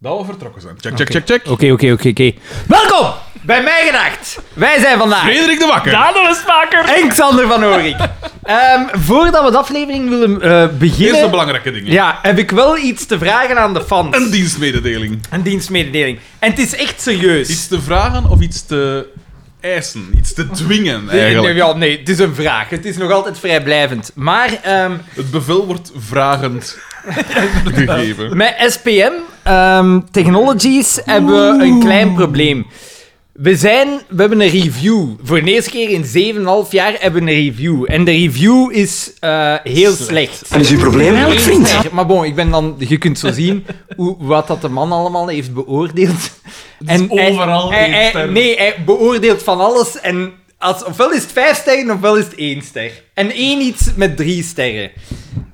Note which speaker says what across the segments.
Speaker 1: Dat we vertrokken zijn. Check, check, check, check.
Speaker 2: Oké, oké, oké, oké. Welkom bij Mij Gedacht. Wij zijn vandaag
Speaker 1: Frederik de Wakker.
Speaker 3: Dadelsmaker!
Speaker 2: en Xander van Oorik. Ehm, voordat we de aflevering willen eh,
Speaker 1: Eerst de
Speaker 2: beginnen,
Speaker 1: belangrijke dingen.
Speaker 2: ja, heb ik wel iets te vragen aan de fans.
Speaker 1: Een dienstmededeling.
Speaker 2: Een dienstmededeling. En het is echt serieus.
Speaker 1: Iets te vragen of iets te eisen. Iets te dwingen,
Speaker 2: Nee, nee,
Speaker 1: eigenlijk.
Speaker 2: ja, nee, het is een vraag. Het is nog altijd vrijblijvend. Maar ehm,
Speaker 1: Het bevel wordt vragend gegeven.
Speaker 2: met SPM ehm, Technologies hebben we een klein probleem. We, zijn, we hebben een review. Voor de eerste keer in 7,5 jaar hebben we een review. En de review is eh, heel slecht.
Speaker 4: En is uw probleem eigenlijk, vriend?
Speaker 2: Maar bon, ik ben dan, je kunt zo zien hoe, wat dat de man allemaal heeft beoordeeld. hij-
Speaker 3: overal
Speaker 2: hij,
Speaker 3: één
Speaker 2: hij-
Speaker 3: ster.
Speaker 2: Nee, hij beoordeelt van alles. En als, ofwel is het vijf sterren, ofwel is het één ster. En één iets met drie sterren.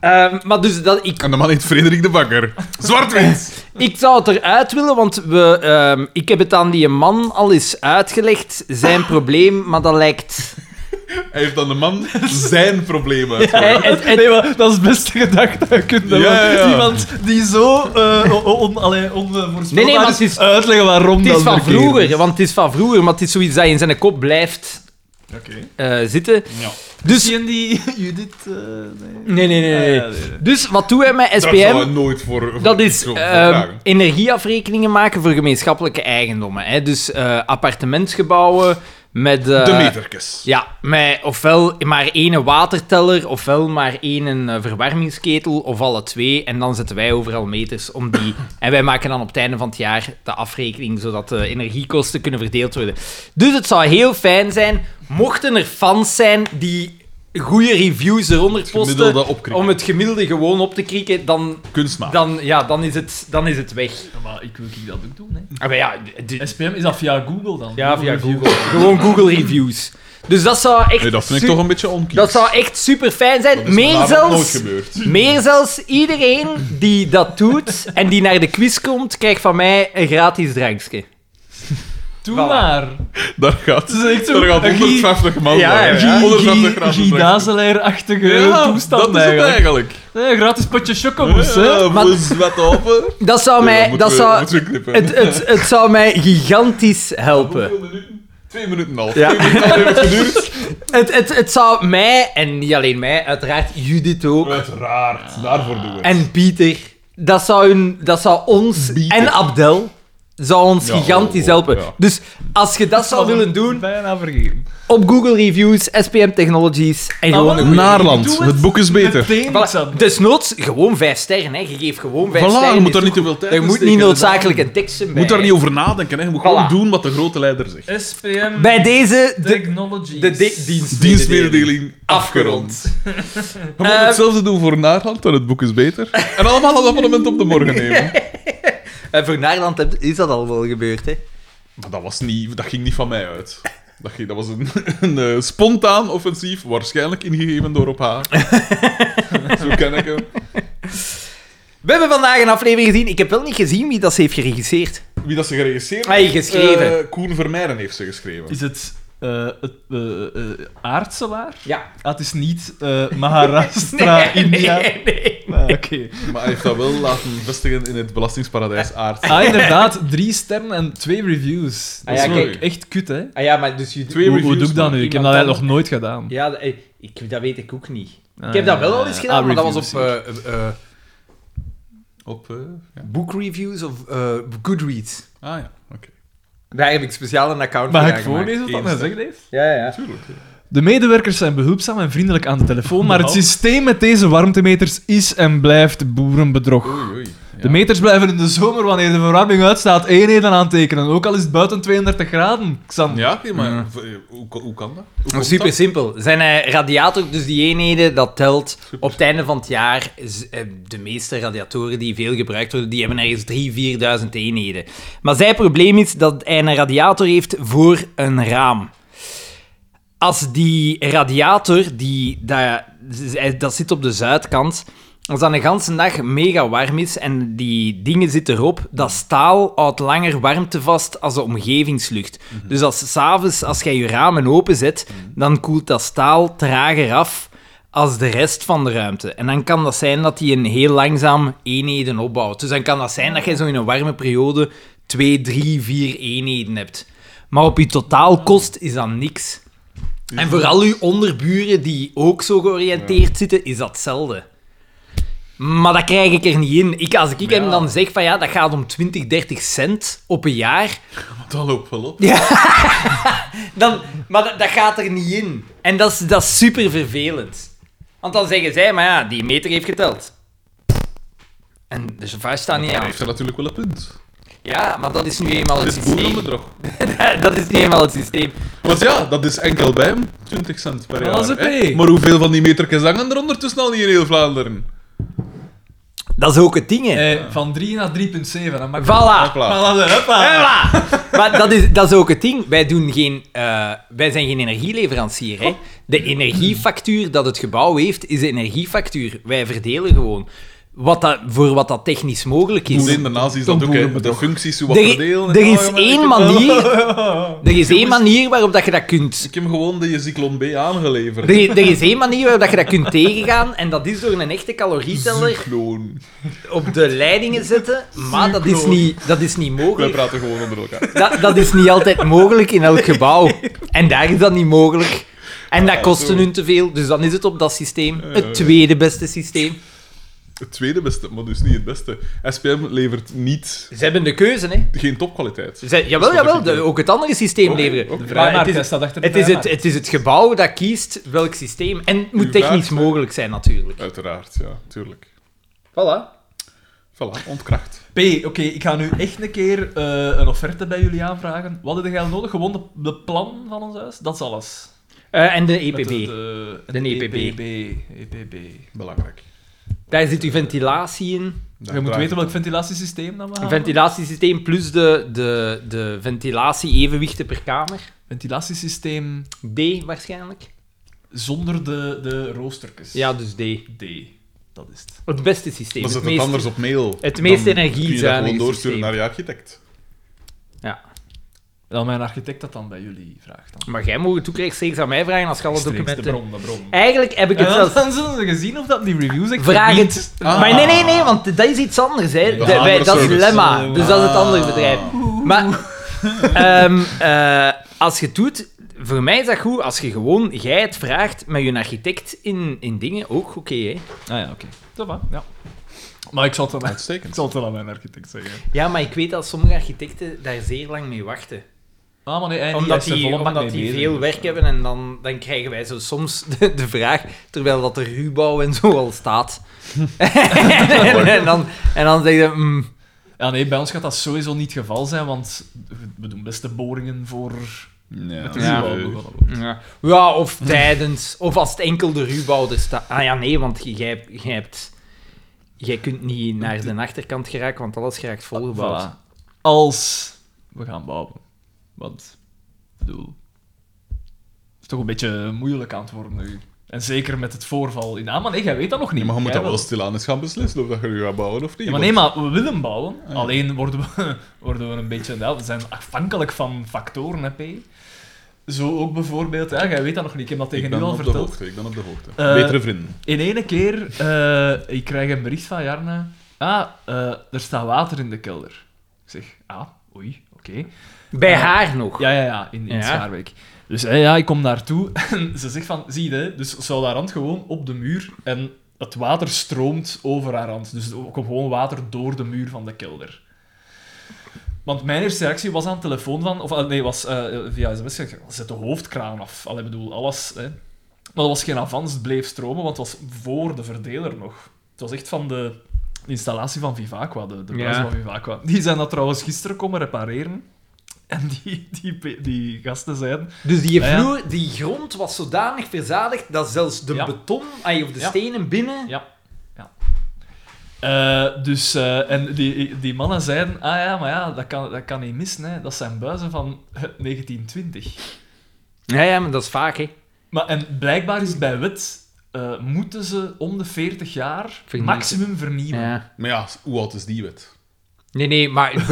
Speaker 2: Ehm, maar dus dat, ik,
Speaker 1: En de man heet Frederik de Bakker. Zwart-wit.
Speaker 2: ik zou het eruit willen, want we, ehm, ik heb het aan die man al eens uitgelegd. Zijn probleem, maar dat lijkt...
Speaker 1: Hij heeft aan de man zijn problemen.
Speaker 2: En- en- en-
Speaker 3: Nee, maar dat is het beste gedachte dat je kunt hebben.
Speaker 1: Ja, ja, ja.
Speaker 3: Iemand die zo eh on, on, allee, onvoorspelbaar
Speaker 2: Nee, nee, maar het is-
Speaker 3: uitleggen waarom
Speaker 2: het
Speaker 3: dat
Speaker 2: is van
Speaker 3: verkeerd
Speaker 2: vroeger, want het is van vroeger. Maar het is zoiets dat in zijn kop blijft
Speaker 1: Oké.
Speaker 2: eh, zitten.
Speaker 1: Ja.
Speaker 2: Dus...
Speaker 3: Zie je die Judith? eh, nee.
Speaker 2: Nee, nee, nee. nee.
Speaker 3: Ah, ja, nee.
Speaker 2: Dus wat doen wij met
Speaker 1: Daar
Speaker 2: SPM?
Speaker 1: zouden we nooit voor... voor-
Speaker 2: Dat is
Speaker 1: zo voor
Speaker 2: ehm,
Speaker 1: vragen.
Speaker 2: energieafrekeningen maken voor gemeenschappelijke eigendommen. Hè? Dus eh, appartementsgebouwen met... eh,
Speaker 1: De meterkes.
Speaker 2: Ja, met ofwel maar één waterteller, ofwel maar één eh, verwarmingsketel, of alle twee. En dan zetten wij overal meters om die... en wij maken dan op het einde van het jaar de afrekening, zodat de energiekosten kunnen verdeeld worden. Dus het zou heel fijn zijn, mochten er fans zijn die goede reviews eronder
Speaker 1: gemiddelde
Speaker 2: posten,
Speaker 1: opkrikken. Ah.
Speaker 2: om het gemiddelde gewoon op te krikken, dan
Speaker 1: Kunstmaat.
Speaker 2: dan, ja, dan, is het, dan is het weg.
Speaker 3: Ja, maar ik wil ik dat ook doen. Hè.
Speaker 2: Ah, maar ja, d-
Speaker 3: SPM, is dat via Google dan?
Speaker 2: ja, via
Speaker 3: Review.
Speaker 2: Google. Gewoon Google Reviews. Dus dat zou echt,
Speaker 1: Nee, dat vind ik
Speaker 2: su-
Speaker 1: toch een beetje onkies.
Speaker 2: dat zou echt super fijn zijn. Meer
Speaker 1: nooit
Speaker 2: zelfs,
Speaker 1: gebeurd.
Speaker 2: meer zelfs, iedereen die dat doet en die naar de quiz komt, krijgt van mij een gratis drankje.
Speaker 3: Doe
Speaker 2: Voilà.
Speaker 3: maar.
Speaker 1: Daar gaat,
Speaker 3: Het is echt zo-
Speaker 1: daar gaat
Speaker 3: een
Speaker 1: 150 man
Speaker 2: Ja,
Speaker 1: bij.
Speaker 2: ja,
Speaker 3: Guy-
Speaker 1: 150
Speaker 3: Guy-
Speaker 1: graden
Speaker 3: Guy
Speaker 1: druk.
Speaker 3: Dazelaar-achtige
Speaker 1: Ja,
Speaker 3: toestand
Speaker 1: dat is het eigenlijk.
Speaker 3: Nee, gratis potje chocomousse, hè.
Speaker 1: Ja,
Speaker 2: Dus, eh, Maar-
Speaker 1: voor zwet open.
Speaker 2: Dat zou mij, dat zou,
Speaker 1: Twee knippen.
Speaker 2: het, het, het zou mij gigantisch helpen.
Speaker 1: Hoeveel minuten? Twee minuten al.
Speaker 2: Ja.
Speaker 1: Twee minuten al heeft het geduurd.
Speaker 2: Het, het, het zou mij, en niet alleen mij, uiteraard Judith ook,
Speaker 1: Uiteraard, daarvoor doen we het.
Speaker 2: En Pieter. Dat zou, hun, dat zou ons...
Speaker 1: Pieter.
Speaker 2: En Abdel. Zou ons
Speaker 1: Ja,
Speaker 2: gigantisch
Speaker 1: oh, oh,
Speaker 2: helpen.
Speaker 1: ja.
Speaker 2: Dus als je dat zou willen doen,
Speaker 3: Bijna vergeten.
Speaker 2: op Google Reviews, SPM Technologies en gewoon... een-
Speaker 3: wel.
Speaker 1: Naarland,
Speaker 3: Doe
Speaker 1: het. boek is beter.
Speaker 3: Meteen,
Speaker 2: Voilà.
Speaker 3: Xander.
Speaker 2: Desnoods, gewoon vijf sterren. Hè. Je geeft gewoon vijf
Speaker 1: Voilà,
Speaker 2: sterren.
Speaker 1: je moet daar
Speaker 2: is
Speaker 1: niet te veel
Speaker 2: goed.
Speaker 1: tijd
Speaker 2: Je
Speaker 1: in
Speaker 2: moet
Speaker 1: steken,
Speaker 2: niet
Speaker 1: inderdaad.
Speaker 2: noodzakelijk een teksten
Speaker 1: Je
Speaker 2: bij.
Speaker 1: moet daar niet over nadenken, hè. je moet gewoon
Speaker 2: Voilà.
Speaker 1: doen wat de grote leider zegt.
Speaker 3: SPM
Speaker 2: Bij deze... De,
Speaker 3: Technologies.
Speaker 2: de, de dienst.
Speaker 1: Dienstmededeling afgerond.
Speaker 2: Afgerond.
Speaker 1: We moeten
Speaker 2: Ehm.
Speaker 1: hetzelfde doen voor Naarland, en het boek is beter. En allemaal het abonnement op de morgen nemen.
Speaker 2: En voor Nederland heb- is dat al wel gebeurd, hè.
Speaker 1: Maar dat, was niet, dat ging niet van mij uit. Dat, ging, dat was een, een eh, spontaan offensief, waarschijnlijk ingegeven door op haar. Zo ken ik hem.
Speaker 2: We hebben vandaag een aflevering gezien. Ik heb wel niet gezien wie dat ze heeft geregisseerd.
Speaker 1: Wie dat ze geregisseerd
Speaker 2: Ah, geschreven.
Speaker 1: Eh, Koen Vermeijden heeft ze geschreven.
Speaker 3: Is het eh het eh, eh, aardselaar?
Speaker 2: Ja.
Speaker 3: Ah, het is niet eh, Maharashtra,
Speaker 1: eh,
Speaker 3: India. Ah, Oké.
Speaker 1: Maar hij heeft dat wel laten vestigen in het belastingsparadijs Aard.
Speaker 3: Ah, inderdaad, drie sterren en twee reviews. Dat
Speaker 2: Ah ja,
Speaker 3: is wel
Speaker 1: kijk.
Speaker 3: echt kut, hè?
Speaker 2: Ah ja, maar dus... je-
Speaker 1: Twee
Speaker 3: Hoe, hoe
Speaker 1: reviews,
Speaker 3: doe ik dat
Speaker 1: maar
Speaker 3: nu? Ik heb
Speaker 2: iemand
Speaker 3: dat eigenlijk
Speaker 2: anders-
Speaker 3: nog nooit gedaan.
Speaker 2: Ja, dat, eh, ik, dat weet ik ook niet.
Speaker 3: Ah,
Speaker 2: ik heb dat wel al eens
Speaker 3: ah,
Speaker 2: gedaan, maar dat was
Speaker 3: reviews,
Speaker 2: op
Speaker 3: zie ik.
Speaker 2: eh, eh, eh,
Speaker 1: Op, eh, ja.
Speaker 2: boekreviews of eh, Goodreads.
Speaker 1: Ah ja, oké.
Speaker 2: Daar heb ik speciaal een account
Speaker 3: Mag ik
Speaker 2: voor aangemaakt.
Speaker 3: voorlezen wat dat
Speaker 1: Eén
Speaker 3: mij gezegd heeft?
Speaker 2: Ja, ja, ja.
Speaker 1: Tuurlijk.
Speaker 3: De medewerkers zijn behulpzaam en vriendelijk aan de telefoon, maar het systeem met deze warmtemeters is en blijft boerenbedrog.
Speaker 1: Oei, oei. Ja.
Speaker 3: De meters blijven in de zomer wanneer de verwarming uitstaat eenheden aantekenen, ook al is het buiten 32 graden. Xander.
Speaker 1: Ja, oké, maar v- eh, hoe, hoe kan dat? Hoe komt
Speaker 2: Super
Speaker 1: dat?
Speaker 2: simpel. Zijn eh, radiator, dus die eenheden, dat telt. Op het einde van het jaar, is, eh, de meeste radiatoren die veel gebruikt worden, die hebben ergens 3.000, 4.000 eenheden. Maar zijn probleem is dat hij een radiator heeft voor een raam. Als die radiator, die, dat, dat zit op de zuidkant, als dat een ganse dag mega warm is en die dingen zitten erop, dat staal houdt langer warmte vast als de omgevingslucht. Dus als s'avonds, als jij je ramen openzet, dan koelt dat staal trager af als de rest van de ruimte. En dan kan dat zijn dat die een heel langzaam eenheden opbouwt. Dus dan kan dat zijn dat je zo in een warme periode 2, 3, 4 eenheden hebt. Maar op je totaalkost is dat niks. En vooral uw onderburen die ook zo georiënteerd zitten, is dat hetzelfde. Maar dat krijg ik er niet in. Ik, als ik hem dan zeg van ja, dat gaat om 20, 30 cent op een jaar,
Speaker 1: Dat loopt wel op.
Speaker 2: dan, maar dat, dat gaat er niet in. En dat is, dat is super vervelend. Want dan zeggen zij, maar ja, die meter heeft geteld. En de chauffeur staat niet
Speaker 1: Hij
Speaker 2: aan.
Speaker 1: heeft er natuurlijk wel een punt.
Speaker 2: Ja, maar dat is nu eenmaal het
Speaker 1: Dit is
Speaker 2: systeem.
Speaker 1: boerenbedrag.
Speaker 2: dat is nu eenmaal het systeem.
Speaker 1: Want ja, dat is enkel bij hem 20 cent per jaar.
Speaker 3: Dat is een
Speaker 1: hè.
Speaker 3: P.
Speaker 1: Maar hoeveel van die metertjes hangen er ondertussen al niet in heel Vlaanderen?
Speaker 2: Dat is ook het ding, hè.
Speaker 3: Eh, van 3 naar 3,7. Dan maakt
Speaker 2: Voilà.
Speaker 1: Hopla.
Speaker 3: Ah, Voilà, hoppa.
Speaker 2: Voilà. maar dat is, dat is ook het ding. Wij, doen geen, eh, wij zijn geen energieleverancier. Hè? De energiefactuur dat het gebouw heeft, is de energiefactuur. Wij verdelen gewoon. Wat dat, voor wat dat technisch mogelijk is.
Speaker 1: Hoe in de nazi's dat
Speaker 3: Een
Speaker 1: ook, hè. De
Speaker 3: boerenbedrag.
Speaker 1: functies, hoe wat
Speaker 2: Er,
Speaker 1: verdelen. en
Speaker 2: er
Speaker 1: zo,
Speaker 2: is
Speaker 1: jongen, ik
Speaker 2: één
Speaker 1: heb-
Speaker 2: manier, er is één manier waarop dat je dat kunt.
Speaker 1: Ik heb gewoon de Zyklon B aangeleverd.
Speaker 2: Er, er is één manier waarop dat je dat kunt tegengaan. En dat is door een echte calorieteller
Speaker 1: Zyklon.
Speaker 2: op de leidingen zetten. Maar dat is niet, dat is niet
Speaker 1: Wij
Speaker 2: mogelijk.
Speaker 1: praten gewoon onder elkaar.
Speaker 2: Dat, dat is niet altijd mogelijk in elk gebouw. En daar is dat niet mogelijk. En dat kostte
Speaker 1: zo.
Speaker 2: hun te veel, dus dan is het op dat systeem.
Speaker 1: ja.
Speaker 2: Het tweede beste systeem.
Speaker 1: Het tweede beste, maar dus niet het beste. SPM levert niet,
Speaker 2: Ze hebben de keuze, hè?
Speaker 1: geen topkwaliteit.
Speaker 2: Ze, jawel,
Speaker 1: Dat is wat
Speaker 2: jawel,
Speaker 1: ik
Speaker 2: de-
Speaker 1: doe.
Speaker 2: ook het andere systeem leveren.
Speaker 1: oké. De
Speaker 3: Vrijmarkt,
Speaker 2: het
Speaker 3: hij
Speaker 2: is,
Speaker 3: staat achter de
Speaker 2: het, is het,
Speaker 3: vrijmarkt.
Speaker 2: het is het gebouw dat kiest welk systeem. En het moet
Speaker 1: Uw vraag
Speaker 2: technisch
Speaker 1: zijn-
Speaker 2: mogelijk zijn, natuurlijk.
Speaker 1: Uiteraard, ja, tuurlijk.
Speaker 2: Voilà.
Speaker 1: Voilà, ontkracht.
Speaker 3: P, oké, ik ga nu echt een keer eh, een offerte bij jullie aanvragen. Wat heb jij nodig? Gewoon de, de plan van ons huis? Dat is alles.
Speaker 2: Eh, en de
Speaker 3: Met
Speaker 2: EPB.
Speaker 3: het, eh,
Speaker 2: De E
Speaker 3: het
Speaker 2: EPB.
Speaker 3: EPB. EPB.
Speaker 1: Belangrijk.
Speaker 2: Daar zit uw ventilatie in.
Speaker 1: Daar
Speaker 3: je moet
Speaker 1: draait
Speaker 3: weten
Speaker 1: het
Speaker 3: welk ventilatiesysteem dat we
Speaker 2: Een
Speaker 3: hebben.
Speaker 2: ventilatiesysteem plus de, de, de ventilatie-evenwichten per kamer.
Speaker 3: ventilatiesysteem
Speaker 2: D waarschijnlijk.
Speaker 3: zonder de, de roosterkes.
Speaker 2: Ja, dus D.
Speaker 3: D. Dat is het.
Speaker 2: Het beste systeem.
Speaker 1: Dan zet
Speaker 2: het
Speaker 1: het
Speaker 2: meest-
Speaker 1: anders op mail.
Speaker 2: het meest
Speaker 1: Dan Kun je dat
Speaker 2: energiezuinige
Speaker 1: gewoon doorsturen
Speaker 2: systeem.
Speaker 1: naar je architect.
Speaker 2: Ja.
Speaker 3: Dat mijn architect dat dan bij jullie vraagt. Dan.
Speaker 2: Maar jij mag het ook rechtstreeks aan mij vragen als je alle
Speaker 3: Rechtstreeks,
Speaker 2: documenten...
Speaker 3: de bron, de bron.
Speaker 2: Eigenlijk heb ik
Speaker 3: En
Speaker 2: het
Speaker 3: dan,
Speaker 2: zelfs...
Speaker 3: dan zullen ze gezien of dat die reviews echt
Speaker 2: Vraag
Speaker 3: verdient.
Speaker 2: het...
Speaker 1: Ah.
Speaker 2: Maar nee, nee, nee, want dat is iets anders. Hè. De- wij- dat is
Speaker 1: Hamerservice.
Speaker 2: Lemma, dus dat is het andere
Speaker 1: Ah.
Speaker 2: bedrijf. Maar ehm, eh, als je het doet... Voor mij is dat goed als je gewoon... Jij het vraagt met je architect in, in dingen. Ook oké, hè.
Speaker 3: Ah ja, oké. Dat va, ja. Maar ik zal het aan, ik
Speaker 1: Uitstekend.
Speaker 3: zal het wel aan mijn architect zeggen.
Speaker 2: Ja, maar ik weet dat sommige architecten daar zeer lang mee wachten.
Speaker 3: Ah, maar nee, hij-
Speaker 2: Omdat
Speaker 3: hij is er
Speaker 2: die,
Speaker 3: volle bak
Speaker 2: omdat
Speaker 3: mee
Speaker 2: die
Speaker 3: bezig. dus, eh.
Speaker 2: veel werk hebben en dan, dan krijgen wij zo soms de, de vraag, terwijl dat de ruwbouw en zo al staat. en, dan, en dan zeggen ze, mm,
Speaker 3: Ja, nee, bij ons gaat dat sowieso niet het geval zijn, want we doen beste boringen voor
Speaker 1: Ja.
Speaker 3: de
Speaker 2: Ja.
Speaker 3: ruwbouw.
Speaker 1: Eh,
Speaker 2: ja. ja, of tijdens, of als het enkel de ruwbouw er staat. Ah ja, nee, want jij, hebt- jij, hebt, jij kunt niet naar de achterkant geraken, want alles geraakt volgebouwd.
Speaker 3: Voilà. Als we gaan bouwen. Want, ik bedoel, het is toch een beetje moeilijk aan het worden nu. En zeker met het voorval in Amman. Nee, jij weet dat nog niet.
Speaker 1: maar je moet
Speaker 3: Jij
Speaker 1: dat wel stilaan eens gaan beslissen of dat je nu gaat bouwen of niet.
Speaker 3: Ja, maar
Speaker 1: want-
Speaker 3: nee, maar we willen bouwen. Alleen worden we, worden we een beetje... Ja, we zijn afhankelijk van factoren, hè, P. Zo ook bijvoorbeeld... Ja, jij weet dat nog niet. Ik heb dat tegen
Speaker 1: ik
Speaker 3: u
Speaker 1: ben
Speaker 3: al
Speaker 1: op de
Speaker 3: verteld.
Speaker 1: hoogte. Ik ben op de hoogte.
Speaker 3: Eh,
Speaker 1: Betere vrienden.
Speaker 3: In ene keer, eh, ik krijg een bericht van Jarna. Ah, eh, er staat water in de kelder. Ik zeg, ah, oei, oké.
Speaker 2: Bij
Speaker 3: Ja.
Speaker 2: haar nog.
Speaker 3: Ja, ja, ja, in, in
Speaker 2: Ja.
Speaker 3: Schaarbeek. Dus hè, ja, ik kom daartoe en ze zegt van, zie je, hè, dus ze houdt haar hand gewoon op de muur en het water stroomt over haar hand. Dus er komt gewoon water door de muur van de kelder. Want mijn eerste reactie was aan de telefoon van, of eh, nee, was eh, via sms, ik zeg, zet de hoofdkraan af. Allee, ik bedoel, alles, hè. Maar dat was geen avans, het bleef stromen, want het was voor de verdeler nog. Het was echt van de installatie van Vivaqua, de, de
Speaker 2: Ja.
Speaker 3: buis van Vivaqua. Die zijn dat trouwens gisteren komen repareren. En die, die, pe- die gasten zeiden...
Speaker 2: Dus die
Speaker 3: Ja, ja.
Speaker 2: vloer, die grond was zodanig verzadigd dat zelfs de
Speaker 3: Ja.
Speaker 2: beton ay, of de
Speaker 3: Ja.
Speaker 2: stenen binnen.
Speaker 3: Ja. ja. Eh, dus, eh, en die, die mannen zeiden... Ah ja, maar ja, dat kan, dat kan niet missen. Hè. Dat zijn buizen van eh, 1920.
Speaker 2: Ja, ja, maar dat is vaak, hè?
Speaker 3: Maar, en blijkbaar is bij wet... eh, moeten ze om de 40 jaar
Speaker 2: Vernieuwen.
Speaker 3: maximum vernieuwen.
Speaker 2: Ja.
Speaker 1: Maar ja, hoe oud is die wet?
Speaker 2: Nee, nee, maar...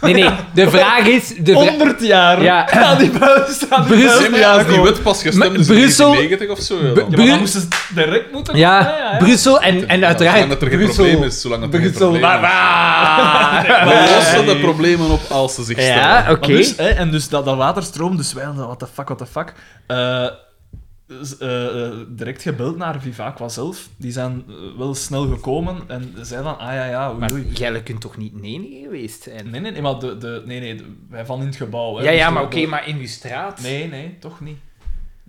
Speaker 2: Nee, nee, de vraag is... De vra-
Speaker 3: 100 jaar
Speaker 2: Ja.
Speaker 3: aan die buis staan.
Speaker 2: Brussel-
Speaker 3: buis
Speaker 1: Nee, maar ja, als die
Speaker 3: aankomen.
Speaker 1: wet pas gestemd
Speaker 2: Maar
Speaker 1: is in
Speaker 2: Brussel-
Speaker 1: 1990 of zo. ja, dan.
Speaker 3: Ja, maar
Speaker 2: Bru-
Speaker 3: dan moesten ze direct moeten...
Speaker 2: Ja,
Speaker 3: ja.
Speaker 2: Brussel en, en uiteraard...
Speaker 1: Zolang dat er geen
Speaker 2: Brussel.
Speaker 1: probleem is. Zolang dat er geen
Speaker 2: Brussel.
Speaker 1: probleem is. We lossen de problemen op als ze zich stellen.
Speaker 2: Ja, oké.
Speaker 3: Maar dus, hè, en dus dat, dat waterstroom, dus wij hadden, what the fuck, what the fuck. Eh, dus, eh, eh, direct gebeld naar Vivaqua zelf. Die zijn eh, wel snel gekomen en zeiden van, ah ja, ja, oei,
Speaker 2: Maar
Speaker 3: oei.
Speaker 2: jij kunt toch niet nee geweest zijn?
Speaker 3: Nee, nee, nee, maar de, de, nee, nee, de- wij van in het gebouw. Hè,
Speaker 2: Ja,
Speaker 3: dus
Speaker 2: ja,
Speaker 3: de-
Speaker 2: maar
Speaker 3: de-
Speaker 2: oké, maar in uw straat...
Speaker 3: Nee, nee, toch niet.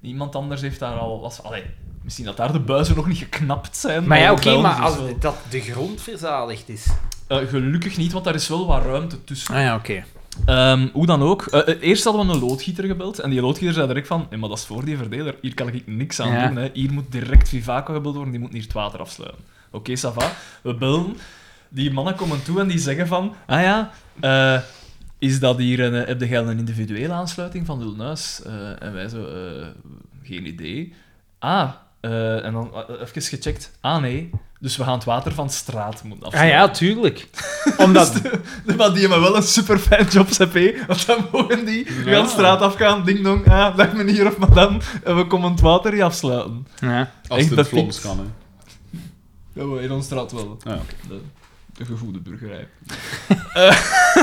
Speaker 3: Iemand anders heeft daar al... Was, allee, misschien dat daar de buizen nog niet geknapt zijn.
Speaker 2: Maar ja,
Speaker 3: bij
Speaker 2: oké,
Speaker 3: ons
Speaker 2: maar
Speaker 3: is
Speaker 2: als
Speaker 3: wel-
Speaker 2: dat de grond verzadigd is...
Speaker 3: Eh, gelukkig niet, want daar is wel wat ruimte tussen.
Speaker 2: Ah ja, oké.
Speaker 3: Ehm, hoe dan ook. Eh, eh, eerst hadden we een loodgieter gebeld. En die loodgieter zei direct van... "Eh, maar dat is voor die verdeler. Hier kan ik niks aan
Speaker 2: Ja.
Speaker 3: doen. Hè. Hier moet direct Vivaco gebeld worden. Die moet hier het water afsluiten. Oké, ça va. We bellen. Die mannen komen toe en die zeggen van... Ah ja, eh, is dat hier een, eh, heb jij een individuele aansluiting van Lulnuis? Eh en wij zo... eh, geen idee. Ah, eh, en dan eh, even gecheckt. Ah nee, dus we gaan het water van straat moeten
Speaker 2: Ah
Speaker 3: afsluiten.
Speaker 2: ja, tuurlijk. Omdat...
Speaker 3: Nee, Maar die hebben wel een super fijn job, CP. Want dan mogen die
Speaker 1: Ja.
Speaker 3: gaan straat afgaan, ding dong, ah, dag meneer of madame, en we komen het water hier afsluiten.
Speaker 2: Ja.
Speaker 1: Als het in het
Speaker 3: dat
Speaker 1: Vlaams
Speaker 3: ik-
Speaker 1: kan, hè.
Speaker 3: Ja, maar in onze straat wel.
Speaker 1: Ja, oké.
Speaker 3: De, de gevoelde burgerij.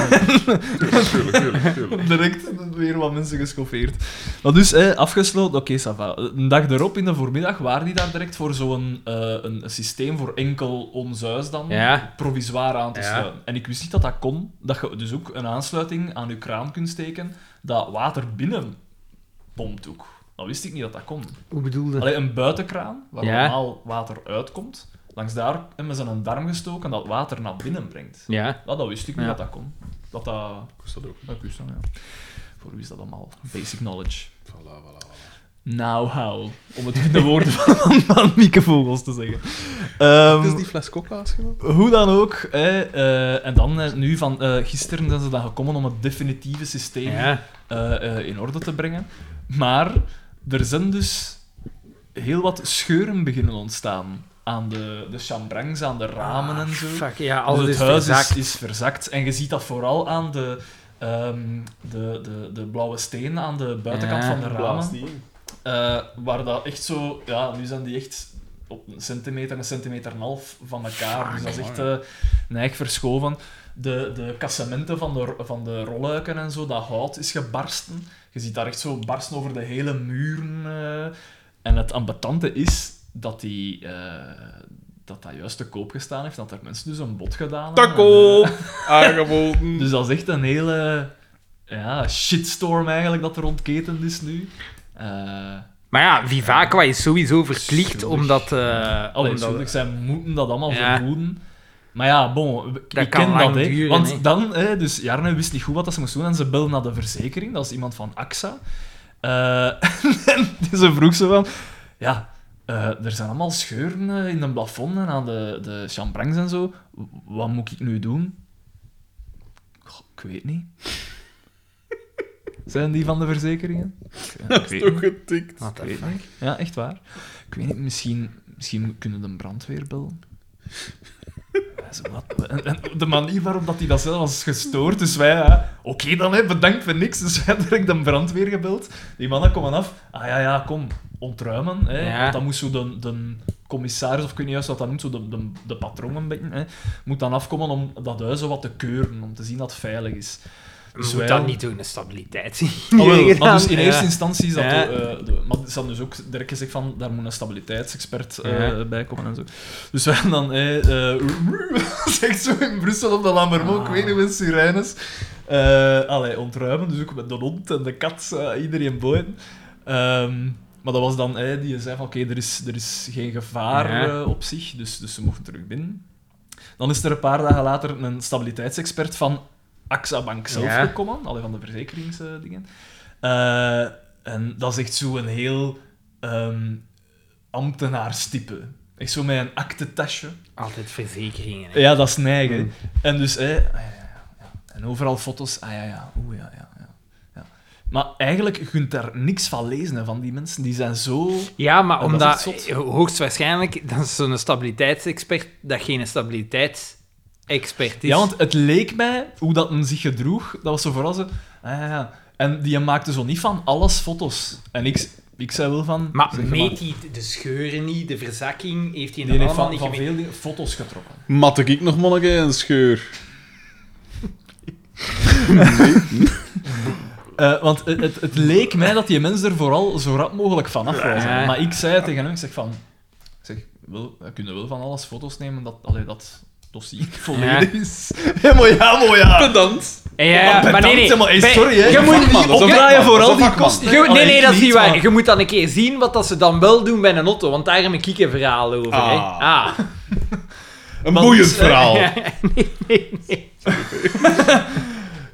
Speaker 1: Tuurlijk, tuurlijk, tuurlijk.
Speaker 3: Direct weer wat mensen geschoffeerd. Maar dus, eh, afgesloten, oké, ça va. Een dag erop, in de voormiddag, waren die daar direct voor zo'n eh, een, een systeem voor enkel ons huis dan
Speaker 2: Ja.
Speaker 3: provisoir aan te
Speaker 2: Ja.
Speaker 3: sluiten. En ik wist niet dat dat kon, dat je dus ook een aansluiting aan je kraan kunt steken, dat water binnen pompt ook. Dat wist ik niet dat dat kon.
Speaker 2: Hoe bedoelde?
Speaker 3: Alleen een buitenkraan, waar
Speaker 2: Ja.
Speaker 3: normaal water uitkomt, langs daar hebben ze een darm gestoken dat water naar binnen brengt.
Speaker 2: Ja.
Speaker 3: Ja, dat wist ik niet
Speaker 2: Ja.
Speaker 3: dat dat kon. Dat dat...
Speaker 1: Ik wist dat ook.
Speaker 3: Dat is dan, ja. Voor wie is dat allemaal? Basic knowledge.
Speaker 1: Voilà, voilà, voilà.
Speaker 3: Nou, how? Om het in de woorden van, van Mieke Vogels te zeggen. Ehm,
Speaker 1: Is die fles coca alsjeblieft?
Speaker 3: hoe dan ook. hè, eh, en dan eh, nu van eh, gisteren zijn ze dan gekomen om het definitieve systeem
Speaker 2: Ja.
Speaker 3: eh, eh, in orde te brengen. Maar er zijn dus heel wat scheuren beginnen ontstaan. Aan de, de chambrangs, aan de ramen
Speaker 2: Ah,
Speaker 3: en zo.
Speaker 2: Fuck, ja,
Speaker 3: Dus
Speaker 2: alles
Speaker 3: het
Speaker 2: is
Speaker 3: huis
Speaker 2: verzakt.
Speaker 3: Is, is verzakt. En je ziet dat vooral aan de, ehm, de, de, de blauwe steen aan de buitenkant
Speaker 2: Ja.
Speaker 3: van de ramen.
Speaker 1: Blaast die.
Speaker 3: Eh, waar dat echt zo... Ja, nu zijn die echt op een centimeter, een centimeter en een half van elkaar. dus dat is echt eh neig verschoven. De, de kassementen van de, van de rolluiken en zo, dat hout is gebarsten. Je ziet daar echt zo barsten over de hele muren. eh. En het ambetante is dat die... eh, dat dat juist te koop gestaan heeft, dat er mensen dus een bod gedaan hebben.
Speaker 1: Taco!
Speaker 3: En, eh,
Speaker 1: Aangeboden.
Speaker 3: dus dat is echt een hele ja, shitstorm eigenlijk dat er ontketend is nu. Eh,
Speaker 2: Maar ja, Vivaqua is sowieso verplicht
Speaker 3: Schuldig.
Speaker 2: omdat... eh
Speaker 3: Allee,
Speaker 2: omdat-
Speaker 3: natuurlijk, zij moeten dat allemaal
Speaker 2: Ja.
Speaker 3: vergoeden. Maar ja, bon, we-
Speaker 2: Dat
Speaker 3: ik
Speaker 2: kan
Speaker 3: ken
Speaker 2: lang
Speaker 3: dat, hè.
Speaker 2: duren,
Speaker 3: Want
Speaker 2: hè.
Speaker 3: dan, hè, dus Jarne wist niet goed wat dat ze moest doen en ze belde naar de verzekering, dat is iemand van AXA. Eh, en ze vroeg ze van, ja, eh, er zijn allemaal scheuren eh, in een plafond en aan de, de chambrangs en zo. W- Wat moet ik nu doen? Goh, ik weet niet. Zijn die van de verzekeringen? Ik- Ik weet
Speaker 1: Toch getikt.
Speaker 2: What the
Speaker 3: ik weet
Speaker 2: fuck?
Speaker 3: niet. Ja, echt waar. Ik weet niet, misschien, misschien kunnen de brandweer bellen. Ja, zo wat. En, en de manier waarop dat hij dat zelf was gestoord, dus wij, ja, oké dan, hè, bedankt voor niks. Dus wij direct de brandweer gebeld. Die mannen komen af. Ah ja, ja, kom, ontruimen. Hè.
Speaker 2: Ja.
Speaker 3: Want Dan moest zo de, de commissaris, of ik weet niet juist wat dat noemt, zo de, de, de patroon een beetje, hè, moet dan afkomen om dat huis zo wat te keuren, om te zien dat het veilig is.
Speaker 2: Je moet
Speaker 3: wij-
Speaker 2: dat niet doen, de stabiliteit.
Speaker 3: Oh, wel,
Speaker 2: Hier
Speaker 3: maar dus in
Speaker 2: gedaan.
Speaker 3: eerste instantie is dat...
Speaker 2: Ja.
Speaker 3: de- eh, de- maar ze hadden dus ook direct gezegd van, daar moet een stabiliteitsexpert eh,
Speaker 2: Ja.
Speaker 3: bij komen en zo. Dus wij gaan dan... eh eh zegt zo in Brussel op de Lammermont,
Speaker 2: Ah.
Speaker 3: ik weet niet met sirenes. Eh allee, ontruimen, dus ook met de hond en de kat, eh, iedereen boeien. Ehm, maar dat was dan, eh, die zei van, oké, er, is, er is geen gevaar
Speaker 2: Ja.
Speaker 3: eh, op zich, dus, dus ze mochten terug binnen. Dan is er een paar dagen later een stabiliteitsexpert van AXA Bank zelf
Speaker 2: Ja.
Speaker 3: gekomen, alleen van de verzekeringsdingen. Eh, en dat is echt zo'n heel ehm ambtenaarstype. Echt zo met een aktentasje.
Speaker 2: Altijd verzekeringen. hè.
Speaker 3: Ja, dat is neigen. En dus, hè, ah, ja, ja, ja. en overal foto's, ah ja, ja, oeh, ja, ja, ja. ja. Maar eigenlijk, je kunt daar niks van lezen, hè, van die mensen. Die zijn zo...
Speaker 2: Ja, maar
Speaker 3: Ja, dat
Speaker 2: omdat
Speaker 3: is echt zot.
Speaker 2: hoogstwaarschijnlijk dat is zo'n stabiliteitsexpert dat geen stabiliteitsexpert expertise.
Speaker 3: Ja, want het leek mij hoe dat men zich gedroeg. Dat was zo vooral zo. Ah, ja, ja. En die maakte zo niet van alles foto's. En ik, ik zei wel van.
Speaker 2: Maar
Speaker 3: zeg maar,
Speaker 2: meet hij de scheuren niet, de verzakking, heeft hij
Speaker 3: die
Speaker 2: nog
Speaker 3: heeft
Speaker 2: allemaal
Speaker 3: van,
Speaker 2: niet
Speaker 3: van
Speaker 2: gemeten?
Speaker 3: veel dingen foto's getrokken.
Speaker 1: Mat ik nog manneke een scheur?
Speaker 3: Eh, want het, het, het leek mij dat die mensen er vooral zo rap mogelijk vanaf was.
Speaker 2: Ja.
Speaker 3: Maar ik zei tegen hem, ik zeg van... Ik zeg, wil, we kunnen wel van alles foto's nemen, dat, allee, dat dossier volledig is. Ja, mooi ja, mooi ja.
Speaker 1: Pedant.
Speaker 2: Ja, ja, maar nee, nee.
Speaker 3: Bedankt, hè, maar, hey,
Speaker 2: Bij-
Speaker 3: sorry, hè.
Speaker 2: Je moet,
Speaker 1: vakman, dat is
Speaker 3: Op
Speaker 1: een
Speaker 3: draaien
Speaker 1: vakman,
Speaker 3: voor
Speaker 1: dat is
Speaker 3: al
Speaker 1: een
Speaker 3: die
Speaker 1: vakman.
Speaker 3: kosten.
Speaker 2: je moet- nee,
Speaker 3: Allee,
Speaker 2: nee,
Speaker 3: ik
Speaker 2: dat is niet waar.
Speaker 3: maar-
Speaker 2: Je moet dan een keer zien wat dat ze dan wel doen bij een auto, want daar heb ik een verhaal over. hè.
Speaker 1: Ah.
Speaker 2: Ah.
Speaker 1: Een boeiend verhaal.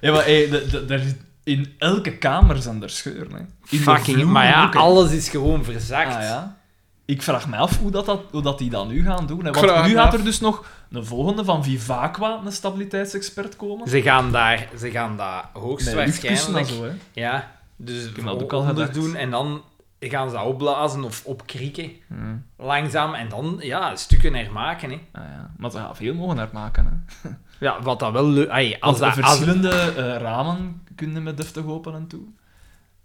Speaker 3: Ja, maar hey, de- de- daar zit- in elke kamer zijn er scheuren. Hè. In de
Speaker 2: Fucking,
Speaker 3: vloer
Speaker 2: maar ja,
Speaker 3: ook, hè.
Speaker 2: alles is gewoon verzakt.
Speaker 3: Ah, ja. Ik vraag me af hoe dat, dat, hoe dat die dat nu gaan doen. Hè.
Speaker 1: Vraag
Speaker 3: Want nu
Speaker 1: me
Speaker 3: gaat
Speaker 1: af.
Speaker 3: er dus nog een volgende van Vivaqua, een stabiliteitsexpert, komen.
Speaker 2: Ze gaan daar, ze gaan dat
Speaker 3: Met luchtkussen en
Speaker 2: hoogstwaarschijnlijk.
Speaker 3: zo, hè.
Speaker 2: Ja, dus
Speaker 3: heb dat ook al
Speaker 2: onder
Speaker 3: gedacht.
Speaker 2: doen en dan gaan ze dat opblazen of opkrieken.
Speaker 3: Hmm.
Speaker 2: Langzaam en dan ja, stukken hermaken. Hè.
Speaker 3: Ah, ja. Maar ze gaan veel mogen hermaken. Hè.
Speaker 2: Ja, wat dat wel leuk. ai, Als
Speaker 3: Als
Speaker 2: dat, als,
Speaker 3: verschillende eh, ramen kunnen met deftig open en toe.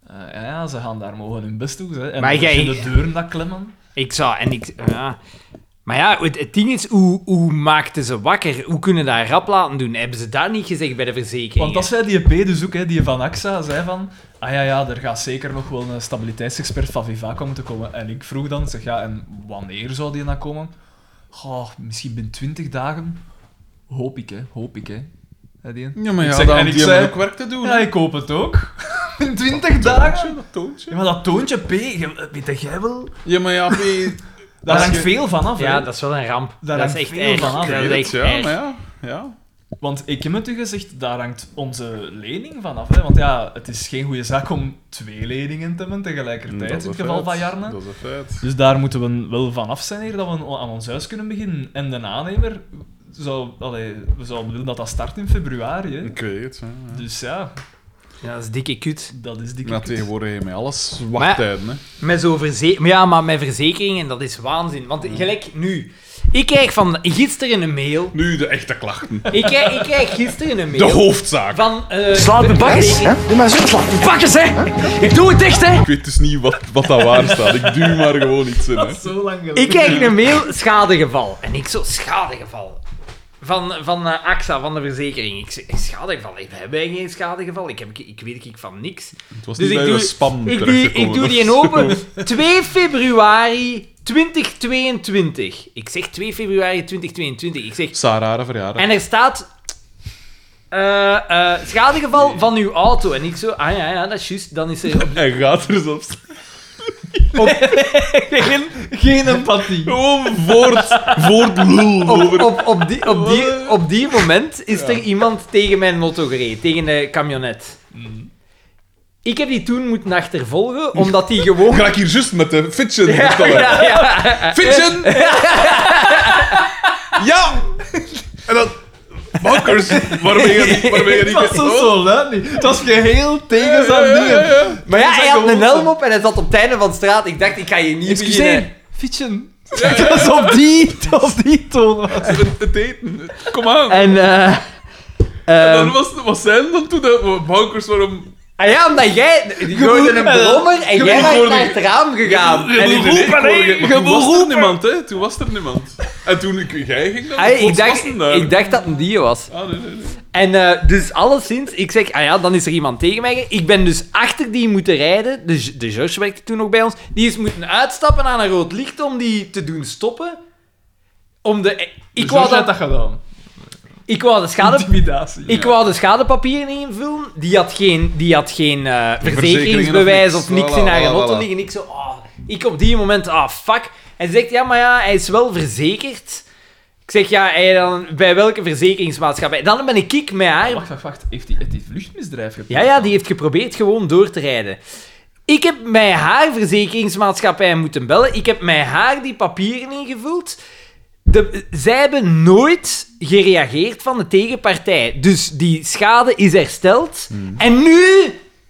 Speaker 3: Eh, ja, ja, ze gaan daar mogen hun best doen. Hè. En
Speaker 2: Maar
Speaker 3: de
Speaker 2: jij-
Speaker 3: verschillende deuren dat klemmen.
Speaker 2: ik zou en ik. Ja. Maar ja, het, het ding is, hoe, hoe maakten ze wakker? Hoe kunnen dat rap laten doen? Hebben ze dat niet gezegd bij de verzekering?
Speaker 3: Want dat zei die P dus ook, hè, die van AXA, zei van... Ah ja, ja, er gaat zeker nog wel een stabiliteitsexpert van Vivaco moeten komen. En ik vroeg dan, zeg ja, en wanneer zou die dan komen? Goh, misschien binnen 20 dagen. Hoop ik, hè. Hoop ik, hè. Hè, die?
Speaker 1: Ja, maar
Speaker 3: Ik
Speaker 1: ja,
Speaker 3: zeg-
Speaker 1: dan,
Speaker 3: en
Speaker 1: die
Speaker 3: ik
Speaker 1: hebben
Speaker 3: zei-
Speaker 1: ook werk te doen.
Speaker 3: Ja, ik hoop het ook. In 20 dagen?
Speaker 1: dat toontje.
Speaker 3: Ja, maar dat toontje P, je- weet jij wel...
Speaker 1: Ja, maar ja, P-
Speaker 3: Daar
Speaker 2: Als
Speaker 3: hangt
Speaker 2: je-
Speaker 3: veel van af, hè.
Speaker 2: ja, dat is wel een ramp.
Speaker 3: Daar
Speaker 2: dat is
Speaker 3: hangt
Speaker 2: echt
Speaker 3: veel
Speaker 2: erg.
Speaker 3: van af,
Speaker 2: Dat
Speaker 1: weet
Speaker 2: is
Speaker 1: het,
Speaker 2: echt
Speaker 1: ja,
Speaker 2: erg.
Speaker 1: maar ja. ja.
Speaker 3: Want ik heb het u gezegd, daar hangt onze lening van af. Hè? Want ja, het is geen goede zaak om twee leningen te hebben tegelijkertijd,
Speaker 1: Mm, Dat is
Speaker 3: in
Speaker 1: een
Speaker 3: het geval
Speaker 1: feit.
Speaker 3: van Jarne.
Speaker 1: Dat is een feit.
Speaker 3: Dus daar moeten we wel van af zijn hier, dat we aan ons huis kunnen beginnen. En de aannemer, zou, allee, we zouden willen dat dat start in februari. Hè?
Speaker 1: Ik weet het, ja. ja.
Speaker 3: Dus ja,
Speaker 2: Ja, dat is dikke kut.
Speaker 3: dat is dikke
Speaker 1: Maar
Speaker 3: kut.
Speaker 1: tegenwoordig heb je met alles wachttijden, hè.
Speaker 2: Met zo'n verze- maar ja, maar met verzekeringen, dat is waanzin. Want gelijk nu. Ik krijg van gisteren een mail.
Speaker 1: Nu de echte klachten.
Speaker 2: Ik krijg, ik krijg gisteren een
Speaker 1: De
Speaker 2: mail.
Speaker 1: hoofdzaak.
Speaker 2: van. eh,
Speaker 4: Slaap
Speaker 2: de
Speaker 4: je bakjes,
Speaker 2: verzekering.
Speaker 4: hè? Doe maar zo, slaap je bakjes, hè? Ik doe het dicht, hè?
Speaker 1: Ik weet dus niet wat, wat daar waar staat. Ik duw maar gewoon iets in,
Speaker 3: Dat
Speaker 1: hè.
Speaker 3: is zo lang geleden.
Speaker 2: Ik krijg een mail, schadegeval. En ik zo, schadegeval. Van, van eh, AXA, van de verzekering. Ik zeg, schadegeval? We hebben wij geen schadegeval. Ik, heb, ik weet ik van niks.
Speaker 1: Het was
Speaker 2: Dus
Speaker 1: niet
Speaker 2: ik
Speaker 1: bij
Speaker 2: doe,
Speaker 1: de spam
Speaker 2: ik, doe,
Speaker 1: terechtgekomen,
Speaker 2: ik doe
Speaker 1: dat
Speaker 2: die in
Speaker 1: is-
Speaker 2: open. 2 februari 2022. Ik zeg 2 februari 2022. Ik zeg,
Speaker 1: Sarah, haar verjaardag.
Speaker 2: En er staat... eh, eh, schadegeval van uw auto. En ik zo... Ah ja, ja, dat is juist. Dan is er op
Speaker 1: En gaat er zo op staan.
Speaker 2: geen...
Speaker 3: Geen empathie.
Speaker 1: Gewoon voort, voort lul over.
Speaker 2: Op, op, die, op, die, op die moment is er iemand tegen mijn auto gereden. Tegen de camionet. Ik heb die toen moeten achtervolgen, omdat die gewoon...
Speaker 1: Ga ik hier juist met de fitchen
Speaker 2: Ja,
Speaker 1: vertellen.
Speaker 2: ja, ja.
Speaker 1: Fitchen! ja! En dan... Bakkers, waarom ben je niet... Waarom ben je
Speaker 3: Het
Speaker 1: niet
Speaker 3: was zo, zo luid niet. Het was geheel tegen zijn
Speaker 1: Ja, ja, ja,
Speaker 3: dingen.
Speaker 1: ja.
Speaker 2: Maar ja, hij had
Speaker 3: gewoon
Speaker 2: een helm op en hij zat op het einde van de straat. Ik dacht, ik ga je niet beginnen.
Speaker 3: Excuseer, fietsen. Het was op die, op die toon. was het.
Speaker 1: Het- Het eten. Kom aan.
Speaker 2: En... eh,
Speaker 1: En
Speaker 2: ehm,
Speaker 1: dan was, was zijn dan toen dat... Bakkers, waarom...
Speaker 2: Ah ja, omdat jij... Je gooide een brommer en jij bent
Speaker 1: hoorde-
Speaker 2: naar het raam gegaan. En
Speaker 1: Nee, nee,
Speaker 2: ik-
Speaker 1: nee, ik hoor
Speaker 3: hè,
Speaker 1: je- maar
Speaker 3: je
Speaker 1: Toen was er
Speaker 3: beroepen.
Speaker 1: niemand, hè. Toen was er niemand. En toen ik, jij ging dan...
Speaker 2: Ah, ik,
Speaker 1: plots was
Speaker 2: dacht,
Speaker 1: hem daar.
Speaker 2: ik dacht dat een die was.
Speaker 1: Ah, nee, nee, nee.
Speaker 2: En eh, dus alleszins, ik zeg, ah ja, dan is er iemand tegen mij. Ik ben dus achter die moeten rijden. De, de George werkte toen nog bij ons. Die is moeten uitstappen aan een rood licht om die te doen stoppen. Om de... Ik,
Speaker 1: Dus
Speaker 3: Zo
Speaker 2: wou,
Speaker 3: had dat
Speaker 2: dat,
Speaker 3: gedaan.
Speaker 2: ik wou de schade...
Speaker 3: Intimidatie.
Speaker 2: Ik wou de schadepapieren invullen. Die had geen, die had geen eh,
Speaker 1: verzekeringen
Speaker 2: verzekeringsbewijs
Speaker 1: of
Speaker 2: of
Speaker 1: niks.
Speaker 2: niks in haar
Speaker 1: Voilà, voilà,
Speaker 2: auto
Speaker 1: voilà.
Speaker 2: liggen. Ik zo, ah, ik op die moment, ah, fuck. Hij zegt, ja, maar ja, hij is wel verzekerd. Ik zeg, ja, hij dan, bij welke verzekeringsmaatschappij? Dan ben ik ik met haar.
Speaker 3: Wacht, wacht, wacht. Heeft hij heeft die vluchtmisdrijf gepleegd?
Speaker 2: Ja, ja, die heeft geprobeerd gewoon door te rijden. Ik heb met haar verzekeringsmaatschappij moeten bellen. Ik heb met haar die papieren ingevuld. De, zij hebben nooit gereageerd van de tegenpartij. Dus die schade is hersteld.
Speaker 1: Hmm.
Speaker 2: En nu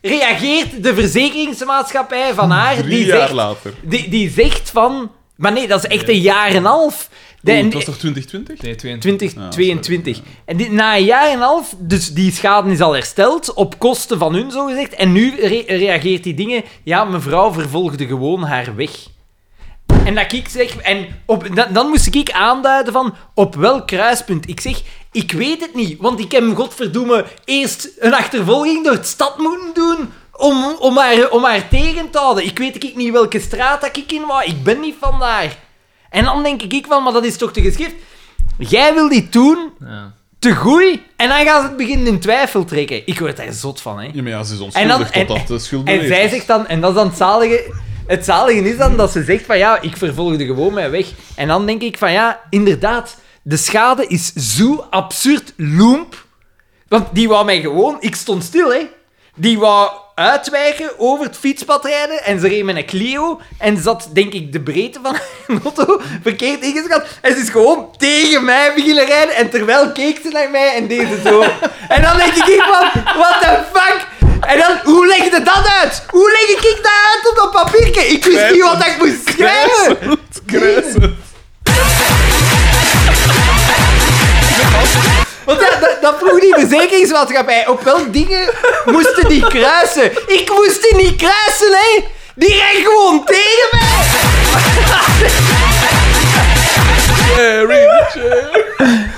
Speaker 2: reageert de verzekeringsmaatschappij van haar.
Speaker 1: Drie
Speaker 2: Die
Speaker 1: jaar
Speaker 2: zegt,
Speaker 1: later.
Speaker 2: die, die zegt van... Maar nee, dat is echt een jaar en een half. De-
Speaker 1: Oeh,
Speaker 2: en-
Speaker 1: het was toch 2020?
Speaker 3: Nee, 22.
Speaker 2: 2022. en dit, na een jaar en een half, dus die schade is al hersteld, op kosten van hun zogezegd. En nu re- reageert die dingen, ja, mevrouw vervolgde gewoon haar weg. En dat ik zeg, en op, dan, dan moest ik aanduiden van op welk kruispunt. Ik zeg, ik weet het niet, want ik heb godverdomme eerst een achtervolging door het stad moeten doen. Om, om, haar, om haar tegen te houden. Ik weet ik niet welke straat dat ik in wou. Ik ben niet vandaar. En dan denk ik van, maar dat is toch te geschikt. Jij wil dit doen,
Speaker 3: Ja.
Speaker 2: te goed, en dan gaan ze het beginnen in twijfel trekken. Ik word daar zot van, hè.
Speaker 1: Ja, maar ja, ze is
Speaker 2: En dan-
Speaker 1: onschuldig
Speaker 2: en-
Speaker 1: totdat de schuld
Speaker 2: En
Speaker 1: bewezen
Speaker 2: zij
Speaker 1: is.
Speaker 2: zegt dan, en dat is dan het zalige... Het zalige is dan dat ze zegt van, ja, ik vervolgde gewoon mijn weg. En dan denk ik van, ja, inderdaad, de schade is zo absurd loemp. Want die wou mij gewoon... Ik stond stil, hè. Die wou uitwijken, over het fietspad rijden, en ze reed met een Clio, en zat, denk ik, de breedte van haar auto verkeerd ingeschat. En ze is gewoon tegen mij beginnen rijden, en terwijl keek ze naar mij en deed ze zo. en dan denk ik van, what the fuck? En dan, hoe leg je dat uit? Hoe leg ik dat uit op dat papiertje? Ik wist niet wat ik moest schrijven.
Speaker 1: Kruisend.
Speaker 2: Want dat, dat, dat vroeg die verzekeringsmaatschappij. Op welk dingen moesten die kruisen? Ik moest die niet kruisen, hè? Die rijdt gewoon tegen mij!
Speaker 1: Jerry,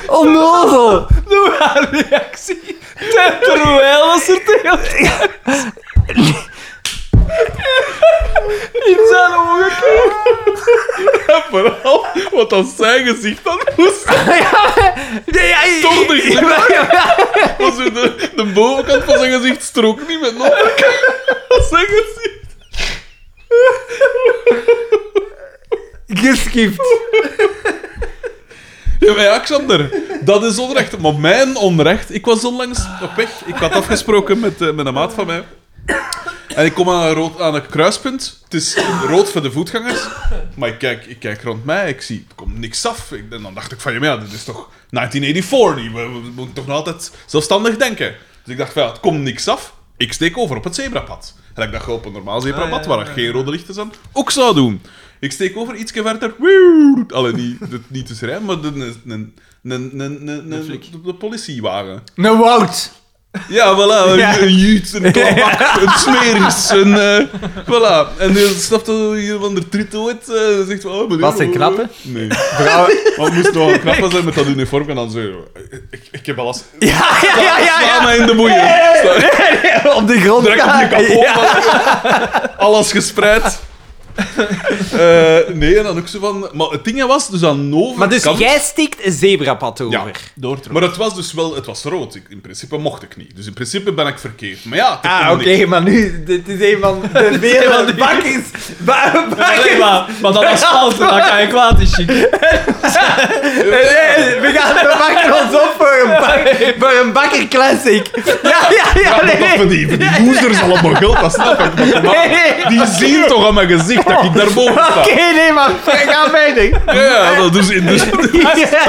Speaker 2: Onnozel!
Speaker 3: Doe haar reactie. Terwijl als er tegen In zijn ogen.
Speaker 1: vooral, wat dat zijn gezicht dan moest,
Speaker 2: Ja, maar- nee, ja, ik-
Speaker 1: Toch niet,
Speaker 2: ik- ja,
Speaker 1: was weer de, de bovenkant van zijn gezicht strook niet met de onderkant van zijn gezicht.
Speaker 2: Geskipt.
Speaker 1: Ja, maar ja, Xander, dat is onrecht. Maar mijn onrecht... Ik was onlangs op weg. Ik had afgesproken met, eh, met een maat van mij. En ik kom aan een, rood, aan een kruispunt. Het is rood voor de voetgangers. Maar ik kijk, ik kijk rond mij, ik zie, er komt niks af. Ik- en dan dacht ik van, ja, maar ja, dit is toch 1984. die- We, we, we moeten toch nog altijd zelfstandig denken. Dus ik dacht van, ja, het komt niks af. Ik steek over op het zebrapad. En ik dacht, op een normaal zebrapad, waar er geen rode lichten zijn, ook zou doen. Ik steek over, ietsje verder. Wieuw, Allee, niet, dit- niet tussen rij, maar een, een, een, een, een, een, een, een politiewagen.
Speaker 2: Een woud.
Speaker 1: Ja, voilà. Een, een juut, een klapbak, een smeris. Een, eh, voilà. En je snapt dat je van de trito het eh, zegt van... Oh, meneer,
Speaker 2: Was ze knap, hè?
Speaker 1: Nee. Maar het moest wel knapper zijn met dat uniform. En dan zo... eh, Ik, ik heb al als...
Speaker 2: Ja, ja, ja, Ah, ja.
Speaker 1: Sla
Speaker 2: ja.
Speaker 1: mij in de boeien. Sla-
Speaker 2: Op de grond.
Speaker 1: Direct op je
Speaker 2: kaken.
Speaker 1: kapot. Alles gespreid. Eh, nee, en dan ook zo van... Maar het ding was dus aan de
Speaker 2: Maar dus
Speaker 1: overkant-
Speaker 2: jij stikt een zebrapad
Speaker 1: Ja.
Speaker 2: over.
Speaker 1: Maar het was dus wel... Het was rood. Ik- in principe mocht ik niet. Dus in principe ben ik verkeerd. Maar ja... er
Speaker 2: Ah,
Speaker 1: kon
Speaker 2: oké,
Speaker 1: niks.
Speaker 2: maar nu, dit is een van de wereld bakjes. Ba-
Speaker 3: Allee,
Speaker 2: bakjes.
Speaker 3: maar, maar dat is fout, dat kan je kwaad is, chic.
Speaker 2: Nee, we gaan we bakken ons op voor een, bak, voor een bakker classic. Ja, ja, ja,
Speaker 1: Ja,
Speaker 2: nee,
Speaker 1: dat van
Speaker 2: nee.
Speaker 1: die, van die losers allemaal geld, dat snap ik. Maar kom aan.
Speaker 2: Nee.
Speaker 1: die zien toch aan mijn gezicht dat ik daarboven
Speaker 2: Oké,
Speaker 1: sta.
Speaker 2: nee, maar ga verder.
Speaker 1: Ja, Ja, dat dus, dus,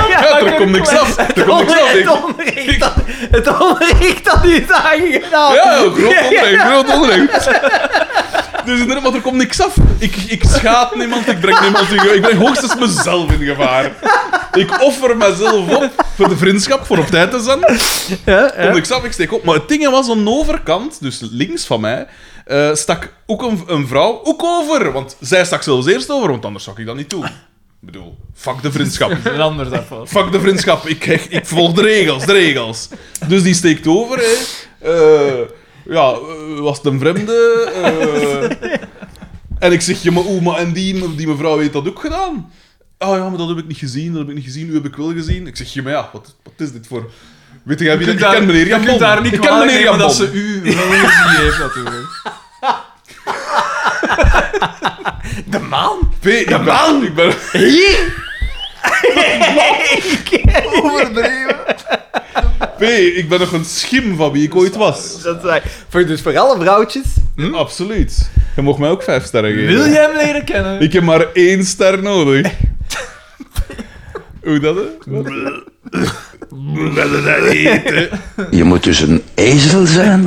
Speaker 1: ja, er komt niks af. Er komt niks af.
Speaker 2: Het
Speaker 1: Ik-
Speaker 2: onrecht dat, het onrecht dat u is aangedaan.
Speaker 1: Ja, groot onrecht, groot onrecht. Dus inderdaad, maar er komt niks af. Ik, ik schaad niemand, ik breng niemand in gevaar. Ik breng hoogstens mezelf in gevaar. Ik offer mezelf op voor de vriendschap, voor op tijd te zijn. Komt niks af, ik steek op. Maar het ding was, aan de overkant, dus links van mij, eh, stak ook een, een vrouw ook over. Want zij stak zelfs eerst over, want anders zou ik dat niet doen. Ik bedoel, fuck de vriendschap.
Speaker 3: Een ander dat fout.
Speaker 1: Fuck de vriendschap, ik, ik, ik volg de regels, de regels. Dus die steekt over, hè. Eh, ja, eh, was het een vreemde? eh. en ik zeg, je maar oeh, maar en die, die mevrouw heeft dat ook gedaan? Oh ja, maar dat heb ik niet gezien, dat heb ik niet gezien, u heb ik wel gezien. Ik zeg, je maar ja, wat, wat is dit voor... Weet jij wie dat... Ik ken meneer Jan
Speaker 3: Je kunt
Speaker 1: Bon.
Speaker 3: daar niet
Speaker 1: Ik ken
Speaker 3: kwalijk
Speaker 1: meneer Jan
Speaker 3: nemen dat
Speaker 1: Bon.
Speaker 3: ze u wel gezien heeft, natuurlijk.
Speaker 2: De man?
Speaker 1: P, ik ben- Ik ben...
Speaker 2: Hier?
Speaker 1: Overdreven. P, ik ben nog een schim van wie ik ooit was.
Speaker 2: Dat is waar. Voor, dus voor alle vrouwtjes.
Speaker 1: Absoluut. Je mocht mij ook vijf sterren geven.
Speaker 3: Hm? Wil jij hem leren kennen?
Speaker 1: Ik heb maar één ster nodig. Hoe dat?
Speaker 5: Je moet dus een ezel zijn.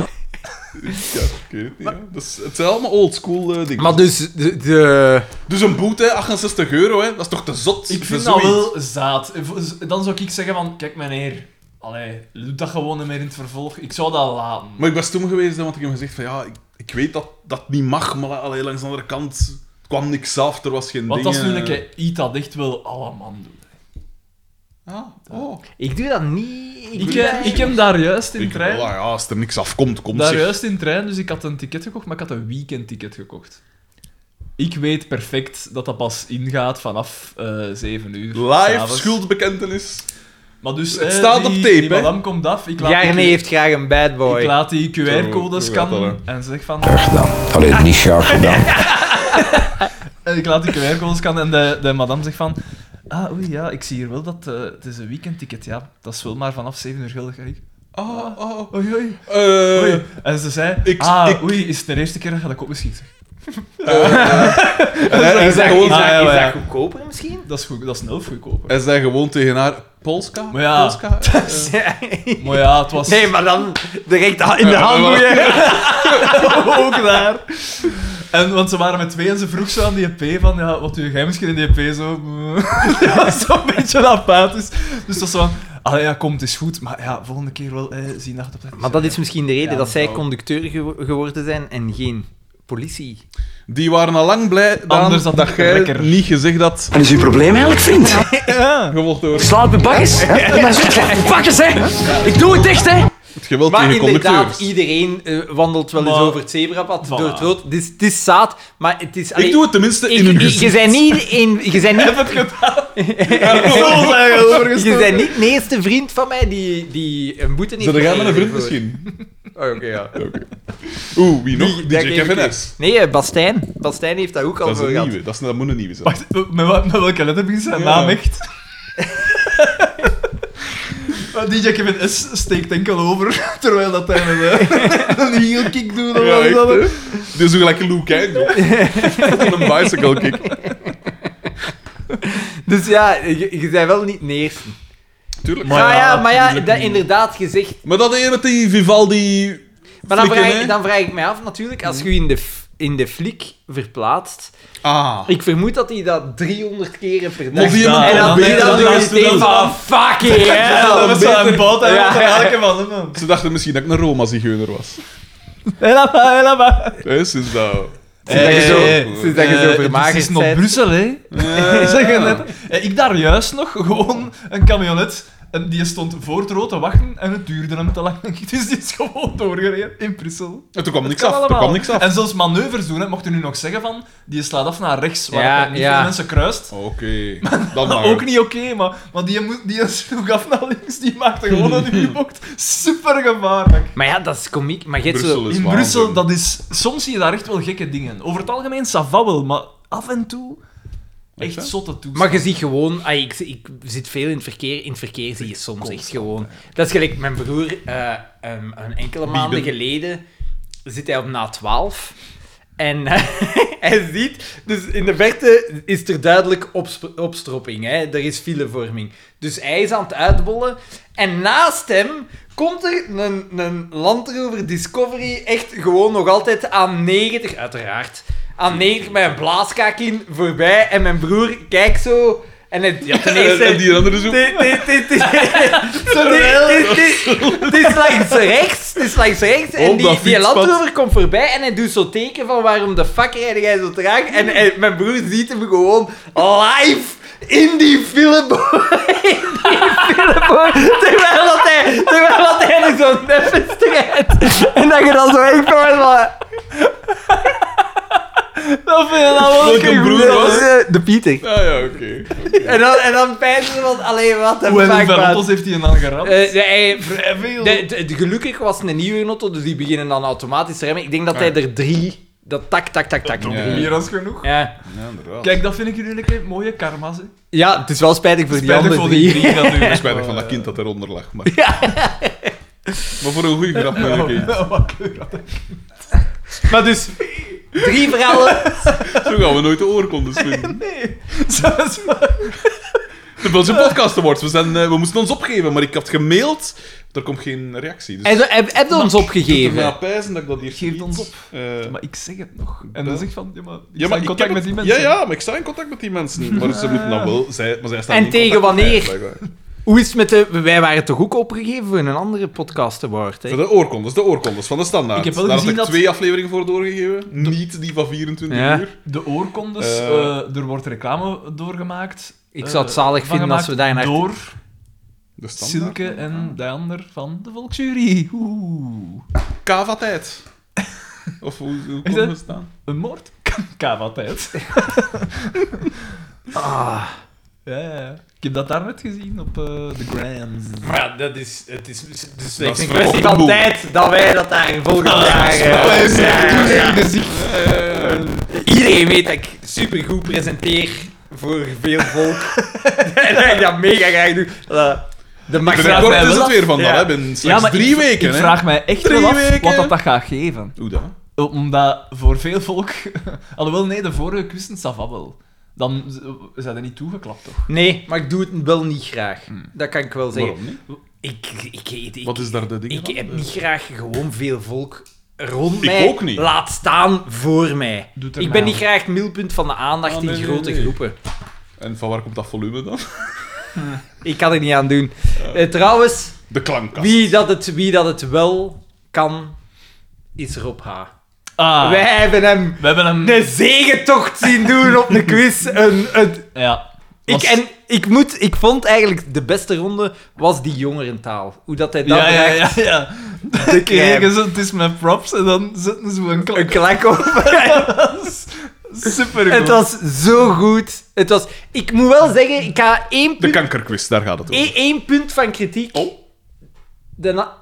Speaker 1: Ja, ik weet het niet. ja. Dat is, het zijn allemaal oldschool eh dingen.
Speaker 2: Maar dus, de, de-
Speaker 1: Dus een boete, 68 euro, hè, dat is toch te zot?
Speaker 3: Ik vind
Speaker 1: voor
Speaker 3: dat
Speaker 1: zoiets?
Speaker 3: wel zaad. Dan zou ik zeggen van, kijk meneer, allee, doe dat gewoon niet meer in het vervolg. Ik zou dat laten.
Speaker 1: Maar ik ben stom geweest, hè, want ik heb gezegd van ja, ik, ik weet dat dat niet mag, maar allee, langs de andere kant kwam niks af, er was geen
Speaker 3: Want dat
Speaker 1: ding.
Speaker 3: is nu
Speaker 1: eh.
Speaker 3: een keer iets dat echt wel alle man doet.
Speaker 1: Ah, oh.
Speaker 2: ik doe dat niet.
Speaker 3: Ik,
Speaker 2: doe
Speaker 3: eh,
Speaker 2: dat
Speaker 3: ik heb daar juist in
Speaker 1: Ik,
Speaker 3: trein...
Speaker 1: voilà, ja, als er niks afkomt, komt
Speaker 3: Daar
Speaker 1: zeg.
Speaker 3: juist in trein, dus ik had een ticket gekocht, maar ik had een weekendticket gekocht. Ik weet perfect dat dat pas ingaat vanaf eh 7 uur.
Speaker 1: Live
Speaker 3: s'avonds.
Speaker 1: schuldbekentenis.
Speaker 3: Maar dus,
Speaker 1: Het
Speaker 3: eh,
Speaker 1: staat
Speaker 3: die-
Speaker 1: op tape, hè?
Speaker 3: die madame komt af. Ik laat,
Speaker 2: Jarne
Speaker 3: die,
Speaker 2: heeft graag een bad
Speaker 3: ik
Speaker 2: boy.
Speaker 3: laat die QR-code
Speaker 1: Zo, zo gaat dat,
Speaker 3: scannen en zeg van...
Speaker 4: Allee, niet sharp gedaan.
Speaker 3: En ik laat die QR-code scannen en de, de madame zegt van... Ah, oei, ja, ik zie hier wel dat... eh, het is een weekendticket, ja. Dat is wel maar vanaf 7 uur geldig. En ik,
Speaker 1: Ah, ah.
Speaker 3: Oei, oei.
Speaker 1: Eh,
Speaker 3: Oei. En ze zei,
Speaker 1: ik-
Speaker 3: ah,
Speaker 1: ik- Eh,
Speaker 3: oei, is het de eerste keer dat je dat kop misschien zegt?
Speaker 1: en hij- hij
Speaker 2: Is dat,
Speaker 1: zei
Speaker 2: is
Speaker 1: gewoon-
Speaker 2: dat-
Speaker 3: Ah, ja,
Speaker 2: is
Speaker 3: ja,
Speaker 2: dat
Speaker 3: ja.
Speaker 2: goedkoper misschien?
Speaker 3: Dat is, goed, dat is een elf goedkoper.
Speaker 1: hij zei gewoon tegen haar, Polska?
Speaker 3: Maar ja.
Speaker 1: Polska? Eh,
Speaker 3: Maar ja, het was...
Speaker 2: Nee, maar dan direct in de
Speaker 1: Ja,
Speaker 2: handboeien.
Speaker 3: ook daar. En, want ze waren met twee en ze vroeg zo aan die EP van, ja, wat doe jij misschien in die EP zo? Die was zo'n beetje apathisch. Dus dat is van, ah ja, komt, is goed. Maar ja, volgende keer wel eh, zien dat het op tijd
Speaker 2: Maar dat is misschien de reden
Speaker 3: Ja,
Speaker 2: dat zij
Speaker 3: mevrouw.
Speaker 2: conducteur gewo- geworden zijn en geen politie.
Speaker 1: Eh, Die waren al lang blij Daan,
Speaker 3: Anders had
Speaker 1: dat
Speaker 3: ik
Speaker 1: jij
Speaker 3: lekker.
Speaker 1: niet gezegd had
Speaker 4: Wat is uw probleem eigenlijk, vriend?
Speaker 1: gevolgd door
Speaker 4: Slaat mijn bakjes. hè? Maar zo slaat mijn bakjes, hè. Ik doe het echt, hè.
Speaker 1: het geweld
Speaker 2: Maar
Speaker 1: tegen
Speaker 2: inderdaad,
Speaker 1: conducteurs.
Speaker 2: iedereen eh, wandelt wel eens
Speaker 3: Maar-
Speaker 2: over het zebrapad,
Speaker 3: Voilà.
Speaker 2: door het rood. Het is, het is zaad, maar het is...
Speaker 1: Ik doe het tenminste in
Speaker 2: je,
Speaker 1: hun
Speaker 2: je,
Speaker 1: gezicht.
Speaker 2: bent niet in... Je bent niet, je bent niet de eerste vriend van mij die, die een boete heeft
Speaker 1: Zullen jij met een vriend
Speaker 2: gekregen voor-
Speaker 1: misschien?
Speaker 2: Oh, oké, ja.
Speaker 1: Oeh, wie nog?
Speaker 2: Wie-
Speaker 1: DJ
Speaker 2: dat geef ik
Speaker 1: Kevin
Speaker 2: niet.
Speaker 1: S.
Speaker 2: Nee, eh, Bastijn. Bastijn heeft dat ook al
Speaker 1: Dat is
Speaker 2: voor
Speaker 1: een
Speaker 2: gehad.
Speaker 1: nieuwe, dat, is, dat moet een nieuwe zijn.
Speaker 3: Wacht, met, wa- met welke letter begint zijn
Speaker 1: Ja.
Speaker 3: naam echt? Maar DJ Kevin S steekt enkel over, terwijl dat hij met, eh, een heel kick doet. of
Speaker 1: Ja,
Speaker 3: wat is dat?
Speaker 1: echt, hè? Dit is zo gelijk een Lou Kang. Van een bicycle kick.
Speaker 2: Dus ja, je, je bent wel niet de eerste.
Speaker 1: Tuurlijk.
Speaker 2: Maar ja, maar ja
Speaker 1: tuurlijk
Speaker 2: dat
Speaker 1: niet.
Speaker 2: inderdaad gezegd.
Speaker 1: Maar dat ene met die Vivaldi...
Speaker 2: Maar dan
Speaker 1: flikken,
Speaker 2: vraag,
Speaker 1: hè?
Speaker 2: ik- dan vraag ik mij af natuurlijk, als je je in de, f- in de flik verplaatst,
Speaker 1: Ah.
Speaker 2: ik vermoed dat hij dat 300 keren per dag...
Speaker 1: Moet die hem
Speaker 2: en dan
Speaker 1: proberen,
Speaker 2: doe je dat
Speaker 1: dan
Speaker 2: door
Speaker 1: is
Speaker 2: je
Speaker 1: het
Speaker 2: steeds
Speaker 1: wel
Speaker 2: van, fucking
Speaker 3: Dat
Speaker 2: hell.
Speaker 3: was wel een boot, hij
Speaker 2: Ja.
Speaker 3: had er elke van hem, man.
Speaker 1: Ze dachten misschien dat ik een Roma-zigeuner was.
Speaker 3: Helemaal, helemaal.
Speaker 1: Hè, sinds dat...
Speaker 2: Sinds dat je zo- sinds dat je zo
Speaker 3: Eh,
Speaker 2: vermagerd
Speaker 3: Het is nog
Speaker 2: bent.
Speaker 3: Brussel, hè? Zeg je net. Eh, Ik daar juist nog gewoon een camionet. En die stond voor het rood te wachten en het duurde hem te lang. Dus die is gewoon doorgereden in Brussel.
Speaker 1: En toen kwam niks
Speaker 3: Kan
Speaker 1: af. Toen
Speaker 3: allemaal.
Speaker 1: kwam niks af.
Speaker 3: En zelfs manoeuvres doen, hè, mocht u nu nog zeggen van die slaat af naar rechts, waar
Speaker 2: Ja,
Speaker 3: het niet
Speaker 2: ja. Oh.
Speaker 3: veel mensen kruist.
Speaker 1: Oh, Oké. Dan mag
Speaker 3: Ook
Speaker 1: het.
Speaker 3: niet oké, maar, maar die, moest- die sloeg af naar links, die maakte gewoon een U-bocht. Super gevaarlijk.
Speaker 2: Maar ja, dat is komiek. Maar je hebt zo...
Speaker 1: Brussel is
Speaker 3: In
Speaker 1: waanzin.
Speaker 3: Brussel, dat is, soms zie je daar echt wel gekke dingen. Over het algemeen, sava wel, maar af en toe
Speaker 1: Echt, hè?
Speaker 3: echt zotte toestanden.
Speaker 2: Maar je ziet gewoon, ah, ik, ik zit veel in het verkeer. In het verkeer zie je soms echt gewoon. Dat is gelijk, mijn broer, eh, ehm, een enkele maanden geleden zit hij op na 12. En eh, hij ziet, dus in de verte is er duidelijk opsp- opstropping. Hè? Er is filevorming. Dus hij is aan het uitbollen. En naast hem komt er een, een Land Rover Discovery echt gewoon nog altijd aan 90, uiteraard. Aan 90 met een blaaskaak in voorbij. En mijn broer kijkt zo. En het, ja, ten eerste...
Speaker 1: En die andere zo...
Speaker 2: Dit- dit- dit- dit- dit- dit- dit is langs rechts. Het is langs rechts. En
Speaker 1: Op
Speaker 2: die,
Speaker 1: dat
Speaker 2: die
Speaker 1: fietspad.
Speaker 2: landrover komt voorbij en hij doet zo'n teken van waarom de fuck rijd jij zo traag. En, en mijn broer ziet hem gewoon live in die film. in die film. Terwijl dat hij, terwijl dat hij er zo'n neffens rijdt. En dat je dan zo echt gewoon van...
Speaker 3: Dat vind je nou wel
Speaker 1: Welke
Speaker 3: een
Speaker 1: broer
Speaker 3: broer,
Speaker 1: was?
Speaker 2: Dat is, eh, De Pieter.
Speaker 1: Ah ja, oké.
Speaker 2: En dan, en dan pijzen ze van, alleen wat de
Speaker 3: Hoe en
Speaker 2: fuck,
Speaker 3: hoeveel
Speaker 2: man.
Speaker 3: auto's heeft hij dan gerapt?
Speaker 2: Eh, de- hij-
Speaker 3: Vrij veel.
Speaker 2: De, de- de- gelukkig was het een nieuwe auto, dus die beginnen dan automatisch te remmen. Ik denk dat hij er drie... Dat tak, tak, tak, tak.
Speaker 1: Ja.
Speaker 3: Meer dan genoeg.
Speaker 2: Ja.
Speaker 1: Ja, inderdaad.
Speaker 3: Kijk, dat vind ik jullie een keer mooie karma's. hè.
Speaker 2: ja, het is wel spijtig voor die
Speaker 3: Spijtig
Speaker 2: andere
Speaker 3: voor die
Speaker 2: drie.
Speaker 3: drie natuurlijk.
Speaker 1: Spijtig van dat kind dat eronder lag. Maar, maar voor een goede grap, met een kind.
Speaker 3: Ja, wat kleur had hij?
Speaker 2: Maar dus, drie verhalen.
Speaker 1: Zo gaan we nooit de oorkondes vinden.
Speaker 3: Nee. Zelfs-
Speaker 1: De Belgian Podcast Awards. We, zijn, eh, we moesten ons opgeven, maar ik had gemaild. Er komt geen reactie. Dus
Speaker 2: Hij zo- Heb heb je ons
Speaker 1: ik ga
Speaker 2: opgegeven?
Speaker 1: pijzen dat ik dat hier
Speaker 3: Geef
Speaker 1: niet-
Speaker 3: ons op.
Speaker 1: eh,
Speaker 3: Maar ik zeg het nog. En
Speaker 1: Ja.
Speaker 3: dan zeg ik van, ja, maar ik
Speaker 1: ja,
Speaker 3: sta
Speaker 1: maar
Speaker 3: in
Speaker 1: ik
Speaker 3: contact
Speaker 1: heb
Speaker 3: met
Speaker 1: het-
Speaker 3: die mensen.
Speaker 1: Ja, ja, maar ik sta in contact met die mensen. Maar ze moeten dan wel... Zij, maar zij staan
Speaker 2: Ah. En
Speaker 1: niet in
Speaker 2: tegen
Speaker 1: contact met mij,
Speaker 2: wanneer?
Speaker 1: blijkbaar.
Speaker 2: Hoe is het met de... Wij waren toch ook opgegeven voor een andere podcast award, hè?
Speaker 1: Voor de oorkondes, de oorkondes van de standaard.
Speaker 3: Ik heb wel
Speaker 1: Daar
Speaker 3: gezien
Speaker 1: had ik
Speaker 3: dat-
Speaker 1: twee afleveringen voor doorgegeven. Niet die van 24
Speaker 2: Ja.
Speaker 1: uur.
Speaker 3: De oorkondes,
Speaker 1: Eh.
Speaker 3: eh, er wordt reclame doorgemaakt.
Speaker 2: Ik
Speaker 3: eh,
Speaker 2: zou het zalig
Speaker 3: van
Speaker 2: vinden als we
Speaker 3: gemaakt
Speaker 2: daarnaar-
Speaker 3: Door
Speaker 1: De standaard.
Speaker 3: Silke en de ander van de Volksjury. Oeh.
Speaker 1: Kava-tijd. Of hoe, hoe
Speaker 3: Is
Speaker 1: komen we
Speaker 3: dat-
Speaker 1: staan?
Speaker 3: Een moord? Kava-tijd.
Speaker 2: Ah.
Speaker 3: ja, ja, ja. Ik heb dat daarnet gezien op eh, de Grands.
Speaker 2: Maar ja, dat is... Het is, het is,
Speaker 1: Dat is
Speaker 2: een kwestie
Speaker 1: verboden.
Speaker 2: van tijd dat wij dat daar volgend jaar... eh, ja, ja. Ehm, Iedereen weet dat ik supergoed presenteer voor veel volk. en dat ik dat mega graag doe. Dat- Dat mag zelfs
Speaker 1: Binnenkort
Speaker 2: mij
Speaker 1: is
Speaker 2: wel
Speaker 1: het
Speaker 2: af.
Speaker 1: weer van
Speaker 2: Ja.
Speaker 1: dus dat, hè? In slechts drie
Speaker 3: ik,
Speaker 1: weken,
Speaker 3: ik
Speaker 1: hè?
Speaker 3: vraag mij echt
Speaker 1: Drie
Speaker 3: wel af
Speaker 1: weken.
Speaker 3: wat dat, dat gaat geven.
Speaker 1: Hoe dan?
Speaker 3: Omdat voor veel volk... Alhoewel, nee, de vorige quiz het Savab wel. Dan z- zijn er niet toegeklapt, toch?
Speaker 2: Nee, maar ik doe het wel niet graag. Dat kan ik wel zeggen.
Speaker 1: Hmm. Waarom niet?
Speaker 2: Ik, ik, ik, ik-
Speaker 1: Wat is daar de ding
Speaker 2: ik
Speaker 1: van?
Speaker 2: heb niet graag gewoon veel volk rond
Speaker 1: Ik
Speaker 2: mij.
Speaker 1: ook niet.
Speaker 2: Laat staan voor mij.
Speaker 3: Doet er
Speaker 2: Ik
Speaker 3: mij
Speaker 2: ben
Speaker 3: aan.
Speaker 2: niet graag het middelpunt van de aandacht
Speaker 1: Ah,
Speaker 2: in
Speaker 1: nee, nee,
Speaker 2: grote
Speaker 1: nee.
Speaker 2: groepen.
Speaker 1: En van waar komt dat volume dan?
Speaker 2: Ik kan er niet aan doen. Eh, trouwens,
Speaker 1: De klankkast.
Speaker 2: wie dat, het, wie dat het wel kan, is Rob H.
Speaker 3: Ah,
Speaker 2: Wij hebben hem
Speaker 3: we hebben hem...
Speaker 2: een zegentocht zien doen op de quiz. Een, een,
Speaker 3: Ja.
Speaker 2: ik,
Speaker 3: Was-
Speaker 2: en ik, moet, ik vond eigenlijk de beste ronde was die jongerentaal. Hoe dat hij dat
Speaker 3: Ja, ja,
Speaker 2: bracht.
Speaker 3: ja, ja.
Speaker 2: De
Speaker 3: Krijgen ze, het is met props en dan zetten ze een
Speaker 2: Een
Speaker 3: klok.
Speaker 2: klak op.
Speaker 3: Super
Speaker 2: Het was zo goed. Het was... Ik moet wel zeggen, ik ga één
Speaker 1: De
Speaker 2: punt,
Speaker 1: kankerquiz, daar gaat het
Speaker 2: één,
Speaker 1: over.
Speaker 2: één punt van kritiek.
Speaker 1: Oh.
Speaker 2: De na-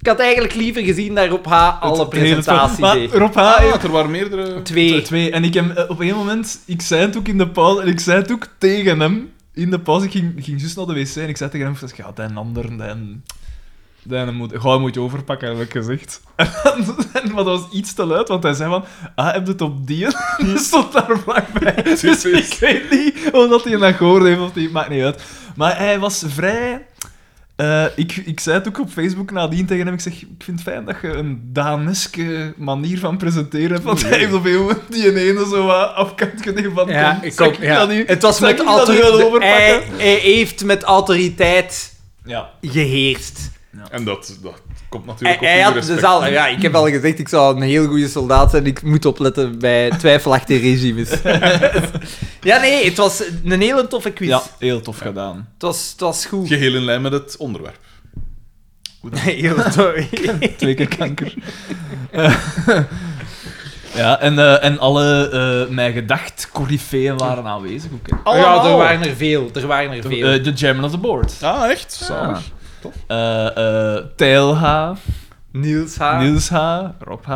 Speaker 2: ik had eigenlijk liever gezien dat Rob H. alle
Speaker 3: Het hele
Speaker 2: presentatie
Speaker 3: spel.
Speaker 2: deed.
Speaker 3: Maar Rob H.
Speaker 1: Ah,
Speaker 3: heeft
Speaker 1: er waren meerdere...
Speaker 2: Twee.
Speaker 3: twee. En ik heb eh, op een moment... Ik zei het ook in de pauze en ik zei het ook tegen hem. In de pauze, ik ging, ging juist naar de wc en ik zei tegen hem... Ik ja, den ander, den... Den moet... Ga je moet je overpakken, heb ik gezegd. En, dan- en- maar dat was iets te luid, want hij zei van... Ah, heb je het op die? Die stond daar vlakbij. Dus ik weet niet of dat hij een akkoord heeft of niet. Maakt niet uit. Maar hij was vrij... Eh, ik, ik zei het ook op Facebook nadien tegen hem. Ik zeg, ik vind het fijn dat je een Daneske manier van presenteren hebt. Want hij heeft op een moment die ene zo wat afkant gedaan van...
Speaker 2: Ja,
Speaker 3: kom,
Speaker 2: ik
Speaker 3: zeg
Speaker 2: ook, ja.
Speaker 3: dat nu-
Speaker 2: Het was
Speaker 3: zeg
Speaker 2: met
Speaker 3: ik dat nu wel
Speaker 2: autoriteit.
Speaker 3: overpakken?
Speaker 2: Hij, hij heeft met autoriteit
Speaker 3: Ja.
Speaker 2: geheerst.
Speaker 1: En dat, dat komt
Speaker 2: Hij,
Speaker 1: natuurlijk
Speaker 2: hij
Speaker 1: op
Speaker 2: had
Speaker 1: uw
Speaker 2: de
Speaker 1: respect.
Speaker 2: zaal. Ja, ik heb al gezegd, ik zou een heel goede soldaat zijn. Ik moet opletten bij twijfelachtige regimes. ja, nee, het was een hele toffe quiz.
Speaker 3: ja, heel tof gedaan.
Speaker 2: Het, was, het was goed.
Speaker 1: Geheel in lijn met het onderwerp.
Speaker 2: Heel tof.
Speaker 3: Twee keer kanker. Eh, ja, en, eh, en alle eh, mijn gedacht coryfeeën waren aanwezig. ook, hè.
Speaker 1: Allemaal.
Speaker 2: Ja, er waren er veel. Er waren er veel.
Speaker 3: Eh, de chairman of the board.
Speaker 1: Ah, echt?
Speaker 3: Zalig.
Speaker 1: Zalig.
Speaker 3: eh eh Tijlha.
Speaker 2: Niels H.
Speaker 3: Niels H., Rob H.,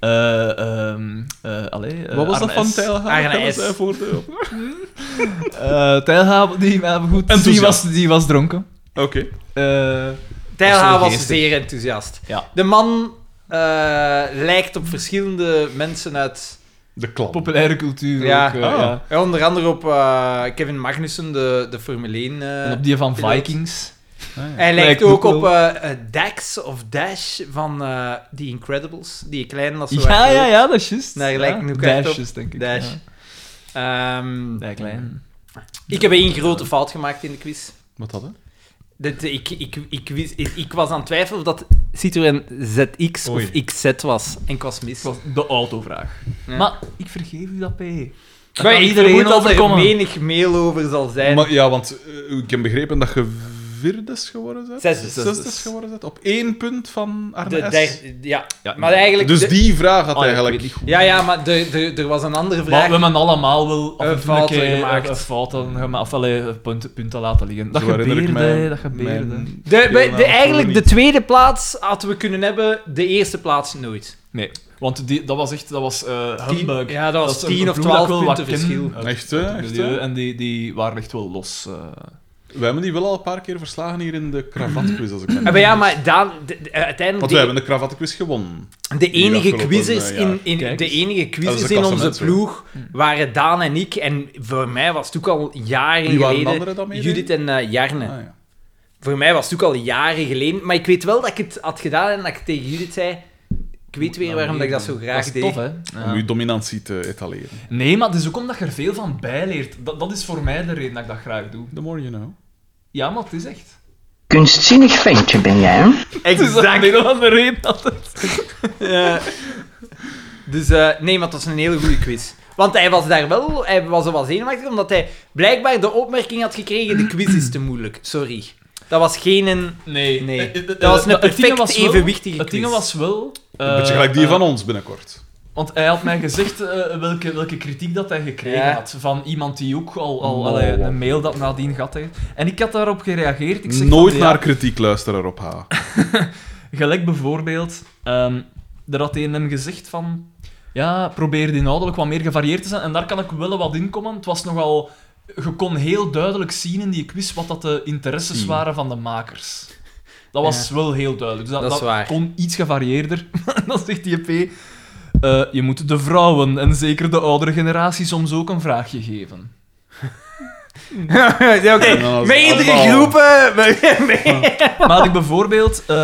Speaker 3: eh, ehm, eh, allee, eh,
Speaker 1: Wat was dat
Speaker 3: Arne
Speaker 1: van
Speaker 3: S.
Speaker 1: Tijlhaar?
Speaker 2: Arne S.
Speaker 1: voor de... Oké.
Speaker 3: Eh, Tijlha, die, maar goed, die
Speaker 1: Enthousiast.
Speaker 3: was, die was dronken. Eh,
Speaker 2: Tijl
Speaker 3: was
Speaker 2: H.
Speaker 3: heel
Speaker 2: was
Speaker 3: geestig.
Speaker 2: zeer enthousiast.
Speaker 3: ja.
Speaker 2: De man eh, lijkt op verschillende mensen uit...
Speaker 1: De klant.
Speaker 3: Populaire cultuur
Speaker 2: Ja.
Speaker 3: ook. eh,
Speaker 1: Ah.
Speaker 3: ja.
Speaker 2: ja, onder andere op eh, Kevin Magnussen, de, de Formule 1. eh,
Speaker 3: En op die van
Speaker 2: piloot.
Speaker 3: Vikings.
Speaker 2: Hij
Speaker 3: Lijkt
Speaker 2: lijkt
Speaker 3: me
Speaker 2: ook
Speaker 3: ook
Speaker 2: op
Speaker 3: wel.
Speaker 2: eh, eh, Dax of Dash van eh The Incredibles. Die kleine als zo
Speaker 3: Ja,
Speaker 2: hard
Speaker 3: ja,
Speaker 2: loopt.
Speaker 3: ja, dat is juist.
Speaker 2: Daar
Speaker 3: ja.
Speaker 2: lijkt hij ook echt op.
Speaker 3: Dashes, denk ik.
Speaker 2: Dash.
Speaker 3: Ja.
Speaker 2: Ehm,
Speaker 3: Ja,
Speaker 1: Mm.
Speaker 3: klein.
Speaker 2: ik heb één grote fout gemaakt in de quiz.
Speaker 1: Wat dat, hè?
Speaker 2: Dat, eh, ik, ik, ik, wist- ik, ik was aan het twijfelen of dat Citroën ZX
Speaker 1: Oei.
Speaker 2: of XZ was. En ik was mis.
Speaker 3: Het was de autovraag.
Speaker 2: Ja.
Speaker 3: Maar ik vergeef u dat, P. Dat
Speaker 2: Maar
Speaker 3: kan
Speaker 2: ik
Speaker 3: iedereen
Speaker 2: vermoed dat er
Speaker 3: overkomen.
Speaker 2: menig mail over zal zijn.
Speaker 1: Maar, ja, want eh, ik heb begrepen dat je vierdes geworden bent.
Speaker 2: Zesdes.
Speaker 1: Zesdes geworden bent. Op één punt van Arne
Speaker 2: de,
Speaker 1: S.
Speaker 2: der- ja.
Speaker 3: Ja,
Speaker 2: maar eigenlijk...
Speaker 1: Dus
Speaker 2: de-
Speaker 1: die vraag had
Speaker 3: Oh, ja,
Speaker 1: eigenlijk...
Speaker 3: ik weet
Speaker 2: Ja, ja, maar de, de, er was een andere
Speaker 3: Maar
Speaker 2: vraag.
Speaker 3: we hebben allemaal wel af en
Speaker 2: Een
Speaker 3: toe een
Speaker 2: fouten
Speaker 3: keer
Speaker 2: gemaakt.
Speaker 3: een fouten gemaakt. Of allee, punten, punten laten liggen. Dat
Speaker 1: Zo herinner ik
Speaker 3: gebeurde,
Speaker 1: mij
Speaker 3: hè, dat gebeurde.
Speaker 1: mijn-
Speaker 2: De, bij-
Speaker 1: Ja,
Speaker 2: de,
Speaker 1: maar
Speaker 2: eigenlijk de
Speaker 1: niet.
Speaker 2: tweede plaats hadden we kunnen hebben, de eerste plaats nooit.
Speaker 3: Nee, want die, dat was echt, dat was eh
Speaker 2: Tien-
Speaker 3: humbug.
Speaker 2: ja, dat was
Speaker 3: is een
Speaker 2: 10 of
Speaker 3: ploeg dat
Speaker 2: 12
Speaker 3: ik wel wat
Speaker 2: punten
Speaker 3: ken
Speaker 2: verschil.
Speaker 3: uit-
Speaker 1: Echt,
Speaker 3: uit
Speaker 1: hè?
Speaker 3: het
Speaker 1: Echt,
Speaker 3: milieu
Speaker 1: hè?
Speaker 3: En die, die waren echt wel los. eh.
Speaker 1: Wij hebben die wel al een paar keer verslagen hier in de kravatquiz, als ik me niet
Speaker 2: Eh, Maar
Speaker 1: vergis.
Speaker 2: ja, maar Daan, de- de- eh, uiteindelijk...
Speaker 1: Want wij hebben de kravatquiz gewonnen.
Speaker 2: de, de enige
Speaker 1: afgelopen,
Speaker 2: quizzers
Speaker 1: eh,
Speaker 2: in,
Speaker 1: jaar.
Speaker 2: in,
Speaker 3: Kijk Hm.
Speaker 2: de
Speaker 3: eens.
Speaker 2: enige
Speaker 1: Dat is
Speaker 2: quizzers
Speaker 1: een
Speaker 2: in onze
Speaker 1: klassement,
Speaker 2: ploeg waren Daan en ik. En voor mij was het ook al jaren
Speaker 1: Wie waren de
Speaker 2: geleden...
Speaker 1: anderen dan mee?
Speaker 2: Judith en eh, Jarne.
Speaker 1: Ah, ja.
Speaker 2: Voor mij was het ook al jaren geleden. Maar ik weet wel dat ik het had gedaan en dat ik tegen Judith zei... Ik weet weer waarom dat ik dat zo graag
Speaker 3: Nou, dat is
Speaker 2: deed.
Speaker 3: tof, hè?
Speaker 1: Om uw dominantie te etaleren.
Speaker 3: Nee, maar het is ook omdat je er veel van bijleert. Dat, dat is voor mij de reden dat ik dat graag doe.
Speaker 1: The more you know.
Speaker 3: Ja, maar het is echt.
Speaker 5: Kunstzinnig ventje ben jij, hè?
Speaker 2: Exact.
Speaker 3: is wel de reden dat het...
Speaker 2: Ja. dus eh, nee, maar het was een hele goede quiz. Want hij was daar wel, hij was er wel zenuwachtig, omdat hij blijkbaar de opmerking had gekregen: de quiz is te moeilijk. Sorry. Dat was geen. een-
Speaker 3: Nee.
Speaker 2: Nee.
Speaker 3: Eh, eh, eh,
Speaker 2: Dat was een
Speaker 3: het ding
Speaker 2: perfect
Speaker 3: was wel-
Speaker 2: evenwichtige
Speaker 3: Het ding
Speaker 2: quiz.
Speaker 3: was wel... eh,
Speaker 1: Een beetje gelijk die
Speaker 3: eh,
Speaker 1: van ons binnenkort.
Speaker 3: Want hij had mij gezegd eh, welke, welke kritiek dat hij gekregen
Speaker 2: Ja.
Speaker 3: had. Van iemand die ook al, al
Speaker 1: Wow.
Speaker 3: allee, een mail dat nadien gehad heeft. En ik had daarop gereageerd. Ik zeg
Speaker 1: Nooit
Speaker 3: van,
Speaker 1: naar kritiek luisteren op H.
Speaker 3: Ja, gelijk bijvoorbeeld, ehm er had een hem gezegd van... Ja, probeer inhoudelijk wat meer gevarieerd te zijn. En daar kan ik wel wat in komen. Het was nogal... Je kon heel duidelijk zien in die quiz wat dat de interesses
Speaker 1: Hmm.
Speaker 3: waren van de makers. Dat was wel heel duidelijk. Dus dat,
Speaker 2: Dat is
Speaker 3: dat
Speaker 2: waar.
Speaker 3: kon iets gevarieerder. dan zegt die EP... eh, je moet de vrouwen en zeker de oudere generatie soms ook een vraagje geven.
Speaker 2: ja, oké.
Speaker 1: dan was het
Speaker 2: Meerdere
Speaker 1: allemaal-
Speaker 2: groepen. me- me-
Speaker 3: Maar had ik bijvoorbeeld, eh,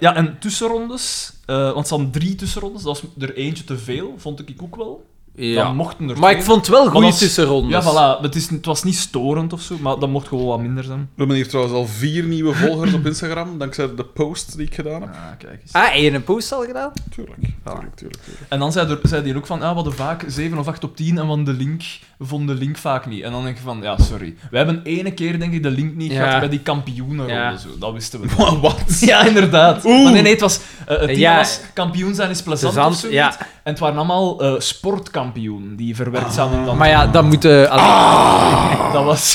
Speaker 3: ja, en tussenrondes, eh, want ze hadden drie tussenrondes, dat was er eentje te veel, vond ik ook wel. Dan mochten er
Speaker 2: Maar
Speaker 3: twee.
Speaker 2: ik vond het wel
Speaker 3: Maar
Speaker 2: goede
Speaker 3: dat is- Ja,
Speaker 2: tussenrondes.
Speaker 3: voilà, het, is, het was niet storend of zo, maar dat mocht gewoon wat minder zijn.
Speaker 1: We hebben hier trouwens al vier nieuwe volgers op Instagram, dankzij de post die ik gedaan heb.
Speaker 3: Ah, kijk eens.
Speaker 2: Ah, heb je een post al gedaan?
Speaker 1: Tuurlijk, tuurlijk, tuurlijk. tuurlijk.
Speaker 3: En dan zei, er, zei die ook van, ah, we hadden vaak 7 of 8 op 10 en van de link, we vonden de link vaak niet. En dan denk je van, ja, sorry. We hebben ene keer, denk ik, de link niet
Speaker 2: Ja.
Speaker 3: gehad bij die kampioenenronde,
Speaker 2: Ja.
Speaker 3: zo. Dat wisten we.
Speaker 1: Maar wat?
Speaker 3: Ja, inderdaad. Maar nee, nee, het was... eh, het thema
Speaker 2: Ja.
Speaker 3: was kampioen zijn is plezant
Speaker 2: Plezant,
Speaker 3: of zoiets.
Speaker 2: ja.
Speaker 3: En het waren allemaal eh, sportkampioenen die verwerkt zouden dan.
Speaker 2: Maar ja, dat moeten.
Speaker 3: dat was...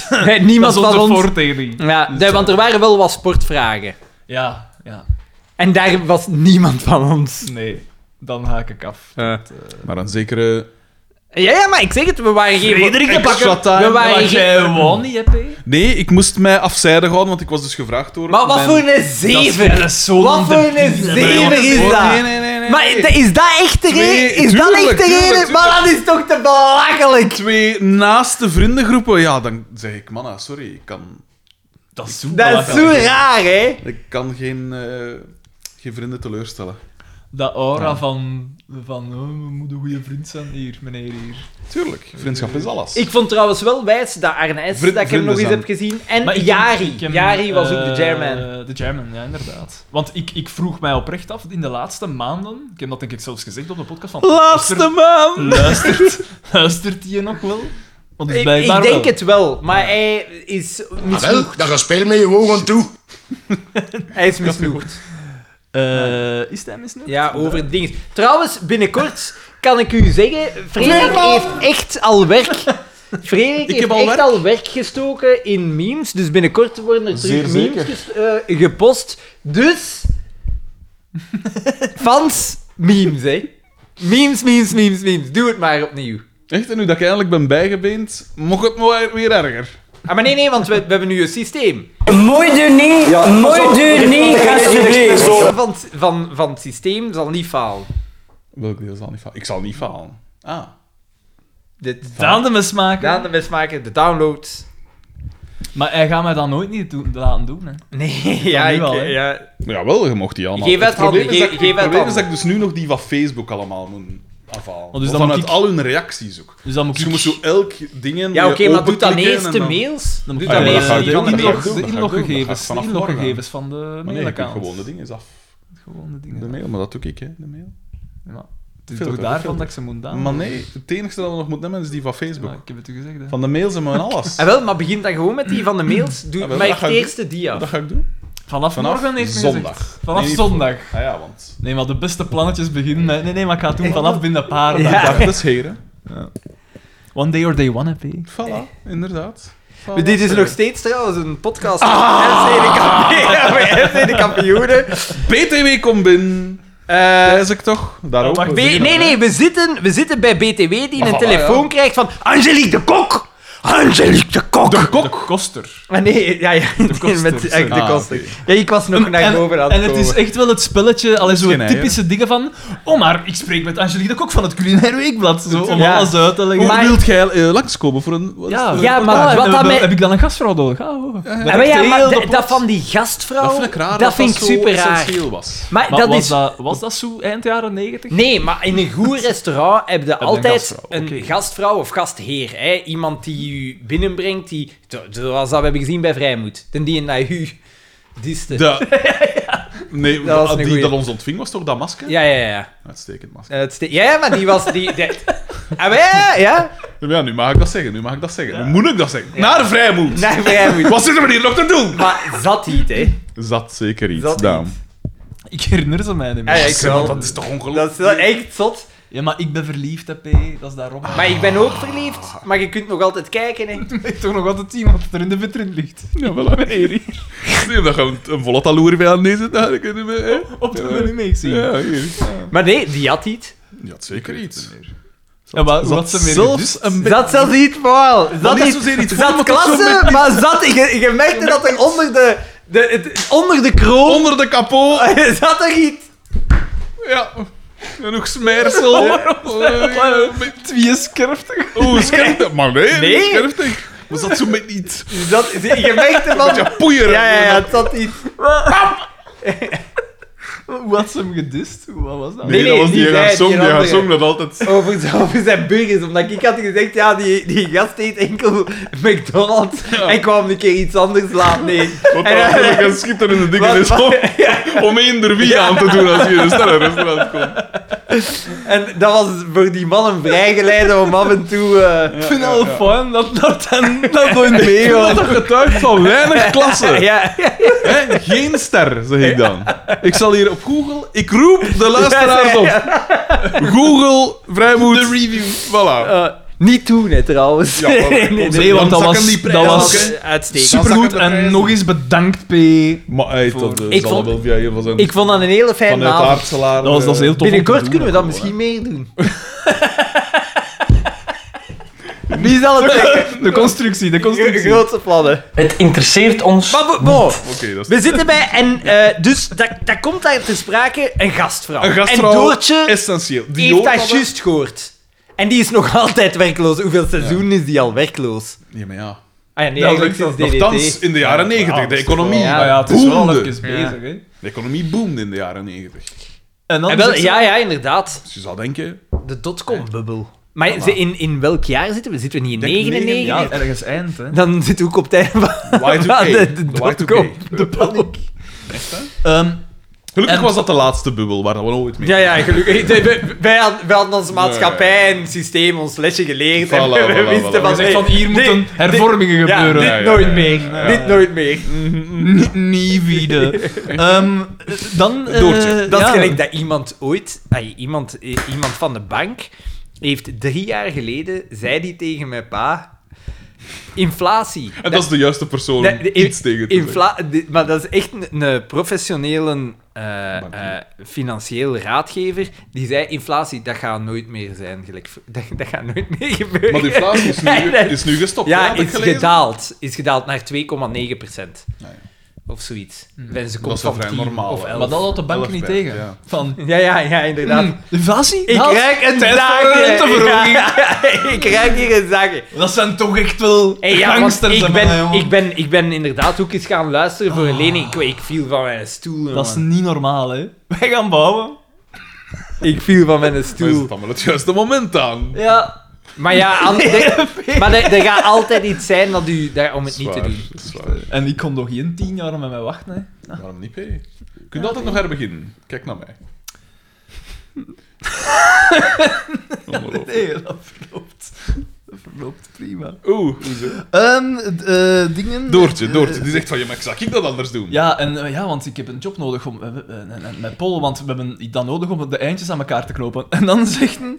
Speaker 3: Ah, dat
Speaker 2: niemand
Speaker 3: was onze
Speaker 2: van ons.
Speaker 3: voortheorie.
Speaker 2: Ja, nee, want er waren wel wat sportvragen.
Speaker 3: Ja, ja.
Speaker 2: En daar was niemand van ons.
Speaker 3: Nee, dan haak ik af.
Speaker 1: Maar een zekere...
Speaker 2: Ja, ja, maar ik zeg het, we waren geen.
Speaker 3: Frederik de
Speaker 1: Extra
Speaker 3: Bakker.
Speaker 1: time.
Speaker 2: We waren
Speaker 3: Maar
Speaker 2: geen-
Speaker 3: jij won niet, hè, P?
Speaker 1: Nee, ik moest mij afzijdig houden, want ik was dus gevraagd door...
Speaker 2: Maar wat
Speaker 1: mijn-
Speaker 2: voor een
Speaker 3: Zeven.
Speaker 2: zeven!
Speaker 3: zo'n
Speaker 2: Wat voor een
Speaker 3: debiel.
Speaker 2: zeven is
Speaker 1: Nee,
Speaker 2: dat?
Speaker 1: Oh, nee, nee, nee, nee.
Speaker 2: Maar de- is dat echt de
Speaker 1: Nee,
Speaker 2: reden? Is dat
Speaker 1: tuurlijk,
Speaker 2: echt de
Speaker 1: tuurlijk,
Speaker 2: reden?
Speaker 1: tuurlijk.
Speaker 2: Maar dat is toch te belachelijk?
Speaker 1: Twee naaste vriendengroepen, ja, dan zeg ik, manna, sorry, ik kan,
Speaker 3: Dat is zo
Speaker 2: Dat is zo
Speaker 3: belachelijk.
Speaker 2: raar, hè?
Speaker 1: ik kan geen, eh, geen vrienden teleurstellen.
Speaker 3: Dat aura van, van oh, we moeten goede vriend zijn hier, meneer hier.
Speaker 1: Tuurlijk, vriendschap is alles.
Speaker 2: Ik vond trouwens wel wijs dat Arne S,
Speaker 1: Vri-
Speaker 2: dat ik hem nog eens
Speaker 1: vrienden
Speaker 2: heb gezien. En
Speaker 3: ik-
Speaker 2: Jari.
Speaker 3: ik heb,
Speaker 2: Jari was ook
Speaker 3: eh,
Speaker 2: de chairman.
Speaker 3: De chairman, ja, inderdaad. Want ik, ik vroeg mij oprecht af in de laatste maanden. Ik heb dat denk ik zelfs gezegd op de podcast van.
Speaker 2: Laatste man!
Speaker 3: Luistert, luistert, luistert die je nog wel? Want dus
Speaker 2: Ik,
Speaker 3: blijkbaar
Speaker 2: ik denk
Speaker 3: wel.
Speaker 2: het wel, maar hij is
Speaker 6: Ah,
Speaker 2: misnoegd.
Speaker 7: Wel, dan ga speel met je ogen toe.
Speaker 2: Hij is misnoegd.
Speaker 3: Eh, is hij misnoegd?
Speaker 2: Ja, over het ding. Trouwens, binnenkort kan ik u zeggen, Frederik heeft echt al werk. Frederik heeft
Speaker 1: heb al
Speaker 2: echt
Speaker 1: werk.
Speaker 2: al werk gestoken in memes. Dus binnenkort worden er terug
Speaker 1: Zeer zeker.
Speaker 2: memes ges- eh, gepost. Dus... Fans, memes, hè. Memes, memes, memes, memes. Doe het maar opnieuw.
Speaker 1: Echt, en nu dat ik eindelijk ben bijgebeend, mocht het maar weer erger.
Speaker 2: Ah, maar nee, nee, want we, we hebben nu een systeem.
Speaker 4: Mooi-de-niet, mooi-de-niet, alsjeblieft.
Speaker 2: Van, het- van, van het systeem zal niet falen.
Speaker 1: Welk deel zal niet falen? Ik zal niet falen. Ah.
Speaker 2: De,
Speaker 3: Daan de mismaken.
Speaker 2: Daan de mismaker, de downloads.
Speaker 3: Maar hij gaat mij dat nooit niet doen- laten doen. Hè.
Speaker 2: Nee, ja,
Speaker 3: nu
Speaker 2: ik,
Speaker 3: al, hè?
Speaker 2: ja,
Speaker 1: Jawel, je mocht die allemaal.
Speaker 2: Geef uit
Speaker 1: het probleem,
Speaker 2: handen,
Speaker 1: is, dat, ik-
Speaker 2: geef- geef
Speaker 1: het
Speaker 2: uit
Speaker 1: probleem is dat ik
Speaker 2: handen.
Speaker 1: dus nu nog die van Facebook allemaal moet afhalen.
Speaker 3: dan moet
Speaker 1: Want vanuit
Speaker 3: ik-
Speaker 1: al hun reacties ook.
Speaker 3: Dus dan moet
Speaker 1: Dus je
Speaker 3: ik-
Speaker 1: moet zo elk ding in
Speaker 2: ja oké, maar doe dan
Speaker 1: openklikken
Speaker 2: eerst
Speaker 1: en
Speaker 2: de
Speaker 1: dan-
Speaker 2: mails.
Speaker 3: Dan
Speaker 2: Doe
Speaker 3: moet
Speaker 1: Ah, ja,
Speaker 2: dan
Speaker 1: dat
Speaker 2: eerst
Speaker 1: ga ik
Speaker 2: die
Speaker 1: doen.
Speaker 2: van de
Speaker 1: Die
Speaker 2: mails.
Speaker 1: mails.
Speaker 3: inlog,
Speaker 1: doen,
Speaker 3: de
Speaker 1: dat ga ik doen, dat ga
Speaker 3: inloggegevens,
Speaker 1: ik
Speaker 3: de
Speaker 1: vanaf
Speaker 3: inloggegevens van de
Speaker 1: Maar nee, je kunt
Speaker 3: mailaccount.
Speaker 1: gewoon de dingen eens af.
Speaker 3: Gewoon
Speaker 1: De
Speaker 3: de dingen.
Speaker 1: mail, maar dat doe ik, hè, de mail.
Speaker 3: Ja, het is
Speaker 1: Filter,
Speaker 3: toch daarvan
Speaker 1: filter.
Speaker 3: dat ik ze moet
Speaker 2: Ah.
Speaker 3: downloaden?
Speaker 1: Maar nee, het enige dat we nog moeten nemen is die van Facebook.
Speaker 3: Ja, ik heb het u gezegd. Hè.
Speaker 1: Van de mails en van alles.
Speaker 2: Ah, wel, maar begin dan gewoon met die van de mails. Doe
Speaker 1: Ah, wel,
Speaker 2: maar
Speaker 1: dat
Speaker 2: echt
Speaker 1: ga
Speaker 2: de
Speaker 1: ik
Speaker 2: eerste die
Speaker 1: Dat
Speaker 2: af.
Speaker 1: ga ik doen.
Speaker 3: Vanaf,
Speaker 1: Vanaf
Speaker 3: morgen heeft men
Speaker 1: zondag.
Speaker 3: gezegd. Vanaf
Speaker 1: Nee, niet
Speaker 3: zondag.
Speaker 1: Ah ja, want...
Speaker 3: Nee, maar de beste plannetjes beginnen met... Nee, nee, maar ik ga het doen vanaf binnen een paar dagen.
Speaker 2: Ja.
Speaker 1: Dag des heren.
Speaker 3: One day or day one, heb je.
Speaker 1: Voilà, inderdaad. Voilà.
Speaker 2: Maar Dit is nog steeds trouwens een podcast van FC de kampioenen. FC de kampioenen.
Speaker 1: BTW komt binnen.
Speaker 2: Eh,
Speaker 1: Lees ik toch? Daar ook.
Speaker 3: wacht,
Speaker 1: We
Speaker 2: B-
Speaker 1: zien
Speaker 2: nee,
Speaker 1: het, Ah,
Speaker 2: nee, we zitten, we zitten bij BTW die een telefoon krijgt van Angelique de Kok.
Speaker 4: Angelique de Kok.
Speaker 3: Kok. De koster.
Speaker 2: Maar Ah, nee, ja, ja de
Speaker 3: koster,
Speaker 2: met de, echt de
Speaker 1: ah,
Speaker 2: koster. Ja, ik was nog naar boven aan
Speaker 3: en het is
Speaker 2: komen.
Speaker 3: echt wel het spelletje, allee, zo
Speaker 1: Geen ei,
Speaker 3: typische dingen van... Oh, maar ik spreek met Angelique de Kok van het Culinair Weekblad. Zo, om
Speaker 2: Ja.
Speaker 3: alles uit te leggen.
Speaker 1: Hoe
Speaker 2: Maar-
Speaker 1: wilt jij eh, langskomen voor een... wat is het?
Speaker 2: Ja, maar wat
Speaker 3: heb,
Speaker 2: dat mij-
Speaker 3: heb ik dan een gastvrouw nodig? Ah, oh.
Speaker 2: Ah, maar ja,
Speaker 3: Heel
Speaker 2: maar
Speaker 3: de
Speaker 2: d-
Speaker 3: pot.
Speaker 2: dat van die gastvrouw,
Speaker 1: Dat vind ik raar.
Speaker 2: vind ik
Speaker 1: zo
Speaker 2: super raar.
Speaker 1: essentieel was.
Speaker 2: Maar,
Speaker 3: Maar
Speaker 2: dat
Speaker 3: was,
Speaker 2: is...
Speaker 3: dat, was dat zo eind jaren negentig?
Speaker 2: Nee, maar in een goed restaurant heb je
Speaker 3: een
Speaker 2: altijd
Speaker 3: gastvrouw,
Speaker 2: een gastvrouw of gastheer. Hè? Iemand die u binnenbrengt, die, zo- zoals dat we hebben gezien bij Vrijmoed. Den die naar u diste.
Speaker 1: De... Nee,
Speaker 2: Dat was een
Speaker 1: die
Speaker 2: goeie.
Speaker 1: dat ons ontving was toch dat masker?
Speaker 2: Ja, ja, ja.
Speaker 1: Uitstekend masker.
Speaker 2: En het ste- ja, ja, maar die was... Die, die- Ah, maar ja, ja.
Speaker 1: Ja, nu mag ik dat zeggen, nu mag ik dat zeggen. Nu moet ik dat zeggen. Naar vrijmoed.
Speaker 2: Naar Vrijmoed.
Speaker 1: Wat zitten we hier nog te doen?
Speaker 2: Maar zat niet, hè.
Speaker 1: Zat zeker iets,
Speaker 2: Zat
Speaker 1: Daan.
Speaker 3: Ik herinner ze mij niet meer.
Speaker 2: Ah, ja, ik
Speaker 1: Zeg, want
Speaker 2: wel.
Speaker 1: Dat is toch
Speaker 2: Dat
Speaker 1: ongelooflijk?
Speaker 2: is wel echt zot.
Speaker 3: Ja, maar ik ben verliefd, hè, P. Dat is daarom.
Speaker 2: Maar ik ben ook verliefd. Maar je kunt nog altijd kijken, hè.
Speaker 3: Ik weet toch nog altijd iemand dat er in de vitrine ligt.
Speaker 1: Ja, wel aan Eri. Nee, daar gaan we een volle taloer bij aan deze daar kunnen we... Hè?
Speaker 3: Op de menu mee zien.
Speaker 1: Ja, hier.
Speaker 2: Maar nee, die had iets.
Speaker 1: Ja, zeker iets.
Speaker 3: Ja, maar
Speaker 1: Zat
Speaker 3: wat ze meer
Speaker 1: zelfs een beetje...
Speaker 2: Zat zelfs niet vooral. Zat,
Speaker 1: niet
Speaker 2: niet,
Speaker 1: zozeer iets voor,
Speaker 2: zat
Speaker 1: maar toch zo
Speaker 2: klasse, maar zat... Je, je merkte dat er onder de... de het- onder de kroon
Speaker 1: Onder de kapot.
Speaker 2: zat er iets.
Speaker 1: Ja. Genoeg smeersel.
Speaker 3: Wie is kerftig?
Speaker 1: Oeh, scherptig. Maar nee,
Speaker 2: Nee.
Speaker 1: scherptig. Maar zat zo met iets...
Speaker 2: Dat, je merkte van...
Speaker 1: Ja, poeier.
Speaker 2: Ja, ja, ja, het zat iets.
Speaker 3: Hoe had ze hem gedist? Hoe- Wat was dat?
Speaker 1: Nee,
Speaker 2: Nee,
Speaker 1: dat
Speaker 2: nee,
Speaker 1: was
Speaker 2: niet
Speaker 1: die
Speaker 2: zij,
Speaker 1: haar
Speaker 2: die
Speaker 1: song. Die haar
Speaker 2: andere.
Speaker 1: song dat altijd...
Speaker 2: Over, over zijn burgers, omdat ik had gezegd, ja, die, die gast eet enkel McDonald's en kwam een keer iets anders laten eten.
Speaker 1: Wat
Speaker 2: En,
Speaker 1: dan
Speaker 2: eh,
Speaker 1: natuurlijk een schitterende ding
Speaker 2: Wat-
Speaker 1: is om, om eender wie aan te doen als je in een sterrenrestaurant komt.
Speaker 2: En dat was voor die man een vrijgeleide om af en toe... eh,
Speaker 3: Ik vind het al fijn dat dat dan... Dat
Speaker 2: Gewoon mee, hoor.
Speaker 1: Dat getuigt van weinig klasse.
Speaker 2: Ja, ja.
Speaker 1: Hè? Geen ster, zeg ik dan. Ik zal hier op Google... Ik roep de luisteraars op. Google, vrijmoed. De review. Voilà.
Speaker 2: Eh, niet doen, hè, trouwens.
Speaker 1: Ja, maar-
Speaker 3: Nee, want dat
Speaker 1: Dan
Speaker 3: was,
Speaker 1: zakken die
Speaker 3: dat
Speaker 1: prijzen
Speaker 3: was
Speaker 1: ook,
Speaker 2: uitstekend.
Speaker 3: supergoed.
Speaker 1: zakken de
Speaker 3: En
Speaker 1: prijzen.
Speaker 3: nog eens bedankt, P.
Speaker 1: Maar hey, dat eh,
Speaker 2: Ik
Speaker 1: zal
Speaker 2: vond-
Speaker 1: wel via een van zijn...
Speaker 2: Ik vond dat een hele
Speaker 1: van
Speaker 2: fijne
Speaker 1: het
Speaker 2: avond.
Speaker 1: aardselaar...
Speaker 3: Dat was, dat was
Speaker 1: eh,
Speaker 3: heel tof. om te
Speaker 2: Binnenkort
Speaker 3: doen.
Speaker 2: kunnen we dat misschien meer doen. Wie zal het zeggen?
Speaker 3: De constructie, de constructie.
Speaker 2: Grootste plannen.
Speaker 4: Het interesseert ons.
Speaker 2: Maar bo- bo,
Speaker 1: Oké, dat is...
Speaker 2: we zitten bij en eh, dus dat, dat komt daar te sprake een gastvrouw.
Speaker 1: Een gastvrouw,
Speaker 2: en Doortje
Speaker 1: essentieel. Die
Speaker 2: heeft
Speaker 1: Jood
Speaker 2: dat
Speaker 1: hadden-
Speaker 2: juist gehoord. En die is nog altijd werkloos. Hoeveel seizoenen is die al werkloos?
Speaker 1: Ja, maar ja.
Speaker 2: Ah ja, nee,
Speaker 3: Ja,
Speaker 2: eigenlijk
Speaker 3: dat-
Speaker 2: sinds DDT.
Speaker 1: Nochtans, in de jaren negentig, de economie.
Speaker 2: Ja.
Speaker 3: Ja, ja, het is wel
Speaker 1: Boemde.
Speaker 3: even bezig, hè.
Speaker 1: De economie boomde in de jaren negentig.
Speaker 3: En
Speaker 2: Ah,
Speaker 3: dan
Speaker 2: wel,
Speaker 3: zit ze-
Speaker 2: ja, ja, inderdaad.
Speaker 1: Dus je zou denken,
Speaker 2: De dotcom-bubbel. Maar ze, in, in welk jaar zitten we? Zitten we niet in
Speaker 1: Denk
Speaker 2: 99?
Speaker 3: Ja, ergens eind, hè.
Speaker 2: Dan zit ook op het einde van
Speaker 1: Y2K.
Speaker 2: van de,
Speaker 1: De
Speaker 2: de
Speaker 1: Y2K.
Speaker 2: dotcom. De paniek.
Speaker 3: Ehm,
Speaker 1: Gelukkig
Speaker 3: En-
Speaker 1: was dat de laatste bubbel waar we nooit mee.
Speaker 2: Ja, ja, gelukkig. Nee, wij- Wij hadden, wij hadden als maatschappij en systeem ons lesje geleerd. en
Speaker 1: Voilà,
Speaker 2: we
Speaker 1: voilà,
Speaker 2: wisten
Speaker 1: voilà.
Speaker 2: van,
Speaker 1: Je
Speaker 3: zegt van, hier
Speaker 2: nee,
Speaker 3: moeten
Speaker 2: dit-
Speaker 3: hervormingen
Speaker 2: ja,
Speaker 3: gebeuren.
Speaker 2: dit
Speaker 1: Ja, ja,
Speaker 2: nooit
Speaker 1: ja,
Speaker 2: meer. Dit nooit meer. Mhm.
Speaker 3: Niet- Niet wieden. Ehm, dan... eh,
Speaker 1: Doortje.
Speaker 2: Dat
Speaker 3: ja.
Speaker 2: is gelijk dat iemand ooit, ay, iemand, eh, iemand van de bank, heeft drie jaar geleden, zei die tegen mijn pa, inflatie.
Speaker 1: En dat is de juiste persoon om
Speaker 2: Nee, de-
Speaker 1: iets tegen te zeggen.
Speaker 2: infla- de- maar dat is echt een, een professionele eh, eh, financiële raadgever die zei: inflatie, dat gaat nooit meer zijn. Gelijk, dat, dat gaat nooit meer gebeuren.
Speaker 1: Maar de inflatie is
Speaker 2: En
Speaker 1: nu,
Speaker 2: dat-
Speaker 1: is nu gestopt. hè,
Speaker 2: ja,
Speaker 1: had ik
Speaker 2: is
Speaker 1: gelezen.
Speaker 2: gedaald. Is gedaald naar 2,9 procent.
Speaker 1: ja.
Speaker 2: Of zoiets.
Speaker 3: Mhm.
Speaker 2: En ze
Speaker 1: Dat
Speaker 2: komt
Speaker 1: is wel
Speaker 2: van
Speaker 1: vrij
Speaker 2: 10
Speaker 1: normaal.
Speaker 2: of
Speaker 1: hè.
Speaker 2: 11.
Speaker 3: Maar dat houdt de bank
Speaker 1: Elf
Speaker 3: niet
Speaker 1: bij,
Speaker 3: tegen.
Speaker 1: ja.
Speaker 3: Van...
Speaker 2: Ja, ja, ja, inderdaad.
Speaker 3: hm, Inflatie?
Speaker 2: Ik
Speaker 3: Dat-
Speaker 2: krijg een
Speaker 3: Tijd voor
Speaker 2: zaakje.
Speaker 3: een renteverhoging.
Speaker 2: Ja, ja, ik krijg hier een zaakje.
Speaker 3: Dat zijn toch echt wel
Speaker 2: Hey, ja, want
Speaker 3: gangsters.
Speaker 2: ik,
Speaker 3: hè,
Speaker 2: ben,
Speaker 3: mannen, jongen. Ah.
Speaker 2: ik, ben, ik ben inderdaad ook eens gaan luisteren voor een lening. Ik, ik viel van mijn stoel.
Speaker 3: Dat is
Speaker 2: jongen.
Speaker 3: niet normaal, hè. Wij gaan bouwen.
Speaker 2: Ik viel van mijn
Speaker 1: Maar is
Speaker 2: stoel.
Speaker 1: het dan wel het juiste moment aan?
Speaker 3: Ja.
Speaker 2: Maar ja, an- de- maar er, er gaat altijd iets zijn dat u, daar, om het niet te
Speaker 1: Zwaar,
Speaker 2: doen.
Speaker 1: zwaar.
Speaker 3: En ik kon nog geen tien jaar met mij wachten, hè.
Speaker 1: Waarom niet, P? Je kunt altijd nog herbeginnen. Kijk naar mij. Ongelooflijk.
Speaker 3: Nee, dat verloopt. Dat verloopt prima.
Speaker 1: Oeh, hoezo?
Speaker 3: Ehm, eh, dingen...
Speaker 1: Doortje, Doortje. Die zegt van, ja, maar zou ik dat anders doen?
Speaker 3: Ja, en, eh, ja, want ik heb een job nodig om, eh, eh, en- en- met Paul, want we hebben dat nodig om de eindjes aan elkaar te knopen. En dan zegt hij...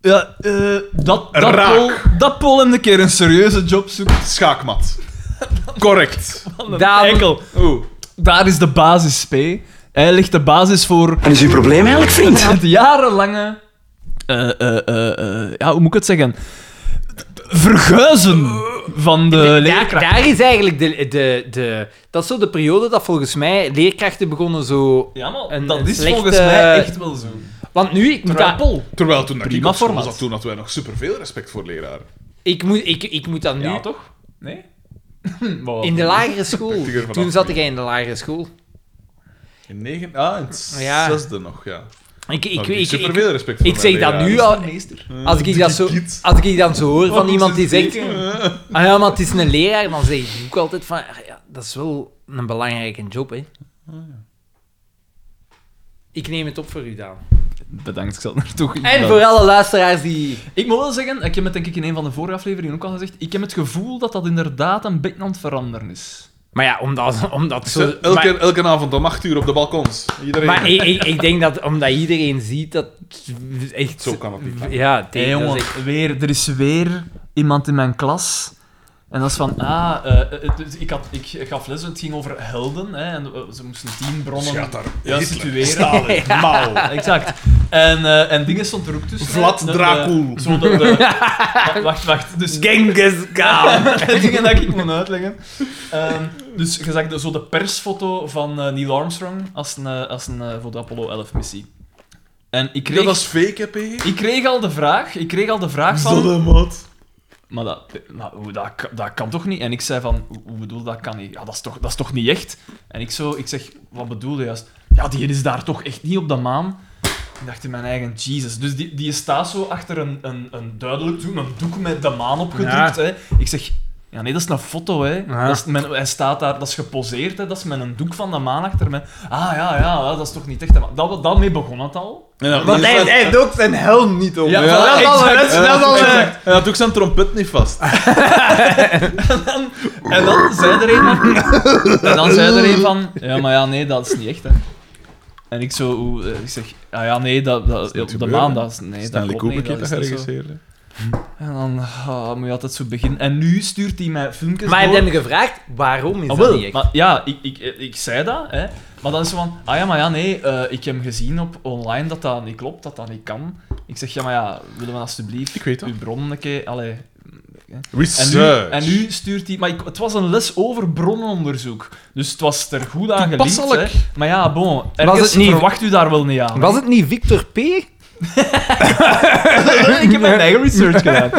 Speaker 3: Ja, eh, dat, dat,
Speaker 1: Raak.
Speaker 3: Paul, dat Paul hem een keer een serieuze job zoekt.
Speaker 1: Schaakmat. Correct.
Speaker 2: Daan-
Speaker 3: Enkel,
Speaker 1: Oeh.
Speaker 3: daar is de basis, P. Hij legt de basis voor
Speaker 4: En is uw probleem eigenlijk, vriend?
Speaker 3: het jarenlange... eh, eh, eh, eh, ja, hoe moet ik het zeggen? verguizen van de
Speaker 2: daar,
Speaker 3: leerkracht.
Speaker 2: daar is eigenlijk de, de, de... Dat is zo de periode dat volgens mij leerkrachten begonnen zo...
Speaker 3: Ja, maar
Speaker 2: Een-
Speaker 3: dat
Speaker 2: een
Speaker 3: is
Speaker 2: slechte-
Speaker 3: volgens mij echt wel zo.
Speaker 2: Want nu, ik moet dat,
Speaker 3: Trappel.
Speaker 1: Terwijl toen dat ik
Speaker 3: Prima
Speaker 1: op school
Speaker 3: format.
Speaker 1: zat, toen hadden wij nog superveel respect voor leraren.
Speaker 2: ik moet, ik, ik moet dat nu...
Speaker 3: Ja, toch? Nee?
Speaker 2: In de lagere school.
Speaker 1: Prachtiger vanaf
Speaker 2: Toen zat
Speaker 1: nu.
Speaker 2: ik in de lagere school.
Speaker 1: In negen... Ah, in het
Speaker 2: Ja.
Speaker 1: zesde nog, ja.
Speaker 2: Ik, ik,
Speaker 1: Ik,
Speaker 2: ik, ik, ik,
Speaker 1: superveel respect voor
Speaker 2: ik zeg dat nu al...
Speaker 3: meester.
Speaker 2: Als ik dat, zo,
Speaker 1: Giet.
Speaker 2: als ik dan zo hoor van
Speaker 3: Oh,
Speaker 2: iemand die
Speaker 3: ze
Speaker 2: zegt...
Speaker 3: steken.
Speaker 2: Ah ja, maar het is een leraar. Dan zeg ik ook altijd van... ah Ja, dat is wel een belangrijke job, hè. Ik neem het op voor u, Daan.
Speaker 3: Bedankt, ik zal er toch in
Speaker 2: En
Speaker 3: gaan.
Speaker 2: voor alle luisteraars die...
Speaker 3: Ik moet wel zeggen, ik heb het denk ik in een van de vorige afleveringen ook al gezegd, ik heb het gevoel dat dat inderdaad een beetje aan het veranderen is.
Speaker 2: Maar ja, omdat... omdat zo,
Speaker 1: Elke,
Speaker 2: maar
Speaker 1: elke avond om acht uur op de balkons. Iedereen.
Speaker 2: maar ik, ik, ik denk dat omdat iedereen ziet dat... Echt,
Speaker 1: Zo kan het niet gaan.
Speaker 2: Ja, tegen dat is echt-
Speaker 3: weer, er is weer iemand in mijn klas. En dat is van, ah, eh, eh, dus ik, had, ik gaf les, het ging over helden. Hè, en eh, ze moesten tien bronnen
Speaker 1: Schat daar.
Speaker 3: ja,
Speaker 1: Hitler,
Speaker 3: situeren.
Speaker 1: Stalin, Mao.
Speaker 3: Exact. En, eh, en dingen stond er ook tussen.
Speaker 1: Vlad
Speaker 3: hè. De-
Speaker 1: Dracul.
Speaker 3: de- Zo de, de- wacht, wacht. Dus
Speaker 2: Genghis Khan.
Speaker 3: de dingen dat ik moet uitleggen. Ehm, dus je zag de, zo de persfoto van eh, Neil Armstrong als een, eh, als een, eh, voor de Apollo 11-missie. En ik kreeg,
Speaker 1: Ja, dat is fake, hè, PG?
Speaker 3: ik kreeg al de vraag, ik kreeg al de vraag van... Maar, dat, maar hoe, dat, kan- dat kan toch niet? En ik zei van, hoe, hoe bedoel je, dat kan niet? Ja, dat is toch, dat is toch niet echt? En ik, zo, ik zeg, wat bedoel je juist? Ja, die is daar toch echt niet op de maan? Ik dacht in mijn eigen, Jesus. Dus die, die staat zo achter een, een, een duidelijk doek, een doek met de maan opgedrukt. Hè. Ik zeg, ja nee, dat is een foto hè.
Speaker 2: Ja.
Speaker 3: Dat is, men, hij staat daar, dat is geposeerd hè, dat is met een doek van de maan achter me. Ah ja, ja, dat is toch niet echt de maan. Dat, daarmee begon het al.
Speaker 1: En dan-
Speaker 2: Want hij, hij doet zijn helm niet op.
Speaker 3: Ja,
Speaker 1: ja,
Speaker 2: dat is al-
Speaker 3: exact.
Speaker 2: dat is- dat is al-
Speaker 1: Exact. Hij had ook zijn trompet niet vast.
Speaker 3: dan- en dan zei er een van... En dan zei er een van... Ja, maar ja, nee, dat is niet echt, hè. En ik zo... hoe, eh, Ik zeg... Ah ja, nee, dat, dat,
Speaker 1: niet
Speaker 3: op de
Speaker 1: gebeurd,
Speaker 3: maan,
Speaker 1: hè?
Speaker 3: dat is... Nee, dat
Speaker 1: Stanley
Speaker 3: klopt niet,
Speaker 1: Kubrick
Speaker 3: dat
Speaker 1: heeft
Speaker 3: is
Speaker 1: dat
Speaker 3: niet zo.
Speaker 1: geregisseerd. hè.
Speaker 3: En dan ah, moet je altijd zo beginnen. En nu stuurt hij mij filmpjes
Speaker 2: Maar
Speaker 3: door.
Speaker 2: heb je hem gevraagd, waarom is
Speaker 3: Ah,
Speaker 2: dat
Speaker 3: wel,
Speaker 2: niet echt?
Speaker 3: maar, ja, ik, ik, eh, ik zei dat, hè. Maar dan is ze van, ah ja, maar ja, nee, eh, ik heb gezien op online dat dat niet klopt, dat dat niet kan. Ik zeg, ja, maar ja, willen we alsjeblieft
Speaker 1: Ik weet dat.
Speaker 3: uw bron een keer... Allee, En nu,
Speaker 1: Research.
Speaker 3: en nu stuurt hij... Maar ik- het was een les over bronnenonderzoek. Dus het was er goed aan geliefd.
Speaker 1: Toepasselijk.
Speaker 3: hè. Maar ja, bon. Ergens
Speaker 2: het niet-
Speaker 3: verwacht u daar wel niet aan. hè.
Speaker 2: Was het niet Victor P?
Speaker 3: ik heb mijn eigen research gedaan.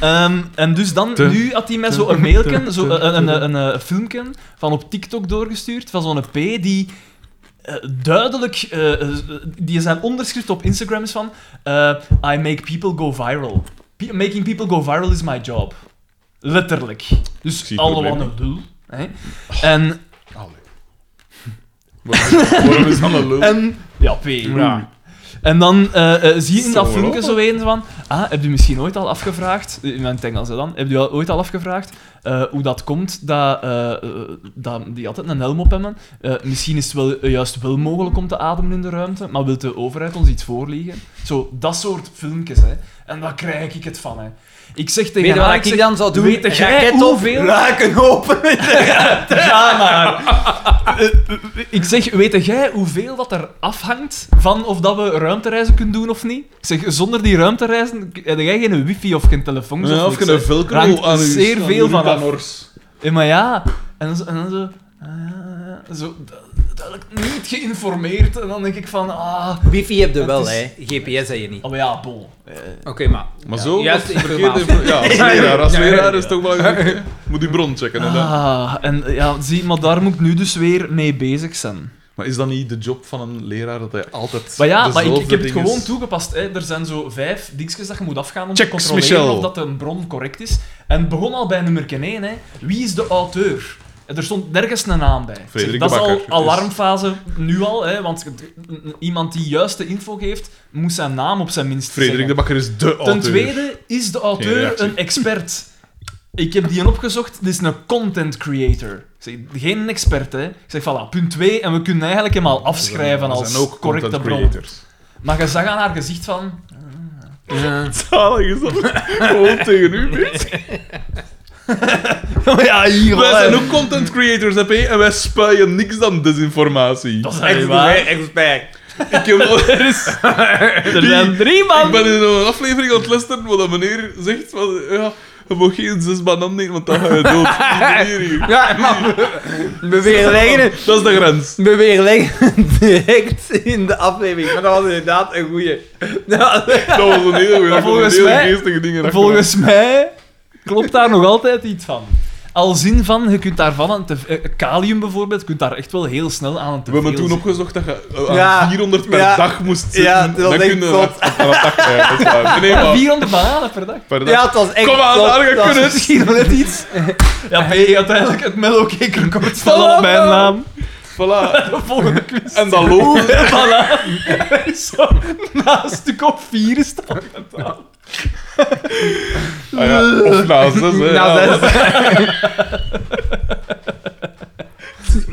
Speaker 3: Ehm, en dus dan,
Speaker 1: Te-
Speaker 3: nu had hij mij zo een mailken, zo een, een, een, een, eh, filmpje van op TikTok doorgestuurd, van zo'n P die eh, duidelijk, eh, eh, die zijn onderschrift op Instagram is van eh, I make people go viral. Pe- making people go viral is my job. Letterlijk.
Speaker 1: Ik
Speaker 3: Dus
Speaker 1: zie
Speaker 3: alle wat
Speaker 1: problemen.
Speaker 3: een doel. Hè? En,
Speaker 1: Allee. Waarom waarom is dat een lul?
Speaker 3: en... Ja, P.
Speaker 2: Hmm.
Speaker 3: En dan eh, eh, zie je in dat
Speaker 1: Zo,
Speaker 3: filmpje
Speaker 1: hoor.
Speaker 3: zo een van... Ah, heb je misschien ooit al afgevraagd... In mijn Engels hè, dan. Heb je al- ooit al afgevraagd eh, hoe dat komt dat, eh, eh, dat die altijd een helm op hebben? Eh, misschien is het wel, eh, juist wel mogelijk om te ademen in de ruimte, maar wil de overheid ons iets voorliegen? Zo, dat soort filmpjes, hè. En daar krijg ik het van, hè. Ik zeg tegen
Speaker 2: Weet je wat
Speaker 3: haar,
Speaker 2: ik
Speaker 3: zeg,
Speaker 2: dan zou doen?
Speaker 3: Weet jij
Speaker 2: Raket op,
Speaker 3: hoeveel...
Speaker 2: Raken open.
Speaker 3: Ja, maar. Eh, ik zeg, weet jij hoeveel dat er afhangt van of dat we ruimtereizen kunnen doen of niet? Ik zeg, zonder die ruimtereizen heb jij geen wifi of geen telefoon.
Speaker 1: Ja, of
Speaker 3: niks,
Speaker 1: je een
Speaker 3: hè.
Speaker 1: velcro
Speaker 3: Hangt
Speaker 1: aan uw-
Speaker 3: zeer
Speaker 1: aan
Speaker 3: veel
Speaker 1: uw
Speaker 3: van af.
Speaker 1: Nors.
Speaker 3: Eh, maar ja, en, dan zo- en dan zo... ah, ja, ja, zo du- duidelijk niet geïnformeerd. En dan denk ik van, ah...
Speaker 2: Wifi heb je wel,
Speaker 3: Het is-
Speaker 2: hè. GPS heb je niet.
Speaker 3: Oh maar ja, bol. Eh,
Speaker 2: Oké, maar...
Speaker 1: Maar zo,
Speaker 2: juist
Speaker 1: dat verkeerde...
Speaker 2: informatie.
Speaker 1: Ja, als leraar, als leraar is het toch belangrijk. hè. Moet uw bron checken. hè, dan.
Speaker 3: Ah, en eh, ja, zie, maar daar moet ik nu dus weer mee bezig zijn.
Speaker 1: Maar is dat niet de job van een leraar dat hij altijd.
Speaker 3: Maar ja, maar ik, ik
Speaker 1: dezelfde
Speaker 3: heb het
Speaker 1: dingen-
Speaker 3: gewoon toegepast. Hè. Er zijn zo vijf dingetjes dat je moet afgaan om te
Speaker 1: Checks,
Speaker 3: controleren
Speaker 1: Michel.
Speaker 3: of dat een bron correct is. En het begon al bij nummer 1. Hè. Wie is de auteur? Er stond nergens een naam bij. Ik zeg,
Speaker 1: Frederik
Speaker 3: dat
Speaker 1: Bakker,
Speaker 3: is
Speaker 1: dus.
Speaker 3: al alarmfase nu al, hè, want het- iemand die juiste info geeft, moet zijn naam op zijn minst
Speaker 1: Frederik de
Speaker 3: zeggen.
Speaker 1: Bakker is de auteur.
Speaker 3: Ten tweede, is de
Speaker 1: Geen
Speaker 3: auteur
Speaker 1: reactie.
Speaker 3: een expert? Ik heb die een opgezocht, dit is een content creator. Ik zeg, geen expert, hè. Ik zeg, voilà, punt 2, en we kunnen eigenlijk hem al afschrijven
Speaker 1: Er
Speaker 3: als
Speaker 1: zijn ook
Speaker 3: correcte
Speaker 1: content
Speaker 3: bron.
Speaker 1: creators.
Speaker 3: Maar je zag aan haar gezicht van...
Speaker 1: Zalig is dat. Gewoon tegen u, weet.
Speaker 2: Oh
Speaker 3: ja, hier
Speaker 1: Wij zijn ook content creators, heb je? En wij spuien niks dan desinformatie.
Speaker 3: Dat is
Speaker 1: Echt,
Speaker 3: echt waar.
Speaker 2: Expert.
Speaker 1: Ik, heb al- er is-
Speaker 3: Er zijn drie man.
Speaker 1: ik ben in een aflevering aan het luisteren waar dat meneer zegt van... Ja, Je mag geen zes bananen eten, want dan ga je dood. Hier, hier.
Speaker 2: Ja, man. We weerleggen,
Speaker 1: Dat is de grens.
Speaker 2: we weerleggen het direct in de aflevering. Maar dat was inderdaad een goeie. Dat was-
Speaker 1: Dat was een hele goeie. Dat
Speaker 3: Volgens
Speaker 1: een hele
Speaker 3: mij-
Speaker 1: geestige dingen.
Speaker 3: Volgens mij klopt daar nog altijd iets van. Al zin van, je kunt daarvan aan te, eh, kalium bijvoorbeeld, je kunt daar echt wel heel snel aan te
Speaker 1: We hebben
Speaker 3: veel
Speaker 1: toen
Speaker 3: zitten.
Speaker 1: opgezocht dat je eh, aan
Speaker 2: Ja.
Speaker 1: 400 per
Speaker 2: Ja.
Speaker 1: dag moest zitten.
Speaker 2: Ja, dat
Speaker 1: dan
Speaker 2: denk
Speaker 1: kun je
Speaker 2: ik
Speaker 1: aan-
Speaker 2: zot.
Speaker 1: aan een dag ja, dat is waar. Nee, maar
Speaker 3: 400 bananen per dag.
Speaker 1: per dag.
Speaker 2: Ja, het was echt...
Speaker 1: Kom aan,
Speaker 2: dat-
Speaker 1: daar, je
Speaker 2: dat was
Speaker 1: kunt het.
Speaker 2: Misschien wel net iets.
Speaker 3: Ja, ben je uiteindelijk het mellow cake record stellen op mijn naam?
Speaker 1: Voilà.
Speaker 3: De volgende quiz.
Speaker 1: En dat loopt.
Speaker 3: Zo, na een stuk of vier is dat.
Speaker 1: Ah, ja. Of na zes, hè.
Speaker 2: Nou,
Speaker 1: Ja,
Speaker 2: dat is...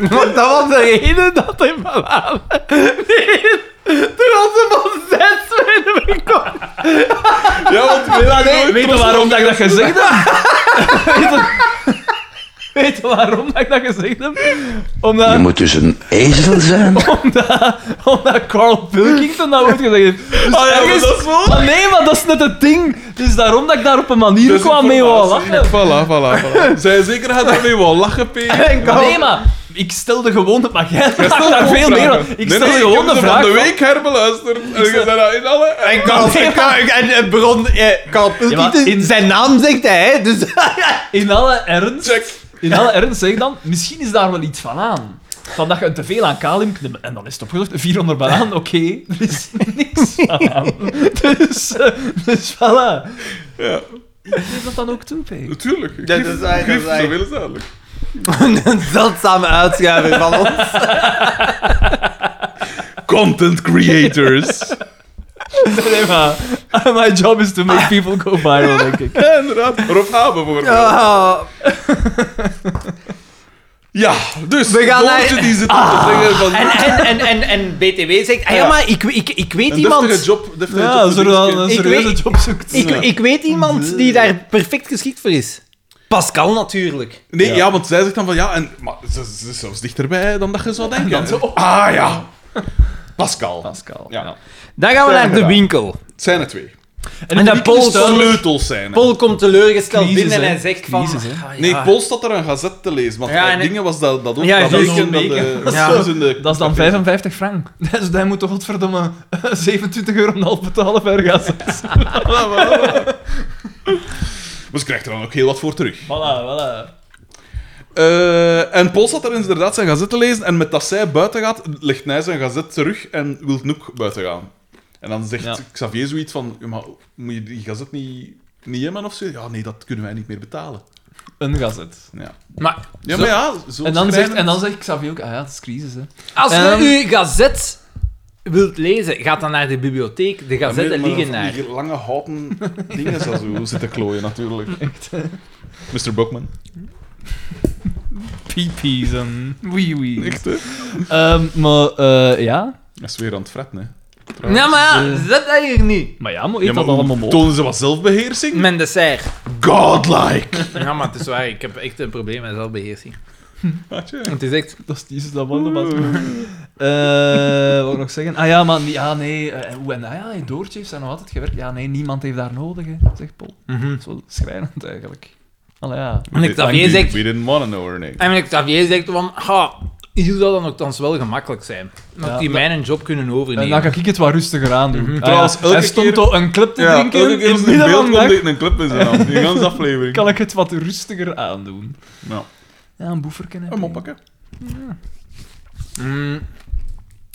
Speaker 2: Want dat was de reden dat hij bananen... Nee, toen was ze van zes werden verkocht.
Speaker 1: Ja, want we zijn
Speaker 2: nee,
Speaker 1: nooit
Speaker 3: Weet je
Speaker 1: trots
Speaker 3: waarom dat ik dat gezegd heb? Weet je- Weet je waarom dat ik dat gezegd heb? Omdat...
Speaker 7: Je moet dus een ezel zijn.
Speaker 3: Omdat, omdat Carl Pilkington dat ooit gezegd heeft. Dus
Speaker 1: ja, maar
Speaker 3: ergens-
Speaker 1: dat is waar.
Speaker 3: Maar nee, maar dat is net het ding. Het is daarom dat ik daar op een manier kwam mee wou
Speaker 1: Desinformatie.
Speaker 3: lachen.
Speaker 1: Dus Voilà, voilà, voilà. Zij zeker gaat daarmee wel lachen, P.
Speaker 2: En
Speaker 3: Maar
Speaker 2: Carl-
Speaker 3: nee, maar ik stelde gewoon... de- Maar jij maakt
Speaker 1: Stel
Speaker 3: daar
Speaker 1: gewoon
Speaker 3: veel meer
Speaker 1: vragen.
Speaker 3: van. Ik
Speaker 1: Nee,
Speaker 3: stelde
Speaker 1: nee,
Speaker 3: gewoon
Speaker 1: heb
Speaker 3: de
Speaker 1: ze
Speaker 3: vraag
Speaker 1: van de
Speaker 3: van-
Speaker 1: week herbeluisterd. En je zei dat in alle...
Speaker 2: En Carl,
Speaker 3: Nee,
Speaker 2: en,
Speaker 3: maar-
Speaker 2: Carl- en, en Bron, eh, Carl Pilkington,
Speaker 3: Ja, maar in-
Speaker 2: zijn naam zegt hij, hè, dus...
Speaker 3: In alle ernst...
Speaker 1: Check.
Speaker 3: In alle ernst zeg ik dan, misschien is daar wel iets van aan. Van dat je te veel aan kalium knippen. En dan is het opgezocht, 400 banaan, oké, er is niks van aan. Dus, eh, dus voilà.
Speaker 1: Ja,
Speaker 3: Geef dat dan ook toe, P.
Speaker 1: natuurlijk.
Speaker 2: Ja, dat is waar, dat is
Speaker 1: Grief,
Speaker 2: waar.
Speaker 1: zoveel is duidelijk.
Speaker 2: Een zeldzame uitschuiving van ons.
Speaker 1: Content creators.
Speaker 3: Nee, maar eh, my job is to make people go viral, denk ik.
Speaker 1: Ja, inderdaad. Rob H. bijvoorbeeld. Ja,
Speaker 2: Oh.
Speaker 1: dus...
Speaker 2: We gaan
Speaker 1: Boortje
Speaker 2: naar- Ah.
Speaker 1: die zit op te zeggen van...
Speaker 2: En, en, en, en, en BTW zegt, ah ja,
Speaker 1: Ja.
Speaker 2: maar ik, ik, ik weet
Speaker 1: Een deftige
Speaker 2: iemand...
Speaker 1: job. Deftige
Speaker 3: Ja,
Speaker 1: job
Speaker 3: zo
Speaker 1: voor
Speaker 3: dan
Speaker 1: Dingske.
Speaker 3: een
Speaker 2: Ik
Speaker 3: serieuze
Speaker 2: weet-
Speaker 3: job zoekt.
Speaker 2: Ik, ik weet iemand die daar perfect geschikt voor is. Pascal natuurlijk.
Speaker 1: Nee, ja. want zij zegt dan van ja, en, maar ze, ze is zelfs dichterbij dan dat je zou denken.
Speaker 3: dan zo,
Speaker 1: Ah ja, Pascal.
Speaker 3: Pascal.
Speaker 1: Ja.
Speaker 2: Dan gaan we
Speaker 1: Zijn
Speaker 2: naar de
Speaker 1: gedaan.
Speaker 2: winkel.
Speaker 1: Het zijn er twee.
Speaker 2: En dat
Speaker 3: publiek is
Speaker 2: Paul
Speaker 3: duidelijk-
Speaker 1: Sleutels zijn. er.
Speaker 2: Paul komt teleurgesteld
Speaker 3: Crisis,
Speaker 2: binnen en
Speaker 3: hè.
Speaker 2: hij zegt van...
Speaker 3: Crisis, hè.
Speaker 2: ah, ja.
Speaker 1: Nee, Paul staat er een gazet te lezen, want
Speaker 2: Ja,
Speaker 1: bij
Speaker 2: en ik-
Speaker 1: dingen was dat, dat ook.
Speaker 2: Ja,
Speaker 1: dat
Speaker 2: dat is
Speaker 1: weken,
Speaker 3: zo'n
Speaker 1: dat,
Speaker 3: weken.
Speaker 1: eh,
Speaker 3: Dat is
Speaker 1: ja.
Speaker 3: zo-
Speaker 1: was in de-
Speaker 3: Dat is dan 55 frank. Dus hij moet toch godverdomme 27 euro en een half betalen per gazet.
Speaker 1: Maar ze krijgt er dan ook heel wat voor terug.
Speaker 3: Voilà, voilà.
Speaker 1: Eh, en Paul staat er inderdaad zijn gazet te lezen, en met dat zij buiten gaat, legt hij zijn gazet terug en wil Noek buiten gaan. En dan zegt
Speaker 3: Ja.
Speaker 1: Xavier zoiets van, "Ja, maar moet je die gazet niet, niet hebben of zo? Ja, nee, dat kunnen wij niet meer betalen.
Speaker 3: Een gazet.
Speaker 1: Ja,
Speaker 2: Maar
Speaker 1: ja
Speaker 3: Zo-
Speaker 1: maar ja, zo
Speaker 3: En dan, zegt,
Speaker 1: schrijven-
Speaker 3: en dan zegt Xavier ook, ah ja, het is crisis, hè.
Speaker 2: als je
Speaker 3: Ehm.
Speaker 2: uw gazet wilt lezen, gaat dan naar de bibliotheek. De gazetten
Speaker 1: Maar
Speaker 2: liggen
Speaker 1: van
Speaker 2: daar.
Speaker 1: Die lange houten dingen zo zo zitten klooien, natuurlijk. Mr. Bokman.
Speaker 3: Piepies en wee wee.
Speaker 1: Echt, hè?
Speaker 3: Ehm, maar eh, ja.
Speaker 1: Dat is weer aan het fretten, hè.
Speaker 2: Ja, maar ja, zet dat hier niet.
Speaker 3: Maar ja, maar eet
Speaker 1: Ja, maar
Speaker 3: dat allemaal
Speaker 1: hoe-
Speaker 3: bol.
Speaker 1: tonen ze wat zelfbeheersing?
Speaker 2: Mijn dessert.
Speaker 1: Godlike!
Speaker 2: Ja, maar het is waar. Ik heb echt een probleem met zelfbeheersing.
Speaker 1: Had je?
Speaker 2: Het is echt...
Speaker 3: Dat is die dat man, dat Eh, wat wil ik nog zeggen? Ah ja, maar niet- ja, nee. eh, hoe en ah ja, in Doortje heeft zij nog altijd gewerkt. Ja, nee, niemand heeft daar nodig, hè, zegt Paul. Dat is wel schrijnend eigenlijk. Allee, ja.
Speaker 2: En Xavier
Speaker 1: We
Speaker 2: zegt...
Speaker 1: didn't want to know her name.
Speaker 2: En meneer Xavier zegt van... Ha, hier zou dan ook dan wel gemakkelijk zijn. Dat
Speaker 3: Ja,
Speaker 2: die
Speaker 3: dat-
Speaker 2: mijn job kunnen
Speaker 3: En
Speaker 2: overnemen.
Speaker 3: dan ga ik het wat rustiger aandoen. doen.
Speaker 1: Mhm. Trouwens, elke
Speaker 3: hij stond
Speaker 1: keer-
Speaker 3: al een clip te drinken.
Speaker 1: elke keer
Speaker 3: in
Speaker 1: als
Speaker 3: het
Speaker 1: er
Speaker 3: midden
Speaker 1: beeld
Speaker 3: van de
Speaker 1: komt,
Speaker 3: dag.
Speaker 1: deed een clip in zijn hand. Die ganse aflevering.
Speaker 3: Kan ik het wat rustiger aandoen?
Speaker 1: Ja.
Speaker 3: Ja, een boeferken. heb
Speaker 1: Een
Speaker 3: ik.
Speaker 1: moppakken.
Speaker 2: Mm.
Speaker 3: En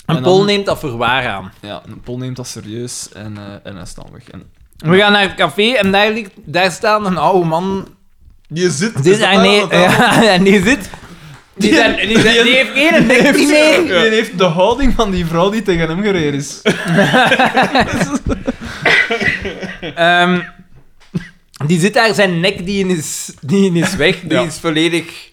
Speaker 2: En
Speaker 3: dan-
Speaker 2: Paul neemt dat voor waar aan.
Speaker 3: Ja, en Paul neemt dat serieus en, eh en hij is dan weg. En,
Speaker 2: We gaan naar het café en daar, ligt, daar staat een oude man.
Speaker 1: Je zit...
Speaker 2: Dit,
Speaker 3: ah,
Speaker 1: is dat
Speaker 2: en, die,
Speaker 1: daar, dat daar?
Speaker 2: ja, en die zit... Die, zijn- die, zijn- die heeft geen nek niet meer.
Speaker 3: Die heeft de houding van die vrouw die tegen hem gereden is.
Speaker 2: Ehm, die zit daar, zijn nek die in is, die in is weg. Die
Speaker 1: Ja.
Speaker 2: is volledig...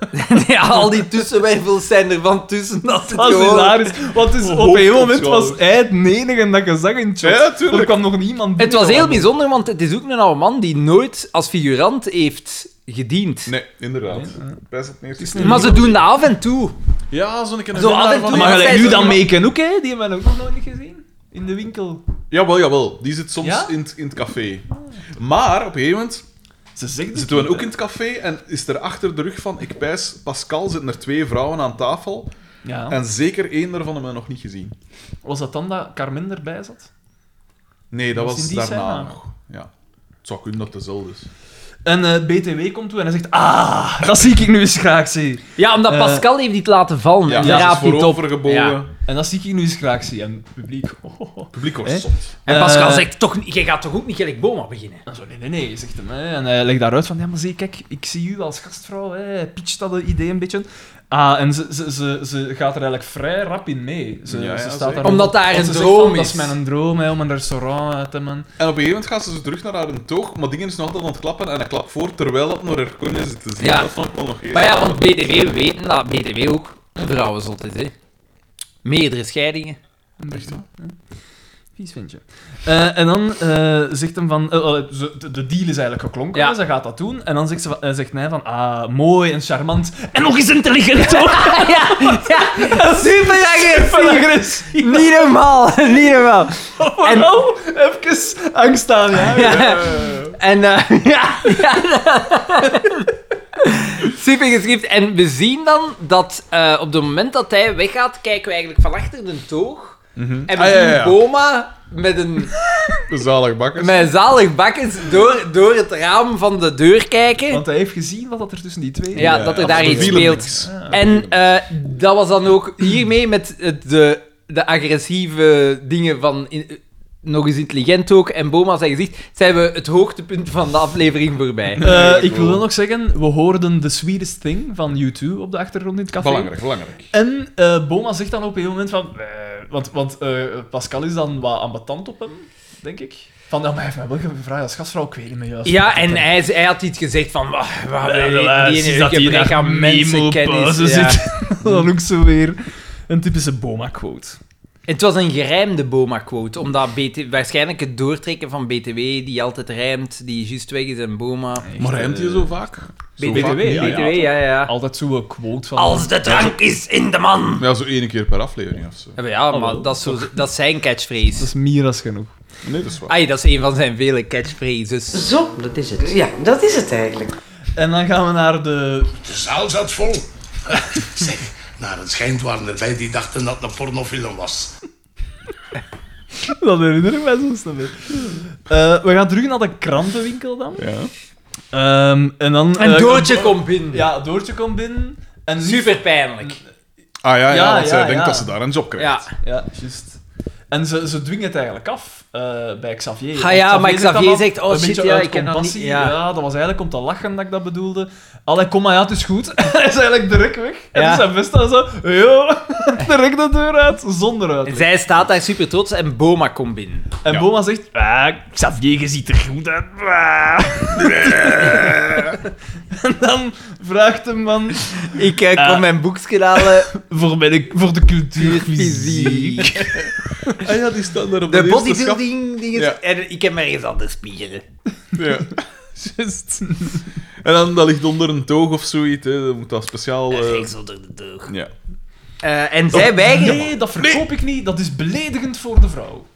Speaker 2: ja, al die tussenwervels zijn er van tussen. Dat is het
Speaker 3: Dat is
Speaker 2: gewoon-
Speaker 3: hilarisch. Want dus op
Speaker 1: Hoofd
Speaker 3: een heel
Speaker 1: op
Speaker 3: moment was
Speaker 1: schouders.
Speaker 3: hij het enige dat je zag in het shot.
Speaker 1: Ja, tuurlijk.
Speaker 3: Er kwam nog niemand
Speaker 2: Het was heel
Speaker 3: binnen.
Speaker 2: bijzonder, want het is ook een oude man die nooit als figurant heeft gediend.
Speaker 1: Nee, inderdaad. Best het eerste keer.
Speaker 2: Maar ze doen dat af en toe.
Speaker 1: Ja, zo'n keer... een
Speaker 2: Zo
Speaker 1: winnaar
Speaker 2: af en
Speaker 1: van-
Speaker 2: toe.
Speaker 3: ah, Maar gelijk nu
Speaker 2: Zij-
Speaker 3: dan Meken ook, hè? Die hebben we ook nog nooit gezien. In de winkel.
Speaker 1: Jawel, jawel. Die zit soms
Speaker 3: Ja?
Speaker 1: in, het- in het café. Maar op een gegeven moment
Speaker 3: Ze zegt
Speaker 1: Zitten we ook in het café en is er achter de rug van, ik pijs, Pascal, zitten er twee vrouwen aan tafel.
Speaker 3: Ja.
Speaker 1: En zeker één daarvan hebben we nog niet gezien.
Speaker 3: Was dat dan dat Carmen erbij zat?
Speaker 1: Nee, dat
Speaker 3: Was
Speaker 1: was,
Speaker 3: in die
Speaker 1: daarna
Speaker 3: scène?
Speaker 1: nog. Ja. Het zou kunnen dat het dezelfde is.
Speaker 3: En eh, het BTW komt toe en hij zegt... Ah, dat zie ik nu eens graag, zie.
Speaker 2: Ja, omdat
Speaker 3: Eh,
Speaker 2: Pascal heeft dit laten vallen.
Speaker 1: Ja,
Speaker 2: en
Speaker 1: ja,
Speaker 2: daar
Speaker 1: ze is
Speaker 2: raapt niet op.
Speaker 1: voorovergebogen.
Speaker 2: Ja.
Speaker 3: En dat zie ik nu eens graag, zie. En het publiek... oh, oh, oh.
Speaker 1: Publiek
Speaker 3: Hè?
Speaker 1: was zot.
Speaker 2: En Pascal
Speaker 3: Eh,
Speaker 2: zegt, toch, niet- jij gaat toch ook niet gelijk Boma beginnen?
Speaker 3: En zo, nee, nee, nee, zegt hem. Hè. En hij legt daaruit van, ja, maar zie, kijk, ik zie u als gastvrouw, hè. Hij pitcht dat idee een beetje. Ah, en ze, ze, ze, ze gaat er eigenlijk vrij rap in mee. Ze,
Speaker 1: Ja, ja,
Speaker 3: ze staat
Speaker 1: zeker.
Speaker 3: daar
Speaker 2: Omdat daar
Speaker 3: want
Speaker 2: een
Speaker 3: ze zegt
Speaker 2: droom
Speaker 3: van, Dat
Speaker 2: is.
Speaker 3: is mijn droom, hè, om een restaurant uit te hebben.
Speaker 1: En op een gegeven moment gaat ze zo terug naar haar toog, maar dingen is nog altijd aan het klappen en hij klapt voor terwijl dat nog haar kon zit te zien.
Speaker 2: Ja.
Speaker 1: Dat vond ik wel nog heel
Speaker 2: Maar ja, want BTW, we weten dat BTW ook een vrouwenzot is, hè. Meerdere scheidingen.
Speaker 3: Vies vind je. Eh, en dan eh, zegt hem van... eh, eh, ze- de, de deal is eigenlijk geklonken,
Speaker 2: Ja.
Speaker 3: hè, ze gaat dat doen. En dan zegt, ze, van- eh, zegt hij van, ah, mooi en charmant. En nog eens
Speaker 2: Intelligent, toch? ja, ja. Super agressief.
Speaker 3: agressief.
Speaker 2: Niet normaal, niet normaal.
Speaker 3: En nou even angst aan, ja.
Speaker 2: Ja. En eh, ja, ja. Super geschikt. En we zien dan dat eh, op het moment dat hij weggaat, kijken we eigenlijk van achter de toog. En we
Speaker 1: Ah, ja,
Speaker 2: zien
Speaker 1: ja, ja.
Speaker 2: Boma met een,
Speaker 1: Zalig bakkers.
Speaker 2: met een zalig bakkens door, door het raam van de deur kijken.
Speaker 3: Want hij heeft gezien wat dat er tussen die twee...
Speaker 2: ja, dat er daar
Speaker 1: absoluut.
Speaker 2: iets
Speaker 1: Wielen
Speaker 2: speelt.
Speaker 1: niks.
Speaker 2: En eh, dat was dan ook hiermee met het, de, de agressieve dingen van. in- eh, nog eens intelligent ook, en Boma zijn gezicht, zijn we het hoogtepunt van de aflevering voorbij.
Speaker 3: Eh, ik wil wel nog zeggen, we hoorden The Sweetest Thing van U2 op de achtergrond in het café.
Speaker 1: Belangrijk, belangrijk.
Speaker 3: En eh, Boma zegt dan op een moment van... eh, want want eh, Pascal is dan wat ambetant op hem, denk ik. Van, ja, maar hij heeft mij wel gevraagd als gastvrouw, ik weet niet meer juist.
Speaker 2: Ja, en hij, hij had iets gezegd van... "Wah, wah, we weten niet, ik heb
Speaker 3: hier
Speaker 2: echt aan mensenkennis. ja.
Speaker 3: zit. dan ook zo weer een typische Boma-quote.
Speaker 2: Het was een gerijmde Boma-quote, omdat BT, waarschijnlijk het doortrekken van BTW, die altijd rijmt, die juist weg is en Boma...
Speaker 1: Maar rijmt je zo vaak? Zo
Speaker 3: BTW,
Speaker 1: vaak niet,
Speaker 3: ja,
Speaker 2: BTW,
Speaker 1: ja.
Speaker 2: ja, ja.
Speaker 3: Altijd zo'n quote van...
Speaker 2: Als de drank is in de man!
Speaker 1: Ja, zo één keer per aflevering of zo.
Speaker 2: Ja, maar ja, maar dat is, zo, dat is zijn
Speaker 3: Dat
Speaker 2: catchphrase.
Speaker 3: is Mira's genoeg.
Speaker 1: Nee, dat is waar.
Speaker 2: Ai, dat is een van zijn vele catchphrases.
Speaker 8: Zo, dat is het. Ja, dat is het eigenlijk.
Speaker 3: En dan gaan we naar de...
Speaker 6: De zaal zat vol. zeg, naar het schijnt waren er wij die dachten dat het een pornofilm was.
Speaker 3: Dat herinner ik mij soms nog weer. Eh, we gaan terug naar de krantenwinkel dan.
Speaker 1: Ja. Ah,
Speaker 3: Ehm, en dan...
Speaker 2: En
Speaker 3: eh,
Speaker 2: Doortje komt binnen.
Speaker 3: Ja, Doortje komt binnen. En
Speaker 2: Super pijnlijk.
Speaker 1: Ah ja, ja,
Speaker 3: Ja,
Speaker 1: want zij
Speaker 3: ja,
Speaker 1: denkt
Speaker 3: ja.
Speaker 1: dat ze daar een job krijgt.
Speaker 2: Ja.
Speaker 3: Ja, juist. En ze, ze dwingen het eigenlijk af eh, bij Xavier.
Speaker 2: Ah ja, maar
Speaker 3: zegt dan
Speaker 2: Xavier
Speaker 3: van,
Speaker 2: zegt, oh
Speaker 3: een
Speaker 2: shit,
Speaker 3: beetje
Speaker 2: ja,
Speaker 3: uit
Speaker 2: ik heb dat
Speaker 3: compassie.
Speaker 2: niet-
Speaker 3: Ja.
Speaker 2: ja.
Speaker 3: dat was eigenlijk om te lachen dat ik dat bedoelde. Allee, kom maar, ja, het is goed. Hij is eigenlijk direct weg. En
Speaker 2: Ja.
Speaker 3: dus zijn best dan zo, yo, direct de deur uit, zonder uit.
Speaker 2: En zij staat daar super trots en Boma komt binnen.
Speaker 3: En
Speaker 1: Ja.
Speaker 3: Boma zegt, ah, Xavier, je ziet er goed uit. Ah. en dan vraagt de man,
Speaker 2: Ik eh, kom
Speaker 3: Ah.
Speaker 2: mijn boekje halen.
Speaker 3: voor, mijn, voor de cultuurvisie.
Speaker 2: Fysiek.
Speaker 1: Ah ja, die staan daar op
Speaker 2: De
Speaker 1: dat eerste schap.
Speaker 2: bodybuilding dingen.
Speaker 1: Ja.
Speaker 2: En ik heb maar eens anders spiegelen.
Speaker 1: Ja. En dan, dat ligt onder een toog of zoiets. Hè. Dan moet dat speciaal... eh,
Speaker 2: Rechts onder de deur.
Speaker 1: ja.
Speaker 2: Eh, en zij weigeren.
Speaker 3: Nee, dat verkoop ik niet. Dat is beledigend voor de vrouw.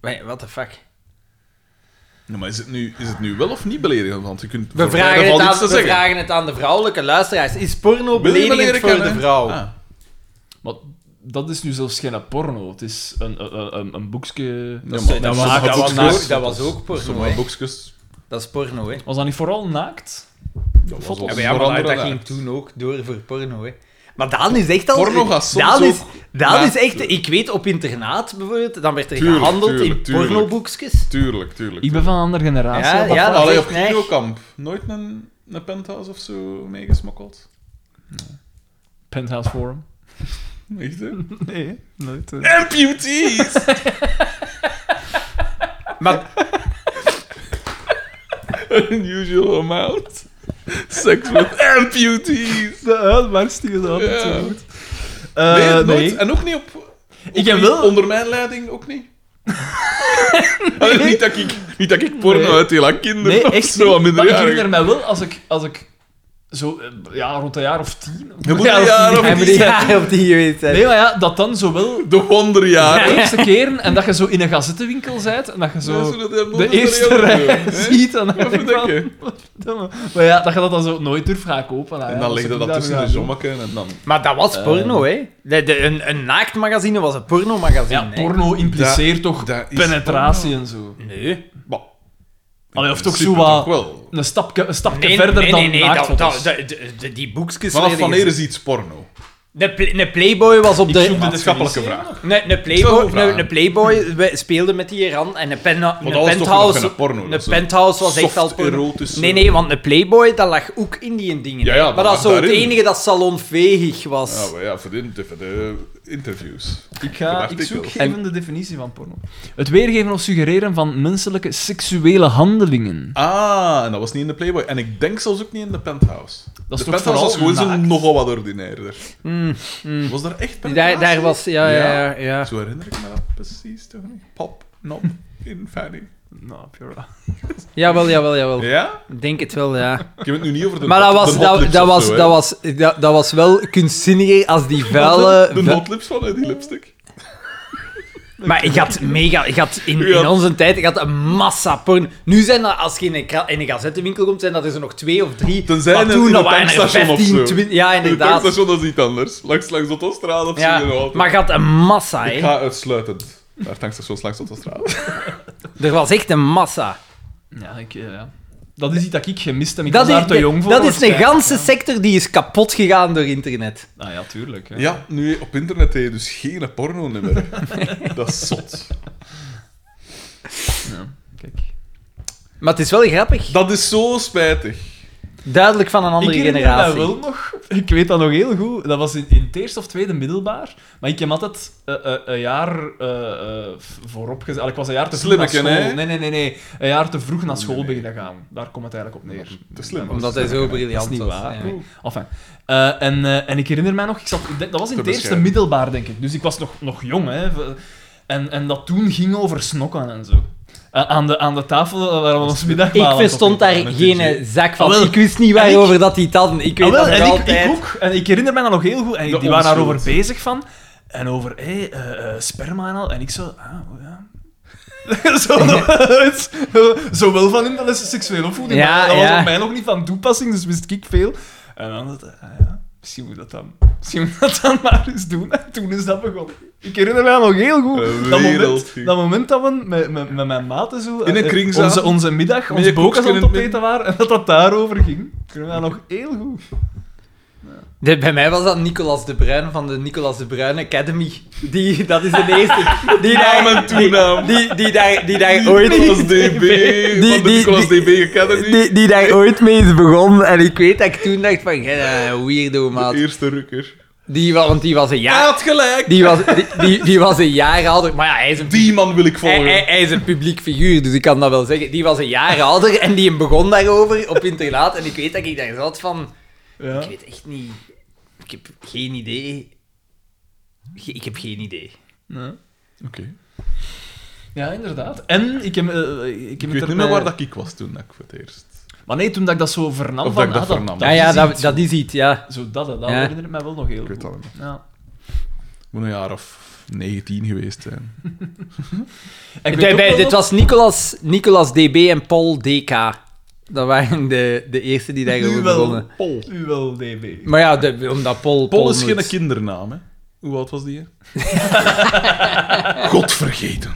Speaker 2: Wait, what the fuck?
Speaker 1: Ja, maar is het, nu, is het nu wel of niet beledigend? Want je kunt
Speaker 2: We,
Speaker 1: voor beide
Speaker 2: vragen het,
Speaker 1: valt
Speaker 2: aan,
Speaker 1: iets te
Speaker 2: we
Speaker 1: zeggen.
Speaker 2: vragen het aan de vrouwelijke luisteraars. Is porno
Speaker 1: Wil je
Speaker 2: beledigend voor
Speaker 1: kennen?
Speaker 2: de vrouw?
Speaker 1: Ah.
Speaker 3: Maar dat is nu zelfs geen porno. Het is een, een, een, een boekje.
Speaker 1: Ja,
Speaker 3: is-
Speaker 1: Nou, maar
Speaker 2: dat
Speaker 1: sommige
Speaker 2: was- dat was
Speaker 1: boekjes-
Speaker 2: ook- dat was ook porno,
Speaker 1: Sommige
Speaker 2: hè.
Speaker 1: boekjes-
Speaker 2: Dat is porno, hè?
Speaker 3: Was dat niet vooral naakt?
Speaker 1: Dat was
Speaker 3: Ja,
Speaker 1: wel
Speaker 2: Ja, maar ja, maar
Speaker 1: veranderen
Speaker 2: dat
Speaker 1: daar.
Speaker 2: ging toen ook door voor porno, hè. Maar Daan is echt al...
Speaker 1: Porno gaat soms
Speaker 2: Daan is,
Speaker 1: ook-
Speaker 2: Daan
Speaker 1: Ja,
Speaker 2: is echt...
Speaker 1: tuurlijk.
Speaker 2: Ik weet, op internaat bijvoorbeeld, dan werd er
Speaker 1: Tuurlijk,
Speaker 2: gehandeld in
Speaker 1: tuurlijk, tuurlijk.
Speaker 2: pornoboekjes.
Speaker 1: Tuurlijk, tuurlijk.
Speaker 3: Ik ben van een andere generatie.
Speaker 2: Ja,
Speaker 3: wat dat
Speaker 2: ja,
Speaker 3: valt.
Speaker 2: dat-
Speaker 1: Allee,
Speaker 2: is
Speaker 1: op
Speaker 2: echt neig.
Speaker 1: Kinokamp. Nooit een, een penthouse of zo meegesmokkeld?
Speaker 3: Penthouse Forum.
Speaker 1: Echt, hè?
Speaker 3: Nee, nooit.
Speaker 1: eh. Amputees!
Speaker 2: Maar
Speaker 1: An unusual amount. Sex with amputees!
Speaker 3: De uitbarsting is altijd
Speaker 1: Ja.
Speaker 3: zo goed. Eh,
Speaker 1: nee, nooit.
Speaker 3: nee.
Speaker 1: En ook niet op... ook
Speaker 3: Ik heb
Speaker 1: niet
Speaker 3: wel-
Speaker 1: Onder mijn leiding ook niet. Allee, niet, dat ik, niet dat ik porno
Speaker 3: Nee.
Speaker 1: uitdeel aan kinderen
Speaker 3: Nee,
Speaker 1: of
Speaker 3: echt
Speaker 1: zo,
Speaker 3: niet.
Speaker 1: aan
Speaker 3: Maar ik
Speaker 1: minderjarigen.
Speaker 3: herinner mij wel, als ik, als ik zo, eh, ja, rond een jaar of tien.
Speaker 1: Je moet
Speaker 3: Ja,
Speaker 1: een
Speaker 3: of
Speaker 1: jaar
Speaker 3: tien.
Speaker 1: of
Speaker 2: Hij moet
Speaker 1: tien.
Speaker 2: een jaar op die geweest zijn.
Speaker 3: Nee, maar ja, dat dan zowel
Speaker 1: De wonderjaar.
Speaker 3: de eerste keren en dat je zo in een gazettenwinkel bent en dat je
Speaker 1: Ja,
Speaker 3: zo
Speaker 1: zodat hij hem
Speaker 3: de
Speaker 1: onder
Speaker 3: eerste
Speaker 1: jaren
Speaker 3: rij
Speaker 1: doet, hè?
Speaker 3: ziet. En dan
Speaker 1: Even
Speaker 3: denk ik van,
Speaker 1: denken.
Speaker 3: verdomme. Maar ja, dat je dat dan zo nooit durft gaan kopen. nou ja,
Speaker 1: En dan
Speaker 3: als
Speaker 1: legde
Speaker 3: ik
Speaker 1: dat
Speaker 3: daar
Speaker 1: tussen
Speaker 3: nu
Speaker 1: de
Speaker 3: aan doe.
Speaker 1: zomakken en dan...
Speaker 2: Maar dat was porno, hè? De, de, een, een naaktmagazine was een pornomagazine.
Speaker 3: Ja,
Speaker 2: hè.
Speaker 3: porno impliceert toch
Speaker 1: dat is
Speaker 3: penetratie en zo.
Speaker 2: Nee.
Speaker 1: Bah, in
Speaker 3: Allee, of toch
Speaker 1: principe
Speaker 3: zo wat...
Speaker 1: toch wel.
Speaker 3: Een stapje, een stapje
Speaker 2: Nee,
Speaker 3: verder
Speaker 2: nee,
Speaker 3: dan
Speaker 2: nee, nee, dat,
Speaker 3: naaktfoto's.
Speaker 2: dat, dat- de- de- die boekjes...
Speaker 1: Vanaf
Speaker 2: werden
Speaker 1: wanneer
Speaker 2: gezien.
Speaker 1: is iets porno?
Speaker 2: De, pl- de Playboy was op de... Ah,
Speaker 3: zoek dit
Speaker 1: Maatschappelijke
Speaker 3: eens
Speaker 1: vraag.
Speaker 2: Een een
Speaker 1: Ik
Speaker 2: Playboy,
Speaker 1: zou vragen.
Speaker 2: een- een playboy we- speelde met die rand en een, pen, een
Speaker 1: dat was toch nog
Speaker 2: penthouse...
Speaker 1: geen porno, dat
Speaker 2: een
Speaker 1: is een
Speaker 2: penthouse was echt wel
Speaker 1: soft
Speaker 2: porno.
Speaker 1: erotische-
Speaker 2: Nee, nee, want een Playboy, dat lag ook in die dingen.
Speaker 1: Ja, ja,
Speaker 2: maar
Speaker 1: dat
Speaker 2: dat
Speaker 1: lag
Speaker 2: was zo het
Speaker 1: daarin.
Speaker 2: enige dat salonveeg was.
Speaker 1: Ja, maar Ah, ja, voor de, voor de interviews.
Speaker 3: Ik,
Speaker 1: Dat
Speaker 3: ga,
Speaker 1: dacht
Speaker 3: ik
Speaker 1: ik
Speaker 3: zoek
Speaker 1: wel.
Speaker 3: even de definitie van porno. Het weergeven of suggereren van menselijke seksuele handelingen.
Speaker 1: Ah, en dat was niet in de Playboy. En ik denk zelfs ook niet in de Penthouse.
Speaker 3: Dat is
Speaker 1: de
Speaker 3: toch
Speaker 1: Penthouse was
Speaker 3: vooral
Speaker 1: gewoon zo
Speaker 3: naakt?
Speaker 1: nogal wat ordinairder. Was daar echt Penthouse?
Speaker 2: Mm, Daar, daar was... Ja, ja, ja. ja.
Speaker 1: Zo herinner ik me dat precies toch niet. Pop, nop, in Fanny.
Speaker 3: Nou, Pura.
Speaker 2: Jawel, jawel, jawel.
Speaker 1: Ja?
Speaker 2: Ik denk het wel, ja.
Speaker 1: Ik heb het nu niet over de
Speaker 2: Maar dat
Speaker 1: hot-
Speaker 2: was,
Speaker 1: de
Speaker 2: dat,
Speaker 1: hotlips
Speaker 2: dat,
Speaker 1: of
Speaker 2: was,
Speaker 1: zo, hè.
Speaker 2: dat, was, dat, dat was wel kunstzinniger als die vuile...
Speaker 1: De
Speaker 2: vu-
Speaker 1: hotlips van, hè, die lipstick.
Speaker 2: maar ik had mega... Ik had in,
Speaker 1: Ja.
Speaker 2: in onze tijd ik had een massa porno. Nu zijn dat, als je in een, kra- in een gazettenwinkel komt, zijn dat er zo nog twee of drie.
Speaker 1: Tenzij
Speaker 2: maar
Speaker 1: in een-
Speaker 2: toen
Speaker 1: in
Speaker 2: dat
Speaker 1: een
Speaker 2: waren er
Speaker 1: tankstation of
Speaker 2: 15,
Speaker 1: zo.
Speaker 2: 20... Ja,
Speaker 1: Het
Speaker 2: inderdaad.
Speaker 1: tankstation, dat is iets anders. Langs, langs Autostrade of
Speaker 2: Ja,
Speaker 1: zo. je nog
Speaker 2: maar je had een massa,
Speaker 1: altijd. Ik
Speaker 2: hè.
Speaker 1: ga uitsluitend naar tankstations langs Autostrade.
Speaker 2: Er was echt een massa.
Speaker 3: Ja, ik, eh, ja. Dat is iets dat ik gemist heb. Ik
Speaker 2: Dat
Speaker 3: was daar
Speaker 2: is,
Speaker 3: te jong voor.
Speaker 2: dat is een
Speaker 3: waarschijnlijk.
Speaker 2: ganse sector die is kapot gegaan door internet.
Speaker 3: Ah ja, tuurlijk. Hè.
Speaker 1: Ja, nu op internet heb je dus geen porno meer. dat is zot.
Speaker 3: Kijk.
Speaker 2: Maar het is wel grappig.
Speaker 1: Dat is zo spijtig.
Speaker 2: Duidelijk van een andere
Speaker 3: ik herinner
Speaker 2: generatie.
Speaker 3: dat wel nog. Ik weet dat nog heel goed. Dat was in, in het eerste of tweede middelbaar. Maar ik heb altijd eh, eh, een jaar eh, eh, v- voorop gezet. Ik was een jaar te vroeg
Speaker 1: Slimmeke,
Speaker 3: naar school.
Speaker 1: hè?
Speaker 3: Nee, nee, nee, nee. Een jaar te vroeg naar school beginnen gaan. Daar komt het eigenlijk op neer.
Speaker 1: Te slim was.
Speaker 2: Omdat hij zo briljant
Speaker 3: Dat is niet
Speaker 2: was.
Speaker 3: waar.
Speaker 2: ja.
Speaker 3: Cool. Enfin. Eh, en, eh, en ik herinner mij nog, ik zat, ik denk- dat was in
Speaker 1: Te
Speaker 3: het eerste
Speaker 1: bescheiden.
Speaker 3: middelbaar, denk ik. Dus ik was nog, nog jong. Hè. V- En, en dat toen ging over snokken en zo. Eh, aan, de, aan de tafel eh, waar we ons middagmaal
Speaker 2: Ik verstond daar
Speaker 1: met
Speaker 2: geen
Speaker 1: DJ.
Speaker 2: zak van.
Speaker 3: Ah, wel.
Speaker 2: ik wist niet
Speaker 3: En ik-
Speaker 2: waarover dat die het hadden. Ik weet
Speaker 3: Ah, wel,
Speaker 2: dat
Speaker 3: en
Speaker 2: nog
Speaker 3: ik, ik
Speaker 2: altijd.
Speaker 3: ook. En ik herinner mij dat nog heel goed. En
Speaker 1: De
Speaker 3: die waren daarover
Speaker 1: onschuld.
Speaker 3: bezig van. En over hé, eh, eh, sperma en al. En ik zo... Ah, oh ja. zo, zowel van in dat is seksueel opvoeding.
Speaker 2: Ja,
Speaker 3: maar dat
Speaker 2: ja.
Speaker 3: was op mij nog niet van toepassing, dus wist ik veel. En dan dat... Ah, ja. Misschien moet dat dan... Misschien moet dat dan maar eens doen. En toen is dat begonnen. Ik herinner mij nog heel goed.
Speaker 1: Een
Speaker 3: Dat moment,
Speaker 1: wereldfeest.
Speaker 3: dat moment dat we met, met, met mijn maten zo...
Speaker 1: In een
Speaker 3: eh,
Speaker 1: kring
Speaker 3: onze,
Speaker 1: zaten.
Speaker 3: onze middag,
Speaker 1: Met
Speaker 3: ons
Speaker 1: je
Speaker 3: boekjes aan
Speaker 1: koekje
Speaker 3: het
Speaker 1: in het midden.
Speaker 3: opeten waren. En dat dat daarover ging. Ik herinner mij dat nog heel goed.
Speaker 2: De- bij mij was dat Nicolas de Bruin van de Nicolas de Bruin Academy. Die, dat is de eerste. Die
Speaker 1: Naam en
Speaker 2: daar, die,
Speaker 1: toenaam.
Speaker 2: die, die daar, die daar ooit...
Speaker 1: Nicolas DB, van de
Speaker 2: die-
Speaker 1: Nicolas
Speaker 2: die-
Speaker 1: DB Academy.
Speaker 2: Die, die daar ooit mee is begonnen. En ik weet dat ik toen dacht van... Ja, weirdo, maat.
Speaker 1: De eerste rukker.
Speaker 2: Die, wa- want die was een
Speaker 1: Hij
Speaker 2: jaar...
Speaker 1: had gelijk. Die,
Speaker 2: Die was, die, die, die was een jaar ouder. Maar ja, hij is een
Speaker 1: man wil ik volgen.
Speaker 2: Hij, hij- hij is een publiek figuur, dus ik kan dat wel zeggen. Die was een jaar ouder en die begon daarover op internaat. En ik weet dat ik daar zat van... Ik weet echt niet... Ik heb geen idee. Ge- Ik heb geen idee.
Speaker 1: Oké.
Speaker 3: Ja, inderdaad. En ik heb, eh, ik heb
Speaker 1: Ik
Speaker 3: het
Speaker 1: weet
Speaker 3: er
Speaker 1: niet meer
Speaker 3: bij-
Speaker 1: waar dat ik was toen dat ik voor het eerst.
Speaker 3: Maar nee, toen dat ik dat zo vernam
Speaker 1: Of
Speaker 3: van...
Speaker 1: dat ik dat
Speaker 3: ah, dat,
Speaker 1: vernam.
Speaker 3: dat
Speaker 1: Ja,
Speaker 3: is iets.
Speaker 2: is iets, ja.
Speaker 3: Zo dat, hè, dat
Speaker 2: Ja.
Speaker 3: herinner ik mij wel nog heel
Speaker 1: Ik weet
Speaker 3: goed.
Speaker 1: dat niet.
Speaker 3: Ja.
Speaker 1: Ik moet een jaar of 19 geweest zijn.
Speaker 3: Ik weet
Speaker 2: Bij-
Speaker 3: ook
Speaker 2: bij-
Speaker 3: wel
Speaker 2: dit
Speaker 3: dat-
Speaker 2: was Nicolas, Nicolas DB en Paul DK. Dat waren de, de eerste die daarover
Speaker 3: Nu wel.
Speaker 2: begonnen.
Speaker 1: Pol.
Speaker 3: U wel, DB.
Speaker 2: Maar ja, de- omdat Paul...
Speaker 1: Pol is
Speaker 2: moet-
Speaker 1: geen kindernaam, hè. Hoe oud was die, hè? God vergeten.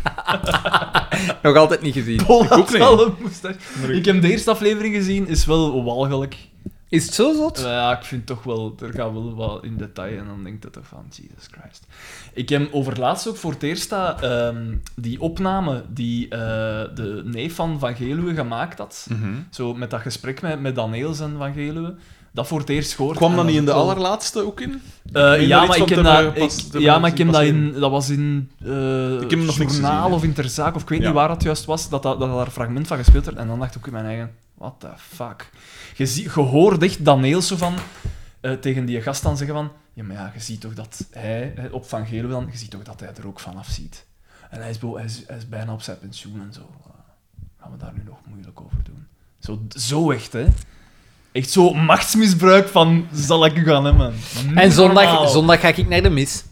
Speaker 2: Nog altijd niet gezien.
Speaker 3: Paul
Speaker 1: ook
Speaker 3: had
Speaker 1: niet.
Speaker 3: wel een moustache. Ik heb de eerste aflevering gezien, is wel walgelijk.
Speaker 2: Is het zo zot?
Speaker 3: Eh, Ja, ik vind toch wel... Er gaat wel wat in detail en dan denk ik toch van... Jesus Christ. Ik heb overlaatst ook voor het eerst dat, ehm, die opname die eh, de neef van Van Geluwe gemaakt had.
Speaker 1: Mhm.
Speaker 3: Zo met dat gesprek met, met Daniels en Van Geluwe. Dat voor het eerst gehoord.
Speaker 1: Kwam
Speaker 3: En
Speaker 1: dat niet in de
Speaker 3: wel-
Speaker 1: allerlaatste ook in?
Speaker 3: Eh,
Speaker 1: Meen
Speaker 3: ja,
Speaker 1: daar iets
Speaker 3: maar ik
Speaker 1: van
Speaker 3: heb
Speaker 1: te
Speaker 3: dat,
Speaker 1: hebben gepast-
Speaker 3: ik-
Speaker 1: te
Speaker 3: ja,
Speaker 1: hebben
Speaker 3: maar ik heb dat
Speaker 1: gezien
Speaker 3: in... Dat was in eh
Speaker 1: Ik heb nog niks
Speaker 3: Journaal
Speaker 1: gezien, hè.
Speaker 3: of Interzaak, of ik weet
Speaker 1: Ja.
Speaker 3: niet waar dat juist was, dat, dat, dat daar een fragment van gespeeld werd. En dan dacht ik ook in mijn eigen... What the fuck? Je, zie, je hoort echt Daniels zo van... eh, tegen die gast dan zeggen van... Ja, maar ja, je ziet toch dat hij... hè, Op Van Gelo dan, je ziet toch dat hij er ook van afziet. En hij is, bo- hij is, hij is bijna op zijn pensioen en zo. Eh, Gaan we daar nu nog moeilijk over doen? Zo, zo echt, hè? Echt zo machtsmisbruik van zal ik u gaan hebben. Niet
Speaker 2: En zondag,
Speaker 3: normaal.
Speaker 2: zondag ga ik naar de mis.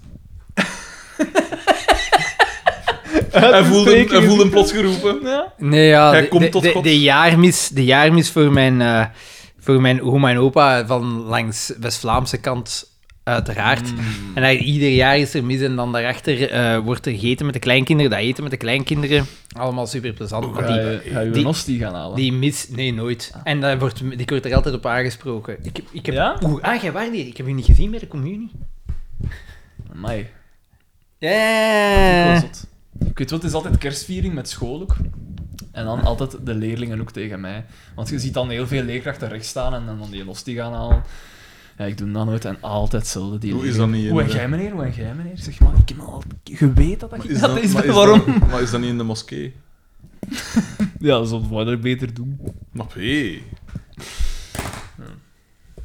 Speaker 1: Hij voelde, hem- hij
Speaker 3: Uitstekend.
Speaker 1: voelde hem plots geroepen.
Speaker 2: Nee, ja,
Speaker 1: Hij
Speaker 2: de,
Speaker 1: komt
Speaker 2: de-
Speaker 1: tot
Speaker 2: de,
Speaker 1: God.
Speaker 2: de jaarmis, de jaarmis voor mijn, eh, voor mijn oma en opa van langs West-Vlaamse kant, uiteraard.
Speaker 1: Hmm.
Speaker 2: En daar, ieder jaar is er mis en dan daarachter eh, wordt er gegeten met de kleinkinderen, dat eten met de kleinkinderen. Allemaal super plezant. maar
Speaker 3: Ga
Speaker 2: die,
Speaker 3: je, ga je
Speaker 2: die-
Speaker 3: een hostie gaan halen?
Speaker 2: die mis, nee, nooit. En daar wordt, ik word er altijd op aangesproken. Ik, heb- ik heb,
Speaker 3: Ja?
Speaker 2: Oeh, ah, jij waar die? Ik heb u niet gezien bij de communie.
Speaker 3: Amai.
Speaker 2: Ja.
Speaker 3: Ik weet wat, het is altijd kerstviering met school ook. En dan altijd de leerlingen ook tegen mij. Want je ziet dan heel veel leerkrachten rechts staan en dan van die los die gaan halen. Ja, ik doe dat nooit en altijd hetzelfde. Die
Speaker 1: Hoe is
Speaker 3: leerlingen.
Speaker 1: dat niet in
Speaker 3: Hoe en
Speaker 1: de-
Speaker 3: jij meneer, hoe en jij meneer? Zeg maar, ik heb al... Je weet dat dat,
Speaker 1: Is
Speaker 3: dat
Speaker 1: dat-
Speaker 3: is,
Speaker 1: maar
Speaker 3: waarom?
Speaker 1: dat- maar is dat niet in de moskee?
Speaker 3: Ja, soms moet je dat beter doen.
Speaker 1: Maar hé,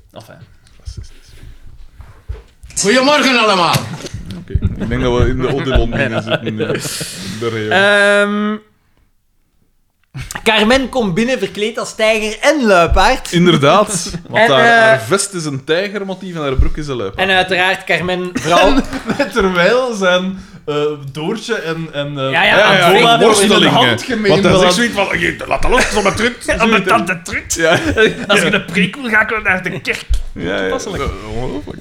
Speaker 3: Enfin.
Speaker 1: racistisch.
Speaker 6: Goedemorgen allemaal.
Speaker 1: Oké, ik denk dat we in de Odilon binnen zitten. ja. De reo.
Speaker 2: Ehm, Carmen komt binnen verkleed als tijger en luipaard.
Speaker 1: Inderdaad, want
Speaker 2: En,
Speaker 1: haar,
Speaker 2: eh,
Speaker 1: haar vest is een tijgermotief en haar broek is een luipaard.
Speaker 2: En uiteraard Carmen vrouw.
Speaker 3: Terwijl zijn
Speaker 1: eh,
Speaker 3: Doortje en, en
Speaker 2: Ja, ja, Ja, ja, Antola
Speaker 1: in worstelingen. Want dan zegt zoiets
Speaker 6: van, je- laat dat los, zo met trut.
Speaker 1: Ja, maar dat
Speaker 6: de trut.
Speaker 1: Ja,
Speaker 6: Als je de preek wil, ga ik wel naar de kerk.
Speaker 1: ja, ja.
Speaker 3: toepasselijk.
Speaker 1: Ongelooflijk.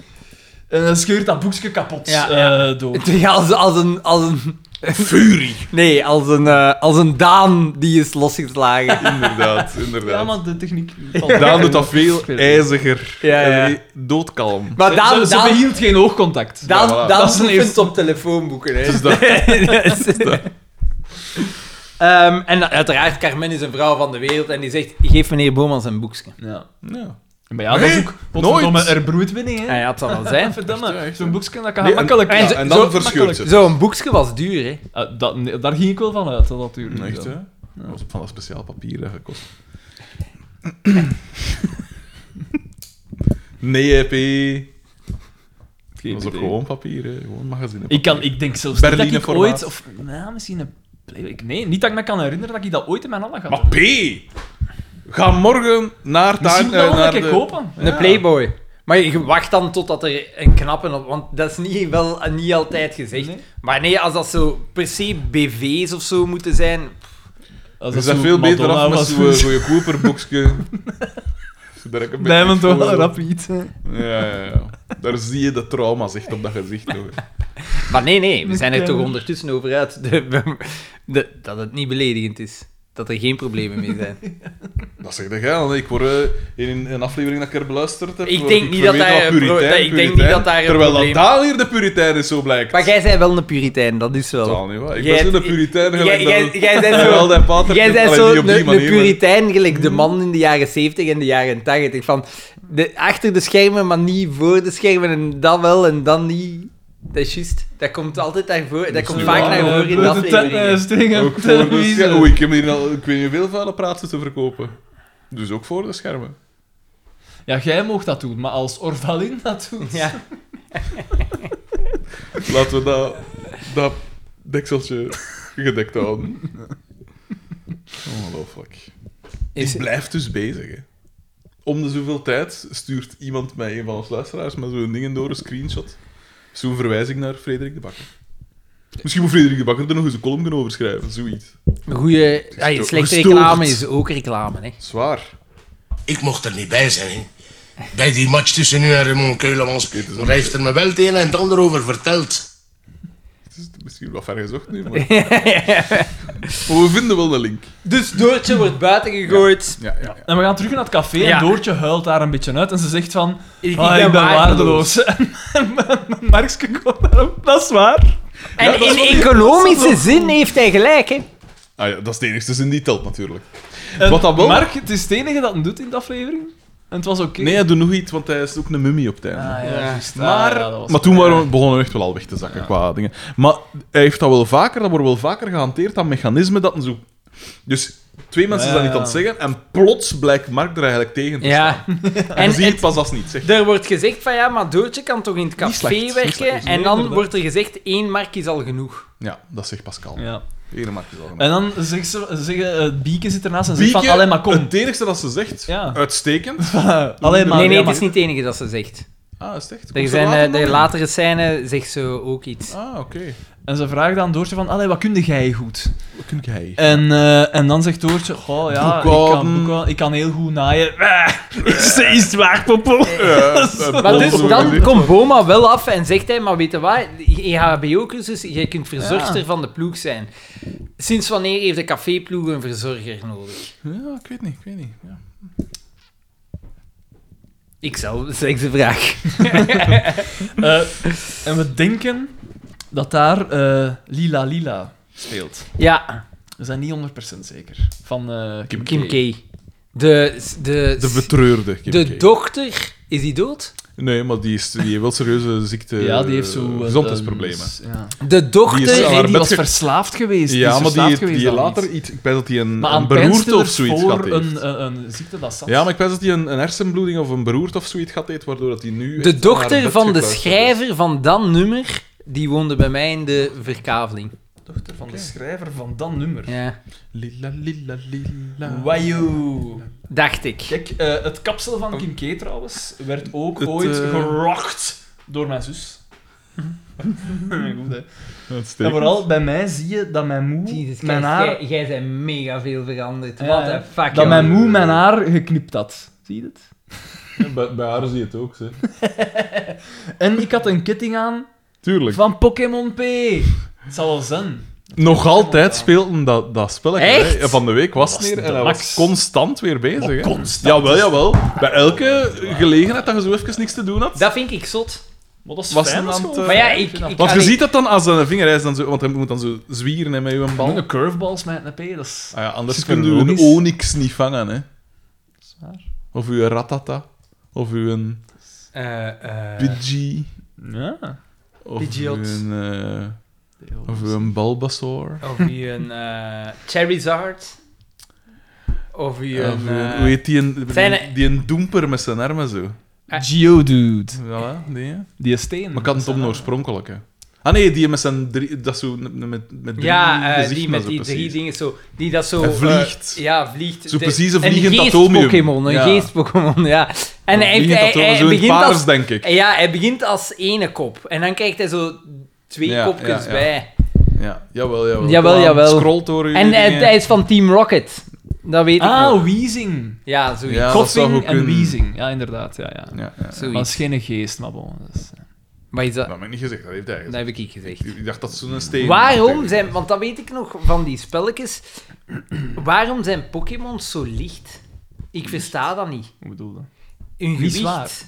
Speaker 3: En dan scheurt dat boekje kapot
Speaker 2: Ja,
Speaker 1: eh,
Speaker 3: ja,
Speaker 2: ja.
Speaker 3: door.
Speaker 2: Ja, als, als een... Als een Fury. Nee, als een, eh, als een Daan die is losgeslagen.
Speaker 1: Inderdaad, inderdaad.
Speaker 3: Ja, maar de techniek...
Speaker 1: Daan doet dat veel ijziger.
Speaker 2: Ja, ja.
Speaker 1: En doodkalm.
Speaker 2: Maar Ah, Daan...
Speaker 3: ze,
Speaker 2: Daan,
Speaker 3: behield geen oogcontact.
Speaker 1: Ja,
Speaker 2: Daan,
Speaker 1: voilà.
Speaker 2: Daan
Speaker 3: Dat is een
Speaker 2: oefent
Speaker 3: eerste.
Speaker 2: op telefoonboeken, hè.
Speaker 1: Dus dat,
Speaker 2: Ehm, en uiteraard, Carmen is een vrouw van de wereld en die zegt, geef meneer Boomans een boekje.
Speaker 3: Ja.
Speaker 1: ja.
Speaker 3: Maar ja, dat is
Speaker 1: Nee,
Speaker 3: ook potverdomme
Speaker 1: nooit.
Speaker 3: er broedwinning,
Speaker 2: Ah Ja,
Speaker 3: hè.
Speaker 2: ja, het zal wel zijn.
Speaker 1: echt,
Speaker 3: Verdamme,
Speaker 1: echt.
Speaker 3: zo'n boekje, dat kan
Speaker 1: Nee, en-
Speaker 3: makkelijk.
Speaker 1: ja,
Speaker 3: Ja,
Speaker 1: en dan
Speaker 2: zo-
Speaker 1: verscheurt ze.
Speaker 2: Zo'n boekje was duur, hè.
Speaker 3: Eh, dat, nee, daar ging ik wel van uit, dat natuurlijk.
Speaker 1: Echt, hè?
Speaker 3: Ja.
Speaker 1: Dat was van dat speciaal papier hè, gekost. nee, EP.
Speaker 3: Geen
Speaker 1: Dat is ook
Speaker 3: idee.
Speaker 1: gewoon papier, hè. gewoon magazine.
Speaker 3: Ik, kan, ik denk zelfs niet
Speaker 1: Berliner
Speaker 3: dat ik
Speaker 1: formaat.
Speaker 3: ooit... Of, nou, misschien een... Playboy- Nee, niet dat ik me kan herinneren dat ik dat ooit in mijn handen had.
Speaker 1: Maar P! Ga morgen naar
Speaker 3: Misschien
Speaker 1: daar. eh,
Speaker 3: moet ik dat wel een
Speaker 1: naar
Speaker 3: keer
Speaker 1: de...
Speaker 3: kopen.
Speaker 2: Een Playboy. Maar je wacht dan totdat er een knappe op... Want dat is niet, wel, niet altijd gezegd.
Speaker 3: Nee.
Speaker 2: Maar nee, als dat zo per se BV's of zo moeten zijn...
Speaker 3: Als
Speaker 1: We
Speaker 3: dat
Speaker 1: zijn
Speaker 3: zo'n
Speaker 1: veel beter
Speaker 3: Madonna
Speaker 1: af met
Speaker 3: was
Speaker 1: zo'n
Speaker 3: geweest.
Speaker 1: goede Cooper-boekje.
Speaker 3: Blijven toch wel
Speaker 1: rap.
Speaker 3: rapide.
Speaker 1: Ja, ja, ja. Daar zie je de trauma's echt op dat gezicht. Hoor.
Speaker 2: Maar nee, nee, we zijn er toch
Speaker 3: Kenner.
Speaker 2: ondertussen over uit de- de- dat het niet beledigend is. Dat er geen problemen mee zijn.
Speaker 1: Dat zeg jij dan. Ik word eh, in een aflevering dat ik er beluisterd heb.
Speaker 2: Ik
Speaker 1: word
Speaker 2: denk niet dat
Speaker 1: verweten
Speaker 2: daar
Speaker 1: als
Speaker 2: een pro-
Speaker 1: puritein,
Speaker 2: dat- ik denk niet
Speaker 1: puritein,
Speaker 2: dat daar een
Speaker 1: Terwijl dat
Speaker 2: probleem-
Speaker 1: daar hier de puritein is, zo blijkt.
Speaker 2: Maar jij bent wel een puritein, dat is
Speaker 1: Dat is
Speaker 2: wel...
Speaker 1: wel niet waar. Ik
Speaker 2: Jij-
Speaker 1: ben zo de puritein
Speaker 2: Jij-
Speaker 1: gelijk
Speaker 2: jij-
Speaker 1: dat...
Speaker 2: jij bent
Speaker 1: Terwijl
Speaker 2: zo...
Speaker 1: dat pater-
Speaker 2: Jij bent
Speaker 1: Allee,
Speaker 2: zo
Speaker 1: niet op die
Speaker 2: de, de
Speaker 1: manier, maar-
Speaker 2: puritein, gelijk de man in de jaren 70 en de jaren 80. Van de, achter de schermen, maar niet voor de schermen. En dan wel en dan niet. Dat is juist. Dat komt altijd daarvoor. Dat komt
Speaker 1: nu
Speaker 2: vaak
Speaker 1: wel,
Speaker 2: naar voren in de afleveringen.
Speaker 1: Ook voor de schermen. Oei, ik heb hier al, ik weet niet hoeveel vuile praten te verkopen. Dus ook voor de schermen.
Speaker 3: Ja, jij mocht dat doen, maar als Orvalin dat doet...
Speaker 2: Ja.
Speaker 1: Laten we dat, dat dekseltje gedekt houden. Ongelooflijk.
Speaker 2: Is-
Speaker 1: Ik blijf dus bezig, hè. Om de zoveel tijd stuurt iemand mij, een van ons luisteraars, met zo'n dingen door, een screenshot. Zo'n verwijzing naar Frederik de Bakker. Misschien moet Frederik de Bakker er nog eens een column over schrijven, zoiets.
Speaker 2: Goeie,
Speaker 1: toch
Speaker 2: slechte
Speaker 1: gestoord.
Speaker 2: reclame is ook reclame, hè.
Speaker 1: Zwaar.
Speaker 6: Ik mocht er niet bij zijn. hè. Bij die match tussen u en Raymond Keulemans.
Speaker 1: Dit is
Speaker 6: Maar hij heeft er me wel het een en het ander over verteld.
Speaker 1: Het is misschien wat ver gezocht nu, maar... maar we vinden wel een link.
Speaker 2: Dus Doortje wordt buiten gegooid.
Speaker 1: Ja, ja, ja.
Speaker 3: En we gaan terug naar het café
Speaker 2: Ja.
Speaker 3: en Doortje huilt daar een beetje uit en ze zegt van...
Speaker 2: Ik- ik
Speaker 3: "Ah,
Speaker 2: ben
Speaker 3: ik ben
Speaker 2: waardeloos."
Speaker 3: waardeloos. En Markske komt daarop, dat is waar.
Speaker 2: En
Speaker 1: dat is
Speaker 2: in economische zin heeft hij gelijk, hè.
Speaker 1: Ah ja, dat is de enigste zin die telt, natuurlijk.
Speaker 3: En
Speaker 1: Wat dat wel-
Speaker 3: Mark, het is het enige dat hij doet in de aflevering. En het was oké.
Speaker 1: Nee, hij doet nog iets, want hij is ook een mummie op het einde.
Speaker 3: Ah, ja, juist.
Speaker 1: Maar,
Speaker 3: Ah, ja, dat was-
Speaker 1: maar toen waren we, begonnen we echt wel al weg te zakken qua dingen. Maar hij heeft dat wel vaker, dat wordt wel vaker gehanteerd, dat mechanisme dat een zo... Dus twee mensen zijn dat
Speaker 3: Ja.
Speaker 1: niet aan het zeggen en plots blijkt Mark er eigenlijk tegen te staan.
Speaker 2: Ja.
Speaker 1: En,
Speaker 2: En
Speaker 1: dan zie je
Speaker 2: het,
Speaker 1: het pas als het niet, zeg.
Speaker 2: er wordt gezegd van, ja, maar Doortje kan toch in het café
Speaker 1: slecht, niet
Speaker 2: werken?
Speaker 1: slecht.
Speaker 2: En
Speaker 3: Nee,
Speaker 2: dan
Speaker 3: inderdaad.
Speaker 2: wordt er gezegd, één mark is al genoeg.
Speaker 1: Ja, dat zegt Pascal.
Speaker 3: Ja.
Speaker 1: Hier maak je zo.
Speaker 3: En dan zegt ze, zeggen, eh, Bieke zit ernaast en zegt
Speaker 1: Bieke,
Speaker 3: van, allee, maar kom.
Speaker 1: Het enigste dat ze zegt,
Speaker 3: Ja.
Speaker 1: uitstekend.
Speaker 3: Allee, maar,
Speaker 2: nee,
Speaker 3: ja,
Speaker 2: nee, het
Speaker 3: maar-
Speaker 2: is niet het enige dat ze zegt.
Speaker 1: Ah, is het echt? Komt
Speaker 2: Er
Speaker 1: er
Speaker 2: zijn,
Speaker 1: later
Speaker 2: eh,
Speaker 1: nog
Speaker 2: de
Speaker 1: in?
Speaker 2: latere scène zegt ze ook iets.
Speaker 1: Ah, oké.
Speaker 3: En ze vraagt aan Doortje van, allee, wat kun jij goed?
Speaker 1: Wat kun jij?
Speaker 3: En, eh, en dan zegt Doortje, goh, ja, ik kan,
Speaker 1: Boekhouden.
Speaker 3: boekhouden, ik kan heel goed naaien. Is, is het waar, Popo?
Speaker 2: Maar dus dan komt Boma wel af en zegt hij, maar weet je wat, E je HBO-cursus, jij
Speaker 3: Ah.
Speaker 2: kunt verzorgster
Speaker 3: Ja.
Speaker 2: van de ploeg zijn. Sinds wanneer heeft de caféploeg een verzorger nodig?
Speaker 1: Ja, ik weet niet, ik weet niet. Ja.
Speaker 2: Ik zou, zeg de vraag.
Speaker 3: Eh, en we denken dat daar eh, Lila Lila speelt.
Speaker 2: Ja,
Speaker 3: We zijn niet 100% zeker. Van eh, Kim,
Speaker 2: Kim
Speaker 3: K.
Speaker 2: K. De, de,
Speaker 1: De betreurde Kim
Speaker 2: de
Speaker 1: K.
Speaker 2: dochter, is die dood?
Speaker 1: Nee, maar die, is, die heeft wel serieuze ziekte...
Speaker 3: Ja, die heeft zo... eh,
Speaker 1: gezondheidsproblemen.
Speaker 3: ehm, ja.
Speaker 2: De
Speaker 1: Die is
Speaker 2: dochter...
Speaker 1: aan
Speaker 3: Nee,
Speaker 1: haar
Speaker 3: die
Speaker 1: bed
Speaker 3: was
Speaker 1: ge-
Speaker 3: verslaafd geweest.
Speaker 1: ja, maar
Speaker 3: is
Speaker 1: die,
Speaker 3: verslaafd
Speaker 1: heeft- die
Speaker 3: geweest aan
Speaker 1: later
Speaker 3: iets.
Speaker 1: iets... Ik ben dat die een,
Speaker 3: Maar
Speaker 1: een
Speaker 3: aan
Speaker 1: beroerte of
Speaker 3: pijnstillers
Speaker 1: zoiets
Speaker 3: voor
Speaker 1: gehad heeft.
Speaker 3: een, eh, een, een ziekte dat zat.
Speaker 1: Ja, maar ik wens dat hij een, een hersenbloeding of een beroerte of zoiets gehad heeft, waardoor dat hij nu...
Speaker 2: De
Speaker 1: echt aan haar
Speaker 2: dochter
Speaker 1: bed
Speaker 2: van de
Speaker 1: gekluisterd is.
Speaker 2: schrijver van dat nummer, die woonde bij mij in de verkaveling.
Speaker 3: dochter van de schrijver van dat nummer.
Speaker 2: Ja,
Speaker 1: Lila, lila, lila...
Speaker 3: Wajoo.
Speaker 2: dacht ik.
Speaker 3: Kijk, eh, het kapsel van Kim K trouwens werd ook
Speaker 1: Het,
Speaker 3: ooit
Speaker 1: eh,
Speaker 3: gerocht door mijn zus. Goed, hè. En
Speaker 1: Uitstekend.
Speaker 3: vooral bij mij zie je dat mijn moe
Speaker 2: Jezus Christus,
Speaker 3: mijn haar,
Speaker 2: jij, jij bent mega veel veranderd.
Speaker 3: Ja,
Speaker 2: Wat
Speaker 3: ja.
Speaker 2: een fuck,
Speaker 3: dat
Speaker 2: jongen.
Speaker 3: mijn moe mijn haar geknipt had. Zie je het?
Speaker 1: Ja, Bij, bij haar zie je het ook, zeg.
Speaker 3: En ik had een ketting aan
Speaker 1: Tuurlijk.
Speaker 3: van Pokémon P. Het zal wel zijn.
Speaker 1: Nog altijd speelden dat, dat spelletje.
Speaker 2: Echt?
Speaker 1: hè. Van de week was het
Speaker 3: Was
Speaker 1: hier en
Speaker 3: de
Speaker 1: hij
Speaker 3: max.
Speaker 1: was constant weer bezig. Hè?
Speaker 3: constant.
Speaker 1: Jawel, jawel. Bij elke gelegenheid dat je zo even niks te doen had.
Speaker 2: Dat vind ik zot.
Speaker 3: Maar dat is
Speaker 1: Was
Speaker 3: fijn,
Speaker 1: er
Speaker 3: dat is
Speaker 1: dan
Speaker 3: gewoon
Speaker 1: te-
Speaker 2: Maar ja,
Speaker 3: fijn.
Speaker 2: ik...
Speaker 3: Ik vind dat-
Speaker 2: ik
Speaker 1: Want je
Speaker 2: allee,
Speaker 1: ziet dat dan als een vinger hij is dan zo, want hij moet dan zo zwieren hè, met je bal.
Speaker 3: Een curveball smijt naar P, dat is...
Speaker 1: Ah ja, anders
Speaker 3: Is
Speaker 1: kun je een
Speaker 3: logisch.
Speaker 1: onyx niet vangen, hè?
Speaker 3: waar.
Speaker 1: Of uw ratata, of uw
Speaker 2: eh, eh,
Speaker 1: Pidgey,
Speaker 3: Ja.
Speaker 1: of uw
Speaker 2: Pidgeot.
Speaker 1: eh, of uw Bulbasaur,
Speaker 2: Of wie een eh Charizard. Of wie
Speaker 1: of
Speaker 2: een...
Speaker 1: uw-
Speaker 2: eh,
Speaker 1: hoe heet die een,
Speaker 2: zijn
Speaker 1: die,
Speaker 2: er-
Speaker 1: die een doemper met zijn armen zo?
Speaker 3: Geodude.
Speaker 1: Voilà, die. hè.
Speaker 3: Die is steen.
Speaker 1: Maar ik had het om oorspronkelijk, hè. Ah nee, die met zijn drie... Dat zo, met, met met drie
Speaker 2: ja, eh, die
Speaker 1: gezichten
Speaker 2: met
Speaker 1: zo
Speaker 2: die drie
Speaker 1: precies.
Speaker 2: dingen zo... Die dat zo...
Speaker 1: Hij
Speaker 2: eh,
Speaker 1: vliegt.
Speaker 2: ja, vliegt.
Speaker 1: Zo
Speaker 2: De-
Speaker 1: precies een vliegend
Speaker 2: geest
Speaker 1: atomium.
Speaker 2: Pokémon, een
Speaker 1: Ja.
Speaker 2: geest-Pokémon, ja. En hij,
Speaker 1: Vliegend
Speaker 2: hij,
Speaker 1: dat
Speaker 2: hij
Speaker 1: zo in het
Speaker 2: begint
Speaker 1: paars,
Speaker 2: als...
Speaker 1: denk ik.
Speaker 2: Ja, hij begint als ene kop. En dan krijgt hij zo twee
Speaker 1: Ja,
Speaker 2: kopjes
Speaker 1: ja, ja.
Speaker 2: bij.
Speaker 1: Ja, jawel, jawel.
Speaker 2: Jawel,
Speaker 1: Kom aan,
Speaker 2: jawel.
Speaker 1: Scroll door uw
Speaker 2: En hij,
Speaker 1: dingen.
Speaker 2: hij is van Team Rocket. Dat weet ik nog.
Speaker 3: Ah, wheezing.
Speaker 2: Ja, zoiets.
Speaker 1: Ja, dat zou
Speaker 3: Koffing
Speaker 1: goed
Speaker 3: en
Speaker 1: kunnen.
Speaker 3: wheezing. Ja, inderdaad. Ja, ja.
Speaker 1: Ja, ja.
Speaker 2: Zoiets.
Speaker 3: Maar het is geen geest, maar bon. dat is-
Speaker 2: Maar is dat...
Speaker 1: Dat heb ik niet gezegd, dat heeft hij
Speaker 2: Dat
Speaker 1: gezegd.
Speaker 2: heb ik niet gezegd.
Speaker 1: Ik dacht dat zo'n steen...
Speaker 2: Waarom zijn... Want dat weet ik nog van die spelletjes. Waarom zijn Pokémon zo licht? Ik versta dat niet.
Speaker 3: Hoe bedoel je?
Speaker 2: Hun
Speaker 3: Niet
Speaker 2: gewicht.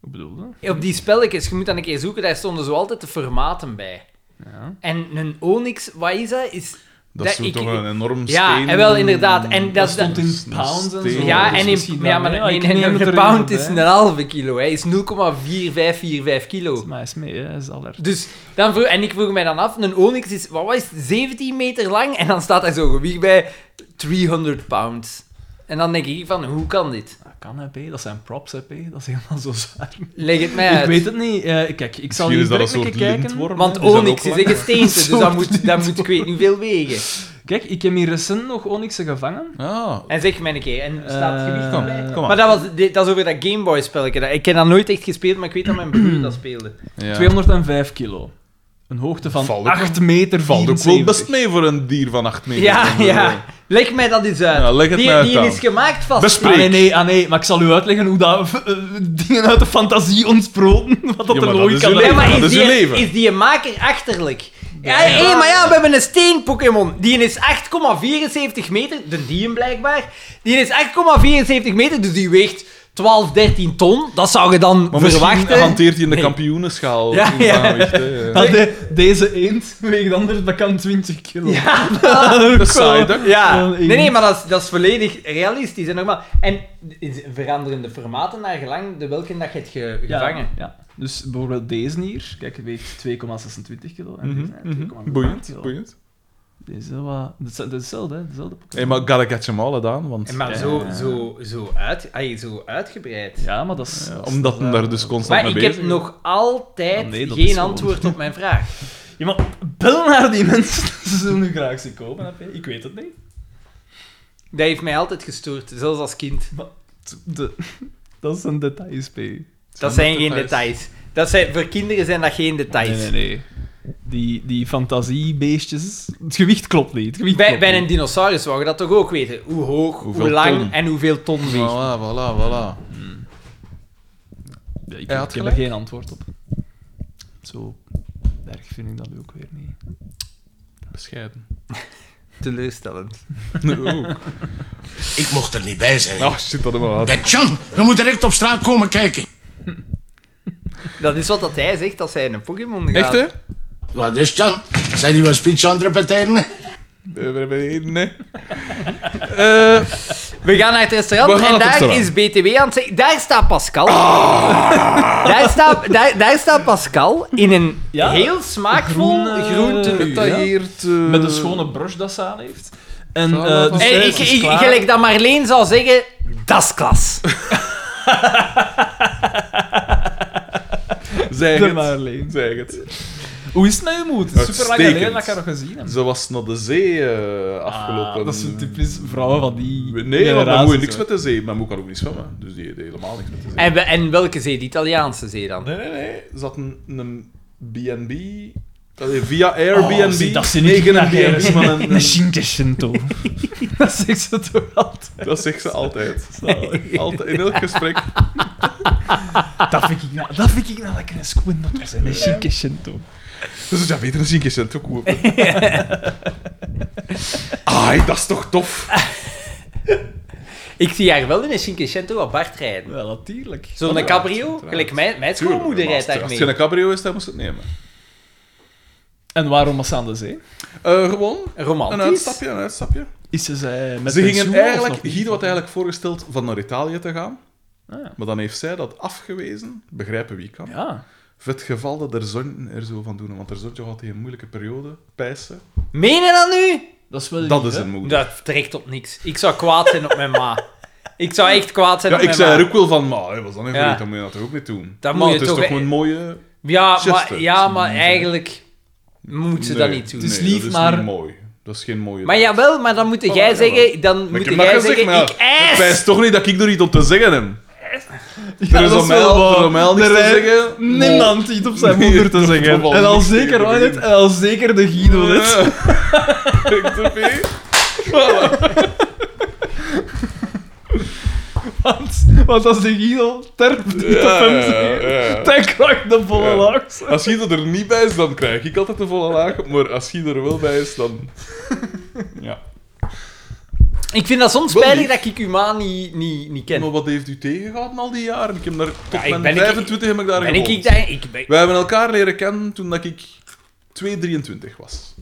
Speaker 3: Hoe bedoel je?
Speaker 2: Op die spelletjes, je moet dan een keer zoeken, daar stonden zo altijd de formaten bij.
Speaker 3: Ja.
Speaker 2: En een Onyx, wat is dat? Is...
Speaker 1: Dat is
Speaker 2: dat
Speaker 1: zo
Speaker 2: ik-
Speaker 1: toch een enorm steen...
Speaker 2: Ja, en wel inderdaad. En dat,
Speaker 3: stond
Speaker 2: dat-
Speaker 3: in
Speaker 1: een
Speaker 3: pounds en zo.
Speaker 1: steen.
Speaker 2: Ja,
Speaker 1: dat
Speaker 2: en in, ja, maar nee,
Speaker 3: ik
Speaker 2: en
Speaker 3: neem
Speaker 2: een
Speaker 3: het er
Speaker 2: pound
Speaker 3: niet
Speaker 2: is
Speaker 3: op,
Speaker 2: een
Speaker 3: hè.
Speaker 2: halve kilo, hè. is 0,4545 kilo.
Speaker 3: Maar hij is mee, hè. hij is alert.
Speaker 2: Dus dan vroeg, en ik vroeg mij dan af, een Onyx is, wat was het, 17 meter lang en dan staat hij zo gewicht bij 300 pounds. En dan denk ik van, hoe kan dit?
Speaker 3: Dat kan, hè, P. Dat zijn props, hè, P. Dat is helemaal zo zwaar.
Speaker 2: Leg het mij
Speaker 3: Ik
Speaker 2: uit.
Speaker 3: weet het niet. Eh, kijk, ik zal
Speaker 1: Misschien
Speaker 3: niet
Speaker 1: is dat een
Speaker 3: direct
Speaker 1: soort
Speaker 3: kijken.
Speaker 1: lintworm.
Speaker 2: Want
Speaker 1: Die zijn
Speaker 2: Onyx
Speaker 1: ook
Speaker 2: is een gesteente, dus dat moet, dat moet ik weet niet veel wegen.
Speaker 3: Kijk, ik heb hier recent nog onyxen gevangen.
Speaker 1: Ah,
Speaker 2: En zeg mij een keer, en staat het gewicht
Speaker 3: Eh,
Speaker 2: van
Speaker 1: kom
Speaker 2: mij?
Speaker 1: maar.
Speaker 2: Maar dat, was, dit- dat is over dat Gameboy spelletje. dat- Ik heb dat nooit echt gespeeld, maar ik weet dat mijn broer dat speelde.
Speaker 1: ja.
Speaker 3: 205 kilo. Een hoogte van
Speaker 1: Valt ook
Speaker 3: 8 meter
Speaker 1: Valt ook wel
Speaker 3: 74.
Speaker 1: best mee voor een dier van eh, 8 meter.
Speaker 2: Ja, ja. Leg mij dat eens uit.
Speaker 1: Ja, leg het
Speaker 2: die
Speaker 1: mij uit
Speaker 2: die
Speaker 1: dan.
Speaker 2: is gemaakt vast.
Speaker 1: Bespreek.
Speaker 3: Ah, nee, nee, ah, nee, maar ik zal u uitleggen hoe dat eh, dingen uit de fantasie ontsproten. Wat dat
Speaker 1: Ja,
Speaker 3: de
Speaker 1: maar dat
Speaker 3: logica
Speaker 1: is uw
Speaker 2: Ja,
Speaker 1: leven.
Speaker 3: lijkt.
Speaker 2: maar
Speaker 1: dat
Speaker 2: is,
Speaker 1: is
Speaker 2: die,
Speaker 1: uw leven.
Speaker 2: is die maker achterlijk? Ja, hé, maar ja, we hebben een steen-Pokémon. Die is 8,74 meter. De dien blijkbaar. Die is 8,74 meter, dus die weegt 12, 13 ton. Dat zou je dan
Speaker 1: Maar misschien
Speaker 2: verwachten.
Speaker 1: hanteert hij in de
Speaker 2: Nee.
Speaker 1: kampioenenschaal.
Speaker 2: Ja,
Speaker 1: in
Speaker 2: ja.
Speaker 1: Vaanwicht, hè.
Speaker 3: Ah, de- deze eend weegt anders bekend 20 kilo. Ja,
Speaker 1: De Psyduck.
Speaker 2: Ja,
Speaker 3: Wel
Speaker 2: nee,
Speaker 3: één.
Speaker 2: nee, maar dat is, dat is volledig realistisch en normaal. En is- veranderen de formaten naar gelang de welke dat je hebt ge- gevangen.
Speaker 3: Ja. Dus bijvoorbeeld deze hier, kijk, weegt 2,26 kilo. En
Speaker 1: Mhm,
Speaker 3: deze eh, 2,08
Speaker 1: Boeiend,
Speaker 3: kilo.
Speaker 1: boeiend.
Speaker 3: Deze wat... Dat is dat is hetzelfde, hè. Dezelfde Pokémon.
Speaker 1: Hey, maar gotta catch them all, hè, Daan, want...
Speaker 2: En maar
Speaker 3: Ja.
Speaker 2: zo, zo, zo, uit, ay, zo uitgebreid.
Speaker 3: Ja, maar dat is...
Speaker 1: Ja,
Speaker 3: dat is-
Speaker 1: Omdat
Speaker 3: dat
Speaker 1: hem
Speaker 3: is-
Speaker 1: daar dus constant
Speaker 2: Maar
Speaker 1: mee
Speaker 2: ik
Speaker 1: bezig
Speaker 2: heb nog altijd
Speaker 3: Ah, nee, dat is
Speaker 2: geen
Speaker 3: gewoon-
Speaker 2: antwoord op mijn vraag.
Speaker 3: Ja, maar Bel naar die mensen. Ze zullen nu graag ze kopen. hè, P. Ik weet het niet.
Speaker 2: Dat heeft mij altijd gestoord, zelfs als kind.
Speaker 3: Maar t- de- dat is een detail, P. Nee,
Speaker 2: Dat zijn geen details. Dat zijn, voor kinderen zijn dat geen details.
Speaker 3: nee, nee. Die, die fantasiebeestjes... Het gewicht klopt niet. Het gewicht
Speaker 2: Bij,
Speaker 3: klopt
Speaker 2: bij een
Speaker 3: niet.
Speaker 2: dinosaurus wou je dat toch ook weten? Hoe hoog,
Speaker 1: Hoeveel
Speaker 2: hoe lang
Speaker 1: ton?
Speaker 2: en hoeveel ton weegt.
Speaker 1: Voilà, voilà, voilà.
Speaker 3: Ja, ik,
Speaker 1: Hij had
Speaker 3: ik heb er
Speaker 1: gelijk.
Speaker 3: geen antwoord op. Zo erg vind ik dat ook weer niet.
Speaker 1: Bescheiden.
Speaker 2: Teleurstellend.
Speaker 1: Oeh.
Speaker 6: Ik mocht er niet bij zijn.
Speaker 1: Oh, shit, dat helemaal uit.
Speaker 6: Dat Jan, we moeten direct op straat komen kijken.
Speaker 2: Dat is wat dat hij zegt als hij in een Pokémon gaat.
Speaker 1: Echt, hè?
Speaker 6: Wat is Jan? Zijn die wel speech aan het repeteren?
Speaker 1: Eh, Nee. nee.
Speaker 2: We gaan naar het
Speaker 1: We gaan
Speaker 2: restaurant en
Speaker 1: naar het
Speaker 2: daar
Speaker 1: restaurant.
Speaker 2: is BTW aan het zeggen... Daar staat Pascal.
Speaker 1: Ah.
Speaker 2: daar, staat, daar, daar staat Pascal in een
Speaker 3: Ja.
Speaker 2: heel smaakvol
Speaker 3: Groen, eh,
Speaker 2: groen tenue.
Speaker 1: Getailleerd... eh,
Speaker 3: Met een schone brush dat ze aan heeft. En
Speaker 1: Zal
Speaker 3: eh,
Speaker 1: dat
Speaker 3: dus
Speaker 1: wel-
Speaker 2: En
Speaker 3: zij
Speaker 2: ik,
Speaker 3: is
Speaker 2: ik,
Speaker 3: klaar.
Speaker 2: gelijk dat Marleen zou zeggen, dat is klas.
Speaker 1: Zeg
Speaker 3: De
Speaker 1: het.
Speaker 3: Marleen.
Speaker 1: Zeg het.
Speaker 3: Hoe is het met je moed? Super lang
Speaker 1: Uitstekend.
Speaker 3: geleden dat ik haar nog gezien heb.
Speaker 1: Ze was naar de zee eh, afgelopen...
Speaker 3: Ah, dat is een typisch vrouwen van die
Speaker 1: Nee, maar mijn
Speaker 3: generatie,
Speaker 1: moe niks
Speaker 3: zo.
Speaker 1: met de zee. Mijn moe kan ook niet zwemmen. Dus die deed helemaal niks met de zee.
Speaker 2: En, we- en welke zee? De Italiaanse zee dan?
Speaker 1: Nee, nee, nee. Ze had een, een B&B... Allee, Via
Speaker 3: Oh,
Speaker 1: Airbnb.
Speaker 3: zie, dat zijn
Speaker 1: nee,
Speaker 3: niet
Speaker 1: geen
Speaker 3: naar
Speaker 1: Airbnb, maar een-
Speaker 3: Een Shinkershinto. dat zegt ze toch altijd.
Speaker 1: Dat zegt ze altijd. altijd. In elk gesprek.
Speaker 3: Dat vind ik nou, dat vind ik nou lekker een squint dat zijn. Een Shinkershinto.
Speaker 1: Dus ja, beter een zinkjescent ook goed. Ai, Ah, dat is toch tof?
Speaker 2: Ik zie haar wel in een Cinquecento wat Bart rijden.
Speaker 3: Wel, natuurlijk.
Speaker 2: Zo'n cabrio,
Speaker 1: uiteraard.
Speaker 2: gelijk mijn, mijn
Speaker 1: Tuurlijk,
Speaker 2: schoonmoeder
Speaker 1: maar als-
Speaker 2: rijdt daar
Speaker 1: Als je
Speaker 2: mee.
Speaker 1: een cabrio is, dan moest je het nemen.
Speaker 3: En waarom was ze aan de zee?
Speaker 1: Eh, gewoon een
Speaker 2: Romantisch.
Speaker 1: uitstapje, een uitstapje.
Speaker 3: Is ze zij met
Speaker 1: Ze gingen
Speaker 3: pensioen
Speaker 1: eigenlijk,
Speaker 3: of nog
Speaker 1: Guido
Speaker 3: niet?
Speaker 1: had eigenlijk voorgesteld van naar Italië te gaan.
Speaker 2: Ah,
Speaker 3: ja.
Speaker 1: Maar dan heeft zij dat afgewezen. Begrijpen wie kan.
Speaker 3: Ja.
Speaker 1: Het geval dat er zonen er zo van doen. Want er zontje had hij een moeilijke periode. Pijsen.
Speaker 2: Meen je dat nu?
Speaker 3: Dat is wel
Speaker 1: Dat
Speaker 3: lief,
Speaker 1: is
Speaker 3: hè?
Speaker 1: een moeder.
Speaker 2: Dat trekt op niks. Ik zou kwaad zijn op mijn ma. Ik zou echt kwaad zijn
Speaker 1: Ja,
Speaker 2: op
Speaker 1: ik
Speaker 2: mijn
Speaker 1: zei er
Speaker 2: ma.
Speaker 1: ook wel van, maar hé, wat is dat nou voor
Speaker 2: Ja.
Speaker 1: iets? Dan moet je dat toch ook niet doen.
Speaker 2: Dan
Speaker 1: maar
Speaker 2: moet je
Speaker 1: het is
Speaker 2: toch-
Speaker 1: toch een mooie...
Speaker 2: Ja, maar,
Speaker 1: Chester.
Speaker 2: ja, maar eigenlijk moet ze dat
Speaker 1: Nee,
Speaker 2: niet doen.
Speaker 1: nee,
Speaker 3: Het is lief,
Speaker 1: dat
Speaker 3: maar-
Speaker 1: niet mooi. Dat is geen mooie...
Speaker 2: Maar
Speaker 1: daad.
Speaker 2: jawel, maar dan moet jij
Speaker 1: jawel.
Speaker 2: zeggen... Dan
Speaker 1: Maar
Speaker 2: moet
Speaker 1: ik heb dat
Speaker 2: jij
Speaker 1: gezegd,
Speaker 2: zeggen,
Speaker 1: maar ja,
Speaker 2: ik eis...
Speaker 1: Het wijst toch niet dat ik er iets om te zeggen heb.
Speaker 3: Ja,
Speaker 1: er is
Speaker 3: dat
Speaker 1: om mij,
Speaker 3: wel waar.
Speaker 1: er om mij al niks
Speaker 3: Er
Speaker 1: te
Speaker 3: is
Speaker 1: zeggen.
Speaker 3: Niemand iets op zijn
Speaker 1: Nee,
Speaker 3: moeder te
Speaker 1: dat
Speaker 3: zeggen.
Speaker 1: valt
Speaker 3: En al
Speaker 1: niks
Speaker 3: zeker
Speaker 1: tegen te
Speaker 3: Ryan
Speaker 1: doen.
Speaker 3: en al zeker de Guido dit.
Speaker 1: Ik te veel.
Speaker 3: Want, want als de Guido terpt niet op
Speaker 1: Ja,
Speaker 3: hem
Speaker 1: ja,
Speaker 3: zit,
Speaker 1: ja.
Speaker 3: dan krijg je de volle
Speaker 1: Ja.
Speaker 3: laks.
Speaker 1: Als Guido er niet bij is, dan krijg ik altijd de volle laag. Maar als Guido er wel bij is, dan... Ja.
Speaker 2: Ik vind dat soms
Speaker 1: Wel
Speaker 2: spijtig
Speaker 1: lief.
Speaker 2: dat ik uw ma niet, niet, niet ken.
Speaker 1: Maar wat heeft u tegengehouden al die jaren? Ik heb daar tot
Speaker 2: ik
Speaker 1: mijn
Speaker 2: ben-
Speaker 1: 25 heb ik daar
Speaker 2: Ben ik,
Speaker 1: gewoond.
Speaker 2: ik, daar- ik ben-
Speaker 1: Wij hebben elkaar leren kennen toen dat ik 2, 23 was.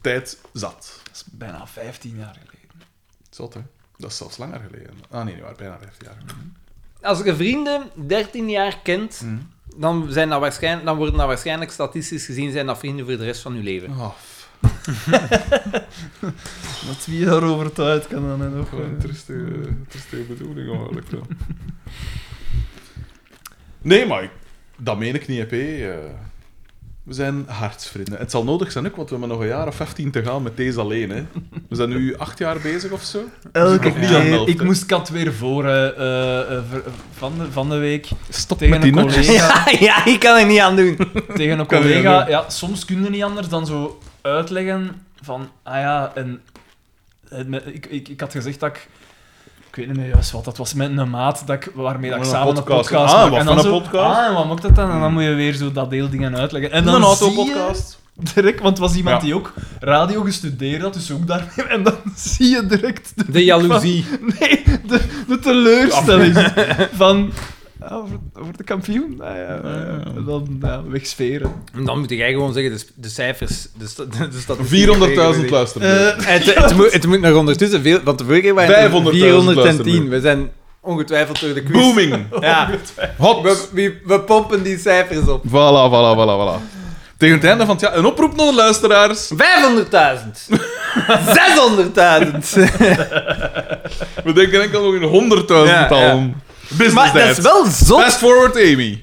Speaker 1: Tijd zat.
Speaker 3: Dat is bijna 15 jaar geleden.
Speaker 1: Zat, hè? Dat is zelfs langer geleden. Ah, nee, nee, maar bijna 15 jaar.
Speaker 2: Als je vrienden 13 jaar kent, dan, zijn dat waarschijn- dan worden dat waarschijnlijk statistisch gezien zijn dat vrienden voor de rest van je leven.
Speaker 1: Ah, f-
Speaker 3: Dat wie daarover te uit kan dan en nog. eh.
Speaker 1: Gewoon een triestige, triestige bedoeling, eigenlijk wel. Nee, maar ik- dat meen ik niet, EP. We zijn hartsvrienden. Het zal nodig zijn ook, want we hebben nog een jaar of 15 te gaan met deze alleen. Hè. We zijn nu acht jaar bezig of zo.
Speaker 3: Elke
Speaker 1: Nog niet aan de
Speaker 3: keer.
Speaker 1: helft,
Speaker 3: Ik
Speaker 1: hè.
Speaker 3: moest kat weer voor eh, eh, eh, ver- van, de, van de week
Speaker 1: Stop
Speaker 3: tegen een collega.
Speaker 2: Ja, ja, ik kan er niet aan doen.
Speaker 3: tegen een
Speaker 1: Kan je dat
Speaker 3: collega.
Speaker 1: doen?
Speaker 3: Ja, soms kun je niet anders dan zo uitleggen van, ah ja, en het me- ik, ik, ik had gezegd dat ik, ik weet niet meer juist wat, dat was met een maat dat ik, waarmee dat ik
Speaker 1: Een
Speaker 3: samen een
Speaker 1: podcast.
Speaker 3: podcast,
Speaker 1: Ah,
Speaker 3: maak.
Speaker 1: wat
Speaker 3: en dan
Speaker 1: voor een
Speaker 3: zo,
Speaker 1: podcast? Hmm.
Speaker 3: Ah, en wat moet dat dan? En dan moet je weer zo dat deel dingen uitleggen. En dan
Speaker 1: een
Speaker 3: zie je
Speaker 1: autopodcast.
Speaker 3: Direct, want het was iemand
Speaker 1: Ja.
Speaker 3: die ook radio gestudeerd had, dus ook daarmee. En dan zie je direct de
Speaker 2: De jaloezie.
Speaker 3: Nee, de, de teleurstelling van... Ah, wordt wordt de kampioen? Ah, ja, ja, ja. En Dan ja, wegsferen.
Speaker 2: Dan moet jij gewoon zeggen, de, s- de cijfers, de, sta- de, de statistieken.
Speaker 1: 400.000 luisteren.
Speaker 3: Eh,
Speaker 2: Het, het, moet, het moet nog ondertussen veel, want de vorige keer waren het
Speaker 1: 500.000
Speaker 2: 410. We zijn ongetwijfeld door de quiz.
Speaker 1: Booming.
Speaker 3: dus-
Speaker 2: Ja,
Speaker 1: Hot.
Speaker 2: we, we, we pompen die cijfers op.
Speaker 1: Voilà, voilà, voilà, voilà. Tegen het einde van het jaar, een oproep naar de luisteraars.
Speaker 2: 500.000. 600.000.
Speaker 1: We denken enkel nog in honderdduizendtal.
Speaker 2: Ja,
Speaker 1: Business
Speaker 2: Maar dat is
Speaker 1: dads.
Speaker 2: wel zot.
Speaker 1: Fast forward, Amy.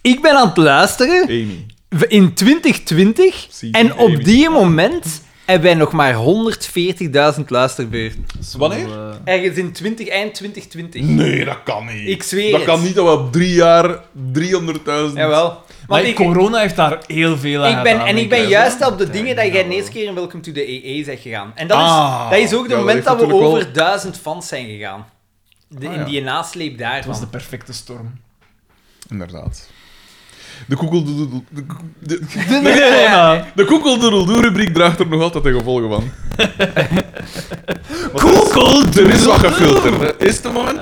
Speaker 2: Ik ben aan het luisteren
Speaker 1: Amy.
Speaker 2: we- in 2020 en op die moment hebben wij nog maar 140.000 luisterbeurten.
Speaker 1: Wanneer?
Speaker 3: eh,
Speaker 2: Ergens in 20, eind 2020.
Speaker 1: Nee, dat kan niet.
Speaker 2: Ik zweer
Speaker 1: dat
Speaker 2: het.
Speaker 1: kan niet dat we op drie jaar 300.000...
Speaker 2: Jawel.
Speaker 3: Maar
Speaker 2: Want ik,
Speaker 3: corona heeft daar heel veel aan
Speaker 2: ik ben,
Speaker 3: gedaan,
Speaker 2: en ik ben
Speaker 3: hè.
Speaker 2: juist op de dingen dat jij de eerste keer in Welcome to the EE bent gegaan. En dat is,
Speaker 1: Ah,
Speaker 2: dat is ook
Speaker 1: ja,
Speaker 2: het
Speaker 1: dat
Speaker 2: moment
Speaker 1: heeft
Speaker 2: dat we
Speaker 1: natuurlijk wel-
Speaker 2: over 1000 fans zijn gegaan. De,
Speaker 1: Ah,
Speaker 2: in
Speaker 1: ja.
Speaker 2: die nasleep
Speaker 3: Het was de
Speaker 2: daarvan.
Speaker 3: perfecte storm.
Speaker 1: Inderdaad. De koekeldoedeldoe... De, koek- de,
Speaker 3: Corona.
Speaker 1: de koekeldoedeldoe-rubriek draagt er nog altijd de gevolgen van.
Speaker 3: Koekeldoe.
Speaker 1: Er is wat gefilterd, hè. Is het een moment?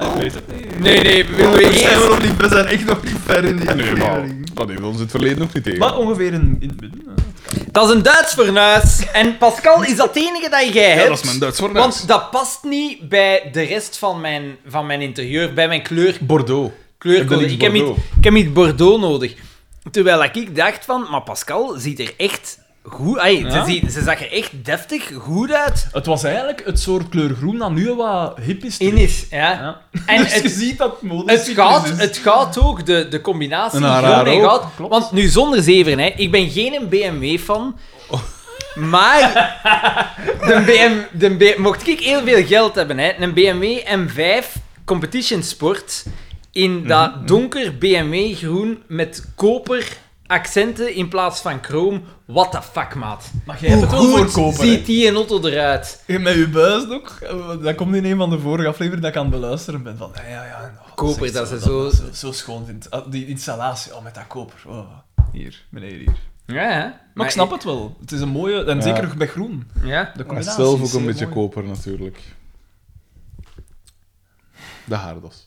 Speaker 2: Nee, nee, we willen eerst-
Speaker 3: nog niet, we zijn echt nog niet ver in die
Speaker 1: Nee, maar dat heeft ons in het verleden nog niet tegen.
Speaker 3: Maar ongeveer in, in het midden. hè.
Speaker 2: Dat is een Duits fornuis. En Pascal, is dat het enige dat jij hebt?
Speaker 1: ja, dat is mijn Duits voor niks.
Speaker 2: Want dat past niet bij de rest van mijn, van mijn interieur, bij mijn kleur,
Speaker 1: Bordeaux.
Speaker 2: kleurcode.
Speaker 1: Heb je
Speaker 2: Ik
Speaker 1: niet
Speaker 2: heb, niet,
Speaker 1: Bordeaux?
Speaker 2: ik heb niet Bordeaux nodig. Terwijl dat ik dacht van, maar Pascal ziet er echt goed... Ay,
Speaker 3: Ja?
Speaker 2: ze, zie- ze zag er echt deftig goed uit.
Speaker 3: Het was eigenlijk het soort kleur groen dat nu wat hip is.
Speaker 2: In
Speaker 3: terug.
Speaker 2: is, ja.
Speaker 3: Ja.
Speaker 2: En
Speaker 3: Dus je
Speaker 2: het,
Speaker 3: ziet dat mode
Speaker 2: het, gaat, het gaat ook, de, de combinatie
Speaker 1: Een Araro,
Speaker 2: groen en goud.
Speaker 3: klopt.
Speaker 2: Want nu zonder zeven, hè. Ik ben geen BMW-fan, maar... De BM, de B- mocht ik heel veel geld hebben, hè. Een BMW M5 Competition Sport in dat donker BMW-groen met koper accenten in plaats van chroom. What the fuck, maat.
Speaker 3: Maar jij hebt het wel
Speaker 2: Hoe goed
Speaker 3: voorkopen.
Speaker 2: ziet die een auto eruit?
Speaker 3: Met je buis nog. Dat komt in een van de vorige afleveringen dat ik aan het beluisteren ben. Van, ja, ja, ja. oh,
Speaker 2: Koper,
Speaker 3: echt
Speaker 2: dat ze zo-
Speaker 3: dat zo... Zo schoon vindt. Ah, die installatie, oh, met dat koper. Oh. Hier, meneer, hier. Maar,
Speaker 2: Ja, hè. Maar,
Speaker 3: ik snap het wel. Het is een mooie, en
Speaker 1: Ja.
Speaker 3: zeker nog bij groen.
Speaker 2: Ja.
Speaker 3: De
Speaker 1: Maar
Speaker 3: combinatie
Speaker 1: zelf
Speaker 3: is
Speaker 1: ook een
Speaker 3: heel
Speaker 1: beetje
Speaker 3: mooi.
Speaker 1: koper, natuurlijk. De haardos.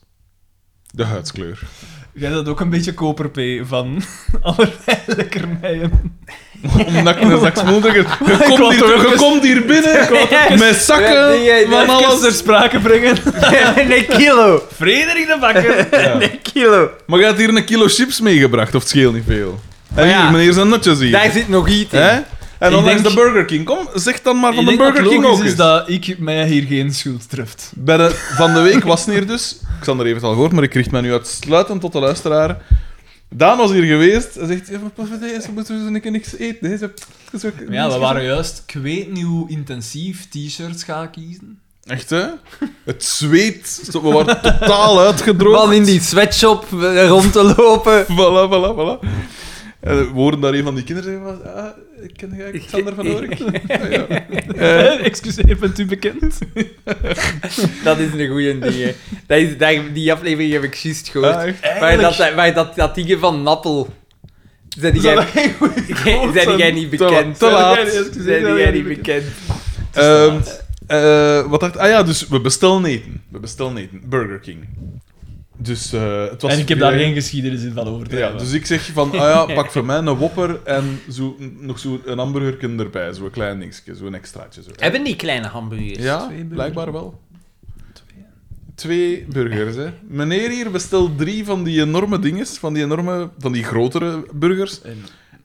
Speaker 1: De huidskleur.
Speaker 3: Jij dat ook een beetje koper, P, van allerlei lekkernijen.
Speaker 1: Omdat ik een zak smoelder... Je
Speaker 3: Ik
Speaker 1: komt
Speaker 3: wou toch
Speaker 1: hier, je
Speaker 3: eens-
Speaker 1: komt hier binnen met
Speaker 2: Ja,
Speaker 1: zakken
Speaker 2: die, eh,
Speaker 1: van
Speaker 2: even-
Speaker 1: alles.
Speaker 3: Ter sprake brengen.
Speaker 2: een kilo.
Speaker 3: Frederik de Bakker.
Speaker 2: Een kilo.
Speaker 1: Maar je had hier een kilo chips meegebracht, of het scheelt niet veel. En
Speaker 2: ja.
Speaker 1: hier, meneer zijn notjes hier.
Speaker 2: Daar zit nog iets in.
Speaker 1: Hè? En dan
Speaker 3: denk-
Speaker 1: is de Burger King. Kom, zeg dan maar van
Speaker 3: Ik
Speaker 1: de
Speaker 3: denk dat
Speaker 1: Burger King
Speaker 3: logisch
Speaker 1: ook
Speaker 3: is
Speaker 1: eens.
Speaker 3: dat ik mij hier geen schuld treft.
Speaker 1: Bij de, van de week was het hier dus... Xander heeft het al gehoord, maar ik richt mij nu uitsluitend tot de luisteraar. Daan was hier geweest. Hij zegt, ja, maar papa, nee, ze moeten dus een keer niks eten. hè. Ze- ze- ze-
Speaker 3: Ja, we waren juist, ik weet niet hoe intensief t-shirts ga kiezen.
Speaker 1: Echt, hè? Het zweet. We waren totaal uitgedroogd.
Speaker 2: Van in die sweatshop eh, rond te lopen.
Speaker 1: Voilà, voilà, voilà. En we hoorden daar een van die kinderen zeggen van... Ah, ken jij Xander van Oork? Ah, ja.
Speaker 2: Eh,
Speaker 3: Excuseer, bent u bekend?
Speaker 2: Dat is een goeie ding. hè. Dat is, daar- die aflevering heb ik juist gehoord.
Speaker 1: Ah, echt?
Speaker 2: waar dat, waar dat, dat ding van Nappel. Zijn jij, Jij- zijn jij niet
Speaker 1: Te la-
Speaker 2: bekend?
Speaker 1: te laat.
Speaker 2: Zijn jij niet bekend?
Speaker 1: Ehm, eh, wat dacht... Ah ja, dus we bestellen eten. We bestellen eten. Burger King. Dus eh, het was...
Speaker 3: En ik heb daar geen geschiedenis in van over te
Speaker 1: Ja, dus ik zeg van, ah ja, pak voor mij een wopper en zo, nog zo een hamburgerken erbij. Zo'n klein dingetje, zo'n extraatje. Zo.
Speaker 2: Hebben die kleine hamburgers?
Speaker 1: Ja, blijkbaar wel. Twee burgers, hè. Meneer hier bestelt drie van die enorme dinges, van die enorme, van die grotere burgers.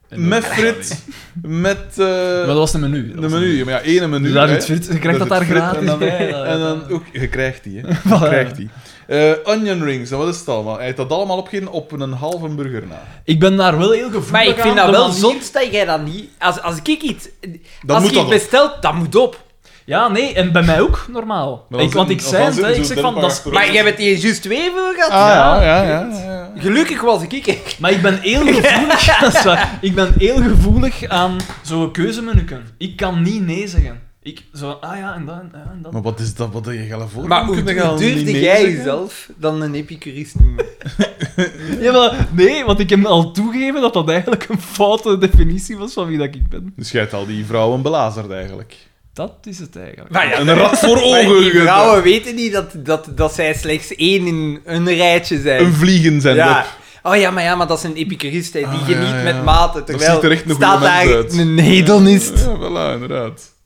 Speaker 1: met frit, met... eh,
Speaker 3: Maar dat was een menu. dat
Speaker 1: de
Speaker 3: was een
Speaker 1: menu, maar ja, één menu.
Speaker 3: Dus daar
Speaker 1: hè.
Speaker 3: zit frit, je krijgt dat
Speaker 1: zit
Speaker 3: daar
Speaker 1: frit
Speaker 3: gratis
Speaker 1: en dan,
Speaker 3: bij.
Speaker 1: En dan ook, je krijgt die, hè. Je krijgt die. Eh, onion rings, en wat is het allemaal? Hij heeft dat allemaal opgegeten op een halve burger na.
Speaker 3: Ik ben daar wel heel gevoelig
Speaker 2: Maar ik
Speaker 3: aan,
Speaker 2: vind dat
Speaker 3: de
Speaker 2: wel
Speaker 3: manier-
Speaker 2: zot dat jij dat niet... Als, als ik iets... als
Speaker 1: moet
Speaker 2: je
Speaker 1: dat
Speaker 2: iets
Speaker 1: op.
Speaker 2: bestelt, dat moet op.
Speaker 3: Ja, nee, en bij mij ook, normaal.
Speaker 1: Maar dan
Speaker 3: Ik, want ik
Speaker 1: zit-
Speaker 3: zei
Speaker 1: dan
Speaker 3: het, hè,
Speaker 1: zit
Speaker 3: ik
Speaker 1: zo'n
Speaker 3: zeg van, dat is-
Speaker 1: derde
Speaker 2: Maar jij bent hier juist twee voor gehad.
Speaker 1: Ah, ja, ja, ja. ja.
Speaker 2: Gelukkig was ik ik.
Speaker 3: Maar ik ben heel gevoelig, dat is waar. ik ben heel gevoelig aan zo'n keuzemenuken. Ik kan niet nee zeggen. Ik, zo, ah ja, en dan, ja, en dan.
Speaker 1: Maar wat is dat, wat heb je gaan voor?
Speaker 2: Maar hoe, hoe durfde jij jezelf dan een epicurist noemen?
Speaker 3: Ja, maar nee, want ik heb al toegegeven dat dat eigenlijk een foute definitie was van wie dat ik ben.
Speaker 1: Dus jij hebt al die vrouwen belazerd, eigenlijk.
Speaker 3: Dat is het eigenlijk.
Speaker 2: Maar ja,
Speaker 1: Een rat voor ogen.
Speaker 2: die
Speaker 1: gegeten.
Speaker 2: vrouwen weten niet dat, dat, dat zij slechts één in een rijtje zijn.
Speaker 1: Een vliegenzender.
Speaker 2: ja. Oh ja maar, ja, maar dat is een epicurist, hè. die
Speaker 1: Ah,
Speaker 2: geniet
Speaker 1: ja, ja.
Speaker 2: met mate. Terwijl
Speaker 1: ziet er echt een
Speaker 2: staat
Speaker 1: goede mens
Speaker 2: daar
Speaker 1: uit.
Speaker 2: een hedonist,
Speaker 1: Ja, voilà, inderdaad.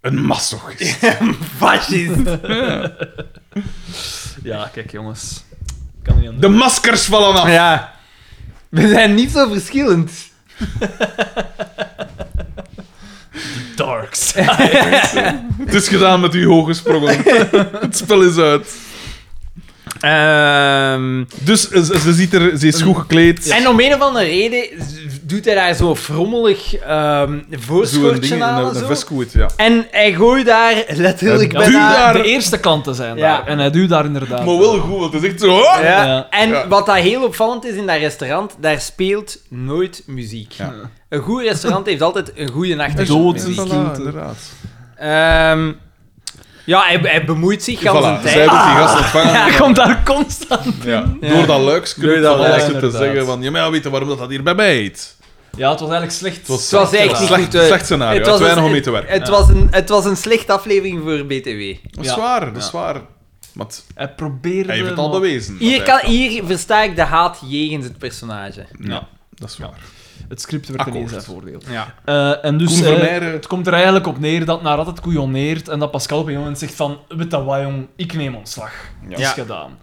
Speaker 1: Een masochist.
Speaker 2: fascist.
Speaker 3: Ja, kijk jongens. Kan niet anders.
Speaker 1: De maskers vallen af.
Speaker 2: Ja. We zijn niet zo verschillend.
Speaker 3: darks.
Speaker 1: Het is gedaan met uw hoge sprongen. Het spel is uit.
Speaker 2: Ehm,
Speaker 1: Dus eh, ze, ze ziet er, ze is goed gekleed.
Speaker 2: En om een of andere reden z- doet hij daar zo frommelig ehm
Speaker 1: Zo'n
Speaker 2: voorschotje
Speaker 1: ding,
Speaker 2: aan.
Speaker 1: een,
Speaker 2: en
Speaker 1: een
Speaker 2: zo.
Speaker 1: vestkoet, ja.
Speaker 2: En hij gooit daar letterlijk
Speaker 1: Ja,
Speaker 2: bijna...
Speaker 1: duw daar-
Speaker 3: De eerste kanten zijn
Speaker 2: Ja.
Speaker 3: daar. En hij duwt daar inderdaad.
Speaker 1: Maar wel goed, want het is echt zo... "Oh!"
Speaker 2: Ja.
Speaker 3: Ja.
Speaker 2: En
Speaker 1: Ja.
Speaker 2: wat dat heel opvallend is in dat restaurant, daar speelt nooit muziek.
Speaker 1: Ja.
Speaker 2: Een goed restaurant heeft altijd een goede
Speaker 3: Dood.
Speaker 2: achtergrondmuziek.
Speaker 3: Voilà,
Speaker 1: inderdaad.
Speaker 2: Ehm ja, hij, hij bemoeit zich al zijn
Speaker 1: Voilà, zij
Speaker 2: tijd.
Speaker 1: moet die gast ontvangen.
Speaker 3: Hij komt daar constant.
Speaker 1: Ja. Door dat
Speaker 3: Door
Speaker 1: luikskruid
Speaker 3: dat
Speaker 1: van alles
Speaker 3: luik,
Speaker 1: te
Speaker 3: inderdaad.
Speaker 1: zeggen van... Ja, maar ja, weet je waarom dat, dat hier bij mij heet?
Speaker 3: Ja, het was eigenlijk slecht. Het
Speaker 1: was-
Speaker 2: Het was
Speaker 1: Slecht-
Speaker 2: echt niet
Speaker 1: slecht-
Speaker 2: goed, eh,
Speaker 1: slecht scenario, het
Speaker 2: een-
Speaker 1: weinig om mee te werken.
Speaker 2: Het, was een, het was een slechte aflevering voor BTW.
Speaker 1: Dat is
Speaker 3: Ja.
Speaker 1: waar, dat is waar. Maar het-
Speaker 3: Hij probeerde...
Speaker 1: hij heeft het al
Speaker 3: maar-
Speaker 1: bewezen.
Speaker 2: Hier,
Speaker 1: dat
Speaker 2: kan,
Speaker 1: hij-
Speaker 2: hier versta ik de haat jegens het personage.
Speaker 1: Ja, dat is waar.
Speaker 3: Het script werd
Speaker 1: Akkoord.
Speaker 3: ineens zijn voordeel.
Speaker 2: Ja.
Speaker 3: Eh, en dus,
Speaker 1: Koen
Speaker 3: eh,
Speaker 1: Vermeijren-
Speaker 3: het komt er eigenlijk op neer dat nadat het koeioneert en dat Pascal op een moment zegt van, weet dat wat jong, ik neem ontslag. Het is
Speaker 2: Ja.
Speaker 3: gedaan.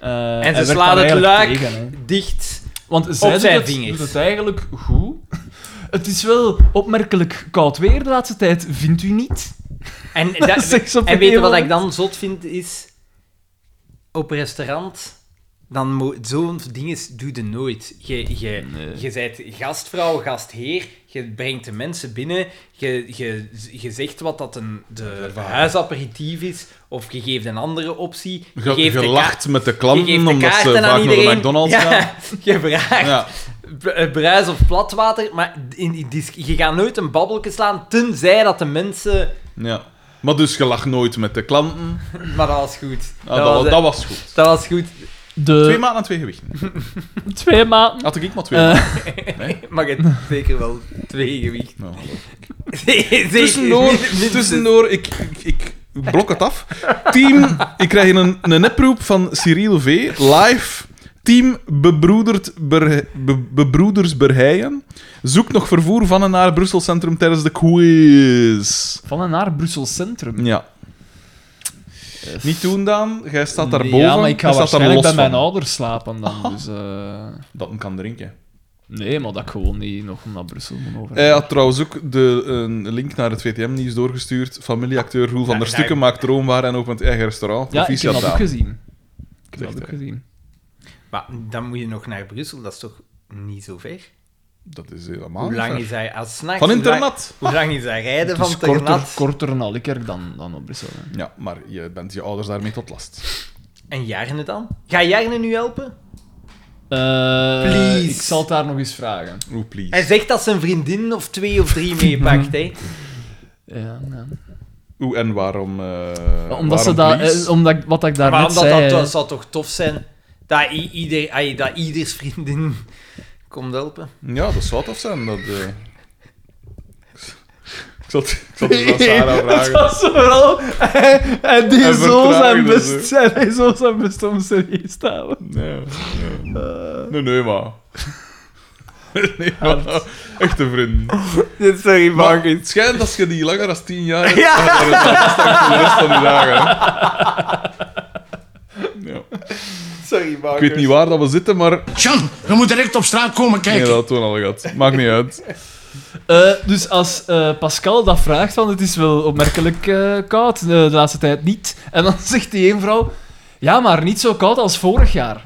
Speaker 3: Eh, hij
Speaker 2: En ze
Speaker 3: werkt
Speaker 2: slaan
Speaker 3: daar
Speaker 2: het
Speaker 3: eigenlijk
Speaker 2: luik
Speaker 3: tegen, hè.
Speaker 2: dicht.
Speaker 3: Want zij doet
Speaker 2: zijn
Speaker 3: het,
Speaker 2: vingers.
Speaker 3: doet het eigenlijk goed. Het is wel opmerkelijk koud weer de laatste tijd, vindt u niet?
Speaker 2: En, da-
Speaker 3: Seks op
Speaker 2: en
Speaker 3: een
Speaker 2: weet je wat
Speaker 3: moment.
Speaker 2: ik dan zot vind, is... Op een restaurant, dan mo- zo'n dingen doe je nooit. Je, je, je bent gastvrouw, gastheer, je brengt de mensen binnen, je, je, je zegt wat dat een de huisaperitief is, of je geeft een andere optie. Je
Speaker 1: Je,
Speaker 2: geeft de
Speaker 1: je
Speaker 2: ka-
Speaker 1: lacht met de
Speaker 2: je
Speaker 1: klanten,
Speaker 2: geeft de
Speaker 1: omdat ze
Speaker 2: kaarten aan
Speaker 1: vaak naar de
Speaker 2: iedereen.
Speaker 1: McDonald's
Speaker 2: ja,
Speaker 1: gaan.
Speaker 2: Je vraagt
Speaker 1: Ja.
Speaker 2: br- eh, bruis of platwater, maar in, die dis- je gaat nooit een babbelke slaan, tenzij dat de mensen...
Speaker 1: ja. Maar dus je lacht nooit met de klanten.
Speaker 2: Maar dat was goed.
Speaker 1: Ah, dat, wa-
Speaker 2: was-
Speaker 1: dat was
Speaker 2: Eh.
Speaker 1: goed.
Speaker 2: Dat was goed,
Speaker 3: De
Speaker 1: Twee maanden aan twee gewichten.
Speaker 3: twee maanden.
Speaker 1: Had ik maar twee.
Speaker 3: Eh.
Speaker 1: maanden.
Speaker 2: maar je hebt zeker wel twee gewicht.
Speaker 1: Nou, hallo.
Speaker 2: Zeker.
Speaker 1: Tussendoor,
Speaker 2: Min- minstens.
Speaker 1: tussendoor ik, ik, ik blok het af. Team, ik krijg een, een neproep van Cyril V. Live. Team bebroedert Berhe- Be- Bebroeders Berheien. Zoek nog vervoer van en naar Brussel Centrum tijdens de quiz.
Speaker 3: Van en naar Brussel Centrum.
Speaker 1: Ja. Niet doen, Daan. Jij staat daar boven.
Speaker 3: Ja, maar ik ga
Speaker 1: Jij staat daar
Speaker 3: waarschijnlijk
Speaker 1: los
Speaker 3: bij mijn
Speaker 1: van.
Speaker 3: ouders slapen dan. Dus, eh,
Speaker 1: Dat men kan drinken.
Speaker 3: nee, maar dat ik gewoon niet nog naar Brussel moet over.
Speaker 2: Eh,
Speaker 1: Hij had trouwens ook de, een link naar het VTM-nieuws doorgestuurd. Familieacteur Roel van der Stukken maakt droomwaar en opent eigen restaurant.
Speaker 3: ja, ik heb
Speaker 1: Proficiat
Speaker 3: dat ook
Speaker 1: Daan.
Speaker 3: gezien. Ik heb
Speaker 1: Zegt
Speaker 3: dat ook
Speaker 1: hij.
Speaker 3: gezien.
Speaker 2: Maar dan moet je nog naar Brussel, dat is toch niet zo ver?
Speaker 1: Dat is helemaal
Speaker 2: Hoe
Speaker 1: Ah, niet
Speaker 2: lang
Speaker 1: ver.
Speaker 2: is hij als nachts?
Speaker 1: Van
Speaker 2: hoe lang-
Speaker 1: internat.
Speaker 2: Hoe lang is hij rijden
Speaker 3: Het
Speaker 2: van
Speaker 3: is korter,
Speaker 2: Ternat?
Speaker 3: korter naar Likkerk dan, dan op Brussel. hè.
Speaker 1: Ja, maar je bent je ouders daarmee tot last.
Speaker 2: En Jarne dan? Ga Jarne nu helpen?
Speaker 3: Eh,
Speaker 2: Please.
Speaker 3: Ik zal het daar nog eens vragen.
Speaker 1: Oeh, please.
Speaker 2: Hij zegt dat zijn vriendin of twee of drie meepakt, hè?
Speaker 3: Ja, ja.
Speaker 1: Oeh, en waarom... eh,
Speaker 3: Omdat, ze
Speaker 1: waarom
Speaker 3: dat,
Speaker 1: please?
Speaker 3: eh, omdat ik- wat ik daar
Speaker 2: Maar
Speaker 3: net
Speaker 2: omdat
Speaker 3: zei...
Speaker 2: dat,
Speaker 3: hè.
Speaker 2: dat zou toch tof zijn dat, i- ieder, ai, dat ieders vriendin komt helpen?
Speaker 1: Ja, dat zou tof zijn. Dat, eh. ik zal het ik zal het aan Sarah vragen.
Speaker 3: was vooral... Hij, hij deed
Speaker 1: En
Speaker 3: zo zijn
Speaker 1: vertragen en
Speaker 3: best. Hij deed zo zijn best om serieus te houden.
Speaker 1: Nee, nee. nee, nee, maar... Nee, maar... Echte vrienden.
Speaker 2: Sorry,
Speaker 1: Maar het schijnt als je die langer dan 10 jaar hebt,
Speaker 2: Ja.
Speaker 1: dan is dat sterk voor de rest van de dagen. Ja.
Speaker 2: Sorry,
Speaker 1: Ik weet niet waar dat we zitten, maar
Speaker 6: Jan, je moet direct op straat komen kijken.
Speaker 1: nee, dat hadden we al gehad. Maakt niet uit.
Speaker 3: Eh, dus als eh, Pascal dat vraagt, van het is wel opmerkelijk eh, koud eh, de laatste tijd niet. En dan zegt die één vrouw... Ja, maar niet zo koud als vorig jaar.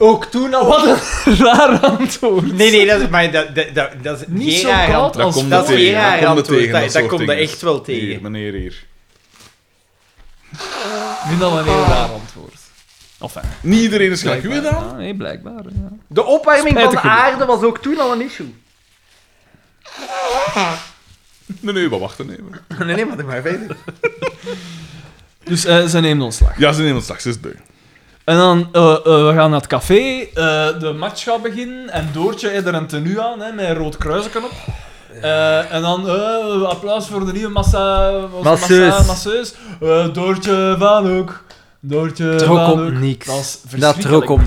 Speaker 2: Ook toen al...
Speaker 3: Wat een raar antwoord.
Speaker 2: Nee, nee, dat is, maar dat, dat, dat, dat is
Speaker 3: Niet zo
Speaker 2: Gera-
Speaker 3: koud
Speaker 1: Dat
Speaker 3: als
Speaker 1: komt
Speaker 2: dat
Speaker 1: dat
Speaker 2: is
Speaker 1: tegen.
Speaker 2: geen raar
Speaker 1: dat komt
Speaker 2: antwoord,
Speaker 1: er tegen.
Speaker 2: dat-
Speaker 1: Dat,
Speaker 2: dat
Speaker 1: soort
Speaker 2: komt er
Speaker 1: dingen.
Speaker 2: echt wel tegen.
Speaker 1: Hier, meneer, hier.
Speaker 3: Ik vind dat wel een heel raar antwoord. Of
Speaker 1: Niet iedereen is gelijk. Hoe dan?
Speaker 3: Nee, blijkbaar. Ja.
Speaker 2: De opwarming van de
Speaker 3: Spijtig genoeg.
Speaker 2: aarde was ook toen al een issue.
Speaker 1: Nee, nee, maar wachten even.
Speaker 2: Nee, nee, maar dat maar verder.
Speaker 3: Dus eh, ze neemt ontslag.
Speaker 1: Ja, ze nemen straks eens deur.
Speaker 3: En dan, eh, eh, we gaan naar het café, eh, de match gaat beginnen en Doortje heeft er een tenue aan, hè, met een rood kruisje op. Eh, en dan eh, applaus voor de nieuwe massa, massa-
Speaker 2: Masseus.
Speaker 3: massa- masseus. Eh, Doortje van Hoek. Doortje van Hoek. Dat is verschrikkelijk, die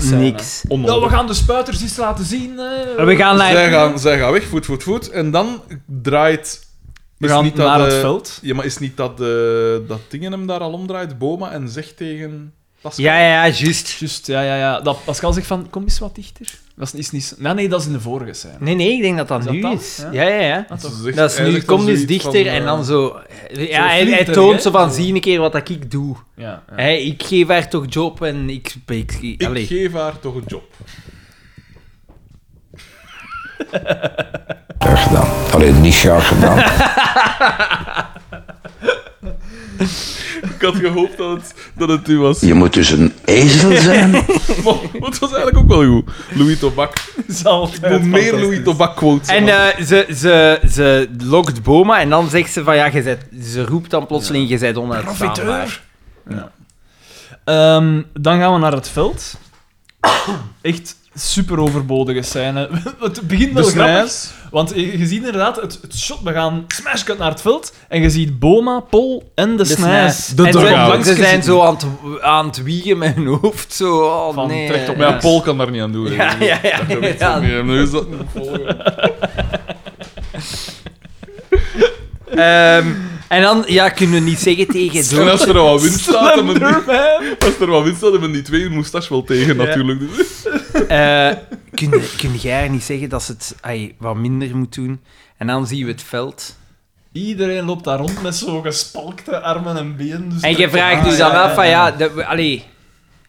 Speaker 3: scène. Ja, we gaan de spuiters eens laten zien. hè.
Speaker 2: We gaan
Speaker 1: Zij
Speaker 2: naar...
Speaker 1: gaan, zij gaan weg, voet, voet, voet. En dan draait...
Speaker 3: We
Speaker 1: is
Speaker 3: gaan
Speaker 1: niet
Speaker 3: naar
Speaker 1: dat,
Speaker 3: het
Speaker 1: eh,
Speaker 3: veld.
Speaker 1: Ja, maar is niet dat, eh dat dingen hem daar al omdraait, Boma, en zegt tegen... Pascal.
Speaker 2: Ja, ja, juist.
Speaker 3: Juist, ja, ja, ja. Dat Pascal zegt van, kom eens wat dichter. Dat is niet... Nee, nee, dat is in de vorige scène.
Speaker 2: Nee, nee, ik denk dat dat
Speaker 3: Is dat
Speaker 2: nu
Speaker 3: dat?
Speaker 2: is.
Speaker 3: Ja. Ah,
Speaker 2: Ja, ja, ja.
Speaker 1: Ze zegt
Speaker 2: Dat is nu,
Speaker 1: eigenlijk
Speaker 2: kom dus
Speaker 1: zoiets
Speaker 2: dichter
Speaker 1: van,
Speaker 2: en dan
Speaker 1: eh,
Speaker 2: zo... Ja, hij, hij
Speaker 3: flirterig,
Speaker 2: toont
Speaker 3: hè?
Speaker 2: zo van, zie een keer wat dat ik doe.
Speaker 3: Ja, ja.
Speaker 2: Hey, ik geef haar toch job en ik... ik, ik
Speaker 1: Ik
Speaker 2: allee.
Speaker 1: geef haar toch een job.
Speaker 7: Graag gedaan. Alleen niet graag gedaan.
Speaker 1: Ik had gehoopt dat het, dat het u was.
Speaker 7: Je moet dus een ezel zijn.
Speaker 1: Maar het was eigenlijk ook wel goed. Louis Tobak. Hoe meer Louis Tobak quotes.
Speaker 2: En eh, ze, ze, ze lokt Boma en dan zegt ze van, ja, je bent- ze roept dan plotseling, je bent onuitstaanbaar.
Speaker 3: Ehm, dan gaan we naar het veld. Echt super overbodige scène. het begint wel
Speaker 1: de
Speaker 3: grappig.
Speaker 1: snijs.
Speaker 3: Want je je ziet inderdaad het, het shot. We gaan smash cut naar het veld. En je ziet Boma, Pol en de, Snijs.
Speaker 2: Dus En ze-
Speaker 1: dugout.
Speaker 2: Ze zijn zo aan het, aan het wiegen met hun hoofd, zo... Oh,
Speaker 3: Van,
Speaker 2: nee.
Speaker 3: trekt op
Speaker 1: Maar ja, Paul kan daar niet aan doen.
Speaker 2: Ja, ja, ja,
Speaker 1: Dat kan
Speaker 2: ja.
Speaker 1: ik zo niet hebben. Nu is dat...
Speaker 2: Ehm, en dan, ja, kunnen we niet zeggen tegen
Speaker 1: En
Speaker 2: zo'n...
Speaker 1: als er wat wind staat, dan hebben
Speaker 3: Slenderman.
Speaker 1: als er wat wind staat, hebben die twee moustache wel tegen, natuurlijk. Dus-
Speaker 2: Eh, kun, kun jij niet zeggen dat ze het ai, wat minder moet doen? En dan zien we het veld.
Speaker 3: Iedereen loopt daar rond met zo gespalkte armen en benen. Dus
Speaker 2: En je vraagt dus dan af van ja, de, allee,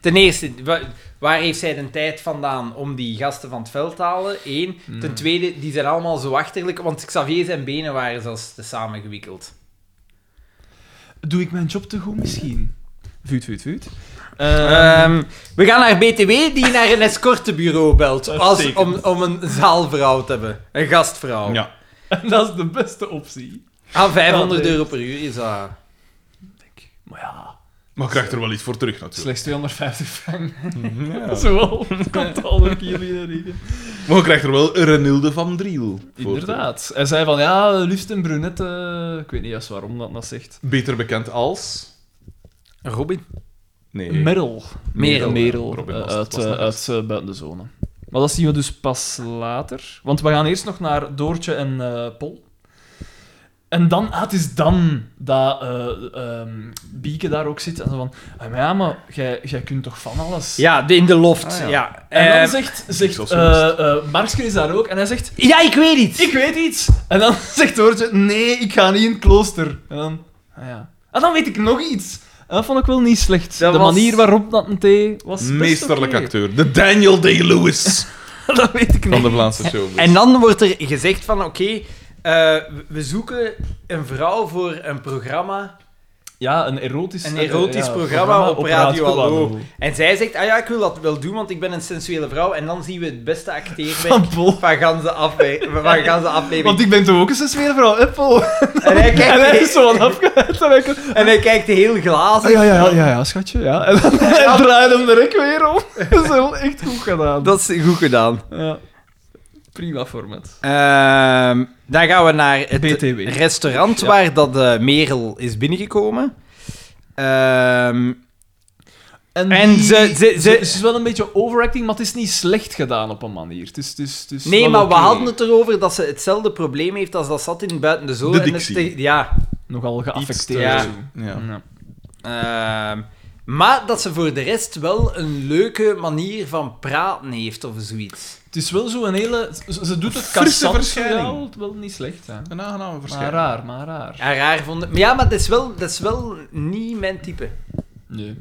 Speaker 2: ten eerste, wa- waar heeft zij de tijd vandaan om die gasten van het veld te halen? Eén. Ten tweede, die zijn allemaal zo achterlijk, want Xavier zijn benen waren zelfs tezamen gewikkeld.
Speaker 3: Doe ik mijn job te goed misschien? Vuut, vuut, vuut.
Speaker 2: Ehm, we gaan naar BTW die naar een escortebureau belt als, om,
Speaker 3: Uitstekend.
Speaker 2: om een zaalvrouw te hebben. Een gastvrouw.
Speaker 1: Ja.
Speaker 3: En dat is de beste optie.
Speaker 2: Aan 500
Speaker 3: Dat is-
Speaker 2: euro per uur is dat.
Speaker 3: Maar ja,
Speaker 1: Maar je krijgt er wel iets voor terug, natuurlijk.
Speaker 3: slechts 250 frank. Zowel komt al door jullie erin.
Speaker 1: Maar je krijgt er wel Renilde van Driel. voor terug.
Speaker 3: Inderdaad. Hij zei van, ja, liefst een brunette... Ik weet niet juist waarom dat dat zegt.
Speaker 1: Beter bekend als...
Speaker 2: Robin.
Speaker 1: Nee.
Speaker 3: Merel.
Speaker 2: Merel.
Speaker 3: Merel.
Speaker 1: Eh, Robin
Speaker 3: eh,
Speaker 1: was-
Speaker 3: uit
Speaker 1: was
Speaker 3: eh,
Speaker 1: net.
Speaker 3: uit eh, buiten de zone. Maar dat zien we dus pas later. Want we gaan eerst nog naar Doortje en eh, Pol. En dan, ah, het is dan dat eh, ehm, Bieke daar ook zit. En zo van, ah, maar ja, maar jij, jij kunt toch van alles?
Speaker 2: Ja, de- in de loft.
Speaker 1: Ah, ja.
Speaker 2: ja.
Speaker 3: En dan
Speaker 2: Ehm,
Speaker 3: zegt, zegt
Speaker 1: zoals
Speaker 3: eh,
Speaker 1: geweest.
Speaker 3: eh, Markske is daar ook. En hij zegt,
Speaker 2: ja, ik weet iets.
Speaker 3: ik weet iets. En dan zegt Doortje, nee, ik ga niet in het klooster. En dan, ah ja. En dan weet ik nog iets. En dat vond ik wel niet slecht.
Speaker 2: Dat
Speaker 3: de
Speaker 2: was-
Speaker 3: manier waarop dat een thee was best
Speaker 1: Meesterlijk
Speaker 3: oké.
Speaker 1: acteur. De Daniel Day-Lewis
Speaker 3: dat weet ik
Speaker 1: van
Speaker 3: niet.
Speaker 1: de Vlaamse show. dus.
Speaker 2: En dan wordt er gezegd van, oké, eh, we- we zoeken een vrouw voor een programma,
Speaker 3: Ja, een erotisch...
Speaker 2: een erotisch programma op Radio Hallo. En zij zegt, ah ja, ik wil dat wel doen, want ik ben een sensuele vrouw. En dan zien we het beste acteerwerk
Speaker 3: Van Pol.
Speaker 2: van ganse afwe- van ganse aflevering.
Speaker 3: Ah, Want ik ben toch ook eens een sfeervrouw, Apple.
Speaker 2: En hij
Speaker 3: En hij is
Speaker 2: kijkt,
Speaker 3: zo aan afgeleid. En hij komt-
Speaker 2: en hij kijkt heel glazig.
Speaker 3: Ah, ja, ja, ja, ja, ja, schatje, ja. En dan hij draait hem de rek weer om. Dat is wel echt goed gedaan.
Speaker 2: Dat is goed gedaan.
Speaker 3: Ja. Prima format.
Speaker 2: Ehm, dan gaan we naar het
Speaker 3: BTW.
Speaker 2: restaurant waar dat eh, Merel is binnengekomen. Ehm, En
Speaker 3: die-
Speaker 2: ze- ze- ze-
Speaker 3: Het is wel een beetje overacting, maar het is niet slecht gedaan op een manier. Het is, het is, het is
Speaker 2: nee,
Speaker 3: wel
Speaker 2: maar we
Speaker 3: oké.
Speaker 2: hadden het erover dat ze hetzelfde probleem heeft als dat zat in Buiten de Zool.
Speaker 1: De
Speaker 2: en het
Speaker 1: dictie.
Speaker 2: te- ja.
Speaker 3: Nogal geaffecteerd.
Speaker 2: Iets te-
Speaker 3: zo.
Speaker 1: Ja.
Speaker 3: Ja.
Speaker 2: Ehm, maar dat ze voor de rest wel een leuke manier van praten heeft of zoiets.
Speaker 3: Het is wel zo een hele... Ze, ze doet het
Speaker 1: Frisse
Speaker 3: kassant-verhaal
Speaker 1: verschijning.
Speaker 3: wel niet slecht, hè.
Speaker 1: Een aangename
Speaker 3: Maar
Speaker 1: verschijning.
Speaker 3: raar, maar raar.
Speaker 2: Ja, raar vond ik- Maar ja, maar dat is, wel, dat is wel niet mijn type.
Speaker 3: Nee.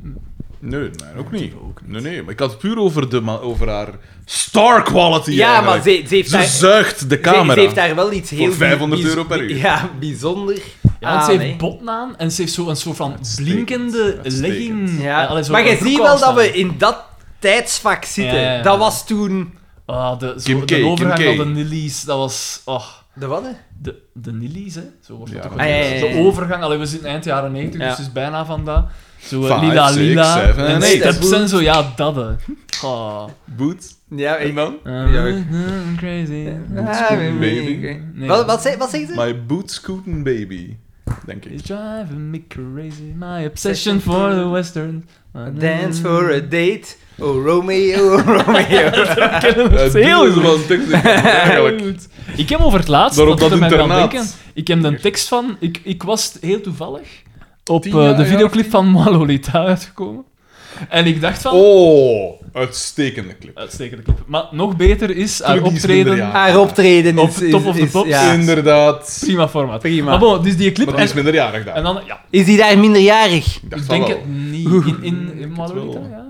Speaker 1: Nee, nee, ook niet. Nee, nee, maar ik had het puur over, de ma- over haar star quality
Speaker 2: Ja, maar
Speaker 1: eigenlijk.
Speaker 2: ze, ze heeft daar...
Speaker 1: Ze zuigt de
Speaker 2: ze- Ze,
Speaker 1: camera.
Speaker 2: heeft daar wel iets heel... bi-
Speaker 1: 500
Speaker 2: bijz-
Speaker 1: euro per uur.
Speaker 2: Ja, bijzonder Ah,
Speaker 3: Ja, want ze
Speaker 2: aan,
Speaker 3: heeft
Speaker 2: hè.
Speaker 3: botnaam en ze heeft zo een soort van
Speaker 1: Uitstekend,
Speaker 3: blinkende
Speaker 1: uitstekend.
Speaker 3: legging.
Speaker 2: Ja,
Speaker 3: allee, zo
Speaker 2: maar
Speaker 3: een
Speaker 2: je
Speaker 3: broek
Speaker 2: ziet
Speaker 3: aan
Speaker 2: wel dat
Speaker 3: staan.
Speaker 2: we in dat tijdsvak zitten.
Speaker 3: Ja, ja, ja.
Speaker 2: Dat was toen...
Speaker 3: Ah, de, zo,
Speaker 1: Kim K,
Speaker 3: de
Speaker 1: Kim
Speaker 3: overgang
Speaker 1: K.
Speaker 3: naar de Nillies, dat was... Oh,
Speaker 2: De wat, hè?
Speaker 3: de, de Nillies, hè? Zo wordt het
Speaker 1: Ja,
Speaker 3: ook
Speaker 1: maar-
Speaker 2: Ah, ja, ja, ja.
Speaker 3: De overgang, allee, we zitten eind jaren 90,
Speaker 2: Ja.
Speaker 3: dus het is bijna van dat. Zo eh,
Speaker 1: Five,
Speaker 3: Lila
Speaker 1: six,
Speaker 3: Lila
Speaker 1: seven,
Speaker 3: en
Speaker 1: eight.
Speaker 3: Steps en zo, ja, dat hè. Ah.
Speaker 1: Boet.
Speaker 2: Ja, ik...
Speaker 1: En dan?
Speaker 2: Oh. Ja.
Speaker 3: I'm crazy.
Speaker 2: Ah,
Speaker 1: Scootin'
Speaker 2: nee,
Speaker 1: Baby.
Speaker 2: oké.
Speaker 3: Nee.
Speaker 2: Wat, wat, zei- wat zegt ze?
Speaker 1: My boot scootin' baby. Denk ik.
Speaker 3: It's driving me crazy, my obsession for the western. Mm.
Speaker 2: Dance for a date. Oh, Romeo, oh, Romeo.
Speaker 1: Eh,
Speaker 3: is heel
Speaker 1: doe eens
Speaker 3: goed.
Speaker 1: wat tekst. Eigenlijk.
Speaker 3: Goed. Ik heb over het laatst,
Speaker 1: Daarop
Speaker 3: dat doet
Speaker 1: dat
Speaker 3: er mij wel
Speaker 1: internaat.
Speaker 3: denken, ik heb een tekst van, ik, ik was heel toevallig op
Speaker 1: Tien
Speaker 3: eh,
Speaker 1: jaar,
Speaker 3: de
Speaker 1: ja,
Speaker 3: videoclip van Malolita uitgekomen. En ik dacht van...
Speaker 1: Oh, uitstekende clip.
Speaker 3: Uitstekende clip. Maar nog beter is haar
Speaker 1: Tuurlijk, die is minder,
Speaker 3: optreden...
Speaker 1: ja.
Speaker 2: Haar optreden
Speaker 3: Op
Speaker 2: is... is-
Speaker 3: Top of the
Speaker 2: is-
Speaker 3: Pops.
Speaker 2: ja.
Speaker 1: Inderdaad.
Speaker 3: Prima formaat.
Speaker 2: Prima.
Speaker 3: Maar bon, dus die clip...
Speaker 1: Maar die is
Speaker 3: En,
Speaker 1: minderjarig daar.
Speaker 3: en dan... Ja,
Speaker 2: Is die daar minderjarig?
Speaker 1: Ik
Speaker 3: ik
Speaker 1: dacht
Speaker 3: denk
Speaker 1: wel.
Speaker 3: het niet. In, in, in Malorita,
Speaker 1: wel.
Speaker 3: ja.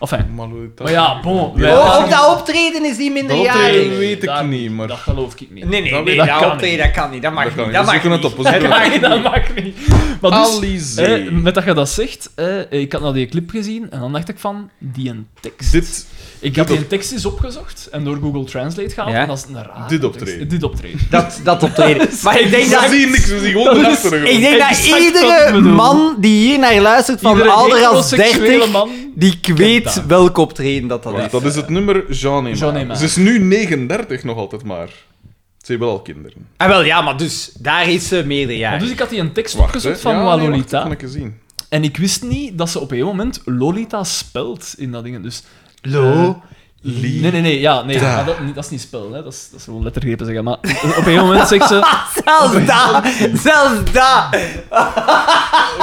Speaker 3: Enfin.
Speaker 1: Malouita.
Speaker 3: Maar ja, bon. wij-
Speaker 2: Oh, op dat optreden is die
Speaker 1: Dat optreden
Speaker 2: minderjarig.
Speaker 1: weet ik
Speaker 3: Daar-
Speaker 1: niet, maar...
Speaker 3: Dat geloof ik niet.
Speaker 2: Nee,
Speaker 1: Dat
Speaker 2: nee, nee,
Speaker 1: weet-
Speaker 2: dat,
Speaker 3: dat kan
Speaker 2: optreden,
Speaker 3: niet.
Speaker 2: dat kan niet. Dat mag
Speaker 1: Dat kan
Speaker 2: niet.
Speaker 1: niet.
Speaker 2: Dat
Speaker 1: We
Speaker 2: mag
Speaker 1: zoeken het
Speaker 2: niet.
Speaker 1: op, we zoeken
Speaker 2: Dat
Speaker 1: het
Speaker 2: mag
Speaker 3: Nee,
Speaker 2: niet.
Speaker 3: dat maakt niet. Maar dus,
Speaker 1: Alizé.
Speaker 3: eh, met dat je dat zegt, eh, ik had nou die clip gezien en dan dacht ik van, die een tekst.
Speaker 1: Dit,
Speaker 3: ik had
Speaker 1: dit
Speaker 3: die een tekst eens opgezocht en door Google Translate gehaald
Speaker 2: Ja.
Speaker 3: en dat is een raar.
Speaker 1: Dit optreden.
Speaker 3: Dit optreden.
Speaker 2: Dat, dat optreden. Maar ik denk
Speaker 1: we
Speaker 2: dat...
Speaker 1: zien niks, we zien gewoon de achtergrond.
Speaker 2: Ik denk dat
Speaker 3: Exact
Speaker 2: iedere
Speaker 3: wat ik bedoel.
Speaker 2: man die hier naar luistert van
Speaker 3: Iedere
Speaker 2: ouder als
Speaker 3: heteroseksuele
Speaker 2: 30,
Speaker 3: man
Speaker 2: die
Speaker 3: kent
Speaker 2: weet
Speaker 3: dat.
Speaker 2: welk optreden dat dat
Speaker 1: Wacht,
Speaker 2: is.
Speaker 1: dat is het nummer Jean Emma.
Speaker 3: Jean Emma.
Speaker 1: Ze is nu 39 nog altijd maar. Ze heeft wel al kinderen.
Speaker 2: Ah, wel, ja, maar dus, daar is ze
Speaker 3: Maar
Speaker 2: meerderjarig.
Speaker 3: Dus ik had die een tekst
Speaker 1: hè.
Speaker 3: opgezocht van
Speaker 1: Ja,
Speaker 3: La
Speaker 1: nee, wacht,
Speaker 3: Lolita
Speaker 1: dat kan ik eens zien.
Speaker 3: en ik wist niet dat ze op een moment Lolita spelt in dat ding. Dus
Speaker 2: Lo.
Speaker 3: Li. Nee, nee, nee, ja, nee, maar dat, dat is niet spel, hè. Dat, is, dat is gewoon lettergrepen zeggen. Maar op een moment zegt ze. dus-
Speaker 2: Zelfs dat! Zelfs dat!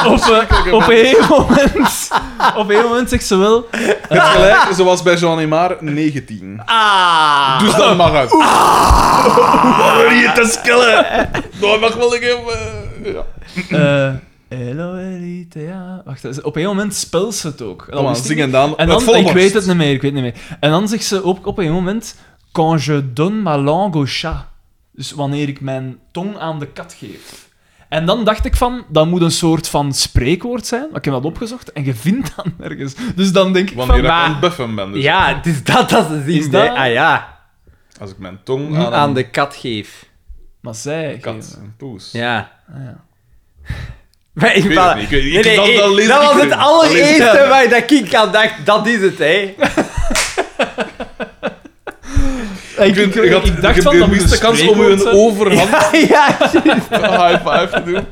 Speaker 3: Op, eh, op, een moment, op een moment zegt ze wel.
Speaker 1: Het gelijk, ze was bij Jean Emma 19.
Speaker 2: Ah!
Speaker 1: Dus dat mag uit. Wil je te skillen? Dat mag wel Nou, ik even... Ja.
Speaker 3: eh Hello, Elitea. Wacht, ze- op een moment speelt ze het ook. Dat
Speaker 1: Kom aan,
Speaker 3: wist ik
Speaker 1: zing
Speaker 3: niet.
Speaker 1: en dan
Speaker 3: En
Speaker 1: het
Speaker 3: dan,
Speaker 1: volgende.
Speaker 3: ik weet het niet meer, ik weet het niet meer. En dan zegt ze ook op een moment... Quand je donne ma langue au chat. Dus wanneer ik mijn tong aan de kat geef. En dan dacht ik van, dat moet een soort van spreekwoord zijn. Maar ik heb dat opgezocht en je vindt dat nergens. Dus dan denk ik
Speaker 1: Wanneer ik
Speaker 3: van...
Speaker 1: aan het buffen ben. Dus
Speaker 2: Ja, het is dat dat ze zien.
Speaker 3: Is
Speaker 2: hè.
Speaker 3: dat-
Speaker 2: Ah ja,
Speaker 1: Als ik mijn tong aan,
Speaker 2: aan,
Speaker 1: een
Speaker 2: de kat geef.
Speaker 3: Maar zij...
Speaker 1: kat,
Speaker 3: geven-
Speaker 1: een poes.
Speaker 2: Ja.
Speaker 3: ja.
Speaker 2: Maar ik,
Speaker 1: weet
Speaker 2: maar-
Speaker 1: het niet, ik weet- ik- dat- dat lees
Speaker 2: dat
Speaker 1: ik
Speaker 2: was
Speaker 1: niet. Dat
Speaker 2: het
Speaker 1: lees ik
Speaker 2: allereerste
Speaker 1: niet.
Speaker 2: waar dat ik aan dacht, dat is het, hè.
Speaker 3: Ik,
Speaker 1: Ik,
Speaker 3: ik-
Speaker 1: ik had,
Speaker 3: ik dacht
Speaker 1: ik heb
Speaker 3: van, dat
Speaker 1: de
Speaker 3: moet
Speaker 1: minste
Speaker 3: een
Speaker 1: kans om u
Speaker 3: spreekwoord
Speaker 1: een
Speaker 3: zijn.
Speaker 1: overhand
Speaker 2: ja,
Speaker 1: high five te doen.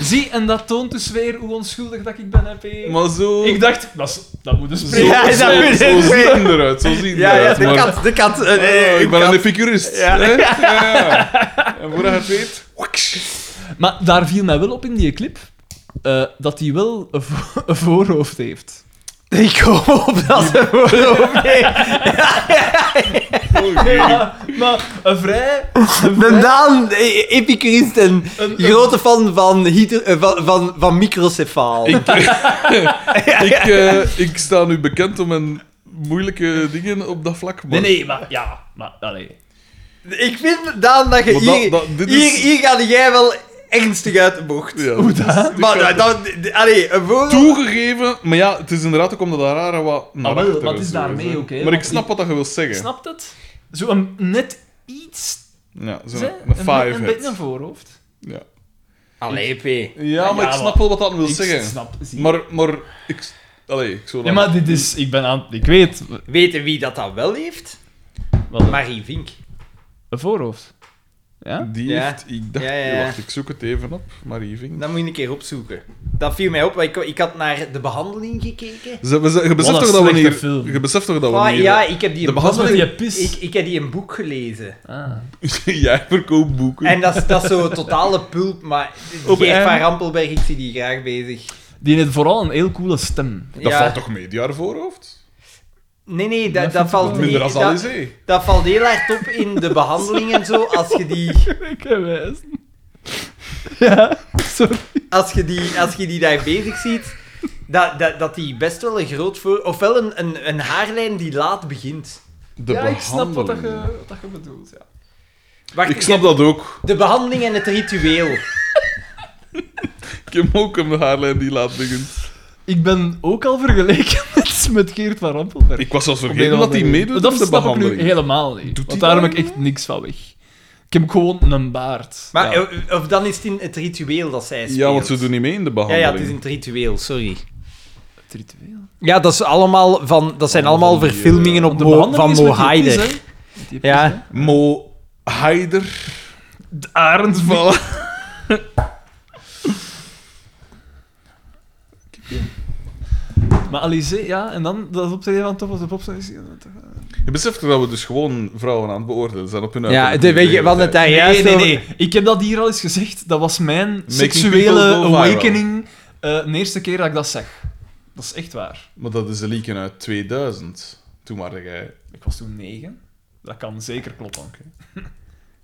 Speaker 3: Zie, en dat toont dus weer hoe onschuldig dat ik ben, hè, P.
Speaker 1: Maar zo...
Speaker 3: Ik dacht, dat, is- dat moet een
Speaker 1: zo,
Speaker 3: spreekwoord
Speaker 2: Ja,
Speaker 1: zo,
Speaker 2: dat moet
Speaker 1: zo
Speaker 2: ik
Speaker 1: ziet
Speaker 2: zeggen.
Speaker 1: het eruit, zo ziet het
Speaker 2: ja, ja,
Speaker 1: eruit.
Speaker 2: de
Speaker 1: maar-
Speaker 2: kat, de kat. eh, eh,
Speaker 1: Oh, ik ben
Speaker 2: kat.
Speaker 1: een epicurist.
Speaker 2: Ja.
Speaker 1: hè? Ja. En voordat je het weet...
Speaker 3: Maar daar viel mij wel op in die clip eh, dat hij wel een, vo- een voorhoofd heeft.
Speaker 2: Ik hoop op dat ze voorop
Speaker 3: Maar, maar een vrij.
Speaker 2: De Daan, eh, epicurist en
Speaker 3: Een-
Speaker 2: grote fan van, hydro- eh, van, van, van microcefaal.
Speaker 1: Ik, eh, ik sta nu bekend om mijn moeilijke dingen op dat vlak. Maar
Speaker 3: Nee, nee, maar ja. Maar, allee.
Speaker 2: Ik vind, Daan, dat je
Speaker 1: Maar dat-
Speaker 2: hier...
Speaker 1: dat- dit
Speaker 2: hier,
Speaker 1: is-
Speaker 2: hier ga jij wel ernstig uit de bocht.
Speaker 1: Ja, Hoe dat?
Speaker 2: Maar dat... dat d- allee, een voorbeeld-
Speaker 1: Toegegeven, maar ja, het is inderdaad ook omdat dat rare wat naar
Speaker 3: Ah, wel,
Speaker 1: achteren
Speaker 3: wat is
Speaker 1: zo,
Speaker 3: daarmee
Speaker 1: hè.
Speaker 3: ook, hè?
Speaker 1: Maar ik
Speaker 3: Want
Speaker 1: snap
Speaker 3: ik-
Speaker 1: wat dat je wilt zeggen.
Speaker 3: Snapt het? Zo een net iets.
Speaker 1: Ja, zo'n
Speaker 3: Een,
Speaker 1: een five
Speaker 3: een
Speaker 1: head.
Speaker 3: beetje een voorhoofd.
Speaker 1: Ja.
Speaker 2: Allee, P.
Speaker 1: ja, maar
Speaker 3: ja,
Speaker 1: ik
Speaker 3: maar-
Speaker 1: snap wel wat dat wil
Speaker 3: Ik
Speaker 1: zeggen.
Speaker 3: snap zie.
Speaker 1: Maar, maar ik... Allee, ik zou
Speaker 3: Nee,
Speaker 1: dat...
Speaker 3: maar dit is. Ik ben aan. Ik weet.
Speaker 2: Weten wie dat dat wel heeft?
Speaker 3: Wat?
Speaker 2: Marie Vink.
Speaker 3: Een voorhoofd.
Speaker 1: Die
Speaker 2: Ja.
Speaker 1: heeft... Ik dacht...
Speaker 2: Ja, ja, ja.
Speaker 1: Wacht, ik zoek het even op. Marie Vink.
Speaker 3: Nou.
Speaker 2: Dat moet je een keer opzoeken. Dat viel mij op, want ik, ik had naar de behandeling gekeken.
Speaker 1: Ze- we- ze- Je beseft
Speaker 3: een
Speaker 1: toch dat we
Speaker 3: slechte
Speaker 1: hier...
Speaker 3: film.
Speaker 1: Je beseft toch dat we
Speaker 2: Ah,
Speaker 1: hier...
Speaker 2: ja, ik heb
Speaker 1: Oh,
Speaker 2: die
Speaker 1: De
Speaker 2: een
Speaker 1: behandeling-
Speaker 3: Met
Speaker 2: boek-
Speaker 3: die pis.
Speaker 2: Ik, ik heb die een boek gelezen.
Speaker 3: Ah.
Speaker 1: Jij verkoopt boeken.
Speaker 2: En dat is, dat is zo'n totale pulp, maar
Speaker 3: Op
Speaker 2: Geert
Speaker 3: een-
Speaker 2: van Rampelberg, ik zie die graag bezig.
Speaker 3: Die heeft vooral een heel coole stem.
Speaker 1: Dat
Speaker 2: Ja.
Speaker 1: valt toch mee, die haar voorhoofd?
Speaker 2: Nee, nee, dat,
Speaker 3: Dat
Speaker 2: dat, valt,
Speaker 1: Minder
Speaker 2: nee,
Speaker 1: als
Speaker 2: dat-
Speaker 1: Alizé.
Speaker 2: dat valt heel hard op in de behandeling en zo. Als je die,
Speaker 3: Ik heb wijs. Ja, sorry.
Speaker 2: als je die, als je die daar bezig ziet, dat, dat, dat die best wel een groot voor... Ofwel een, een, een haarlijn die laat begint.
Speaker 1: De
Speaker 3: ja, ik snap wat dat
Speaker 1: behandeling.
Speaker 3: je, wat dat je bedoelt. Ja.
Speaker 2: Wacht,
Speaker 1: Ik snap dat ook.
Speaker 2: De behandeling en het ritueel.
Speaker 1: Ik heb ook een haarlijn die laat liggen.
Speaker 3: Ik ben ook al vergeleken met, met Geert van Rampelberg.
Speaker 1: Ik was zelfs
Speaker 3: Op een
Speaker 1: vergeten
Speaker 3: of
Speaker 1: dat hij
Speaker 3: andere manier.
Speaker 1: meedoet
Speaker 3: Dat
Speaker 1: aan de
Speaker 3: snap ik nu
Speaker 1: behandeling.
Speaker 3: helemaal niet.
Speaker 1: Doet
Speaker 3: want
Speaker 1: hij
Speaker 3: daarom
Speaker 1: dat
Speaker 3: heb ik echt niks van weg. Ik heb gewoon een baard.
Speaker 2: Maar,
Speaker 3: Ja.
Speaker 2: eh, Of dan is het in het ritueel dat zij speelt.
Speaker 1: Ja, want ze doen niet mee in de
Speaker 2: Ja,
Speaker 1: behandeling.
Speaker 2: ja, het is in het ritueel, sorry.
Speaker 3: Het ritueel.
Speaker 2: Ja, dat, is allemaal van, dat zijn allemaal
Speaker 1: van die, eh,
Speaker 2: verfilmingen op
Speaker 3: De
Speaker 2: Mo-
Speaker 3: behandeling
Speaker 2: van
Speaker 3: is met
Speaker 2: Mo
Speaker 3: die
Speaker 2: Haider.
Speaker 3: pis, hè. Met die pis, hè.
Speaker 2: Ja.
Speaker 1: Mo Heider.
Speaker 3: De arend van... Maar Alice, ja, en dan dat optreden van Top of the Pops. dat is-
Speaker 1: Je beseft dat we dus gewoon vrouwen aan het beoordelen zijn op hun
Speaker 2: Ja,
Speaker 1: uiterlijk.
Speaker 2: de, weet je, wat het daar
Speaker 3: Nee,
Speaker 2: juist
Speaker 3: nee,
Speaker 2: over-
Speaker 3: nee. Ik heb dat hier al eens gezegd. Dat was mijn
Speaker 1: people
Speaker 3: seksuele
Speaker 1: go viral.
Speaker 3: awakening. eh, de eerste keer dat ik dat zag. Dat is echt waar.
Speaker 1: Maar dat is een leak uit 2000. Toen waren jij...
Speaker 3: Ik was toen negen. Dat kan zeker kloppen.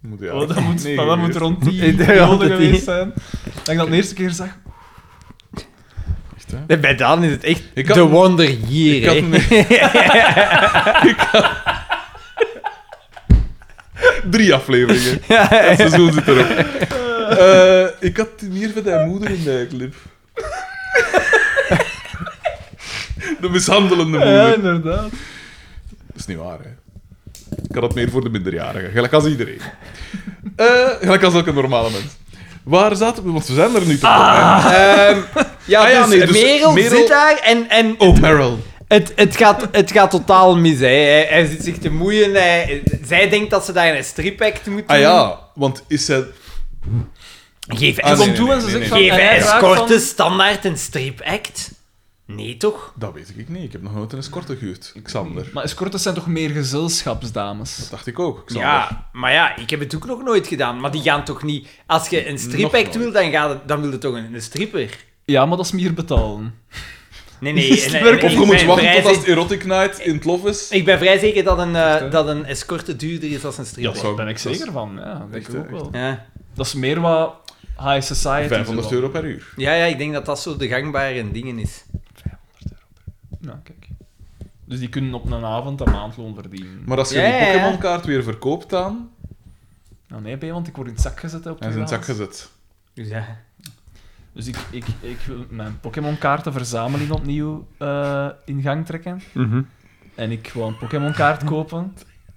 Speaker 1: Moet je
Speaker 3: Oh, dat moet,
Speaker 1: Nee,
Speaker 3: dat moet
Speaker 1: geweest.
Speaker 3: rond
Speaker 2: Ik
Speaker 3: die
Speaker 2: denk
Speaker 3: periode
Speaker 2: altijd die.
Speaker 3: geweest zijn. Dat ik dat de eerste keer zag.
Speaker 1: Echt, hè?
Speaker 2: Nee, bij Daan is het echt
Speaker 1: Ik
Speaker 2: de
Speaker 1: had-
Speaker 2: wonder hier.
Speaker 1: Ik had
Speaker 2: hè.
Speaker 1: een... Ik had- Drie afleveringen.
Speaker 2: Ja,
Speaker 1: Het seizoen zit erop. Eh, ik had toen hier met mijn moeder in de clip. De mishandelende
Speaker 3: Ja,
Speaker 1: moeder.
Speaker 3: inderdaad.
Speaker 1: Dat is niet waar, hè. Ik had dat meer voor de minderjarigen. Gelijk als iedereen. Eh, gelijk als elke normale mens. Waar zaten we? Want we zijn er nu toch. Ah.
Speaker 2: ja,
Speaker 1: Ah ja,
Speaker 2: dus
Speaker 1: nee, dus
Speaker 2: Merel,
Speaker 1: Merel-
Speaker 2: zit daar en, en
Speaker 1: oh, Meryl.
Speaker 2: het, het, gaat, het gaat totaal mis. Hè. Hij, hij zit zich te moeien. Hij, zij denkt dat ze daar een stripact moet doen.
Speaker 1: Ah ja, want is zij...
Speaker 2: Geef
Speaker 1: Ah,
Speaker 2: escort-
Speaker 1: nee,
Speaker 3: toe en ze
Speaker 1: nee, nee,
Speaker 3: zegt van-
Speaker 1: nee.
Speaker 2: Geef
Speaker 3: En hij vraagt
Speaker 2: escorte
Speaker 3: van-
Speaker 2: standaard een stripact? Nee, toch?
Speaker 1: Dat weet ik niet. Ik heb nog nooit een escorte gehuurd. Xander.
Speaker 3: Maar escortes zijn toch meer gezelschapsdames?
Speaker 1: Dat dacht ik ook. Xander.
Speaker 2: Ja, maar ja, ik heb het ook nog nooit gedaan. Maar die gaan toch niet... Als je een stripact
Speaker 1: nooit.
Speaker 2: wil, dan, gaat het, dan wil je toch een, een stripper?
Speaker 3: Ja, maar dat is meer betalen.
Speaker 2: Nee, nee. en- en- en
Speaker 1: Of
Speaker 2: ik
Speaker 1: je moet
Speaker 2: ben
Speaker 1: wachten
Speaker 2: vrij
Speaker 1: tot als
Speaker 2: zeker-
Speaker 1: het Erotic Night in het lof is.
Speaker 2: Ik ben vrij zeker dat een, eh,
Speaker 3: hè?
Speaker 2: dat een escorte duurder is dan een
Speaker 1: Ja,
Speaker 2: stripper.
Speaker 1: zo.
Speaker 3: Daar ben ik
Speaker 1: Dat is
Speaker 3: zeker van. Ja, dat denk ik
Speaker 1: Echt,
Speaker 3: ook wel.
Speaker 2: Ja.
Speaker 3: Dat is meer wat high society.
Speaker 1: 500
Speaker 3: zo.
Speaker 1: euro per uur.
Speaker 2: Ja, ja, ik denk dat dat zo de gangbare dingen is.
Speaker 3: Ja, kijk. Dus die kunnen op een avond een maandloon verdienen.
Speaker 1: Maar als je
Speaker 2: Ja,
Speaker 1: die
Speaker 2: ja, ja.
Speaker 1: Pokémon-kaart weer verkoopt dan,
Speaker 3: Nou, nee, bij, want ik word in het zak gezet. hè, Op
Speaker 1: hij is in het zak
Speaker 3: tweedehands.
Speaker 1: gezet.
Speaker 2: Dus ja.
Speaker 3: Dus ik, ik, ik wil mijn Pokémon-kaarten verzameling opnieuw eh, in gang trekken.
Speaker 1: Mhm.
Speaker 3: En ik wil een Pokémon-kaart kopen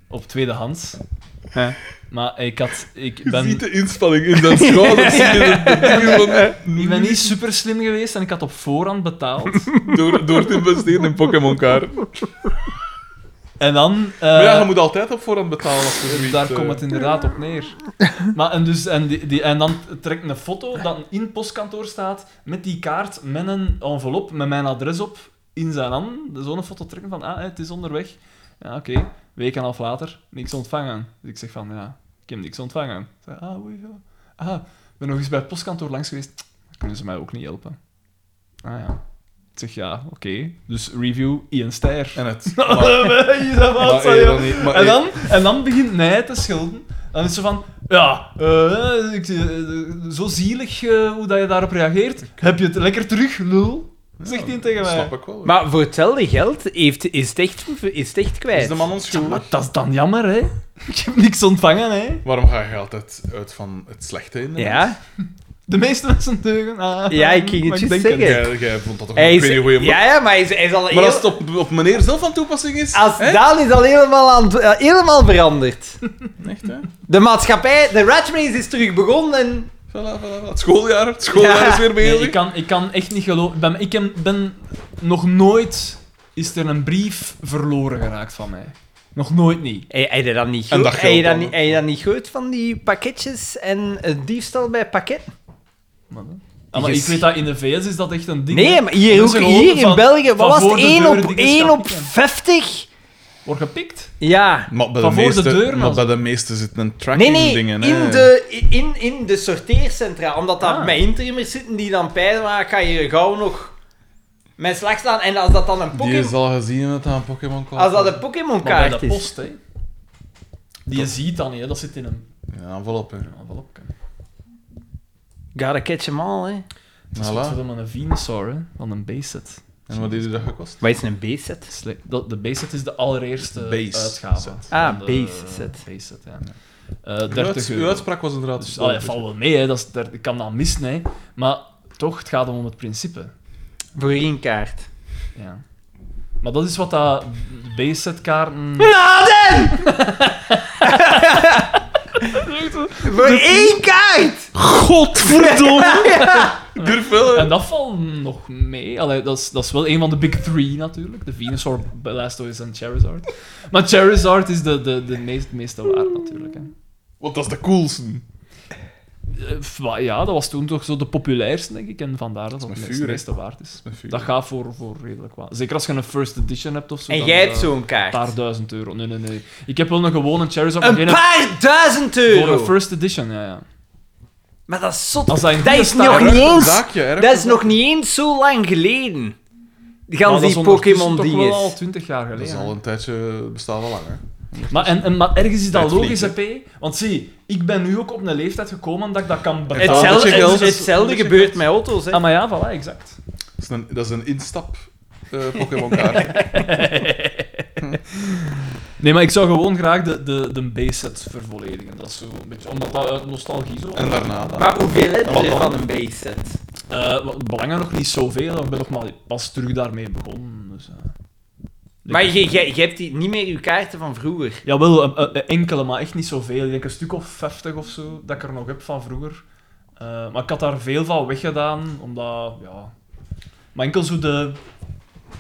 Speaker 3: op tweedehands.
Speaker 2: Ja.
Speaker 3: Maar ik, had, ik,
Speaker 1: Je
Speaker 3: ben,
Speaker 1: ziet de inspanning in zijn schouders. zie je de- de dingen van-
Speaker 3: ik ben niet super slim geweest en ik had op voorhand betaald.
Speaker 1: door, door te investeren in
Speaker 2: Eh,
Speaker 1: Pokémon-kaart. Maar
Speaker 3: En dan... eh,
Speaker 1: ja, je moet altijd op voorhand betalen. Als
Speaker 2: dus
Speaker 1: je zoiets,
Speaker 3: Dus daar
Speaker 1: eh,
Speaker 3: komt het inderdaad op neer. Maar, en, dus, en, die, die- en dan trekt een foto dat in het postkantoor staat met die kaart, met een envelop, met mijn adres op, in zijn handen. Zo'n foto trekken van, ah, het is onderweg. Ja, oké. Week en een half later, niks ontvangen. Dus ik zeg van, ja, ik heb niks ontvangen. Ik Zeg, ah, oei, ja. Ah, ik ben nog eens bij het postkantoor langs geweest. Kunnen ze mij ook niet helpen? Ah ja. Ik zeg, ja, oké. Dus review, Ian Steyer.
Speaker 1: En het.
Speaker 3: Is dat wat,
Speaker 1: Maar
Speaker 3: zei
Speaker 1: eerder
Speaker 3: je?
Speaker 1: niet, maar
Speaker 3: en, dan, en dan begint hij te schilderen. Dan is ze van, ja, eh, ik, eh, zo zielig eh, hoe dat je daarop reageert. Heb je het lekker terug, lul? Zegt hij tegen mij.
Speaker 1: Snap ik wel.
Speaker 2: Maar voor hetzelfde geld heeft, is, het echt, is het echt kwijt.
Speaker 1: is de man
Speaker 3: Maar
Speaker 1: onschuldig?
Speaker 3: dat is dan jammer, hè? Ik heb niks ontvangen, hè?
Speaker 1: Waarom ga je altijd uit van het slechte in? de mens?
Speaker 2: Ja,
Speaker 3: De meeste mensen deugen. Ah,
Speaker 2: Ja, ik ging het
Speaker 3: mag
Speaker 2: juist
Speaker 3: denken.
Speaker 2: zeggen.
Speaker 1: Jij, jij vond dat toch
Speaker 2: hij
Speaker 1: een
Speaker 2: is,
Speaker 1: goede goeie
Speaker 2: ja, ja, maar hij is, hij is al
Speaker 1: Maar
Speaker 2: heel- Ah.
Speaker 1: als het op, op meneer zelf van toepassing is...
Speaker 2: als
Speaker 1: hè?
Speaker 2: Daan is al helemaal, aan, het- eh, helemaal veranderd.
Speaker 1: Echt, hè?
Speaker 2: De maatschappij, de rat race is terug begonnen en...
Speaker 1: Voilà, voilà, voilà. Het schooljaar, het schooljaar
Speaker 2: Ja.
Speaker 1: Oh, is weer bezig.
Speaker 3: Nee, ik, kan, ik kan echt niet geloven. Ik ben, ik heb- ben nog nooit... Is er een brief verloren geraakt van mij? Nog nooit niet.
Speaker 2: Hij hij deed dat niet
Speaker 1: En
Speaker 2: goed.
Speaker 1: dat
Speaker 2: Hij
Speaker 1: geld
Speaker 2: dat
Speaker 1: dan,
Speaker 2: niet-
Speaker 1: hè?
Speaker 2: hij deed dat niet goed van die pakketjes en het diefstal bij pakket.
Speaker 3: Maar, dan- Ah, maar
Speaker 2: Je
Speaker 3: ik
Speaker 2: zie-
Speaker 3: weet dat in de VS is dat echt een ding.
Speaker 2: Nee,
Speaker 3: hè.
Speaker 2: maar hier, ook,
Speaker 3: Mensen geloven
Speaker 2: hier in
Speaker 3: van-
Speaker 2: België,
Speaker 3: van
Speaker 2: wat was
Speaker 3: voor
Speaker 2: het?
Speaker 3: de
Speaker 2: 1
Speaker 3: deur
Speaker 2: op,
Speaker 3: dingen
Speaker 2: 1
Speaker 3: gaan
Speaker 2: op
Speaker 3: pikken.
Speaker 2: 50?
Speaker 3: Wordt gepikt.
Speaker 2: Ja.
Speaker 1: Maar bij, de
Speaker 3: Van voor
Speaker 1: meeste,
Speaker 3: de deur,
Speaker 1: maar
Speaker 3: als-
Speaker 1: bij de meeste zit een
Speaker 2: Nee,
Speaker 1: tracking
Speaker 2: nee,
Speaker 1: dingen.
Speaker 2: in,
Speaker 1: hè.
Speaker 2: de, in, in de sorteercentra. Omdat daar
Speaker 3: Ah.
Speaker 2: met interimmers zitten die dan peilen, maar ik ga hier gauw nog mijn slag staan. En als dat dan een
Speaker 1: Die is
Speaker 2: Pokémon...
Speaker 1: al gezien dat dat een Pokémon komt.
Speaker 2: Als dat een
Speaker 3: Maar bij
Speaker 2: Pokémon-kaart
Speaker 3: de
Speaker 2: is.
Speaker 3: post, hè. Die je ziet dan, hè. Dat zit in een
Speaker 1: Ja, envelop, hè.
Speaker 3: envelop. hè.
Speaker 2: Gotta catch them all, hè.
Speaker 3: Dat is wat
Speaker 1: Voilà.
Speaker 3: voor hem een Venusaur, hè. Van een base set.
Speaker 1: En wat heeft u dat gekost?
Speaker 2: Wat is een B-set?
Speaker 3: Sle- dat- De base set is de allereerste
Speaker 1: Base
Speaker 3: uitgave.
Speaker 1: set.
Speaker 3: van
Speaker 2: Ah,
Speaker 3: de-
Speaker 2: base set.
Speaker 3: Base set, ja. Eh,
Speaker 1: Uw
Speaker 3: 30
Speaker 1: uits-
Speaker 3: euro.
Speaker 1: Uw uitspraak was inderdaad...
Speaker 3: Dus, ah, ja, valt wel mee, hè. Dat is, daar- ik kan dat missen, hè. Maar toch, het gaat om het principe.
Speaker 2: Voor één kaart.
Speaker 3: Ja. Maar dat is wat dat base set kaarten...
Speaker 2: Naden! Voor één kaart!
Speaker 1: Godverdomme! Durf wel, hè.
Speaker 3: En dat valt nog mee. Allee, dat, is, dat is wel een van de big three natuurlijk. De Venusaur, Blastoise en Charizard. Maar Charizard is de, de, de meest, meeste waard natuurlijk. Hè.
Speaker 1: Want dat is de coolste.
Speaker 3: Eh, f- wa- Ja, dat was toen toch zo de populairste, denk ik. En vandaar dat dat
Speaker 1: met
Speaker 3: het
Speaker 1: vuur,
Speaker 3: meest-
Speaker 1: hè.
Speaker 3: meeste waard is.
Speaker 1: met vuur.
Speaker 3: Dat gaat voor, voor redelijk wat. Zeker als je een first edition hebt of zo.
Speaker 2: En
Speaker 3: dan,
Speaker 2: jij hebt
Speaker 3: eh,
Speaker 2: zo'n
Speaker 3: Een
Speaker 2: kaart.
Speaker 3: paar duizend euro. Nee, nee, nee. Ik heb wel een gewone Charizard. maar
Speaker 2: Een
Speaker 3: geen-
Speaker 2: paar duizend
Speaker 3: Voor een
Speaker 2: euro!
Speaker 3: first edition, ja, ja.
Speaker 2: Maar dat is zot.
Speaker 3: Als dat in
Speaker 2: Dat
Speaker 3: goede
Speaker 2: is
Speaker 3: staat-
Speaker 2: nog niet
Speaker 1: Erg een
Speaker 2: eens...
Speaker 1: zaakje, erg
Speaker 2: Dat
Speaker 1: een
Speaker 2: is nog niet eens zo lang geleden. Gans die
Speaker 3: toch wel al
Speaker 2: Pokémon-dinges.
Speaker 3: twintig jaar geleden.
Speaker 1: Dat is al een tijdje bestaan al langer.
Speaker 3: Maar, en, en, maar ergens is dat
Speaker 1: Tijd
Speaker 3: logisch, hè,
Speaker 1: vliegt,
Speaker 3: P? Want zie, ik ben nu ook op een leeftijd gekomen dat ik dat kan betalen.
Speaker 1: Hetzelfde-
Speaker 2: Hetzelfde,
Speaker 1: Een beetje geld.
Speaker 2: hetzelfde gebeurt met auto's, hè.
Speaker 3: Ah, maar ja, voilà, exact.
Speaker 1: Dat is een, dat is een instap eh Pokémon-kaart.
Speaker 3: Nee, maar ik zou gewoon graag de, de, de base-set vervolledigen. Dat is zo een beetje, omdat dat uit nostalgie zo...
Speaker 1: en daarna dan.
Speaker 2: Maar hoeveel heb je van een base set?
Speaker 3: Eh, wat- belangen nog niet zoveel, ik ben nog maar pas terug daarmee begonnen. Dus, eh.
Speaker 2: Maar je, je, je hebt die, niet meer je kaarten van vroeger.
Speaker 3: Jawel, eh, eh, eh, enkele, maar echt niet zoveel. Ik denk een stuk of 50 of zo, dat ik er nog heb van vroeger. Eh, maar ik had daar veel van weggedaan, omdat, ja... Maar enkel zo de,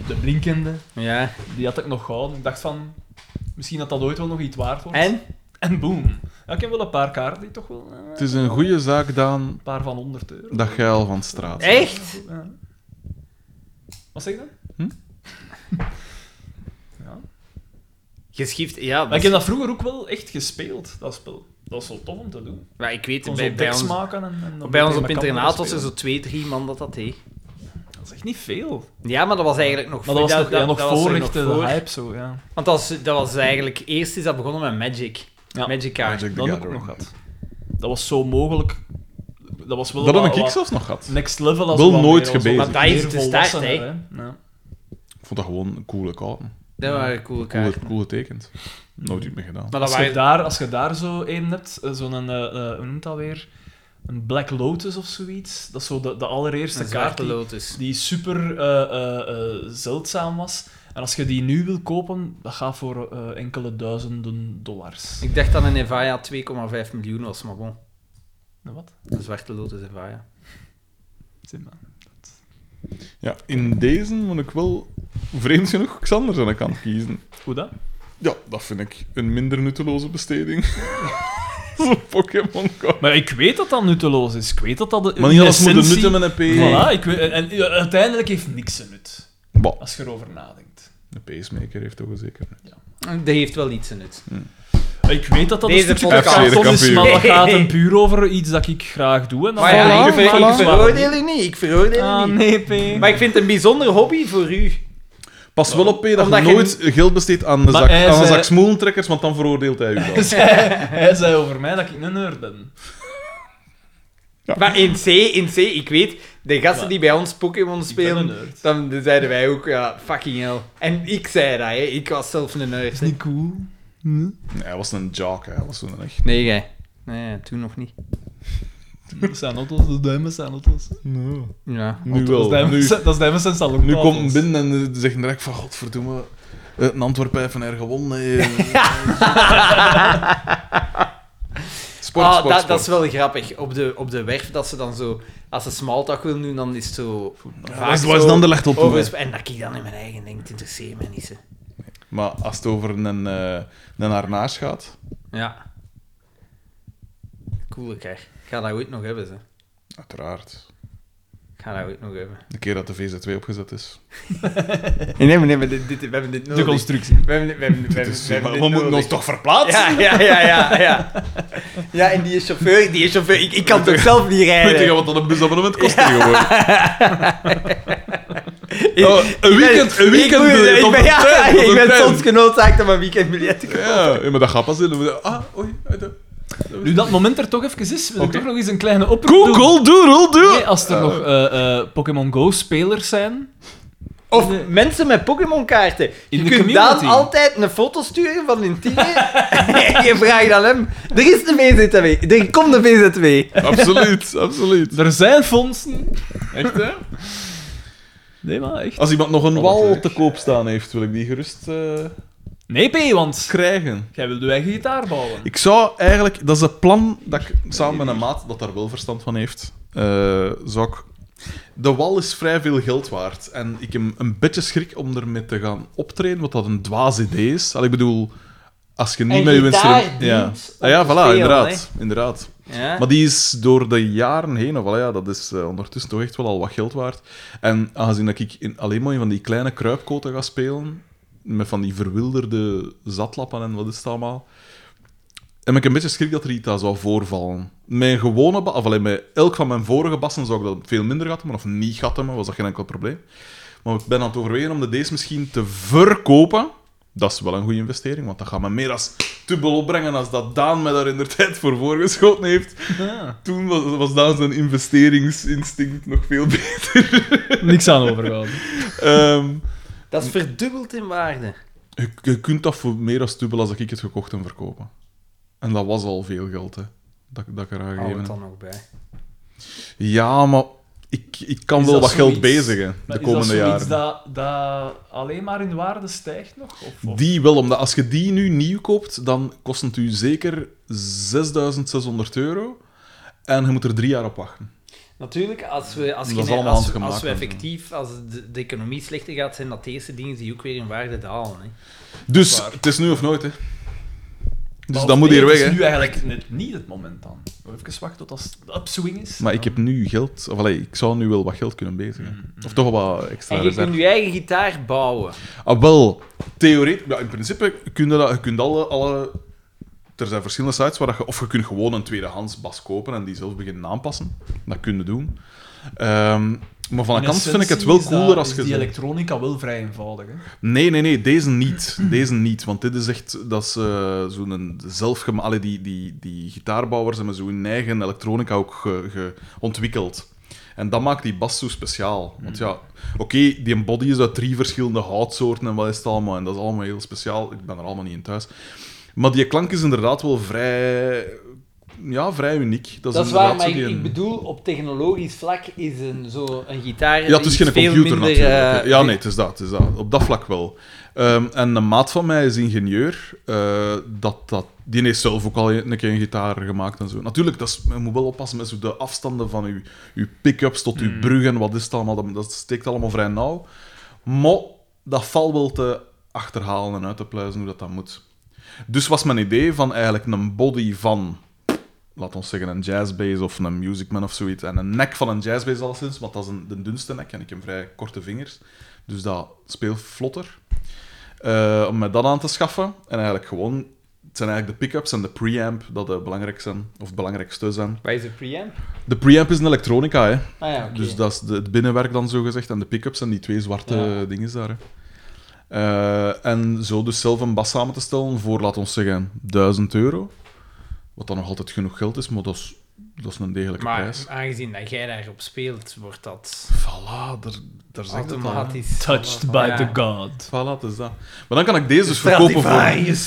Speaker 3: de blinkende,
Speaker 2: Ja.
Speaker 3: die had ik nog gehouden. Ik dacht van, misschien dat dat ooit wel nog iets waard wordt.
Speaker 2: En?
Speaker 3: En boom. Ja, ik heb wel een paar kaarten die toch wel... eh,
Speaker 1: Het is een goede zaak, Daan,
Speaker 3: een paar van 100 euro.
Speaker 1: dat geil van straat.
Speaker 2: Echt?
Speaker 3: Ja. Wat zeg je dan?
Speaker 2: Geschift, ja.
Speaker 3: Maar ik heb dat vroeger ook wel echt gespeeld, dat spel. Dat was wel tof om te doen.
Speaker 2: Maar ik weet,
Speaker 3: Kon
Speaker 2: bij,
Speaker 3: zo
Speaker 2: bij
Speaker 3: decks
Speaker 2: ons,
Speaker 3: maken en... en dan
Speaker 2: bij ons
Speaker 3: tegen
Speaker 2: op
Speaker 3: elkaar
Speaker 2: internaat was er
Speaker 3: spelen.
Speaker 2: zo twee, drie man dat dat deed.
Speaker 3: Dat is echt niet veel.
Speaker 2: Ja, maar dat was eigenlijk nog...
Speaker 3: Maar dat was nog, ja, nog
Speaker 2: dat was er
Speaker 3: voor
Speaker 2: nog
Speaker 3: echt eh,
Speaker 2: voor.
Speaker 3: de hype zo, ja.
Speaker 2: Want dat was, dat was eigenlijk... Eerst is dat begonnen met Magic.
Speaker 3: Ja.
Speaker 2: Magic kaart.
Speaker 1: Magic the
Speaker 3: Dat heb ik ook
Speaker 1: Gathering.
Speaker 3: nog gehad. Dat was zo mogelijk... Dat was wel
Speaker 1: Dat heb
Speaker 3: wat-
Speaker 1: ik ik
Speaker 3: wat
Speaker 1: zelfs nog gehad.
Speaker 3: Next level als
Speaker 1: Wel
Speaker 3: wat
Speaker 1: nooit
Speaker 3: meer- als wat
Speaker 1: gebezigd.
Speaker 2: Maar dat is
Speaker 3: meer
Speaker 2: de start,
Speaker 3: volwassener,
Speaker 2: hè.
Speaker 3: Ja.
Speaker 1: Ik vond dat gewoon een coole kaarten.
Speaker 2: Dat waren coole
Speaker 1: Coole,
Speaker 2: kaarten.
Speaker 1: coole tekent. Nooit iets meer gedaan.
Speaker 2: Maar dat
Speaker 3: Als, je
Speaker 2: waren...
Speaker 3: daar, als je daar zo een hebt, eh, zo'n, eh, eh, hoe noemt dat weer? Een Black Lotus of zoiets. Dat is zo de, de allereerste
Speaker 2: Een
Speaker 3: kaart
Speaker 2: zwarte
Speaker 3: die,
Speaker 2: lotus.
Speaker 3: die super eh, eh, eh, zeldzaam was. En als je die nu wil kopen, dat gaat voor eh, enkele duizenden dollars.
Speaker 2: Ik dacht dat een Evaya 2,5 miljoen was, maar bon.
Speaker 3: Nou, Wat?
Speaker 2: Een zwarte lotus Evaya.
Speaker 3: Zeg maar.
Speaker 1: Ja, in deze moet ik wel vreemd genoeg Xander aan de kant kiezen.
Speaker 3: Hoe dat?
Speaker 1: Ja, dat vind ik een minder nutteloze besteding. Zo'n Pokémon-kaart.
Speaker 3: Maar ik weet dat dat nutteloos is. Ik weet dat dat...
Speaker 1: Maar niet alles moet een nutten met een P.
Speaker 3: Voilà, ik weet, en eh, uiteindelijk heeft niks een nut.
Speaker 1: Bah,
Speaker 3: Als je erover nadenkt.
Speaker 1: de pacemaker heeft toch wel zeker.
Speaker 2: Dat heeft wel iets in het.
Speaker 3: Ik weet dat dat
Speaker 2: Deze
Speaker 3: een stukje
Speaker 2: podcast.
Speaker 3: karton is,
Speaker 1: Kampioen.
Speaker 3: maar dat gaat hem puur over iets dat ik graag doe. En dat
Speaker 2: Maar ja,
Speaker 3: valt
Speaker 2: ik,
Speaker 3: wel
Speaker 2: ver- ik
Speaker 3: mee.
Speaker 2: veroordeel je niet. Ik veroordeel je
Speaker 3: Ah,
Speaker 2: niet.
Speaker 3: nee, P.
Speaker 2: Maar ik vind het een bijzonder hobby voor u.
Speaker 1: Pas wel op, P, dat
Speaker 2: Omdat
Speaker 1: je
Speaker 2: je-
Speaker 1: nooit geld besteedt aan de
Speaker 3: Maar
Speaker 1: zak,
Speaker 3: hij
Speaker 1: aan een
Speaker 3: zei-
Speaker 2: eh,
Speaker 1: zak smoelentrekkers, want dan veroordeelt hij u wel.
Speaker 3: Hij zei over mij dat ik een nerd ben.
Speaker 2: Maar in C, in C, ik weet, de gasten die bij ons Pokémon
Speaker 3: ben een
Speaker 2: spelen,
Speaker 3: nerd.
Speaker 2: dan zeiden wij ook, ja, fucking hell. En ik zei dat, hè. ik was zelf een nerd. hè.
Speaker 3: cool.
Speaker 1: Nee, hij was een jock, hè. hij was zo'n echt.
Speaker 2: Nee, jij. Nee, toen nog niet.
Speaker 3: Dat zijn auto's, de duimen zijn auto's.
Speaker 2: Ja.
Speaker 1: Nu
Speaker 3: Dat
Speaker 1: wel. Nu,
Speaker 3: is duimen zijn salon.
Speaker 1: nu komt hem binnen en eh, zegt direct van, godverdomme, eh, een Antwerpen heeft van haar gewonnen. eh. sport,
Speaker 2: Ah,
Speaker 1: sport,
Speaker 2: dat,
Speaker 1: sport.
Speaker 2: dat is wel grappig. Op de, op de werf, dat ze dan zo... Als ze smalltalk wil doen, dan is het zo... vaak
Speaker 1: waar is-
Speaker 2: zo
Speaker 1: waar is dan de licht op,
Speaker 2: over-
Speaker 1: hè?
Speaker 2: En dat ik dan in mijn eigen denk, het interesseert mij niet, ze.
Speaker 1: Maar als het over een, eh een harnaas gaat,
Speaker 2: Ja. Coole kar. Ik ga dat ooit nog hebben, ze.
Speaker 1: uiteraard.
Speaker 2: Ik ga dat ooit nog hebben.
Speaker 1: De keer dat de VZ2 opgezet is.
Speaker 2: Nee, nee, nee, dit, dit, we hebben dit
Speaker 3: De
Speaker 2: nodig.
Speaker 3: constructie.
Speaker 2: We hebben, dit- we hebben, dit- we hebben,
Speaker 1: Dus,
Speaker 2: we hebben
Speaker 1: maar
Speaker 2: dit
Speaker 1: we moeten
Speaker 2: nodig.
Speaker 1: ons toch verplaatsen?
Speaker 2: Ja, ja, ja, ja, ja. Ja, en die chauffeur, die chauffeur, ik, ik kan toch zelf niet
Speaker 1: Weet je
Speaker 2: rijden?
Speaker 1: wat dat een busabonnement kost tegenwoordig?
Speaker 2: Ik-
Speaker 1: Oh, een weekend, een weekend
Speaker 2: ik,
Speaker 1: biljet
Speaker 2: moet-
Speaker 1: op
Speaker 2: ik ben,
Speaker 1: een
Speaker 2: ja,
Speaker 1: trein, op
Speaker 2: ik
Speaker 1: een
Speaker 2: ben
Speaker 1: trein.
Speaker 2: soms genoodzaakt om een weekendbiljet te kopen.
Speaker 1: Ja, ja, maar dat gaat pas in. Ah, oei. uit de-
Speaker 3: Nu dat moment er toch even is, wil ik
Speaker 1: Oké.
Speaker 3: toch nog eens een kleine oproep doen.
Speaker 1: Google Doodle Doodle!
Speaker 3: Nee, als er nog eh, eh, Pokémon Go-spelers zijn...
Speaker 2: Of mensen met Pokémon-kaarten. Je
Speaker 3: In de
Speaker 2: kunt
Speaker 3: community.
Speaker 2: Daan altijd een foto sturen van een tiende. en je vraagt aan hem. Er is een VZW. Er komt een VZW.
Speaker 1: Absoluut, absoluut.
Speaker 3: Er zijn fondsen.
Speaker 1: Echt, hè?
Speaker 3: Nee, maar echt.
Speaker 1: Als iemand nog een
Speaker 3: wat
Speaker 1: wal
Speaker 3: leuk.
Speaker 1: te koop staan heeft, wil ik die gerust eh,
Speaker 3: Nee, P, want
Speaker 1: krijgen.
Speaker 3: jij wil je eigen gitaar bouwen.
Speaker 1: Ik zou eigenlijk... Dat is het plan dat ik samen met een maat dat daar wel verstand van heeft, eh, zou ik... De wal is vrij veel geld waard. En ik heb een beetje schrik om ermee te gaan optreden, wat dat een dwaas idee is. Al, ik bedoel, als je niet
Speaker 2: Een
Speaker 1: met je
Speaker 2: gitaar
Speaker 1: instrument...
Speaker 2: dient
Speaker 1: Ja,
Speaker 2: om
Speaker 1: ah, ja voilà,
Speaker 2: te spelen,
Speaker 1: inderdaad. inderdaad.
Speaker 2: Ja.
Speaker 1: Maar die is door de jaren heen, of, wel, ja, dat is eh, ondertussen toch echt wel al wat geld waard. En aangezien dat ik in, alleen maar in van die kleine kruipkoten ga spelen, met van die verwilderde zatlappen en wat is het allemaal, heb ik een beetje schrik dat er iets aan zou voorvallen. Mijn gewone ba- of alleen met elk van mijn vorige bassen zou ik dat veel minder gehad hebben, of niet gehad hebben, was dat geen enkel probleem. Maar ik ben aan het overwegen om de deze misschien te verkopen. Dat is wel een goede investering, want dat gaat me meer dan dubbel opbrengen als dat Daan me daar in de tijd voor voorgeschoten heeft.
Speaker 3: Ah.
Speaker 1: Toen was, was Daan zijn investeringsinstinct nog veel beter.
Speaker 3: Niks aan overgehouden.
Speaker 1: Ehm,
Speaker 2: Dat is verdubbeld in waarde.
Speaker 1: je, je kunt dat voor meer dan dubbel als ik het gekocht en verkopen. En dat was al veel geld, hè. Dat, dat ik eraan
Speaker 2: Hou
Speaker 1: gegeven
Speaker 2: het
Speaker 1: heb.
Speaker 2: dan nog bij.
Speaker 1: Ja, maar ik, ik kan
Speaker 3: Is
Speaker 1: wel
Speaker 3: dat
Speaker 1: wat geld
Speaker 3: zoiets-
Speaker 1: bezigen de komende
Speaker 3: is dat
Speaker 1: jaren.
Speaker 3: zoiets dat, dat alleen maar in waarde stijgt nog? Of, of-
Speaker 1: Die wel, omdat als je die nu nieuw koopt, dan kost het u zeker 6600 euro. En je moet er drie jaar op wachten.
Speaker 2: Natuurlijk, als we, als
Speaker 1: Dat
Speaker 2: je,
Speaker 1: is allemaal
Speaker 2: als,
Speaker 1: handgemaakt,
Speaker 2: als we
Speaker 1: hè.
Speaker 2: effectief, als de, de economie slechter gaat, zijn dat de eerste dingen die ook weer in waarde dalen. Hè.
Speaker 1: Dus het is nu of nooit, hè. Dus
Speaker 3: of
Speaker 1: dat moet
Speaker 3: nee,
Speaker 1: hier
Speaker 3: het
Speaker 1: weg,
Speaker 3: is
Speaker 1: hè.
Speaker 3: nu eigenlijk net niet het moment dan. Even wachten tot als het upswing is.
Speaker 1: Maar ik heb nu geld... Of allee, ik zou nu wel wat geld kunnen
Speaker 3: Mm-hmm.
Speaker 1: bezigen. Of toch wel wat extra
Speaker 2: En je
Speaker 1: reserve.
Speaker 2: kunt je eigen gitaar bouwen.
Speaker 1: Ah, wel, theoretisch... Ja, in principe kun je, dat, je kunt alle, alle... Er zijn verschillende sites waar dat je... Of je kunt gewoon een tweedehands bas kopen en die zelf beginnen aanpassen. Dat kun je doen. Ehm, maar van
Speaker 3: In
Speaker 1: een kant vind ik het
Speaker 3: essentie
Speaker 1: wel
Speaker 3: is dat-
Speaker 1: cooler als
Speaker 3: is
Speaker 1: je...
Speaker 3: die
Speaker 1: zo-
Speaker 3: elektronica wel vrij eenvoudig. Hè?
Speaker 1: Nee, nee, nee, deze niet. Deze niet, want dit is echt dat ze zo'n zelfgema... Allee, die, die, die gitaarbouwers hebben zo'n eigen elektronica ook ge, ge- ontwikkeld. En dat maakt die bas zo speciaal. Want ja, oké, die body is uit drie verschillende houtsoorten en wat is het allemaal. En dat is allemaal heel speciaal. Ik ben er allemaal niet in thuis. Maar die klank is inderdaad wel vrij... Ja, vrij uniek. Dat is,
Speaker 2: Dat is waar,
Speaker 1: inderdaad
Speaker 2: maar
Speaker 1: zo die
Speaker 2: ik, ik
Speaker 1: een-
Speaker 2: bedoel, op technologisch vlak is een, zo een gitaar.
Speaker 1: Ja, het is dus
Speaker 2: iets
Speaker 1: geen
Speaker 2: veel
Speaker 1: computer
Speaker 2: minder,
Speaker 1: natuurlijk.
Speaker 2: eh,
Speaker 1: ja, nee, het is dat, het is dat. Op dat vlak wel. Ehm, en een maat van mij is ingenieur. eh, dat, dat, die heeft zelf ook al een keer een gitaar gemaakt en zo. Natuurlijk, dat is, je moet wel oppassen met zo de afstanden van uw, uw pick-ups tot
Speaker 2: Hmm.
Speaker 1: uw bruggen. Wat is het allemaal? Dat, dat steekt allemaal vrij nauw. Maar dat valt wel te achterhalen en uit te pluizen hoe dat, dat moet. Dus was mijn idee van eigenlijk een body van laat ons zeggen, een jazzbass of een musicman of zoiets. En een nek van een jazzbass alleszins, want dat is een, de dunste nek en ik heb vrij korte vingers. Dus dat speelt vlotter. Eh, om mij dat aan te schaffen. En eigenlijk gewoon... Het zijn eigenlijk de pick-ups en de preamp dat de belangrijk zijn. Of het belangrijkste zijn.
Speaker 2: Waar is de preamp?
Speaker 1: De preamp is een elektronica, hè.
Speaker 2: Ah ja, oké.
Speaker 1: Dus dat is de- het binnenwerk dan zo gezegd. En de pick-ups en die twee zwarte
Speaker 3: Ja.
Speaker 1: dingen daar. Hè. Eh, en zo dus zelf een bas samen te stellen voor, laat ons zeggen, 1000 euro. Wat dan nog altijd genoeg geld is, maar dat is, dat is een degelijke
Speaker 2: Maar
Speaker 1: prijs.
Speaker 2: aangezien dat jij daarop speelt, wordt dat
Speaker 1: Voilà, daar, daar zegt het al. hè.
Speaker 2: automatisch...
Speaker 3: Touched by
Speaker 2: Ja.
Speaker 3: the god.
Speaker 1: Voilà, het is dat. Maar dan kan ik deze dus verkopen voor...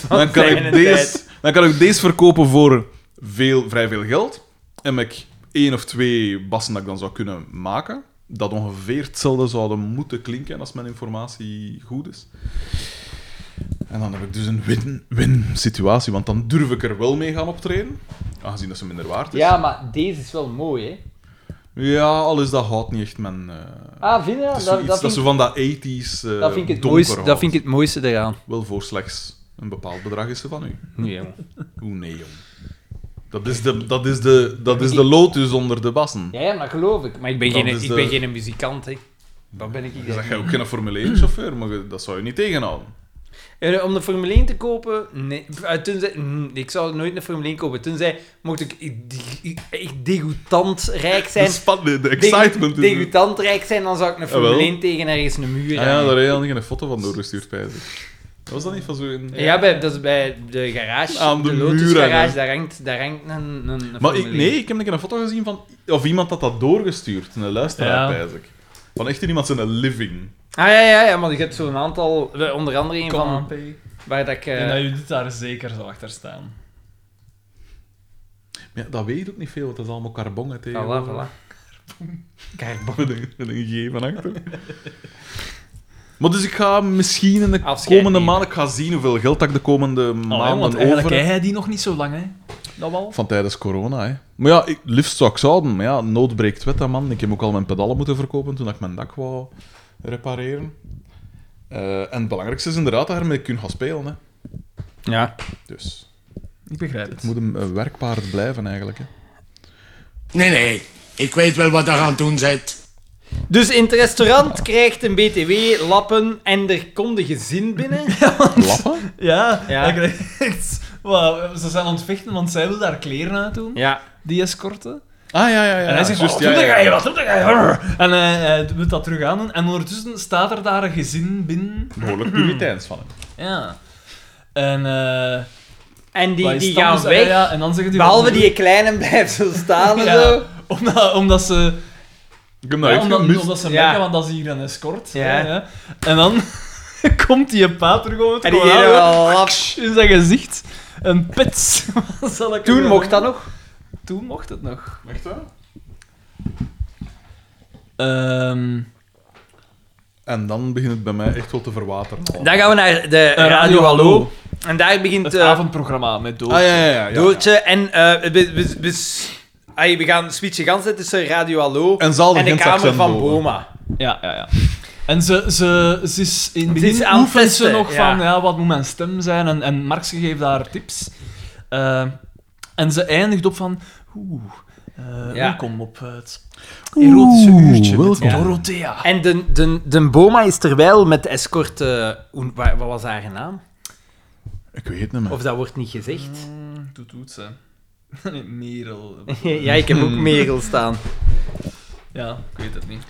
Speaker 1: Dan kan,
Speaker 2: zijn
Speaker 1: ik
Speaker 2: en
Speaker 1: deze,
Speaker 2: tijd.
Speaker 1: dan kan ik deze verkopen voor veel, vrij veel geld. En heb ik één of twee bassen dat ik dan zou kunnen maken. Dat ongeveer hetzelfde zouden moeten klinken als mijn informatie goed is. En dan heb ik dus een win-win situatie, want dan durf ik er wel mee gaan optreden. Aangezien dat ze minder waard is.
Speaker 2: Ja, maar deze is wel mooi, hè?
Speaker 1: Ja, al is dat houdt niet echt mijn... eh,
Speaker 2: Ah, vind je
Speaker 1: het
Speaker 2: dat?
Speaker 1: is
Speaker 2: Dat,
Speaker 1: zoiets
Speaker 2: dat,
Speaker 1: dat
Speaker 2: vind,
Speaker 1: zo
Speaker 2: ik-
Speaker 1: van dat 80s eh
Speaker 2: dat vind ik het
Speaker 1: donker
Speaker 2: mooiste, dat
Speaker 1: hout.
Speaker 2: vind ik het mooiste eraan.
Speaker 1: Wel voor slechts een bepaald bedrag is ze van u.
Speaker 2: Nee, jong.
Speaker 1: Hoe nee, jong. Dat is de, dat is de, dat is de lotus onder de bassen.
Speaker 2: Ja, ja, dat geloof ik. Maar ik ben,
Speaker 1: Dat
Speaker 2: geen,
Speaker 1: is
Speaker 2: ik
Speaker 1: de-
Speaker 2: ben geen muzikant, hè. Dat ben ik
Speaker 1: Dan
Speaker 2: niet.
Speaker 1: zeg je ook geen Formule 1 chauffeur, maar je- dat zou je niet tegenhouden.
Speaker 2: Eh, Om de Formule 1 te kopen, nee. Eh, Tenzij, mm, ik zou nooit een Formule 1 kopen. Tenzij mocht ik echt degoutant rijk zijn.
Speaker 1: De, span, de, de
Speaker 2: degu-
Speaker 1: excitement. is-
Speaker 2: Degoutant rijk zijn, dan zou ik een
Speaker 1: Jawel.
Speaker 2: Formule 1 tegen ergens een muur
Speaker 1: Ah, ja,
Speaker 2: hangen.
Speaker 1: daar heb je al geen foto van doorgestuurd, pijs ik. Dat was dat niet van zo'n...
Speaker 2: Ja, bij, dat is bij de garage.
Speaker 1: Aan de
Speaker 2: Lotus
Speaker 1: muur hangen.
Speaker 2: garage, daar hangt, daar hangt een, een, een
Speaker 1: Maar ik,
Speaker 2: Formule
Speaker 1: nee,
Speaker 2: 1.
Speaker 1: ik heb een keer een foto gezien van... Of iemand had dat doorgestuurd, een luisteraar,
Speaker 3: Ja.
Speaker 1: pijs ik. Van echt in iemand zijn living.
Speaker 2: Ah ja, ja, ja, maar je hebt zo'n aantal, eh, onder andere een
Speaker 3: Kom aan,
Speaker 2: van,
Speaker 3: P.
Speaker 2: waar dat ik... eh,
Speaker 3: En dat jullie daar zeker zal achter staan.
Speaker 1: Maar ja, dat weet ik ook niet veel, want dat is allemaal carbon hè, tegen.
Speaker 2: voilà, voilà. Carbon.
Speaker 1: Met een, met een G van achter. Maar dus ik ga misschien in de
Speaker 2: Afscheid
Speaker 1: komende
Speaker 2: nemen.
Speaker 1: maand, ik ga zien hoeveel geld dat ik de komende
Speaker 3: Allee, Oh, want
Speaker 1: maanden
Speaker 3: eigenlijk
Speaker 1: over
Speaker 3: heb
Speaker 1: heb.
Speaker 3: jij die nog niet zo lang, hè? Dat wel?
Speaker 1: Van tijdens corona, hè. Maar ja, ik, liefst zou ik zouden. Maar ja, nood breekt wet, hè, man. Ik heb ook al mijn pedalen moeten verkopen toen ik mijn dak wou repareren. Eh, en het belangrijkste is inderdaad dat je ermee kunt gaan spelen, hè.
Speaker 2: Ja.
Speaker 1: Dus
Speaker 3: Ik begrijp het.
Speaker 1: het moet een, een werkpaard blijven, eigenlijk, hè.
Speaker 6: Nee, nee. Ik weet wel wat je aan het doen bent.
Speaker 2: Dus in het restaurant krijgt een BTW, lappen en er komt een gezin binnen.
Speaker 1: Lappen?
Speaker 3: Ja,
Speaker 2: Ja.
Speaker 3: ik denk echt. Wauw, ze zijn aan het vechten, want zij wil daar kleren aan doen,
Speaker 2: ja.
Speaker 3: die escorte.
Speaker 1: Ah, ja, ja, ja.
Speaker 3: En hij zegt,
Speaker 1: Juist,
Speaker 3: oh,
Speaker 1: ja,
Speaker 3: doe dat
Speaker 1: ja.
Speaker 3: jij, wat, doe dat jij, brrr. En eh, hij doet dat terug aan doen. En ondertussen staat er daar een gezin binnen.
Speaker 1: Behoorlijk puriteins van hem.
Speaker 3: Ja. En eh,
Speaker 2: En die,
Speaker 3: wij
Speaker 2: die
Speaker 3: staan
Speaker 2: gaan
Speaker 3: dus-
Speaker 2: weg.
Speaker 3: ja, ja, en dan zeggen die...
Speaker 2: Behalve die kleine blijft zo staan en
Speaker 3: Ja,
Speaker 2: zo.
Speaker 3: omdat, omdat ze...
Speaker 1: Nou, Ik heb dat
Speaker 3: ja,
Speaker 1: echt
Speaker 3: omdat,
Speaker 1: gemist.
Speaker 3: omdat ze
Speaker 2: Ja.
Speaker 3: merken, want dat is hier een escort.
Speaker 2: Ja.
Speaker 3: Ja. ja. En dan komt die pa terug om het
Speaker 2: En die
Speaker 3: gewoon
Speaker 2: deden
Speaker 3: aan,
Speaker 2: wel af.
Speaker 3: in zijn gezicht. Een pets. Wat zal ik
Speaker 2: Toen
Speaker 3: ervan
Speaker 2: mocht dat
Speaker 3: doen?
Speaker 2: nog.
Speaker 3: Toen mocht het nog.
Speaker 1: Echt waar?
Speaker 3: Ehm,
Speaker 1: En dan begint het bij mij echt wel te verwateren.
Speaker 2: Dan gaan we naar de
Speaker 3: Radio
Speaker 2: Eh, Radio,
Speaker 3: Hallo.
Speaker 2: Hallo. En daar begint
Speaker 3: het
Speaker 2: eh,
Speaker 3: avondprogramma met Dood.
Speaker 1: Ah, ja, ja, ja. ja,
Speaker 2: Doortje. En eh, we, we, we, ai, we gaan switchen gans hè, tussen Radio Hallo
Speaker 1: En zal de
Speaker 2: en de
Speaker 1: Gentse
Speaker 2: kamer
Speaker 1: accent
Speaker 2: van
Speaker 1: horen.
Speaker 2: Boma.
Speaker 3: Ja, ja, ja. En ze, ze, ze is in het
Speaker 2: is
Speaker 3: begin
Speaker 2: aan het
Speaker 3: oefent ze
Speaker 2: testen,
Speaker 3: nog
Speaker 2: ja.
Speaker 3: van ja, wat moet mijn stem zijn en, en Marx geeft haar tips. Eh, en ze eindigt op van oeh, eh,
Speaker 2: Ja.
Speaker 3: welkom op het erotische uurtje met Dorothea.
Speaker 2: En de, de, de Boma is terwijl met de escort... eh, hoe- wa- wat was haar naam?
Speaker 1: Ik weet het niet meer.
Speaker 2: Of dat wordt niet gezegd.
Speaker 3: Doet doet ze. Nee, Merel.
Speaker 2: ja, ik heb ook Merel staan.
Speaker 3: Ja, ik weet het niet.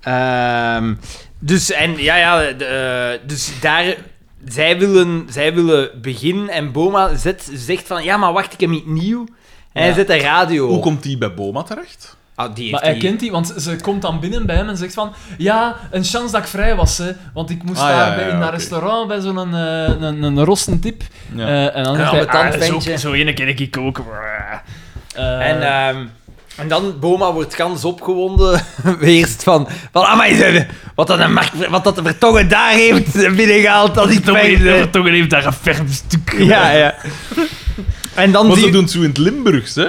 Speaker 2: Ehm, dus, en, ja, ja, de, eh, dus daar... Zij willen, zij willen beginnen en Boma zet, zegt van... Ja, maar wacht, ik heb iets nieuw. En hij
Speaker 3: Ja.
Speaker 2: zet de radio.
Speaker 1: Hoe komt die bij Boma terecht?
Speaker 2: Oh, die heeft
Speaker 3: Maar hij
Speaker 2: die-
Speaker 3: kent die, want ze komt dan binnen bij hem en zegt van... Ja, een chance dat ik vrij was, hè. Want ik moest
Speaker 1: Ah,
Speaker 3: daar
Speaker 1: ja, ja,
Speaker 3: bij, in
Speaker 1: ja,
Speaker 3: dat
Speaker 1: oké.
Speaker 3: restaurant bij zo'n eh, een, een, een rossentip.
Speaker 1: Ja.
Speaker 3: Eh, en dan
Speaker 2: Ja,
Speaker 3: zegt hij...
Speaker 2: met dat
Speaker 3: "Ah, zo,
Speaker 2: ventje."
Speaker 3: zo ene ken ik ook. Eh,
Speaker 2: En, ehm, en dan, Boma wordt gans opgewonden. Weerst van, van "Ah, amai, ze- wat dat, een Mark, wat dat de vertongen daar heeft binnengehaald, dat is mijn... eh,
Speaker 3: Vertongen heeft daar een ferm stuk.
Speaker 2: Ja, ja. En dan
Speaker 1: Want ze
Speaker 2: zie
Speaker 1: doen het zo in het Limburgs, hè?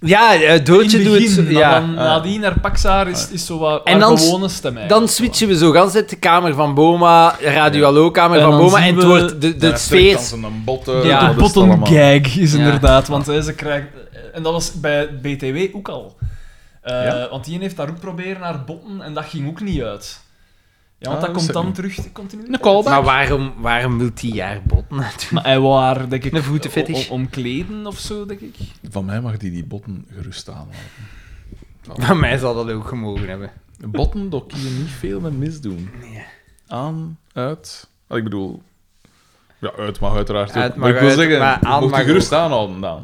Speaker 2: Ja, eh, Doortje doet...
Speaker 3: begin, maar
Speaker 2: Ja.
Speaker 3: dan nadien naar Paxaar is, is zo wat
Speaker 2: En
Speaker 3: haar
Speaker 2: dan s-
Speaker 3: gewone stem eigenlijk.
Speaker 2: Dan switchen we zo gans uit de kamer van Boma, Radio Hallo kamer
Speaker 3: En
Speaker 2: van
Speaker 3: dan
Speaker 2: Boma,
Speaker 3: zien
Speaker 2: en het
Speaker 3: we-
Speaker 2: wordt de, de,
Speaker 1: Ja,
Speaker 2: sfeer...
Speaker 1: strikdansen en botten.
Speaker 2: Ja.
Speaker 1: dat
Speaker 3: de
Speaker 1: is
Speaker 3: bottom
Speaker 1: allemaal.
Speaker 3: gag is
Speaker 2: Ja.
Speaker 3: inderdaad, want hè, ze krijgt... En dat was bij BTW ook al. Eh,
Speaker 1: Ja?
Speaker 3: Want die heeft daar ook proberen naar botten en dat ging ook niet uit. Ja,
Speaker 1: Ah,
Speaker 3: want
Speaker 1: dat
Speaker 3: dat komt
Speaker 1: is
Speaker 3: dan
Speaker 1: niet.
Speaker 3: terug continu.
Speaker 1: Een callback.
Speaker 2: Maar waarom, waarom wil die haar botten natuurlijk?
Speaker 3: Maar hij wou haar, denk ik,
Speaker 2: Een voetenfetish.
Speaker 3: o- o- omkleden of zo, denk ik.
Speaker 1: Van mij mag die die botten gerust aanlaten.
Speaker 2: Van mij zal dat ook gemogen hebben.
Speaker 1: Botten, daar kun je niet veel mee misdoen. Aan, uit... Ah, Ik bedoel... Ja, uit mag uiteraard
Speaker 2: Uit
Speaker 1: ook.
Speaker 2: mag
Speaker 1: Maar ik wil
Speaker 2: uit,
Speaker 1: zeggen,
Speaker 2: maar aan
Speaker 1: je mag
Speaker 2: mag
Speaker 1: je gerust aanhouden, Daan.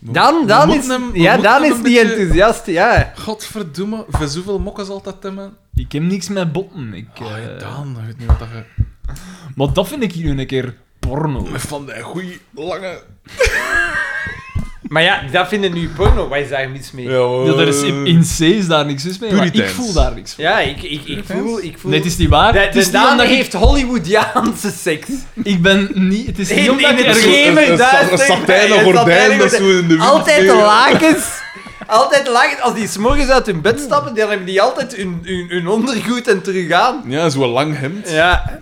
Speaker 2: Dan, dan is,
Speaker 1: moeten hem- we
Speaker 2: ja,
Speaker 1: moeten
Speaker 2: dan
Speaker 1: hem
Speaker 2: is
Speaker 1: een
Speaker 2: die
Speaker 1: beetje-
Speaker 2: enthousiast, ja.
Speaker 1: Godverdomme, voor zoveel mokken zal dat temmen.
Speaker 3: Ik heb niks met botten. Ik,
Speaker 1: Oh,
Speaker 3: eh,
Speaker 1: Daan, ik weet niet wat dat je...
Speaker 3: maar dat vind ik hier nu een keer porno.
Speaker 1: Van die goeie, lange...
Speaker 2: Maar ja, dat vinden nu porno. Wat is daar mis mee? Ja,
Speaker 3: Ja, er is in, in C is daar niks mis mee, maar ik
Speaker 1: Puriteins.
Speaker 3: voel daar niks van.
Speaker 2: ik, ik, ik voel... Ik voel...
Speaker 3: Nee, het is niet waar.
Speaker 2: De,
Speaker 3: het is
Speaker 2: de
Speaker 3: niet
Speaker 2: Daan
Speaker 3: omdat ik-
Speaker 2: heeft Hollywoodiaanse seks.
Speaker 3: Ik ben niet... Het is niet
Speaker 2: In-
Speaker 3: omdat
Speaker 2: in
Speaker 3: ik
Speaker 2: het
Speaker 3: ergens...
Speaker 2: schema.
Speaker 1: Een- een- een
Speaker 2: duister,
Speaker 1: sa- een satijnen
Speaker 2: een satijnen
Speaker 1: gordijn dat zo in de wind
Speaker 2: Altijd
Speaker 1: zweeft.
Speaker 2: lakens. Altijd lakens. Als die s'morgens uit hun bed stappen, dan hebben die altijd hun, hun, hun ondergoed en terug aan.
Speaker 1: Ja, zo'n lang hemd.
Speaker 2: Ja.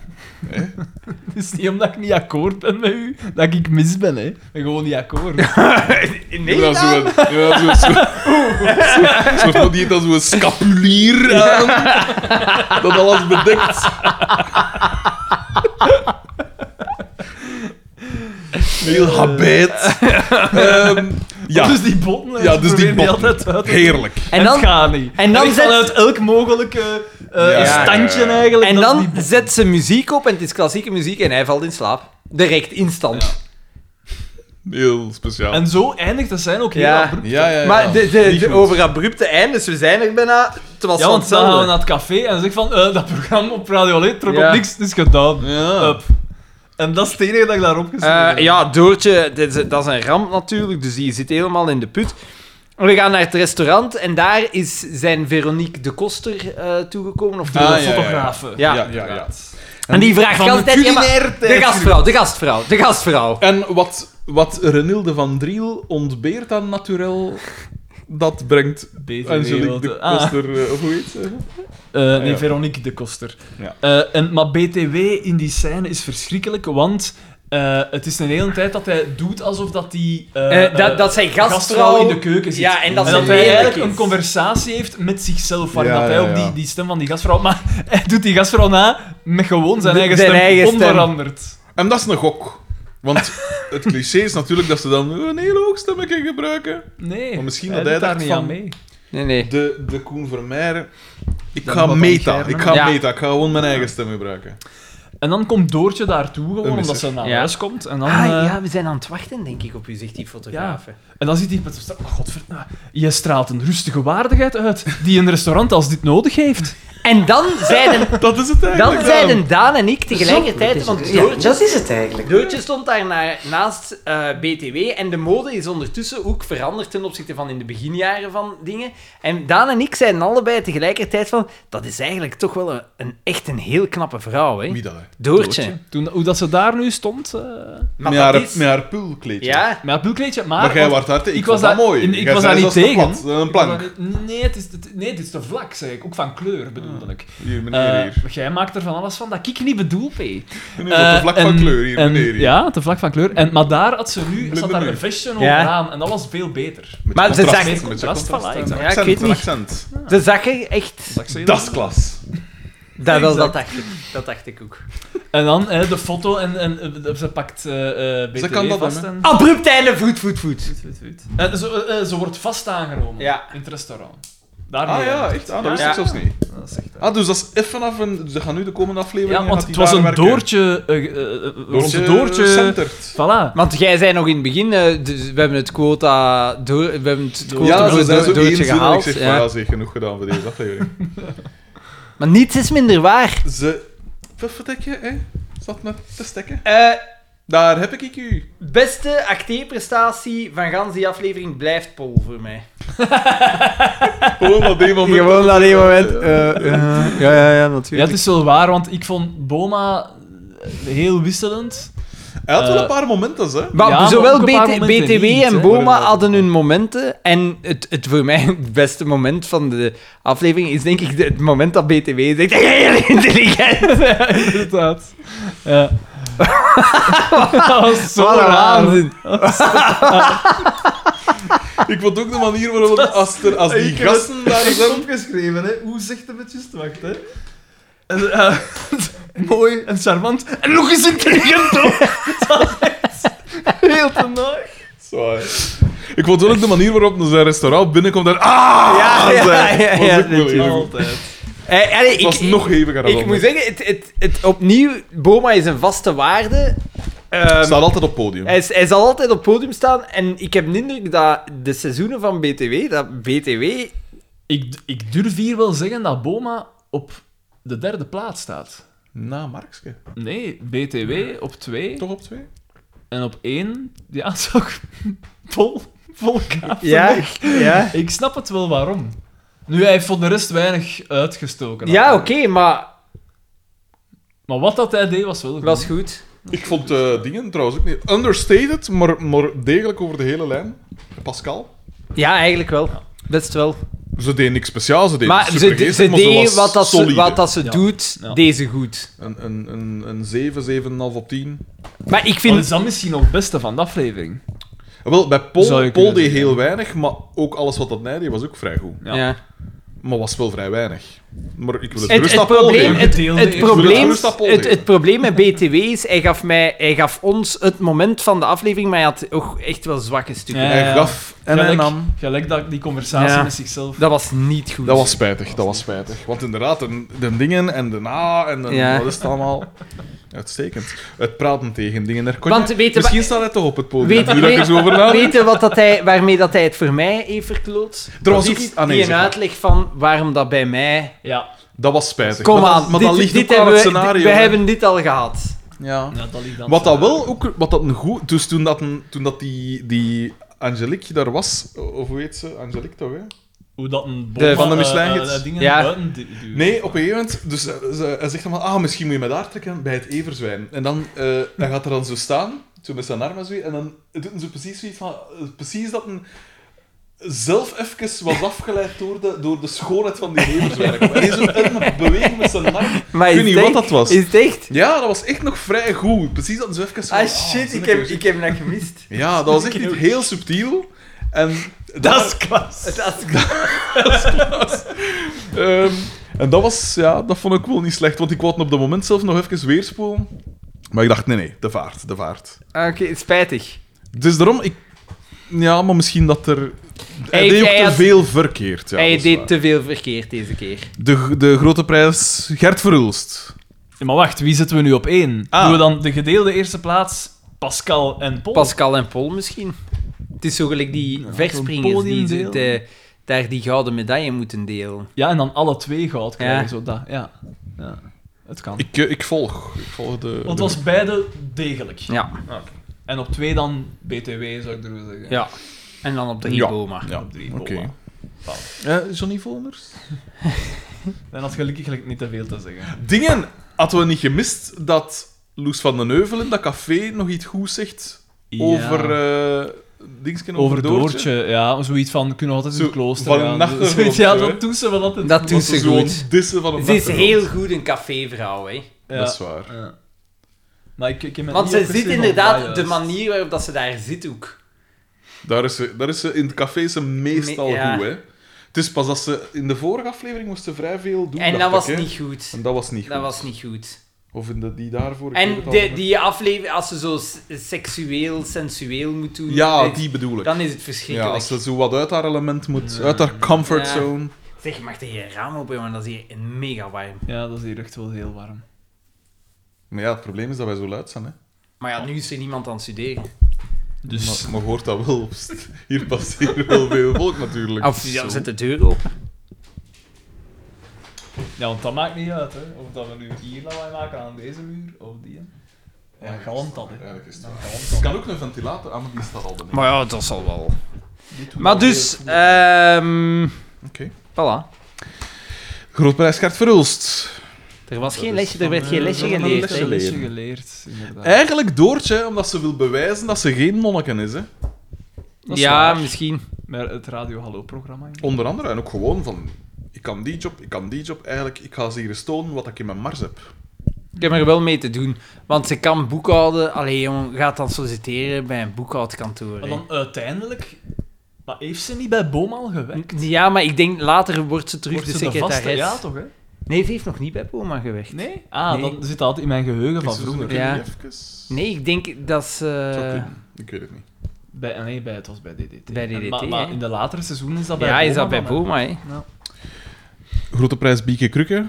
Speaker 3: Het is niet omdat ik niet akkoord ben met u, dat ik mis ben, hè. Ik ben gewoon niet akkoord.
Speaker 2: Nee,
Speaker 1: Ja,
Speaker 2: Daan?
Speaker 1: zo'n... Ja, zo'n... Zo, zo, zo, zo, die dan zo'n scapulier aan. Dat alles bedekt. Heel habit. Ehm, ja.
Speaker 3: Dus die botten, hè,
Speaker 1: Ja,
Speaker 3: ze
Speaker 1: dus die
Speaker 3: proberen
Speaker 1: botten.
Speaker 3: altijd uit.
Speaker 1: Heerlijk.
Speaker 2: En
Speaker 3: het
Speaker 2: dan,
Speaker 3: gaat niet.
Speaker 2: en dan
Speaker 3: ik
Speaker 2: zet-
Speaker 3: vanuit elk mogelijke eh,
Speaker 1: Ja, ja,
Speaker 3: standje
Speaker 1: ja, ja.
Speaker 3: eigenlijk.
Speaker 2: en
Speaker 3: dat
Speaker 2: dan
Speaker 3: die botten-
Speaker 2: zet ze muziek op en het is klassieke muziek en hij valt in slaap. Direct, instant.
Speaker 1: Heel speciaal.
Speaker 3: En zo eindigt dat zijn ook heel
Speaker 2: Ja.
Speaker 3: abrupt.
Speaker 1: ja, ja, ja.
Speaker 2: Maar de, de,
Speaker 1: Niet
Speaker 2: de
Speaker 1: goed.
Speaker 2: over abrupte eindes, we zijn er bijna. Het was
Speaker 3: Ja,
Speaker 2: van
Speaker 3: want dan gaan we
Speaker 2: hetzelfde.
Speaker 3: naar het café en zeg van, eh, dat programma op Radio 1 trok
Speaker 2: Ja.
Speaker 3: op niks, het is gedaan.
Speaker 1: Ja.
Speaker 3: Up. En dat is het enige dat ik daarop gezien
Speaker 2: Eh,
Speaker 3: heb.
Speaker 2: ja, Doortje, dit is- dat is een ramp natuurlijk, dus die zit helemaal in de put. We gaan naar het restaurant en daar is zijn Veronique de Koster eh, toegekomen. Of die-
Speaker 1: Ah, ja, ja.
Speaker 3: fotografen.
Speaker 2: Ja.
Speaker 1: Ja, ja, ja.
Speaker 2: En die vraagt
Speaker 1: de
Speaker 2: altijd... ja, maar-
Speaker 1: culinaire
Speaker 2: de gastvrouw, de gastvrouw, de gastvrouw.
Speaker 1: En wat, wat Renilde van Driel ontbeert aan naturel, dat brengt
Speaker 3: BTW
Speaker 1: Angelique
Speaker 3: wat,
Speaker 1: de
Speaker 3: ah.
Speaker 1: Koster, eh, of hoe heet ze?
Speaker 3: Eh, nee,
Speaker 1: Ah, Ja.
Speaker 3: Veronique de Koster.
Speaker 1: Ja.
Speaker 3: Eh, en, maar BTW in die scène is verschrikkelijk, want eh, het is een hele tijd dat hij doet alsof dat hij... eh,
Speaker 2: Eh, dat-
Speaker 3: eh,
Speaker 2: dat zijn gastvrouw-
Speaker 3: in de keuken zit.
Speaker 2: Ja, en dat ze
Speaker 3: hij
Speaker 2: lelijk
Speaker 3: eigenlijk
Speaker 2: is.
Speaker 3: een conversatie heeft met zichzelf, waarin
Speaker 1: Ja,
Speaker 3: dat
Speaker 1: ja,
Speaker 3: hij ook
Speaker 1: ja.
Speaker 3: die, die stem van die gastvrouw... Maar hij doet die gastvrouw na met gewoon zijn
Speaker 2: Met
Speaker 3: eigen
Speaker 2: zijn
Speaker 3: stem,
Speaker 2: eigen stem.
Speaker 3: onveranderd.
Speaker 1: En dat is een gok. Want het cliché is natuurlijk dat ze dan een heel hoog stemmetje gebruiken.
Speaker 3: Nee,
Speaker 1: Maar misschien
Speaker 3: hij
Speaker 1: dat hij
Speaker 3: doet daar
Speaker 1: dacht
Speaker 3: niet aan
Speaker 1: van-
Speaker 3: mee.
Speaker 2: Nee, nee.
Speaker 1: De, de Koen Vermeijeren. Ik
Speaker 3: Dat
Speaker 1: ga
Speaker 3: wat
Speaker 1: meta.
Speaker 3: aanschermen.
Speaker 1: Ik ga
Speaker 2: Ja.
Speaker 1: meta. Ik ga gewoon mijn eigen stem gebruiken.
Speaker 3: En dan komt Doortje daartoe, gewoon,
Speaker 1: Een
Speaker 3: omdat
Speaker 1: misser.
Speaker 3: ze naar
Speaker 2: Ja.
Speaker 3: huis komt. En dan,
Speaker 2: Ah,
Speaker 3: eh,
Speaker 2: ja, we zijn aan het wachten, denk ik, op u, zegt die fotograaf. hè.
Speaker 3: En dan ziet hij met zo'n... Oh, godverdomme. Je straalt een rustige waardigheid uit die een restaurant als dit nodig heeft.
Speaker 2: En dan zeiden,
Speaker 1: Dat is het
Speaker 2: dan
Speaker 1: eigenlijk.
Speaker 2: zeiden Daan en ik
Speaker 8: Zo,
Speaker 2: tegelijkertijd,
Speaker 8: dat is
Speaker 2: want
Speaker 8: het. Ja,
Speaker 2: Doortje,
Speaker 8: dat is het eigenlijk.
Speaker 2: Doortje stond daar na- naast eh, BTW en de mode is ondertussen ook veranderd ten opzichte van in de beginjaren van dingen. En Daan en ik zeiden allebei tegelijkertijd van, dat is eigenlijk toch wel een, een echt een heel knappe vrouw, hè?
Speaker 1: Wie
Speaker 3: Ah,
Speaker 1: dat, hè?
Speaker 2: Doortje.
Speaker 3: Toen, hoe dat ze daar nu stond... eh,
Speaker 2: Maar
Speaker 1: Met haar,
Speaker 2: dat is-
Speaker 1: met haar pulkleedje.
Speaker 2: Ja,
Speaker 3: Met haar pulkleedje, maar...
Speaker 1: Maar jij
Speaker 3: Ah, want
Speaker 1: was daar te- ik vond
Speaker 3: was
Speaker 1: dat
Speaker 3: daar-
Speaker 1: mooi.
Speaker 3: in- Ik
Speaker 1: Jij
Speaker 3: was
Speaker 1: zei,
Speaker 3: daar niet
Speaker 1: dat is te
Speaker 3: tegen. Eh,
Speaker 1: plat, dat is een
Speaker 3: Ik was
Speaker 1: plank.
Speaker 3: daar niet- Nee, het is, te- nee, het is te vlak, zeg ik. Ook van kleur bedoelde ik.
Speaker 1: Hier, meneer, hier.
Speaker 3: Eh, jij maakt er van alles van dat ik niet bedoel, P.
Speaker 1: Nu op de vlak van
Speaker 3: eh, en-
Speaker 1: kleur, hier,
Speaker 3: en-
Speaker 1: meneer. Hier.
Speaker 3: Ja, te vlak van kleur. En, maar daar had ze nu, zat
Speaker 1: Blinde
Speaker 3: daar
Speaker 1: muur.
Speaker 3: een vestje over
Speaker 2: Ja.
Speaker 3: aan en dat was veel beter.
Speaker 1: Met
Speaker 2: Maar ze
Speaker 1: contrast,
Speaker 2: zag-
Speaker 1: met
Speaker 3: contrast, voilà,
Speaker 1: en
Speaker 3: ik zag-
Speaker 2: Ja,
Speaker 1: accent,
Speaker 2: ik weet
Speaker 1: en
Speaker 2: niet.
Speaker 1: accent.
Speaker 2: ze zag er echt...
Speaker 1: Dat is klas.
Speaker 2: Dat, wel, dat,
Speaker 3: Exact.
Speaker 2: dacht ik. dat dacht ik ook.
Speaker 3: En dan eh, de foto en, en eh, ze pakt eh eh BTW
Speaker 1: Ze kan dat
Speaker 3: vast.
Speaker 1: doen,
Speaker 3: en...
Speaker 2: Abrupt einde, voet, voet, voet.
Speaker 3: Eh, ze, eh, ze wordt vast aangenomen
Speaker 2: Ja.
Speaker 3: in het restaurant. Daar
Speaker 1: Ah ja, echt? Ah, dat wist
Speaker 2: Ja.
Speaker 1: ik zelfs niet.
Speaker 3: Dat is echt, eh.
Speaker 1: Ah, dus dat is even af een... Ze gaan nu de komende aflevering...
Speaker 3: Ja, want het was een doortje... eh eh, eh, rond
Speaker 1: Doortje...
Speaker 3: een doortje...
Speaker 1: centert.
Speaker 3: Voilà.
Speaker 2: Want jij zei nog in het begin, eh, dus we hebben het quota, door, we hebben het quota
Speaker 1: Ja,
Speaker 2: voor
Speaker 1: ze zijn
Speaker 2: do-
Speaker 1: zo één
Speaker 2: doortje
Speaker 1: zin en ik
Speaker 2: gehaald.
Speaker 1: zeg van,
Speaker 2: ja.
Speaker 1: ja, zeg, genoeg gedaan voor deze aflevering.
Speaker 2: Maar niets is minder waar.
Speaker 1: Ze... Wat vertek je, hè? Zat met te stekken.
Speaker 2: Eh,
Speaker 1: Daar heb ik u.
Speaker 2: beste acteerprestatie van gans die aflevering blijft Paul voor mij.
Speaker 1: Gewoon op die moment.
Speaker 2: op één moment.
Speaker 1: eh,
Speaker 2: ja, ja, ja,
Speaker 3: Ja, het
Speaker 2: natuurlijk.
Speaker 3: is wel waar, want ik vond Boma eh, heel wisselend.
Speaker 1: Hij had wel
Speaker 3: Eh,
Speaker 1: een paar momenten, hè?
Speaker 2: maar
Speaker 3: Ja, maar
Speaker 2: zowel
Speaker 3: ook een paar
Speaker 2: BT-
Speaker 3: momenten
Speaker 2: BTW
Speaker 3: niet,
Speaker 2: en
Speaker 3: hè.
Speaker 2: Boma hadden hun momenten. En het, het voor mij het beste moment van de aflevering is denk ik de- het moment dat BTW zegt: Heel intelligent!
Speaker 3: Inderdaad. Ja. dat was zo
Speaker 2: Wat een
Speaker 3: raar.
Speaker 2: waanzin.
Speaker 1: Ik vond ook de manier waarop als, er, als die
Speaker 3: Ik heb het-
Speaker 1: gasten daar zijn.
Speaker 3: opgeschreven, hè. Hoe zegt hem het juist? Wacht, hè. En, eh, mooi en charmant. En nog eens intelligent, hoor. Dat is echt heel te naag.
Speaker 1: Zo, hè. ik vond ook de manier waarop zijn restaurant binnenkomt en ah,
Speaker 2: Ja, ja,
Speaker 1: zei,
Speaker 2: ja,
Speaker 1: was
Speaker 2: ja,
Speaker 1: ook moeilijk.
Speaker 2: natuurlijk.
Speaker 3: Altijd.
Speaker 2: Eh, allee,
Speaker 1: Het was
Speaker 2: ik,
Speaker 1: nog heviger dan
Speaker 2: Ik moet
Speaker 1: anders.
Speaker 2: zeggen, het, het, het, opnieuw, Boma is een vaste waarde. Ehm,
Speaker 1: staat altijd op het podium.
Speaker 2: hij, is- hij zal altijd op het podium staan. En ik heb de indruk dat de seizoenen van BTW, dat BTW...
Speaker 3: Ik, ik durf hier wel zeggen dat Boma op de derde plaats staat.
Speaker 1: Na Markske.
Speaker 3: Nee, BTW op twee.
Speaker 1: Toch op twee?
Speaker 3: En op één, ja, is ook vol, vol kaas.
Speaker 2: Ja, ja.
Speaker 3: Ik snap het wel waarom. Nu, hij heeft voor de rest weinig uitgestoken.
Speaker 2: ja oké, maar
Speaker 3: Maar wat dat hij deed, was wel goed.
Speaker 2: was goed.
Speaker 1: Ik vond eh dingen trouwens ook niet. Understated, maar, maar degelijk over de hele lijn. Pascal.
Speaker 2: Ja, eigenlijk wel. Best wel.
Speaker 1: Ze deed niks speciaals, ze deed
Speaker 2: maar
Speaker 1: super
Speaker 2: ze, ze,
Speaker 1: geestig, maar
Speaker 2: deed
Speaker 1: was
Speaker 2: wat, dat ze,
Speaker 1: solide.
Speaker 2: wat dat ze
Speaker 3: Ja.
Speaker 2: doet,
Speaker 3: Ja.
Speaker 2: deze goed.
Speaker 1: Een, een, een, een 7, 7,5 op 10.
Speaker 2: Maar ik
Speaker 3: Wat is
Speaker 2: vind...
Speaker 3: dat misschien nog het beste van de aflevering?
Speaker 1: Wel, bij
Speaker 3: Zou je
Speaker 1: Paul, Paul
Speaker 3: kunnen
Speaker 1: deed
Speaker 3: zeggen.
Speaker 1: heel weinig, maar ook alles wat dat hij deed was ook vrij goed.
Speaker 2: Ja.
Speaker 3: Ja.
Speaker 1: Maar was wel vrij weinig. Maar ik wil het,
Speaker 2: Het,
Speaker 1: gerust
Speaker 2: het,
Speaker 1: aan Paul
Speaker 2: probleem,
Speaker 1: geven.
Speaker 2: het,
Speaker 3: Gedeelde
Speaker 2: het,
Speaker 3: is-
Speaker 2: probleem,
Speaker 1: Gerust appel
Speaker 2: het,
Speaker 1: geven.
Speaker 2: het probleem met BTW is, hij gaf, mij, hij gaf ons het moment van de aflevering, maar hij had ook echt wel zwakke stukken.
Speaker 3: Ja.
Speaker 1: Hij gaf en hij
Speaker 3: gelijk,
Speaker 1: nam.
Speaker 3: Gelijk dat, die conversatie
Speaker 2: Ja.
Speaker 3: met zichzelf.
Speaker 2: Dat was niet goed.
Speaker 1: Dat was spijtig, dat was spijtig. Want inderdaad, de, de dingen en de na en de,
Speaker 2: Ja.
Speaker 1: wat is het allemaal? Uitstekend. Het praten tegen dingen. Daar kon
Speaker 2: Want
Speaker 1: je-
Speaker 2: weet je
Speaker 1: Misschien
Speaker 2: wa-
Speaker 1: staat hij toch op het podium.
Speaker 2: Weet-
Speaker 1: nu dat ik er zo over nadenk.
Speaker 2: Weet je wat dat hij, waarmee dat hij het voor mij heeft verkloot?
Speaker 1: Er was
Speaker 2: Dat
Speaker 1: ook
Speaker 2: is
Speaker 1: iets- ah, nee,
Speaker 2: die
Speaker 1: zeg
Speaker 2: een
Speaker 1: maar.
Speaker 2: uitleg van waarom dat bij mij...
Speaker 3: Ja.
Speaker 1: Dat was spijtig.
Speaker 2: Kom
Speaker 1: maar, dat-
Speaker 2: aan,
Speaker 1: maar
Speaker 2: dit,
Speaker 1: dat ligt
Speaker 2: dit
Speaker 1: ook aan
Speaker 2: hebben
Speaker 1: het
Speaker 2: we-
Speaker 1: scenario.
Speaker 2: We
Speaker 1: hè.
Speaker 2: hebben dit al gehad.
Speaker 1: Ja.
Speaker 3: ja dat liep dan
Speaker 1: Wat
Speaker 3: zo.
Speaker 1: dat wel ook... Wat dat een goed... Dus toen dat, een- toen dat die, die Angelique daar was... Of hoe heet ze? Angelique toch, hè?
Speaker 3: Hoe dat een
Speaker 1: De Van de
Speaker 3: eh,
Speaker 1: Michelin-gids.
Speaker 3: eh, dingen
Speaker 2: Ja.
Speaker 3: buiten du- duwt.
Speaker 1: Nee, op een gegeven moment... Dus eh, ze- hij zegt dan van... Ah, misschien moet je me daar trekken bij het everzwijn. En dan eh, hij gaat er dan zo staan. Zo met zijn armen zo. En dan doet hij zo precies zoiets van... eh, Precies dat een... Zelf even was afgeleid door de, door de schoonheid van die everzwijn. En hij zo een beweging met zijn arm.
Speaker 2: Maar
Speaker 1: Ik weet
Speaker 2: is
Speaker 1: niet
Speaker 2: het
Speaker 1: wat
Speaker 2: echt-
Speaker 1: dat was.
Speaker 2: Is het echt?
Speaker 1: Ja, dat was echt nog vrij goed. Precies dat zo even... van,
Speaker 2: Ah shit,
Speaker 1: zin
Speaker 2: ik
Speaker 1: er
Speaker 2: heb,
Speaker 1: zo
Speaker 2: ik heb dat gemist.
Speaker 1: Ja, dat was echt niet heel subtiel. En
Speaker 3: Dat is klas.
Speaker 2: Dat is-
Speaker 1: ehm, en dat was, ja, dat vond ik wel niet slecht, want ik wou het op dat moment zelf nog even weerspoelen. Maar ik dacht, nee, nee, de vaart, de vaart.
Speaker 2: Ah, Oké, spijtig.
Speaker 1: Dus daarom, ik... Ja, maar misschien dat er... Hij
Speaker 2: Hij-
Speaker 1: deed ook
Speaker 2: hij
Speaker 1: te
Speaker 2: had-
Speaker 1: veel verkeerd. Ja, dat
Speaker 2: Hij
Speaker 1: is waar.
Speaker 2: deed te veel verkeerd deze keer.
Speaker 1: de, de grote prijs Gert Verhulst.
Speaker 3: Ja, maar wacht, wie zetten we nu op één?
Speaker 1: Ah.
Speaker 3: Doen we dan de gedeelde eerste plaats Pascal en Paul?
Speaker 2: Pascal en Paul misschien. Het is zo gelijk die verspringers die
Speaker 3: podium
Speaker 2: zo
Speaker 3: deel.
Speaker 2: te- daar die gouden medaille moeten delen.
Speaker 3: Ja, en dan alle twee goud krijgen.
Speaker 2: Ja.
Speaker 3: Zo, dat, ja. ja, het kan.
Speaker 1: Ik, eh, ik volg. Ik volg de...
Speaker 3: Want het
Speaker 1: de-
Speaker 3: was beide degelijk.
Speaker 2: Ja,
Speaker 3: Oké. En op twee dan BTW, zou ik durven zeggen.
Speaker 2: ja. En dan op drie
Speaker 1: Ja.
Speaker 2: Boma.
Speaker 1: Ja,
Speaker 3: Op drie,
Speaker 1: oké.
Speaker 3: Boma.
Speaker 1: Eh, Johnny Voners?
Speaker 3: Dan had gelukkig gelijk niet te veel te zeggen.
Speaker 1: Dingen, hadden we niet gemist dat Loes van den Heuvel in dat café nog iets goed zegt over... eh Dingsken
Speaker 3: Over Doortje, ja. Zoiets van, kunnen we altijd in
Speaker 1: Zo,
Speaker 3: het klooster
Speaker 1: van een
Speaker 3: gaan.
Speaker 1: nachtergrond,
Speaker 3: Zoiets, ja,
Speaker 1: hè?
Speaker 3: dat doen ze wel altijd.
Speaker 2: Dat doet
Speaker 1: Dat
Speaker 2: ze
Speaker 1: is gewoon
Speaker 2: goed.
Speaker 1: dissen van een
Speaker 2: Ze is
Speaker 1: plattegrond.
Speaker 2: heel goed een cafévrouw, hè.
Speaker 3: Ja.
Speaker 1: Dat is waar.
Speaker 3: Ja. Maar ik, ik heb me
Speaker 2: Want
Speaker 3: niet
Speaker 2: ze
Speaker 3: opgeschreven
Speaker 2: zit
Speaker 3: op
Speaker 2: inderdaad,
Speaker 3: dat
Speaker 2: de
Speaker 3: juist.
Speaker 2: manier waarop dat ze daar zit ook.
Speaker 1: Daar is ze, daar is ze in het café is ze meestal
Speaker 2: Me- ja.
Speaker 1: goed, hè. Het is pas dat ze... In de vorige aflevering moest ze vrij veel doen,
Speaker 2: En dat
Speaker 1: dacht
Speaker 2: was
Speaker 1: ik, hè.
Speaker 2: niet goed.
Speaker 1: En dat was niet
Speaker 2: Dat
Speaker 1: goed.
Speaker 2: was niet goed.
Speaker 1: Of in de, die daarvoor... ik weet
Speaker 2: En
Speaker 1: het
Speaker 2: de,
Speaker 1: allemaal
Speaker 2: die aflevering, als ze zo s- seksueel, sensueel moet doen,
Speaker 1: niet. Ja,
Speaker 2: eh,
Speaker 1: die bedoel ik.
Speaker 2: dan is het
Speaker 1: Ja,
Speaker 2: verschrikkelijk. Mm.
Speaker 1: als ze zo wat uit haar element moet, uit haar comfortzone.
Speaker 2: Zeg, je mag er geen raam open, doen, want dat is hier een mega warm.
Speaker 3: Ja, dat is hier echt wel heel warm.
Speaker 1: Maar ja, het probleem is dat wij zo luid zijn, hè.
Speaker 2: Maar ja, nu is er niemand aan het studeren.
Speaker 3: Dus...
Speaker 1: Maar, maar hoort dat wel? Hier past hier wel veel volk natuurlijk.
Speaker 2: Of
Speaker 1: Zo.
Speaker 2: Ah, ja, zet de deur open.
Speaker 3: Ja, want dat maakt niet uit, hè. Of dat we nu hier lawaai maken aan deze muur, of die. hè. Ja, galmt dat, hè.
Speaker 1: Eigenlijk is het wel. Het kan ook een ventilator, ah, maar die staat al beneden.
Speaker 2: Maar ja, dat zal wel. Maar dus, ehm
Speaker 1: Oké.
Speaker 2: voilà.
Speaker 1: Grootprijs Gert Verhulst.
Speaker 2: Er was geen lesje, er werd
Speaker 3: Eh,
Speaker 2: geen lesje
Speaker 1: eh, wel een
Speaker 2: geleerd.
Speaker 1: lesje
Speaker 2: hè.
Speaker 1: leren.
Speaker 3: lesje geleerd, inderdaad.
Speaker 1: Eigenlijk Doortje, omdat ze wil bewijzen dat ze geen monniken is, hè.
Speaker 3: Dat is
Speaker 2: Ja,
Speaker 3: waar.
Speaker 2: misschien.
Speaker 3: Met het Radio Hallo-programma.
Speaker 2: Oh,
Speaker 1: Onder andere, en ook gewoon van... Ik kan die job, ik kan die job. Eigenlijk, ik ga ze hier stonen wat ik in mijn mars heb.
Speaker 2: Ik heb er wel mee te doen. Want ze kan boekhouden. Allee, jongen, gaat dan solliciteren bij een boekhoudkantoor.
Speaker 3: Maar
Speaker 2: hè.
Speaker 3: dan uiteindelijk... Maar heeft ze niet bij Boom al gewerkt?
Speaker 2: Ja, maar ik denk later wordt ze terug
Speaker 3: Wordt
Speaker 2: de
Speaker 3: ze de vaste?
Speaker 2: secretaris.
Speaker 3: Ja, toch, hè?
Speaker 2: Nee, ze heeft nog niet bij Poma gewerkt.
Speaker 3: Nee? Ah,
Speaker 2: Nee.
Speaker 3: dan zit dat altijd in mijn geheugen van
Speaker 1: Is ze zo
Speaker 3: vroeger.
Speaker 1: een
Speaker 2: Ja.
Speaker 1: keer even-
Speaker 2: Nee, eh, ik denk dat ze...
Speaker 1: Zou kunnen. Ik weet het niet.
Speaker 3: Bij, nee, bij, het was bij DDT.
Speaker 2: Bij DDT,
Speaker 3: En- maar,
Speaker 2: hè.
Speaker 3: maar in de latere seizoenen is dat bij
Speaker 2: ja,
Speaker 3: Boma
Speaker 2: is dat bij
Speaker 3: dan, hè.
Speaker 2: Poma, hè.
Speaker 1: Grote prijs Bieke Krukke?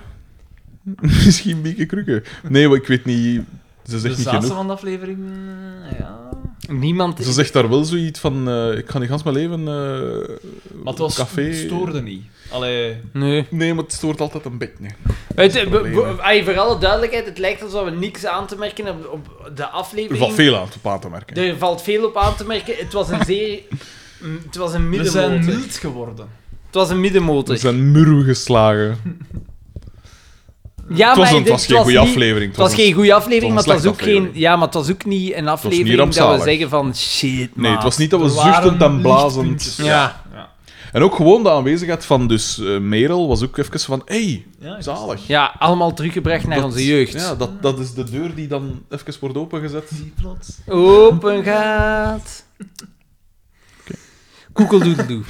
Speaker 1: Misschien Bieke Krukke. Nee, want ik weet niet. Ze
Speaker 3: De
Speaker 1: zegt niet
Speaker 3: zaadse
Speaker 1: genoeg.
Speaker 3: van de aflevering... mm, Ja...
Speaker 2: Niemand...
Speaker 1: Ze zegt daar wel zoiets van: eh, ik ga niet gans mijn leven. eh,
Speaker 3: Maar het, was,
Speaker 1: café.
Speaker 3: het stoorde niet. Allee...
Speaker 2: Nee.
Speaker 1: Nee, maar het stoort altijd een beetje. Nee.
Speaker 2: Het, eh,
Speaker 1: probleem,
Speaker 2: bo-
Speaker 1: hè.
Speaker 2: bo- ay, voor alle duidelijkheid, het lijkt alsof we niks aan te merken hebben op de
Speaker 1: Er
Speaker 2: aflevering.
Speaker 1: valt veel aan te paard te merken.
Speaker 2: Er valt veel op aan te merken. Het was een zeer... mm, Het was een
Speaker 3: We zijn
Speaker 2: middenmotor.
Speaker 3: mild geworden.
Speaker 2: Het was een middenmotor.
Speaker 1: Er zijn muren geslagen.
Speaker 2: Ja,
Speaker 1: het was,
Speaker 2: Ah, maar
Speaker 1: een, het was
Speaker 2: dit-
Speaker 1: geen goede
Speaker 2: niet-
Speaker 1: aflevering.
Speaker 2: Het was geen goede aflevering, maar
Speaker 1: het
Speaker 2: het
Speaker 1: was een
Speaker 2: was ook
Speaker 1: slechte
Speaker 2: geen... Ja, maar het was ook niet een aflevering dat we
Speaker 1: rampzalig.
Speaker 2: zeggen van... Shit,
Speaker 1: Nee, het
Speaker 2: maat.
Speaker 1: was niet dat we
Speaker 3: Er waren
Speaker 1: zuchtend en blazend.
Speaker 3: lichtpuntjes.
Speaker 2: Ja.
Speaker 1: En ook gewoon de aanwezigheid van dus, eh, Merel was ook even van: hey,
Speaker 3: Ja, ik-
Speaker 1: zalig.
Speaker 2: Ja, allemaal teruggebracht naar onze jeugd.
Speaker 1: Ja, dat, dat is de deur die dan even wordt opengezet.
Speaker 3: Die plots.
Speaker 2: Open gaat. Koekeldoedeldoe.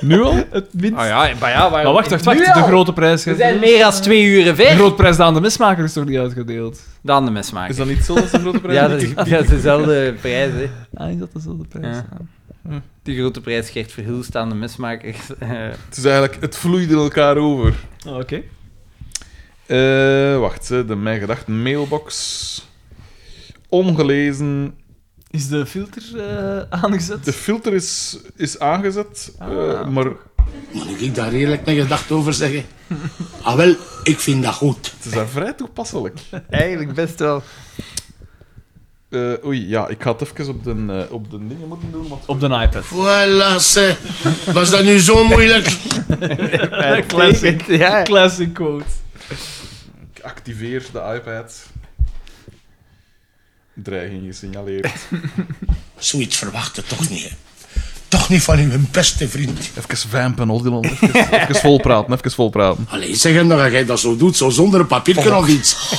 Speaker 1: Nu al?
Speaker 3: Het wint.
Speaker 2: Ah ja, maar ja, waarom...
Speaker 3: Maar wacht, wacht, wacht.
Speaker 2: Nu
Speaker 3: De
Speaker 2: al?
Speaker 3: grote prijs.
Speaker 2: We zijn meer dan twee uren
Speaker 3: De
Speaker 2: weg.
Speaker 3: grote prijs aan de mismaker is toch niet uitgedeeld?
Speaker 2: Dan de mesmaker.
Speaker 1: Is dat niet hetzelfde als de grote prijs?
Speaker 2: Ja, dat is, dat is dezelfde prijs, hè.
Speaker 3: Ah, is dat dezelfde prijs?
Speaker 2: Ja. De grote prijs Gert Verhulst aan de mesmaker. Eh,
Speaker 1: Het is eigenlijk, het vloeit in elkaar over.
Speaker 3: Ah, Oké.
Speaker 1: Eh, wacht, eh, de mijn gedacht mailbox. Ongelezen.
Speaker 3: Is de filter eh, aangezet?
Speaker 1: De filter is, is aangezet, eh,
Speaker 3: Ah.
Speaker 1: maar het
Speaker 6: Moet ik daar eerlijk mijn gedachten over zeggen? ah wel, ik vind dat goed.
Speaker 1: is daar vrij toepasselijk.
Speaker 2: Eigenlijk best wel.
Speaker 1: Eh, oei, ja, ik ga het even op de, eh, op de dingen moeten doen. Want...
Speaker 3: Op de iPad.
Speaker 6: Voilà, zeg. Was dat nu zo moeilijk?
Speaker 3: classic.
Speaker 2: Ja.
Speaker 3: Classic quote.
Speaker 1: Ik activeer de iPad. Dreiging gesignaleerd.
Speaker 6: Zoiets verwachtte toch niet, hè? Toch niet van uw beste vriend.
Speaker 1: even vampen, Odilon. Even, even volpraten, even volpraten.
Speaker 6: Allee, zeg hem dat jij dat zo doet, zo zonder een papiertje of iets.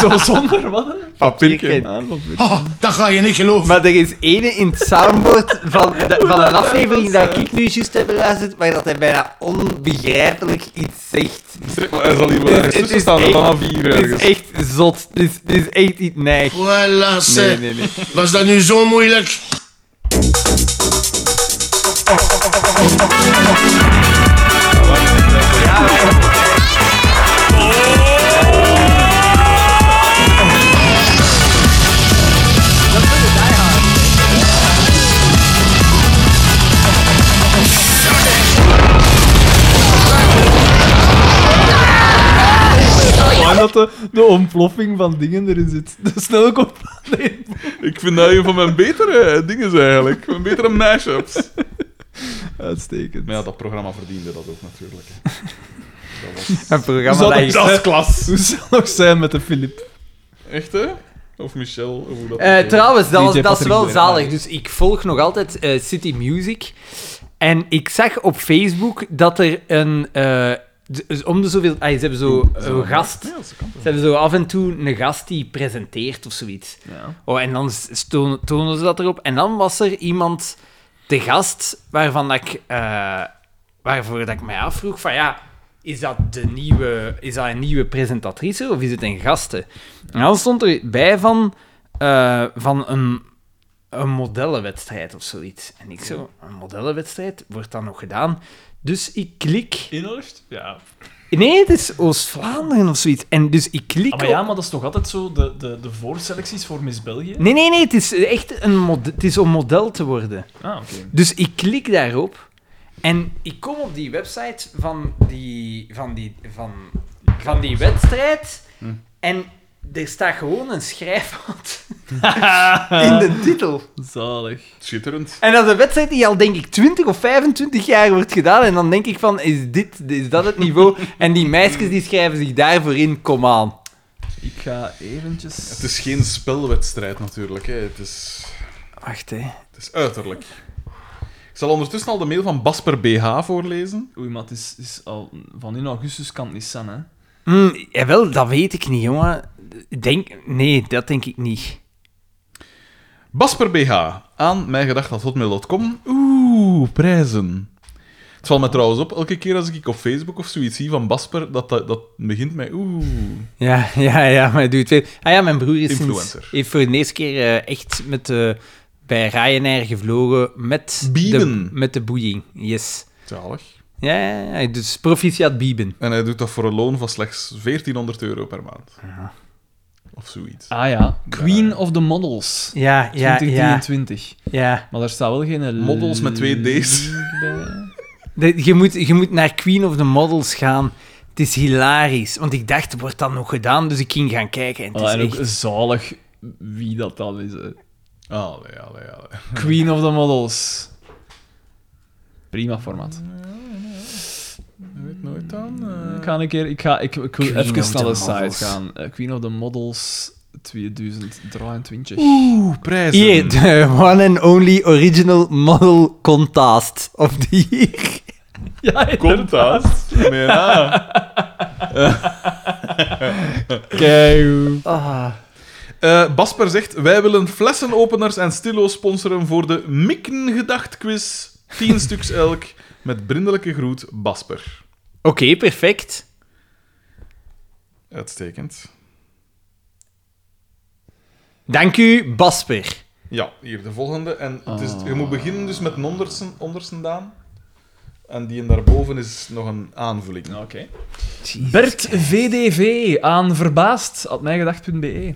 Speaker 3: Zo zonder wat?
Speaker 1: Papierken.
Speaker 6: Oh, dat ga je niet geloven.
Speaker 2: Maar er is ene in het soundboard van, de- van een aflevering dat ik nu juist heb beluisterd, maar dat hij bijna onbegrijpelijk iets zegt.
Speaker 1: Maar Hij zal hier wel ergens
Speaker 2: Het is
Speaker 1: tussen staan,
Speaker 2: echt-
Speaker 1: dan aan vier
Speaker 2: Het is
Speaker 1: ergens.
Speaker 2: echt zot. Het is, het is echt niet neig.
Speaker 6: Voilà, zeg.
Speaker 2: Nee, nee, nee.
Speaker 6: Was dat nu zo moeilijk?
Speaker 3: Gewoon dat de, de ontploffing van dingen erin zit. De snelkop. Nee.
Speaker 1: Ik vind dat een van mijn betere eh, dingen eigenlijk. Mijn betere mashups.
Speaker 3: Uitstekend.
Speaker 1: Maar ja, dat programma verdiende dat ook natuurlijk.
Speaker 2: Een programma
Speaker 3: Zal
Speaker 2: dat
Speaker 3: dat-
Speaker 2: je...
Speaker 3: dat is klas. Hoe zal het nog zijn met de Filip?
Speaker 1: Echt, hè? Of Michel, of hoe dat...
Speaker 2: Eh, trouwens, dat,
Speaker 3: DJ
Speaker 2: was- dat is
Speaker 3: Patrick
Speaker 2: wel
Speaker 3: Boer.
Speaker 2: zalig. Dus ik volg nog altijd eh, City Music. En ik zag op Facebook dat er een... eh, d- dus om de zoveel... ah, ze hebben zo een gast. Ze hebben zo af en toe een gast die presenteert of zoiets. Oh, en dan s- toon- tonen ze dat erop. En dan was er iemand te gast waarvan dat ik... eh, waarvoor dat ik mij afvroeg van ja, is dat, de nieuwe, is dat een nieuwe presentatrice of is het een gasten? En dan stond er bij van, eh, van een, een modellenwedstrijd of zoiets. En ik zo, een modellenwedstrijd, wordt dat nog gedaan? Dus ik klik...
Speaker 3: Inhorst? Ja.
Speaker 2: Nee, het is Oost-Vlaanderen of zoiets. En dus ik klik
Speaker 3: Ah, maar ja,
Speaker 2: op-
Speaker 3: maar dat is toch altijd zo de, de, de voorselecties voor Miss België?
Speaker 2: Nee, nee, nee, het is echt een model, het is om model te worden.
Speaker 3: Ah, oké.
Speaker 2: Dus ik klik daarop en ik kom op die website van die, van die, van, van die wedstrijd en er staat gewoon een schrijfhand in de titel.
Speaker 3: Zalig.
Speaker 1: Schitterend.
Speaker 2: En dat is een wedstrijd die al, denk ik, 20 of 25 jaar wordt gedaan. En dan denk ik van, is dit, is dat het niveau? En die meisjes die schrijven zich daarvoor in, kom aan.
Speaker 3: Ik ga eventjes...
Speaker 1: Het is geen spelwedstrijd natuurlijk, hè. Het is...
Speaker 2: Wacht, hè.
Speaker 1: Het is uiterlijk. Ik zal ondertussen al de mail van Basper BH voorlezen.
Speaker 3: Oei, maar het is, is al... Van in augustus kan het niet zijn, hè?
Speaker 2: Mm, jawel, dat weet ik niet, jongen. Denk, nee, dat denk ik niet.
Speaker 1: Basper BH aan mijngedacht.hotmail.com. Oeh, prijzen. Het valt me trouwens op, elke keer als ik op Facebook of zoiets zie van Basper, dat, dat, dat begint met oeh.
Speaker 2: Ja, ja, ja, maar doe het veel. Ah ja, mijn broer is sinds-
Speaker 1: Influencer.
Speaker 2: heeft voor de eerste keer eh, echt met, eh, bij Ryanair gevlogen met de,
Speaker 1: Bieben.
Speaker 2: met de boeien. Yes.
Speaker 1: Zalig.
Speaker 2: Ja, ja, ja, dus proficiat bieben.
Speaker 1: En hij doet dat voor een loon van slechts 1400 euro per maand. Of zoiets.
Speaker 3: Ah ja. Queen of the Models.
Speaker 2: Ja, ja, ja,
Speaker 3: 2023.
Speaker 2: ja.
Speaker 3: Maar daar staat wel geen...
Speaker 1: Models met twee D's.
Speaker 3: link bij.
Speaker 2: De- je, moet, je moet naar Queen of the Models gaan. Het is hilarisch, want ik dacht, wordt dat nog gedaan? Dus ik ging gaan kijken en het
Speaker 3: Ah, en
Speaker 2: is
Speaker 3: ook
Speaker 2: echt...
Speaker 3: zalig wie dat dan is, hè.
Speaker 1: Allee, allee, allee.
Speaker 3: Queen of the Models. Prima formaat.
Speaker 1: Weet nooit aan.
Speaker 3: Ik ga een keer... Ik, ga, ik, ik wil
Speaker 2: Queen
Speaker 3: even
Speaker 2: of
Speaker 3: naar
Speaker 2: the
Speaker 3: de site
Speaker 2: Models.
Speaker 3: gaan. Eh, Queen of the Models 2023.
Speaker 1: Oeh, prijzen.
Speaker 2: Hier, de one and only original model contest of the year.
Speaker 3: Ja,
Speaker 1: Komt dat? Nee, na.
Speaker 2: Ah.
Speaker 1: Eh, Basper zegt, wij willen flessenopeners en stillo's sponsoren voor de Mikkengedacht-quiz. 10 stuks elk. Met brindelijke groet, Basper.
Speaker 2: Oké, perfect.
Speaker 1: Uitstekend.
Speaker 2: Dank u, Basper.
Speaker 1: Ja, hier de volgende. En het is, je moet beginnen dus met een ondersten, ondersten Daan. En die in daarboven is nog een aanvulling.
Speaker 3: Oké. Bert VDV aan verbaasd, at mijgedacht.be.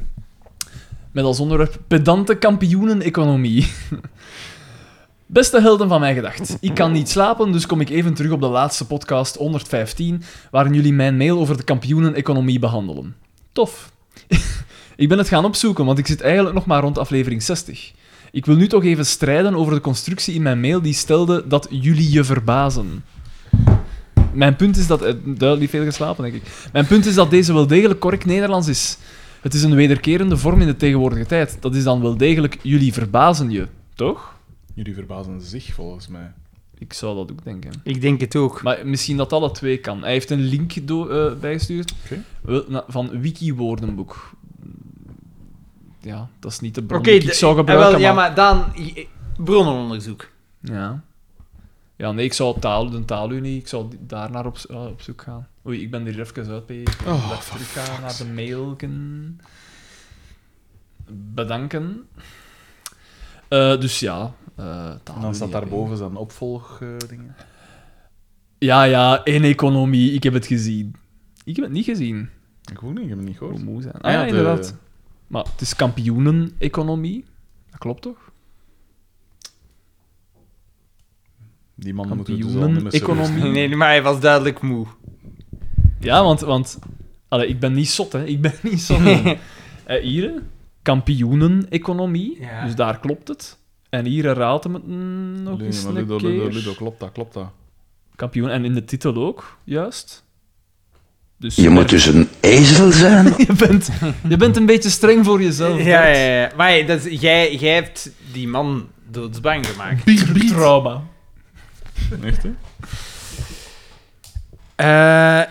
Speaker 3: Met als onderwerp pedante kampioenen-economie. Beste helden van mijn gedacht. Ik kan niet slapen, dus kom ik even terug op de laatste podcast 115, waarin jullie mijn mail over de kampioenen-economie behandelen. Tof. ik ben het gaan opzoeken, want ik zit eigenlijk nog maar rond aflevering 60. Ik wil nu toch even strijden over de constructie in mijn mail die stelde dat jullie je verbazen. Mijn punt is dat... eh, Duidelijk veel geslapen, denk ik. Mijn punt is dat deze wel degelijk correct Nederlands is. Het is een wederkerende vorm in de tegenwoordige tijd. Dat is dan wel degelijk jullie verbazen je, toch?
Speaker 1: Jullie verbazen zich volgens mij.
Speaker 3: Ik zou dat ook denken.
Speaker 2: Ik denk het ook.
Speaker 3: Maar misschien dat alle twee kan. Hij heeft een link do- eh, bijgestuurd
Speaker 1: Oké.
Speaker 3: Wel, na- van Wiki Woordenboek. ja, dat is niet de bron
Speaker 2: Oké,
Speaker 3: die ik zou
Speaker 2: eh,
Speaker 3: gebruiken.
Speaker 2: wel, ja, maar
Speaker 3: maar-
Speaker 2: dan eh, bronnenonderzoek.
Speaker 3: Ja. Ja, nee, ik zou taal, de taalunie, ik zou die- daar naar op, eh, op zoek gaan. Oei, ik ben hier even uit, P. Ik moet
Speaker 1: Oh,
Speaker 3: even teruggaan naar de mailken. Bedanken. Eh, dus ja, eh
Speaker 1: En
Speaker 3: taalunie.
Speaker 1: dan staat
Speaker 3: hè, P.
Speaker 1: daarboven zijn opvolgdingen.
Speaker 3: Ja, ja, in economie, ik heb het gezien. Ik heb het niet gezien.
Speaker 1: ik ook niet, ik heb het niet
Speaker 3: Ik
Speaker 1: gehoord.
Speaker 3: moet moe zijn. Ah
Speaker 1: ja,
Speaker 3: ja,
Speaker 1: de-
Speaker 3: inderdaad. Maar het is kampioenen-economie. Dat klopt toch?
Speaker 1: Die man moet het dus al niet meer serieus
Speaker 3: Kampioenen-economie.
Speaker 2: Nee, maar hij was duidelijk moe.
Speaker 3: Ja, want, want allee, ik ben niet zot, hè. Ik ben niet zot. hè. Eh, hier, hè. kampioenen-economie.
Speaker 2: Ja.
Speaker 3: Dus daar klopt het. En hier herhaalt hem het mm, nog
Speaker 1: Ludo,
Speaker 3: eens
Speaker 1: maar
Speaker 3: een
Speaker 1: Ludo,
Speaker 3: keer.
Speaker 1: Ludo, Ludo, klopt dat, klopt dat.
Speaker 3: Kampioen. En in de titel ook, juist. Dus
Speaker 7: Je moet dus een ezel zijn.
Speaker 3: Je bent, je bent een beetje streng voor jezelf.
Speaker 2: Ja,
Speaker 3: Bert.
Speaker 2: ja, ja. Maar ja, dat is- jij, jij hebt die man doodsbang gemaakt.
Speaker 3: Trauma.
Speaker 1: Echt, hè?
Speaker 2: Eh,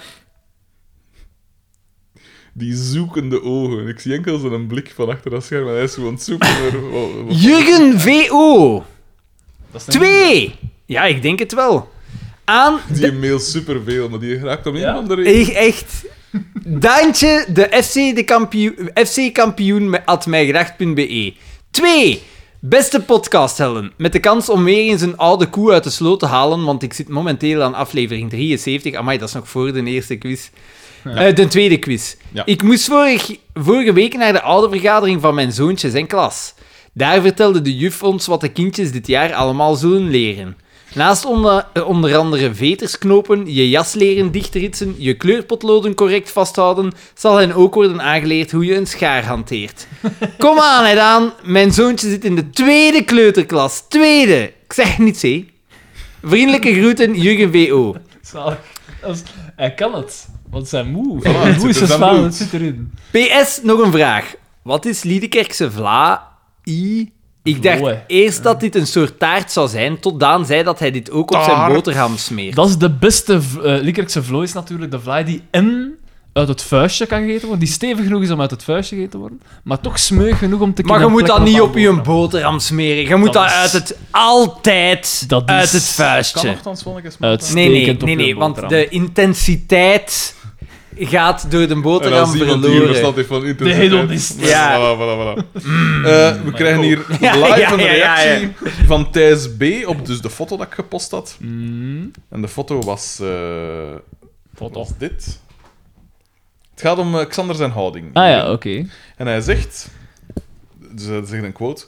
Speaker 1: Die zoekende ogen. Ik zie enkel zijn blik van achter dat scherm en hij is gewoon aan het zoeken. naar- wat- wat-
Speaker 2: Jurgen VO.
Speaker 3: Dat is een-
Speaker 2: Twee. Ja, ik denk het wel. Aan...
Speaker 1: Die mailt superveel, maar die raakt om een
Speaker 3: Ja.
Speaker 1: of andere reden.
Speaker 2: e- Echt... Daantje, de FC, de kampioen, FC kampioen me- at mijgedacht.be. E. Twee. Beste podcasthelden, met de kans om weer eens een oude koe uit de sloot te halen, want ik zit momenteel aan aflevering 73. Amai, dat is nog voor de eerste quiz. Eh, de tweede quiz.
Speaker 1: Ja.
Speaker 2: Ik moest vorig, vorige week naar de oude vergadering van mijn zoontjes en klas. Daar vertelde de juf ons wat de kindjes dit jaar allemaal zullen leren. Naast onder, eh, onder andere veters knopen, je jas leren dichtritsen, je kleurpotloden correct vasthouden, zal hen ook worden aangeleerd hoe je een schaar hanteert. Kom aan, hè Daan. Mijn zoontje zit in de tweede kleuterklas. Tweede. Ik zeg niets, hé. Vriendelijke groeten, Jurgen VO.
Speaker 3: Zalig. Dat is- Hij kan het, want zijn moe.
Speaker 1: Voilà, het
Speaker 3: moe is
Speaker 1: zit er
Speaker 3: zijn
Speaker 1: dan
Speaker 3: vader,
Speaker 1: bloed.
Speaker 3: het zit erin.
Speaker 2: PS, nog een vraag. Wat is Liedekerkse Vla... I... Ik dacht
Speaker 3: Vloe.
Speaker 2: eerst dat dit een soort taart zou zijn, tot Daan zei dat hij dit ook op zijn boterham smeert.
Speaker 3: Dat is de beste v- eh Likkerkse vlooi, is natuurlijk de vlaai die en uit het vuistje kan gegeten worden, die stevig genoeg is om uit het vuistje gegeten te worden, maar toch smeug genoeg om te
Speaker 2: Maar je
Speaker 3: kunnen
Speaker 2: moet dat
Speaker 3: plekken
Speaker 2: niet
Speaker 3: haar
Speaker 2: op je
Speaker 3: boterham.
Speaker 2: boterham smeren. Je moet
Speaker 3: Dat
Speaker 2: dat
Speaker 3: is-
Speaker 2: uit het... Altijd
Speaker 3: Dat is-
Speaker 2: uit het
Speaker 1: Kan
Speaker 2: vuistje.
Speaker 1: nogthans wel een keer smaken.
Speaker 3: Uitstekend
Speaker 2: Nee, nee,
Speaker 3: op
Speaker 2: nee,
Speaker 3: je
Speaker 2: nee, want
Speaker 3: boterham.
Speaker 2: de intensiteit gaat door de
Speaker 1: En
Speaker 2: boterham
Speaker 1: als iemand die hier verstand
Speaker 2: verloren.
Speaker 1: heeft van
Speaker 3: De
Speaker 1: intensiteit...
Speaker 3: hedonist.
Speaker 2: Ja.
Speaker 1: Voilà, voilà, voilà. Eh, we krijgen hier live
Speaker 2: Mm. ja,
Speaker 1: een
Speaker 2: ja, ja, ja.
Speaker 1: reactie van Thijs B. op dus de foto dat ik gepost had.
Speaker 2: Mm.
Speaker 1: En de foto was... eh,
Speaker 3: Foto.
Speaker 1: was dit. Het gaat om eh, Xander zijn houding.
Speaker 3: Ah ja, oké.
Speaker 1: En hij zegt... Dus hij zegt een quote...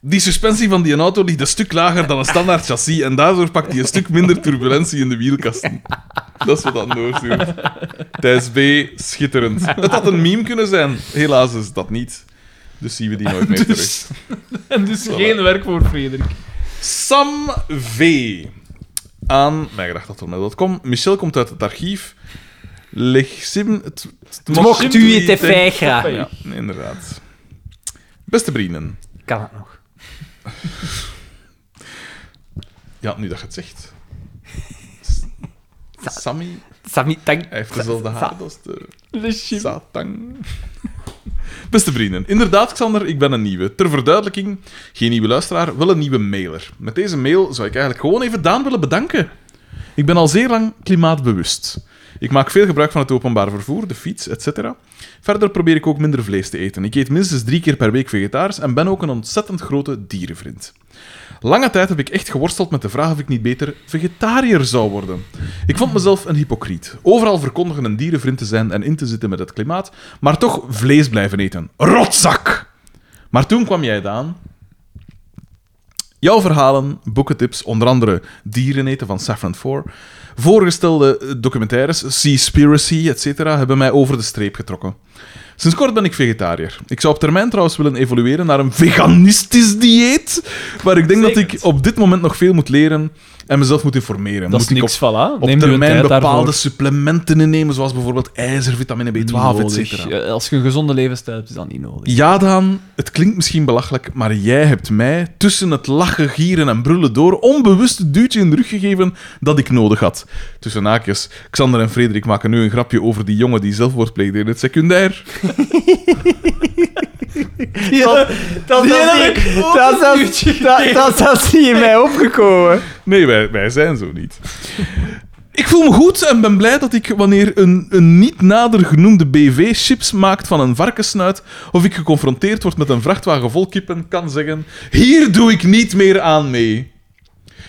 Speaker 1: Die suspensie van die auto ligt een stuk lager dan een standaard chassis en daardoor pakt hij een stuk minder turbulentie in de wielkasten. Dat is wat dat doorstuurt. Thijs B, schitterend. Het had een meme kunnen zijn. Helaas is dat niet. Dus zien we die nooit meer terug.
Speaker 3: Dus, en dus geen werk voor Frederik.
Speaker 1: Sam V. Aan mijgedacht.com. Michel komt uit het archief. Legsim... Het, het
Speaker 2: Mocht u het te vijgra.
Speaker 1: Ja, inderdaad. Beste vrienden.
Speaker 2: Kan het nog.
Speaker 1: Ja, nu dat je het zegt. S- Sammy,
Speaker 2: Sammy, dank.
Speaker 1: hij heeft dezelfde haar als de
Speaker 3: Le chip.
Speaker 1: Satang. Beste vrienden, inderdaad, Xander, ik ben een nieuwe. Ter verduidelijking, geen nieuwe luisteraar, wel een nieuwe mailer. Met deze mail zou ik eigenlijk gewoon even Daan willen bedanken. Ik ben al zeer lang klimaatbewust. Ik maak veel gebruik van het openbaar vervoer, de fiets, etc. Verder probeer ik ook minder vlees te eten. Ik eet minstens drie keer per week vegetarisch en ben ook een ontzettend grote dierenvriend. Lange tijd heb ik echt geworsteld met de vraag of ik niet beter vegetariër zou worden. Ik vond mezelf een hypocriet. Overal verkondigen een dierenvriend te zijn en in te zitten met het klimaat, maar toch vlees blijven eten. Rotzak! Maar toen kwam jij, Daan. Jouw verhalen, boekentips, onder andere Dieren eten van Saffron 4, voorgestelde eh, documentaires, Seaspiracy, etc., hebben mij over de streep getrokken. Sinds kort ben ik vegetariër. Ik zou op termijn trouwens willen evolueren naar een veganistisch dieet, waar ik denk dat ik op dit moment nog veel moet leren en mezelf moet informeren.
Speaker 3: Dat is
Speaker 1: moet ik
Speaker 3: niks,
Speaker 1: op,
Speaker 3: voilà.
Speaker 1: op
Speaker 3: Neem je
Speaker 1: termijn
Speaker 3: tijd
Speaker 1: bepaalde
Speaker 3: daarvoor.
Speaker 1: supplementen innemen, zoals bijvoorbeeld ijzer, vitamine B12,
Speaker 3: Niet
Speaker 1: etc.
Speaker 3: nodig. Eh, Als je een gezonde levensstijl hebt, is dat niet nodig.
Speaker 1: Ja, Daan, het klinkt misschien belachelijk, maar jij hebt mij tussen het lachen, gieren en brullen door onbewust het duwtje in de rug gegeven dat ik nodig had. Tussen haakjes, Xander en Frederik maken nu een grapje over die jongen die zelfmoord pleegde in het secundair.
Speaker 2: Dat, dat,
Speaker 3: die
Speaker 2: was
Speaker 3: heb
Speaker 2: niet-
Speaker 3: ik ook
Speaker 2: dat,
Speaker 3: een
Speaker 2: was-
Speaker 3: uurtje
Speaker 2: dat, dat is zelfs niet in mij opgekomen.
Speaker 1: Nee, wij, wij zijn zo niet. Ik voel me goed en ben blij dat ik, wanneer een, een niet nader genoemde BV chips maakt van een varkensnuit, of ik geconfronteerd word met een vrachtwagen vol kippen, kan zeggen: Hier doe ik niet meer aan mee.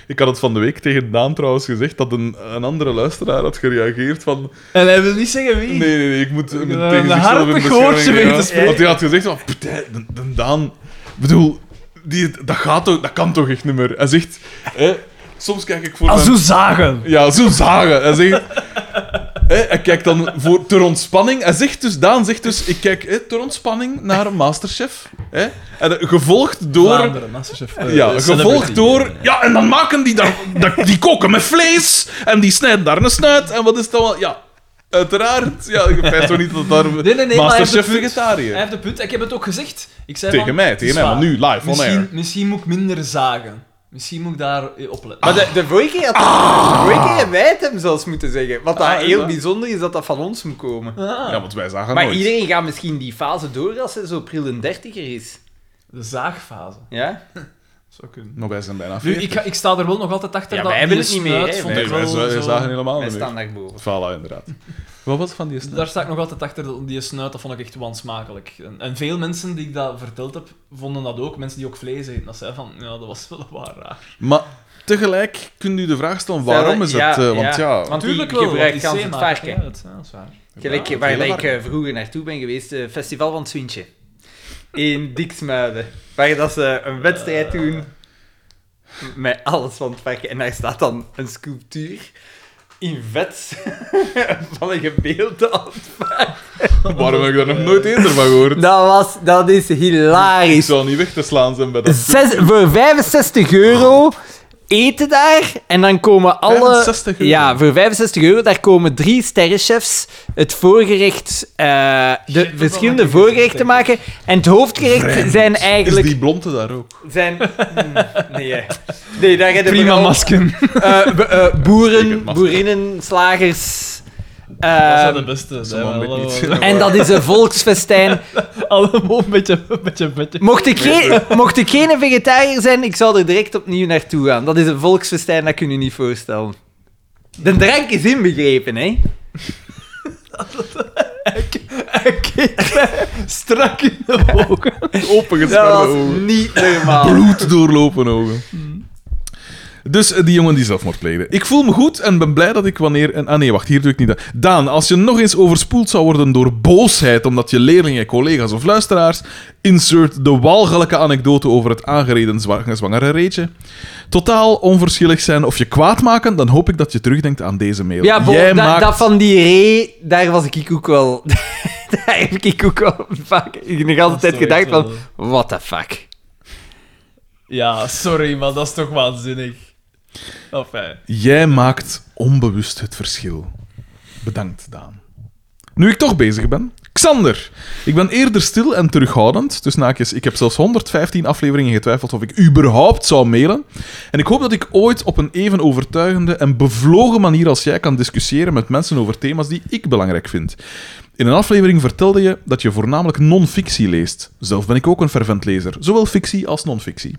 Speaker 1: Ik had het van de week tegen Daan trouwens gezegd dat een, een andere luisteraar had gereageerd van...
Speaker 3: En hij wil niet zeggen wie.
Speaker 1: Nee, nee, nee, ik moet eh,
Speaker 3: een
Speaker 1: tegen zichzelf in
Speaker 3: hartig
Speaker 1: bescherming
Speaker 3: woordje weten
Speaker 1: ja.
Speaker 3: te spreken.
Speaker 1: Want hij had gezegd van... "Partij, de- de Daan... Ik bedoel, die, dat, gaat toch, dat kan toch echt niet meer. Hij zegt... Hè, soms kijk ik voor
Speaker 3: Ah,
Speaker 1: mijn-
Speaker 3: zo zagen.
Speaker 1: ja, zo zagen. Hij zegt... Hè, hij kijkt dan voor, ter ontspanning. Hij zegt dus, Daan zegt dus, ik kijk hè, ter ontspanning naar Masterchef. Hè, en, eh, gevolgd door...
Speaker 3: Vlaanderen, Masterchef. eh,
Speaker 1: Ja,
Speaker 3: celebrity.
Speaker 1: gevolgd door... Ja, en dan maken die daar... dat- Die koken met vlees en die snijden daar een snuit en wat is dat wel... Ja, uiteraard. Ja, ik weet toch niet dat daar...
Speaker 3: nee, nee, maar hij heeft
Speaker 1: Masterchef
Speaker 3: het punt. Hij
Speaker 1: vegetariër.
Speaker 3: heeft een punt. Ik heb het ook gezegd. Ik zei
Speaker 1: Tegen
Speaker 3: van,
Speaker 1: mij,
Speaker 3: het is
Speaker 1: tegen mij, maar nu,
Speaker 3: waar.
Speaker 1: live, on
Speaker 3: misschien,
Speaker 1: air.
Speaker 3: Misschien moet ik minder zagen. Misschien moet ik daar eh, op letten.
Speaker 2: Maar de, de vorige keer had de vorige keer hebben wij het hem zelfs moeten zeggen. Wat
Speaker 1: Ah,
Speaker 2: dat heel bijzonder is dat dat van ons moet komen.
Speaker 3: Ah.
Speaker 1: Ja, want wij zagen
Speaker 2: Maar
Speaker 1: Ah. nooit.
Speaker 2: iedereen gaat misschien die fase door als ze zo pril een dertiger is.
Speaker 3: De zaagfase.
Speaker 1: Oh,
Speaker 2: Ja?
Speaker 3: Zou kunnen.
Speaker 1: Maar wij zijn bijna
Speaker 3: Nu,
Speaker 1: 40.
Speaker 3: ik, ga- ik sta er wel nog altijd achter
Speaker 2: Ja,
Speaker 3: dat
Speaker 2: wij hebben het niet meer,
Speaker 3: snuit
Speaker 2: hè.
Speaker 3: vond
Speaker 1: Nee,
Speaker 3: ik
Speaker 1: wij
Speaker 3: wel
Speaker 1: za-
Speaker 3: zo-
Speaker 1: zagen helemaal
Speaker 2: Wij
Speaker 1: niet
Speaker 2: staan
Speaker 1: meer.
Speaker 2: daarboven.
Speaker 1: Voilà, inderdaad. Wat was het van die snuit?
Speaker 3: Daar sta ik nog altijd achter, dat- die snuit, dat vond ik echt wansmakelijk. En, en veel mensen die ik dat verteld heb, vonden dat ook. Mensen die ook vlees eten, dat zeiden van, ja, dat was wel waar raar.
Speaker 1: Maar tegelijk kunt u de vraag stellen, waarom is dat?
Speaker 2: Ja,
Speaker 1: eh, want ja...
Speaker 2: Want die
Speaker 3: Tuurlijk wel, want
Speaker 2: gebruikt
Speaker 3: die
Speaker 2: kans
Speaker 3: zee
Speaker 2: het
Speaker 3: maken
Speaker 2: varken.
Speaker 3: het uit, Ja, dat is waar.
Speaker 2: Gelijk
Speaker 1: Ja,
Speaker 2: waar
Speaker 1: heel
Speaker 2: ik eh, vroeger naartoe ben geweest, het Festival van het Swintje. In Diksmuiden. Waar dat ze een
Speaker 1: Ah.
Speaker 2: wedstrijd doen met alles van het varken. En daar staat dan een sculptuur in vet van een gebeelde aan het varken.
Speaker 1: waarom heb ik daar nog nooit eerder van gehoord?
Speaker 2: eh, Dat, was, dat is
Speaker 1: Ik
Speaker 2: hilarisch.
Speaker 1: zal niet weg te slaan zijn bij dat...
Speaker 2: Zes, voor 65 euro eten daar en dan komen alle...
Speaker 1: 65 euro?
Speaker 2: Ja, voor 65 euro, daar komen drie sterrenchefs het voorgerecht, eh, de verschillende voorgerechten maken. En het hoofdgerecht zijn
Speaker 1: Is
Speaker 2: eigenlijk...
Speaker 1: die blonde daar ook?
Speaker 2: Zijn, Hmm, nee, hè. nee, daar hebben
Speaker 3: Prima
Speaker 2: vooral,
Speaker 3: masken.
Speaker 2: eh, b- eh,
Speaker 1: Zeker
Speaker 2: boeren,
Speaker 1: masker.
Speaker 2: boerinnen, slagers...
Speaker 3: Dat zijn
Speaker 2: ehm,
Speaker 3: de beste.
Speaker 1: Ze mogen het niet.
Speaker 2: en eh, dat is een volksfestijn.
Speaker 3: Allemaal een beetje, een beetje, een beetje.
Speaker 2: Mocht ik, geen, mocht ik geen vegetariër zijn, ik zou er direct opnieuw naartoe gaan. Dat is een volksfestijn, dat kun je niet voorstellen. De drank is inbegrepen, hè?
Speaker 3: Hij keek mij strak in de ogen.
Speaker 1: Opengespannen
Speaker 2: Dat was
Speaker 1: ogen.
Speaker 2: niet normaal.
Speaker 1: Bloed doorlopen ogen. Dus eh, die jongen die zelfmoord pleegde. Ik voel me goed en ben blij dat ik wanneer... En, ah nee, wacht, hier doe ik niet aan. Daan, als je nog eens overspoeld zou worden door boosheid omdat je leerlingen, collega's of luisteraars... Insert de walgelijke anekdote over het aangereden zwa- zwangere reetje. Totaal onverschillig zijn of je kwaad maken, dan hoop ik dat je terugdenkt aan deze mail.
Speaker 2: Ja, bo-
Speaker 1: Jij
Speaker 2: da-
Speaker 1: maakt...
Speaker 2: dat van die ree, daar was ik ook wel... daar heb ik ook wel vaak de hele tijd
Speaker 3: toch
Speaker 2: gedacht
Speaker 3: echt
Speaker 2: van... What the fuck?
Speaker 3: Ja, sorry, maar dat is toch waanzinnig. Enfin.
Speaker 1: Jij maakt onbewust het verschil. Bedankt, Daan. Nu ik toch bezig ben. Xander, ik ben eerder stil en terughoudend. Dus naakjes, ik heb zelfs 115 afleveringen getwijfeld of ik überhaupt zou mailen. En ik hoop dat ik ooit op een even overtuigende en bevlogen manier als jij kan discussiëren met mensen over thema's die ik belangrijk vind. In een aflevering vertelde je dat je voornamelijk non-fictie leest. Zelf ben ik ook een fervent lezer, zowel fictie als non-fictie.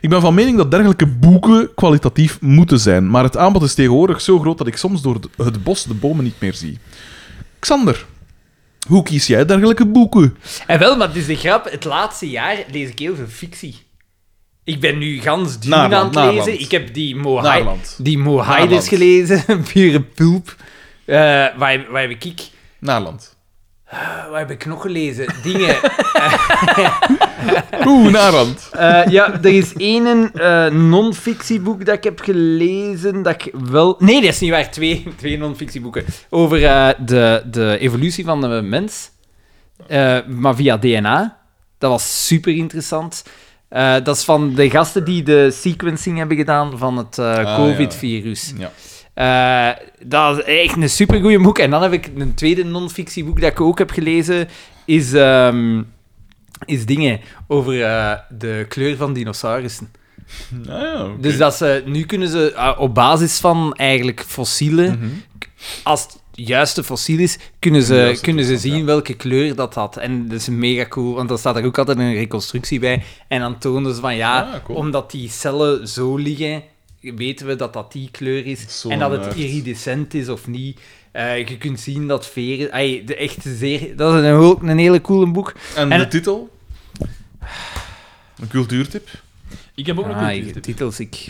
Speaker 1: Ik ben van mening dat dergelijke boeken kwalitatief moeten zijn, maar het aanbod is tegenwoordig zo groot dat ik soms door de- het bos de bomen niet meer zie. Xander, hoe kies jij dergelijke boeken?
Speaker 2: En wel, maar het is de grap. Het laatste jaar lees ik heel veel fictie. Ik ben nu gans Dune
Speaker 1: Naarland,
Speaker 2: aan het lezen.
Speaker 1: Naarland.
Speaker 2: Ik heb die Mohai...
Speaker 1: Naarland.
Speaker 2: Die Mohaiders
Speaker 1: Naarland.
Speaker 2: gelezen, pure pulp. Eh, waar, waar heb ik, ik?
Speaker 1: Naarland.
Speaker 2: Waar heb ik nog gelezen? Dingen.
Speaker 1: Oeh, Naarland.
Speaker 2: Eh, ja, er is één eh, non-fictieboek dat ik heb gelezen dat ik wel... Nee, dat is niet waar. Twee, twee non-fictieboeken. Over eh, de, de evolutie van de mens, eh, maar via DNA. Dat was super interessant. Eh, dat is van de gasten die de sequencing hebben gedaan van het eh,
Speaker 1: Ah, ja.
Speaker 2: COVID-virus.
Speaker 1: Ja.
Speaker 2: Eh, dat is echt een supergoeie boek. En dan heb ik een tweede non-fictieboek dat ik ook heb gelezen. Is, ehm, is dingen over eh, de kleur van dinosaurussen.
Speaker 1: Ah, ja, oké.
Speaker 2: ah,
Speaker 1: Mhm.
Speaker 2: Dus dat ze, nu kunnen ze eh, op basis van eigenlijk fossielen... Als het juiste fossiel is, kunnen ze,
Speaker 1: Juiste
Speaker 2: kunnen ze
Speaker 1: toestand,
Speaker 2: zien welke kleur dat had. En dat is mega cool, want daar staat er ook altijd een reconstructie bij. En dan tonen ze van ja,
Speaker 1: Ah, cool.
Speaker 2: omdat die cellen zo liggen, weten we dat dat die kleur is.
Speaker 1: Zo
Speaker 2: en dat het
Speaker 1: nerd.
Speaker 2: iridescent is of niet. Eh, je kunt zien dat veren... ai, de echt zeer, dat is een, ook een hele coole boek.
Speaker 1: En,
Speaker 2: En-
Speaker 1: de titel? Een cultuurtip?
Speaker 3: Ik heb ook nog
Speaker 2: Ah,
Speaker 3: een
Speaker 2: ik- titels, ik...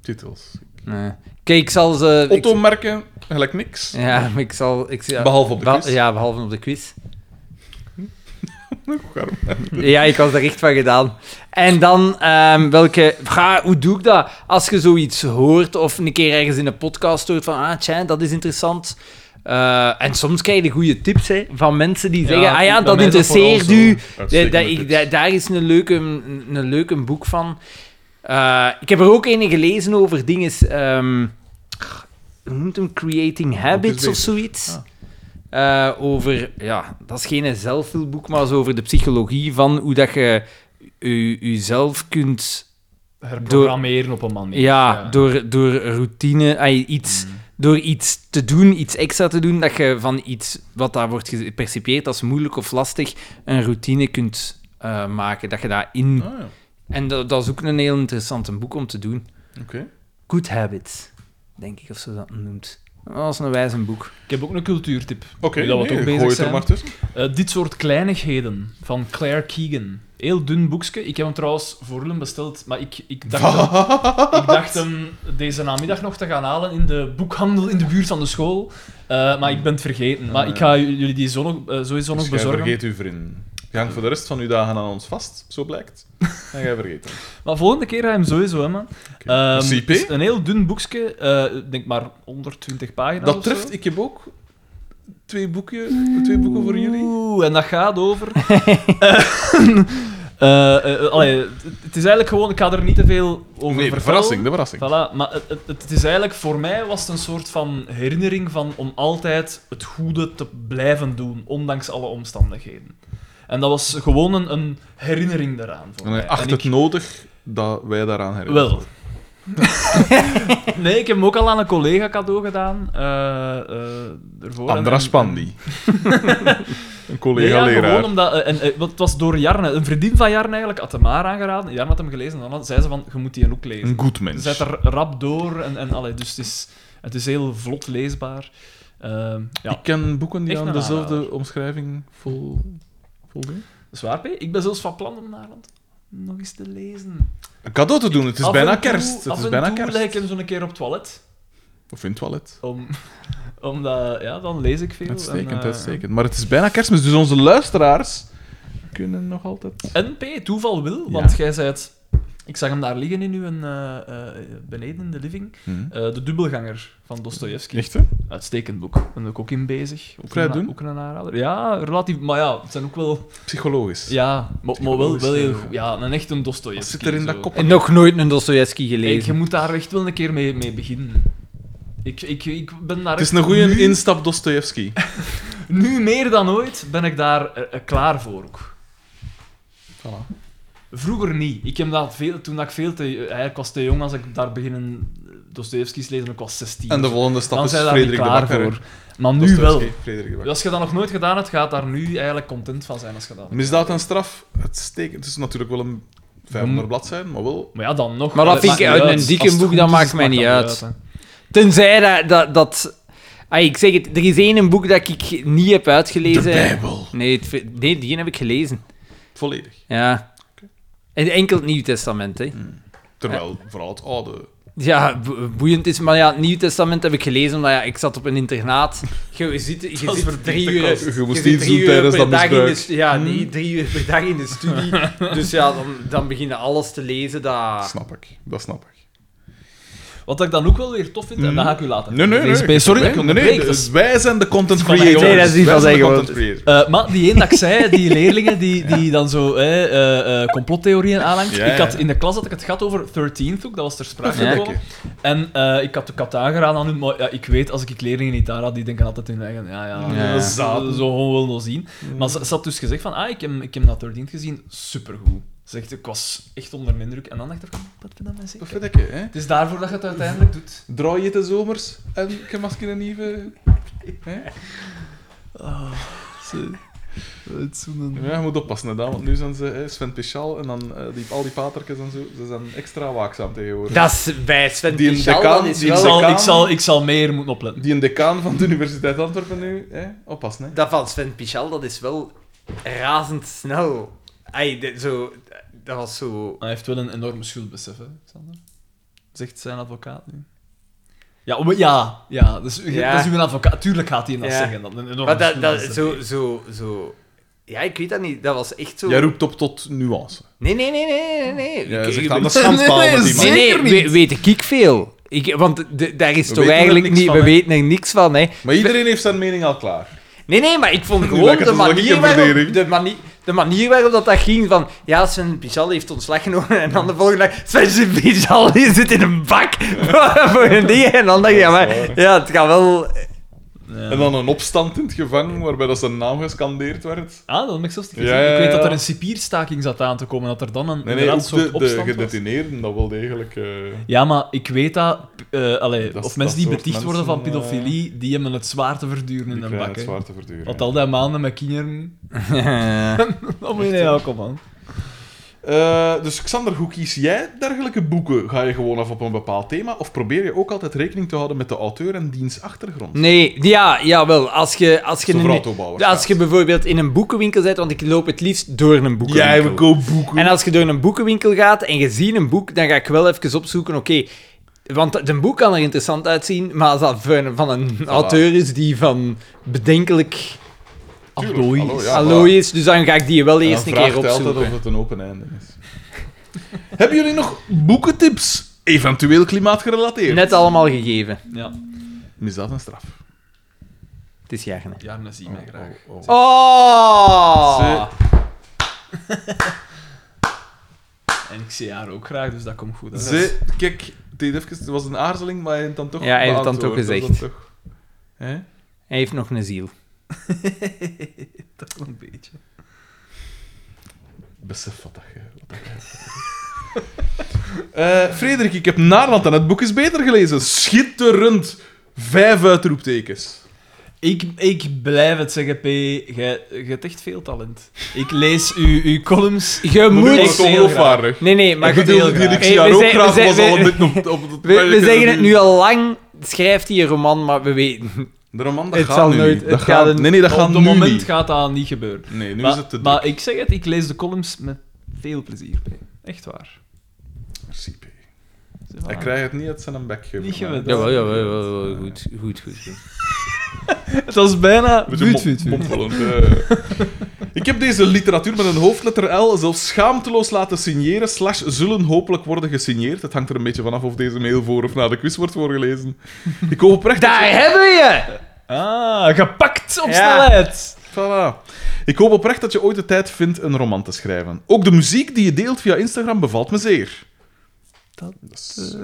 Speaker 1: Titels.
Speaker 2: Nee. Kijk, ik zal ze... ik-
Speaker 1: Otto-merken, gelijk niks.
Speaker 2: ja, maar ik zal... Ik, ja,
Speaker 1: Behalve op de
Speaker 2: Ba-
Speaker 1: quiz.
Speaker 2: Ja, behalve op de quiz.
Speaker 1: Waarom?
Speaker 2: Ja, ik was er echt van gedaan. En dan, ehm, welke... Ga, hoe doe ik dat? Als je zoiets hoort of een keer ergens in een podcast hoort van... Ah, tja, dat is interessant. Eh, en soms krijg je goede tips hè, van mensen die zeggen... ah ja,
Speaker 3: bij
Speaker 2: dat
Speaker 3: mij is dat
Speaker 2: interesseert
Speaker 3: vooral zo.
Speaker 2: u.
Speaker 1: Uitstekende
Speaker 2: Da- da- ik-
Speaker 1: tips.
Speaker 2: da- daar is een leuk een, een leuk een boek van. Eh, ik heb er ook een gelezen over dingen... ehm, hoe noemt hem? Creating Habits
Speaker 1: bezig.
Speaker 2: of zoiets. Eh, over, ja, dat is geen zelfhulpboek, maar zo over de psychologie van hoe dat je je- jezelf kunt,
Speaker 3: Herprogrammeren op een manier.
Speaker 2: ja, Mm. Door, door routine, ai, iets, door iets te doen, iets extra te doen, dat je van iets wat daar wordt gepercipieerd als moeilijk of lastig, een routine kunt eh, maken. Dat je daarin...
Speaker 1: Ah, ja.
Speaker 2: En dat, dat is ook een heel interessant boek om te doen.
Speaker 1: Oké.
Speaker 2: Good Habits, denk ik, of ze dat noemt. Dat is een wijze boek.
Speaker 3: Ik heb ook een cultuurtip.
Speaker 1: Oké,
Speaker 3: Nu dat we
Speaker 1: nee,
Speaker 3: toch
Speaker 1: ik
Speaker 3: bezig
Speaker 1: gooi het er
Speaker 3: zijn.
Speaker 1: maar tussen.
Speaker 3: Eh, dit soort kleinigheden van Claire Keegan. Heel dun boekje. Ik heb hem trouwens voor hem besteld, maar ik, ik, dacht, hem, ik dacht hem deze namiddag nog te gaan halen in de boekhandel in de buurt van de school. Eh, maar ik ben het vergeten.
Speaker 1: Ah,
Speaker 3: Maar ik ga j- jullie die zo nog, eh, sowieso nog
Speaker 1: Dus jij
Speaker 3: bezorgen.
Speaker 1: vergeet uw vriend. Je hangt voor de rest van uw dagen aan ons vast, zo blijkt. En jij vergeet hem.
Speaker 3: Maar volgende keer ga je hem sowieso, hè, man. Ehm,
Speaker 1: Een CP?
Speaker 3: het is Een heel dun boekje, eh, denk maar 120 pagina's.
Speaker 1: Dat
Speaker 3: of zo.
Speaker 1: treft, ik heb ook twee boeken, twee boeken voor jullie.
Speaker 3: Oeh, en dat gaat over. Eh, eh, eh, allee, het- het is eigenlijk gewoon, ik ga er niet te veel over
Speaker 1: Nee, de
Speaker 3: vertellen.
Speaker 1: verrassing, de verrassing.
Speaker 3: Voilà, maar het, het, het is eigenlijk voor mij was het een soort van herinnering van om altijd het goede te blijven doen, ondanks alle omstandigheden. En dat was gewoon een, een herinnering daaraan. Voor
Speaker 1: En
Speaker 3: mij.
Speaker 1: hij acht
Speaker 3: En
Speaker 1: het
Speaker 3: ik-
Speaker 1: nodig dat wij daaraan herinneren.
Speaker 3: wel. nee, ik heb hem ook al aan een collega cadeau gedaan. eh eh ervoor. En-
Speaker 1: Andras
Speaker 3: en-
Speaker 1: Pandi. Een
Speaker 3: Nee, ja,
Speaker 1: collega-leraar.
Speaker 3: gewoon omdat... eh, en, eh, want het was door Jarne, een vriendin van Jarne eigenlijk, had hem haar aangeraden. Jarne had hem gelezen en dan had- zei ze van, je moet die ook lezen.
Speaker 1: Een goed mens.
Speaker 3: Zet er rap door en, en allee, dus het is, het is heel vlot leesbaar. Ehm, ja,
Speaker 1: Ik ken boeken die
Speaker 3: Echt
Speaker 1: aan
Speaker 3: een
Speaker 1: dezelfde
Speaker 3: aanrader.
Speaker 1: omschrijving vol... voldoen.
Speaker 3: zwaar P. Ik ben zelfs van plan om naar land nog eens te lezen.
Speaker 1: Een cadeau te doen, het is
Speaker 3: Af en
Speaker 1: bijna
Speaker 3: toe-
Speaker 1: kerst. Het
Speaker 3: af
Speaker 1: is
Speaker 3: en
Speaker 1: bijna
Speaker 3: toe leg ik
Speaker 1: kerst.
Speaker 3: hem zo'n keer op het toilet.
Speaker 1: Of in het toilet.
Speaker 3: Om, omdat, ja, dan lees ik veel. en,
Speaker 1: Uitstekend,
Speaker 3: eh,
Speaker 1: uitstekend. Maar het is bijna kerstmis, dus onze luisteraars kunnen nog altijd...
Speaker 3: En P, toeval wil, want jij zei het... Ik zag hem daar liggen in uw, eh, eh, beneden in de living.
Speaker 1: Mhm.
Speaker 3: Eh, de dubbelganger van Dostoevsky.
Speaker 1: Echt, hè?
Speaker 3: Uitstekend boek. Daar ben ik ook in bezig. Ook
Speaker 1: Vrij
Speaker 3: een-
Speaker 1: doen.
Speaker 3: Ook een aanrader. Ja, relatief. Maar ja, het zijn ook wel...
Speaker 1: Psychologisch.
Speaker 3: Ja, maar, maar wel, wel heel
Speaker 1: Ja.
Speaker 3: goed. Ja, een echt een Dostoevsky.
Speaker 1: eh, Wat zit er in dat
Speaker 3: zo.
Speaker 1: kop?
Speaker 2: En nog nooit een Dostoevsky
Speaker 3: Ik,
Speaker 2: gelezen.
Speaker 3: je moet daar echt wel een keer mee, mee beginnen. Ik, ik, ik ben daar
Speaker 1: Het is
Speaker 3: echt
Speaker 1: een goede
Speaker 3: nu,
Speaker 1: instap Dostoevsky.
Speaker 3: nu meer dan ooit ben ik daar eh, eh, klaar voor ook.
Speaker 1: Voilà.
Speaker 3: Vroeger niet. Ik heb dat veel, toen dat ik veel te... Eigenlijk was te jong als ik daar beginnen eh, Dostoevsky's lezen. Ik was 16.
Speaker 1: En de volgende stap
Speaker 3: dan
Speaker 1: is
Speaker 3: zijn we daar niet
Speaker 1: Frederik de
Speaker 3: klaar
Speaker 1: Bakker.
Speaker 3: voor. Maar nu wel.
Speaker 1: Dostoevsky, Frederik de Bakker.
Speaker 3: Als je dat nog nooit gedaan hebt, gaat daar nu eigenlijk content van zijn als je dat
Speaker 1: Misdaad en straf, uitstekend. Het is natuurlijk wel een 500 blad zijn, maar wel...
Speaker 3: Maar ja, dan nog.
Speaker 2: Maar dat
Speaker 3: Allee,
Speaker 2: vind ik
Speaker 3: maakt niet
Speaker 2: uit een dikke
Speaker 3: Als het
Speaker 2: boek,
Speaker 3: goed
Speaker 2: dat
Speaker 3: is,
Speaker 2: maakt mij niet uit. Tenzij dat... dat, dat Ai, ik zeg het, er is één boek dat ik niet heb uitgelezen.
Speaker 1: De
Speaker 3: eh,
Speaker 1: Bijbel.
Speaker 2: Nee, het ver- nee, die heb ik gelezen.
Speaker 1: Volledig.
Speaker 2: Ja. En enkel het Nieuw Testament, hè.
Speaker 1: Mm. Terwijl vooral het oude...
Speaker 2: Ja, bo- boeiend is, maar ja, het Nieuw Testament heb ik gelezen, omdat ja, je zat op een internaat. Je zit, je zit drie uur...
Speaker 1: kost. Je moest
Speaker 2: zit
Speaker 1: iets
Speaker 2: drie
Speaker 1: doen
Speaker 2: uur
Speaker 1: tijdens dat
Speaker 2: per
Speaker 1: Mm.
Speaker 2: dag in de
Speaker 1: misbruik.
Speaker 2: stu- Ja, nee, drie uur per dag in de studie. dus ja, dan, dan begin je alles te lezen
Speaker 3: Ah.
Speaker 2: dat...
Speaker 1: Snap ik, dat snap ik.
Speaker 3: Wat ik dan ook wel weer tof vind, en dat ga ik u laten.
Speaker 1: Mm. Nee, nee, nee.
Speaker 3: Sorry, sorry dat ik
Speaker 1: nee, nee,
Speaker 3: onderbreek,
Speaker 1: de-
Speaker 3: dat is-
Speaker 1: wij zijn de content
Speaker 3: van mij,
Speaker 1: creators.
Speaker 2: jongens. Nee, dat is niet
Speaker 1: Wij
Speaker 2: van
Speaker 1: zijn de
Speaker 2: zijn
Speaker 1: content creators.
Speaker 3: Eh, maar die één dat ik zei, die leerlingen die, die dan zo hè, eh, eh, complottheorieën aanhangt.
Speaker 1: Ja,
Speaker 3: ik had,
Speaker 1: ja.
Speaker 3: in de klas had ik het gehad over 13th ook, dat was ter sprake
Speaker 2: Ja.
Speaker 3: gekomen. En eh, ik had de kat aangeraden aan hun, maar ja, ik weet, als ik, ik leerlingen niet daar had, die denken altijd hun eigen, ja, ja,
Speaker 2: Ja.
Speaker 3: dat is- dat is zo gewoon wel nog zien. Maar ze, ze had dus gezegd van, ah, ik heb, ik heb dat 13th gezien, supergoed. Ze zegt, ik was echt onder de indruk. En dan dacht ik, van, wat vind dat mensen?
Speaker 1: Wat vind ik, hè?
Speaker 3: Het is daarvoor dat je het uiteindelijk doet.
Speaker 1: Draai je de zomers en je maakt een nieuwe
Speaker 3: Het is Ah, zo'n-
Speaker 1: Ja, je moet oppassen, hè, Daan, want nu zijn ze hè, Sven Pichal en dan eh, die, al die patertjes en zo, ze zijn extra waakzaam tegenwoordig.
Speaker 2: Dat is bij Sven
Speaker 1: die
Speaker 2: Pichal, dat is
Speaker 1: die
Speaker 2: wel...
Speaker 1: decaan,
Speaker 9: ik, zal, ik zal meer moeten opletten.
Speaker 1: die een decaan van de Universiteit Antwerpen nu, hè, oppassen. Hè.
Speaker 2: Dat van Sven Pichal, dat is wel razendsnel. Ai, de- zo... Dat was zo...
Speaker 3: Hij heeft wel een enorme schuldbesef, hè, Xander? Zegt zijn advocaat nu. Ja, om- ja, ja, dus, u-
Speaker 2: Ja.
Speaker 3: dat is uw advocaat. Tuurlijk gaat hij dat
Speaker 2: Ja.
Speaker 3: zeggen. Dan, een enorme
Speaker 2: Maar dat, dat,
Speaker 3: schuldbesef.
Speaker 2: zo, zo, zo... Ja, ik weet dat niet. Dat was echt zo...
Speaker 1: Jij roept op tot nuance.
Speaker 2: Nee, nee, nee, nee, nee, nee.
Speaker 1: Jij
Speaker 2: Ik-
Speaker 1: zegt
Speaker 2: ik-
Speaker 1: aan de schandpaal
Speaker 3: dus- Nee, nee,
Speaker 1: met die man.
Speaker 3: zeker.
Speaker 2: Nee, nee, we- weet ik ik veel. Ik, want de- daar is toch
Speaker 1: weten er
Speaker 2: eigenlijk
Speaker 1: niks
Speaker 2: niet...
Speaker 1: van,
Speaker 2: we
Speaker 1: hè?
Speaker 2: weten er niks van, hè.
Speaker 1: Maar iedereen heeft zijn mening al klaar.
Speaker 2: Nee, nee, maar ik vond gewoon
Speaker 1: lijkt het
Speaker 2: de
Speaker 1: alsof ik
Speaker 2: manier,
Speaker 1: een
Speaker 2: waarop,
Speaker 1: verdediging.
Speaker 2: de, manier, de manier waarop dat, dat ging van... Ja, Sven Pichal heeft ontslag genomen en dan de volgende dag... Sven Pichal die zit in een bak voor- voor een ding. En dan dacht ik, ja, maar... Ja, het gaat wel...
Speaker 1: En dan een opstand in het gevangen, waarbij dat zijn naam gescandeerd werd.
Speaker 3: Ah, dat heb ik zelfs
Speaker 1: Ja,
Speaker 3: niet gezien.
Speaker 1: ja,
Speaker 3: Ik weet dat
Speaker 1: ja.
Speaker 3: er een cipierstaking zat aan te komen, dat er dan een,
Speaker 1: Nee, nee, ook
Speaker 3: inderdaad een soort
Speaker 1: de, de
Speaker 3: opstand was.
Speaker 1: gedetineerden, dat wel degelijk... eh,
Speaker 3: Ja, maar ik weet dat... eh, allee,
Speaker 1: Dat-
Speaker 3: of
Speaker 1: dat
Speaker 3: mensen die
Speaker 1: soort
Speaker 3: beticht worden van
Speaker 1: mensen,
Speaker 3: pedofilie, die hebben het zwaar te verduren
Speaker 1: die
Speaker 3: in een
Speaker 1: krijgen
Speaker 3: bak,
Speaker 1: het
Speaker 3: hè.
Speaker 1: zwaar te verduren.
Speaker 3: Want
Speaker 1: ja.
Speaker 3: al die maanden met Oh, kinderen... Dan moet je niet ook man.
Speaker 1: Eh, dus Xander, hoe kies jij dergelijke boeken? Ga je gewoon af op een bepaald thema? Of probeer je ook altijd rekening te houden met de auteur en diens achtergrond?
Speaker 2: Nee, ja, jawel. Als je, als je,
Speaker 1: Zo'n
Speaker 2: een-
Speaker 1: vrouwtobouwer
Speaker 2: als je bijvoorbeeld in een boekenwinkel zit, want ik loop het liefst door een boekenwinkel.
Speaker 1: Jij, we koop boeken.
Speaker 2: En als je door een boekenwinkel gaat en je ziet een boek, dan ga ik wel even opzoeken, oké... want een boek kan er interessant uitzien, maar als dat van, van een auteur is die van bedenkelijk
Speaker 1: Tuurlijk,
Speaker 3: Allooi.
Speaker 1: hallo, ja,
Speaker 2: allooi is, dus dan ga ik die wel eerst
Speaker 1: Dan
Speaker 2: een keer
Speaker 1: vraagt hij
Speaker 2: opzoeken.
Speaker 1: altijd of het een open einde is. Hebben jullie nog boekentips? Eventueel klimaatgerelateerd.
Speaker 2: Net allemaal gegeven.
Speaker 3: Ja,
Speaker 1: Misdaad en straf.
Speaker 2: Het is jagen.
Speaker 3: ja, dat zie je mij graag.
Speaker 1: Oh,
Speaker 2: Oh!
Speaker 3: En ik zie haar ook graag, dus dat komt goed. hè.
Speaker 1: oh. Ze, kijk, het deed even- het was een aarzeling, maar hij heeft dan toch
Speaker 2: Ja, hij heeft het dan toch
Speaker 1: beantwoord. Dat
Speaker 2: gezegd.
Speaker 1: is dan toch- Hè?
Speaker 2: Hij heeft nog een ziel.
Speaker 3: Toch wel een beetje.
Speaker 1: Besef wat dat je... wat dat je- Eh, Frederik, ik heb Naarland en het boek is beter gelezen. Schitterend. Vijf uitroeptekens.
Speaker 3: Ik, ik blijf het zeggen, P. Jij jij hebt echt veel talent. Ik lees uw, uw columns.
Speaker 2: Je
Speaker 1: Moet
Speaker 2: moet...
Speaker 1: is toch onvaardig.
Speaker 2: Nee, nee, maar...
Speaker 1: ik bedoel,
Speaker 2: Hey,
Speaker 1: die
Speaker 2: we
Speaker 1: ik zie haar ook
Speaker 2: zijn- we
Speaker 1: graag
Speaker 2: zijn-
Speaker 1: was al
Speaker 2: we-
Speaker 1: een beetje op, op het
Speaker 2: We, we zeggen het nu al lang, schrijft hij een roman, maar we weten...
Speaker 1: De roman, dat
Speaker 2: Het
Speaker 1: gaat
Speaker 2: zal
Speaker 1: nu
Speaker 2: nooit-
Speaker 1: niet.
Speaker 2: het
Speaker 1: Dat
Speaker 2: gaat
Speaker 1: gaat,
Speaker 2: een-
Speaker 1: nee, nee, dat
Speaker 3: Op
Speaker 1: gaat
Speaker 3: het
Speaker 1: nu
Speaker 3: moment
Speaker 1: niet.
Speaker 3: gaat dat niet gebeuren.
Speaker 1: Nee, nu
Speaker 3: maar,
Speaker 1: is het te druk.
Speaker 3: maar ik zeg het, ik lees de columns met veel plezier, P. Echt waar.
Speaker 1: Merci, P.
Speaker 3: Ze waren-
Speaker 2: Ah.
Speaker 1: Hij krijgt het niet uit zijn bek. gegeven,
Speaker 3: Niet
Speaker 1: maar-
Speaker 3: gewend.
Speaker 2: Jawel, jawel, jawel, goed, goed, goed. goed.
Speaker 3: Het was bijna...
Speaker 1: Beetje
Speaker 3: Vuut,
Speaker 1: mo-
Speaker 3: vuut, vuut.
Speaker 1: mompelend, eh. Ik heb deze literatuur met een hoofdletter L zelfs schaamteloos laten signeren, slash zullen hopelijk worden gesigneerd. Het hangt er een beetje vanaf of deze mail voor of na de quiz wordt voorgelezen. Ik hoop oprecht... dat-
Speaker 2: Daar hebben we je!
Speaker 3: Ah, gepakt op
Speaker 2: Ja.
Speaker 3: snelheid.
Speaker 1: Voilà. Ik hoop oprecht dat je ooit de tijd vindt een roman te schrijven. Ook de muziek die je deelt via Instagram bevalt me zeer.
Speaker 3: Dat,
Speaker 1: is-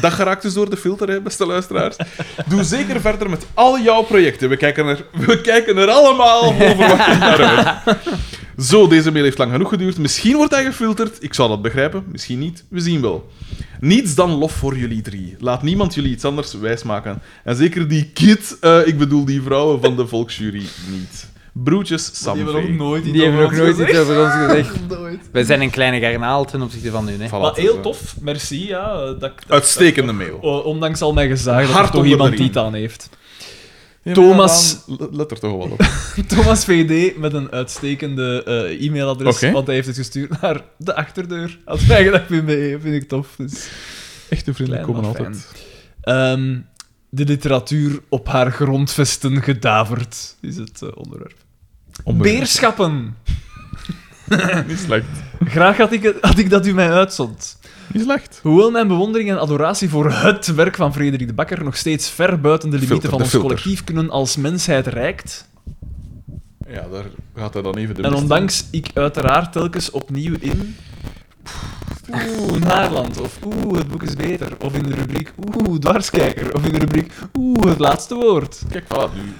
Speaker 1: dat geraakt dus door de filter, hè, beste luisteraars. Doe zeker verder met al jouw projecten. We kijken er, we kijken er allemaal over naar uit. Zo, deze mail heeft lang genoeg geduurd. Misschien wordt hij gefilterd. Ik zal dat begrijpen. Misschien niet. We zien wel. Niets dan lof voor jullie drie. Laat niemand jullie iets anders wijsmaken. En zeker die kid, eh, ik bedoel die vrouwen van de volksjury, niet. Broertjes, Sam
Speaker 3: Die hebben nog
Speaker 1: V.
Speaker 3: nooit iets
Speaker 2: Die hebben nog
Speaker 3: over
Speaker 2: nooit
Speaker 3: ons
Speaker 2: iets
Speaker 3: gezegd.
Speaker 2: over ons gezegd. Wij zijn een kleine garnaal ten opzichte van hun. Hè.
Speaker 1: Voilà,
Speaker 3: Maar
Speaker 1: het is,
Speaker 3: heel
Speaker 1: eh,
Speaker 3: tof, merci. Ja, eh, dat, dat-
Speaker 1: Uitstekende mail.
Speaker 3: O- ondanks al mijn gezaag dat er
Speaker 1: Hart
Speaker 3: toch
Speaker 1: onder
Speaker 3: iemand
Speaker 1: de riem.
Speaker 3: die het aan heeft. Thomas-
Speaker 1: Ja, maar dan- Let er toch wel op.
Speaker 3: Thomas VD met een uitstekende eh, e-mailadres,
Speaker 1: Oké.
Speaker 3: want hij heeft het gestuurd naar de achterdeur. Als bijgedacht vind, vind ik tof. Dus.
Speaker 1: Echte vrienden
Speaker 3: Klein,
Speaker 1: komen
Speaker 3: maar
Speaker 1: altijd.
Speaker 3: Ehm, de literatuur op haar grondvesten gedaverd, is het eh, onderwerp.
Speaker 1: Onbewerkt.
Speaker 3: Beerschappen!
Speaker 1: Niet slecht.
Speaker 3: Graag had ik, het- had ik dat u mij uitzond.
Speaker 1: Niet slecht.
Speaker 3: Hoewel mijn bewondering en adoratie voor het werk van Frederik de Bakker nog steeds ver buiten de limieten
Speaker 1: Filter,
Speaker 3: van
Speaker 1: de
Speaker 3: ons
Speaker 1: filter.
Speaker 3: collectief kunnen als mensheid reikt,
Speaker 1: Ja, daar gaat hij dan even de
Speaker 3: En
Speaker 1: mist
Speaker 3: ondanks ik uiteraard telkens opnieuw in. Oeh, Naarland. Of oeh, het boek is beter. Of in de rubriek oeh, dwarskijker. Of in de rubriek oeh, het laatste woord.
Speaker 1: in. Kijk, voilà, nu.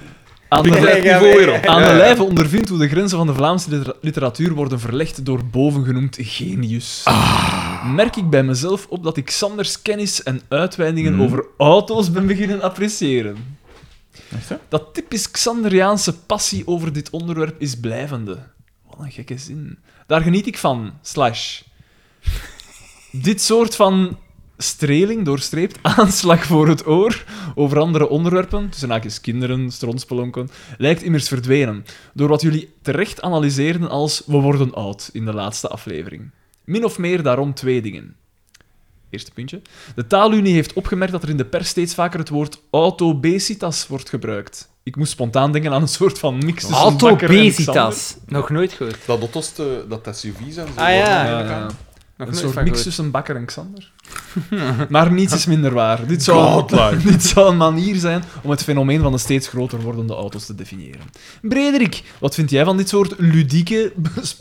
Speaker 3: Aan
Speaker 1: Ik leg het
Speaker 3: de,
Speaker 1: niveau weer op.
Speaker 3: aan
Speaker 1: Ja,
Speaker 3: de
Speaker 1: ja.
Speaker 3: lijve ondervindt hoe de grenzen van de Vlaamse litera- literatuur worden verlegd door bovengenoemd genius. Merk ik bij mezelf op dat ik Sanders kennis en uitweidingen over auto's ben beginnen appreciëren. Dat typisch Xanderiaanse passie over dit onderwerp is blijvende. Wat een gekke zin. Daar geniet ik van. Slash. Dit soort van streling doorstreept aanslag voor het oor over andere onderwerpen, tussen haakjes kinderen, stronspelonken, lijkt immers verdwenen. Door wat jullie terecht analyseren als we worden oud in de laatste aflevering. Min of meer daarom twee dingen. Eerste puntje. De taalunie heeft opgemerkt dat er in de pers steeds vaker het woord autobesitas wordt gebruikt. Ik moest spontaan denken aan een soort van mix tussen Bakker en Xander.
Speaker 2: Autobesitas. Nog nooit gehoord.
Speaker 1: Dat Otto's, te- dat dat SUV's en zo.
Speaker 2: Ah, ja.
Speaker 1: worden,
Speaker 3: Ja,
Speaker 1: ja.
Speaker 3: ja.
Speaker 2: Nog
Speaker 3: Een
Speaker 2: nooit
Speaker 3: soort
Speaker 2: van
Speaker 3: mix
Speaker 2: gehoord.
Speaker 3: tussen Bakker en Xander. maar niets is minder waar. Dit zou,
Speaker 1: Godlike.
Speaker 3: dit zou een manier zijn om het fenomeen van de steeds groter wordende auto's te definiëren. Brederik, wat vind jij van dit soort ludieke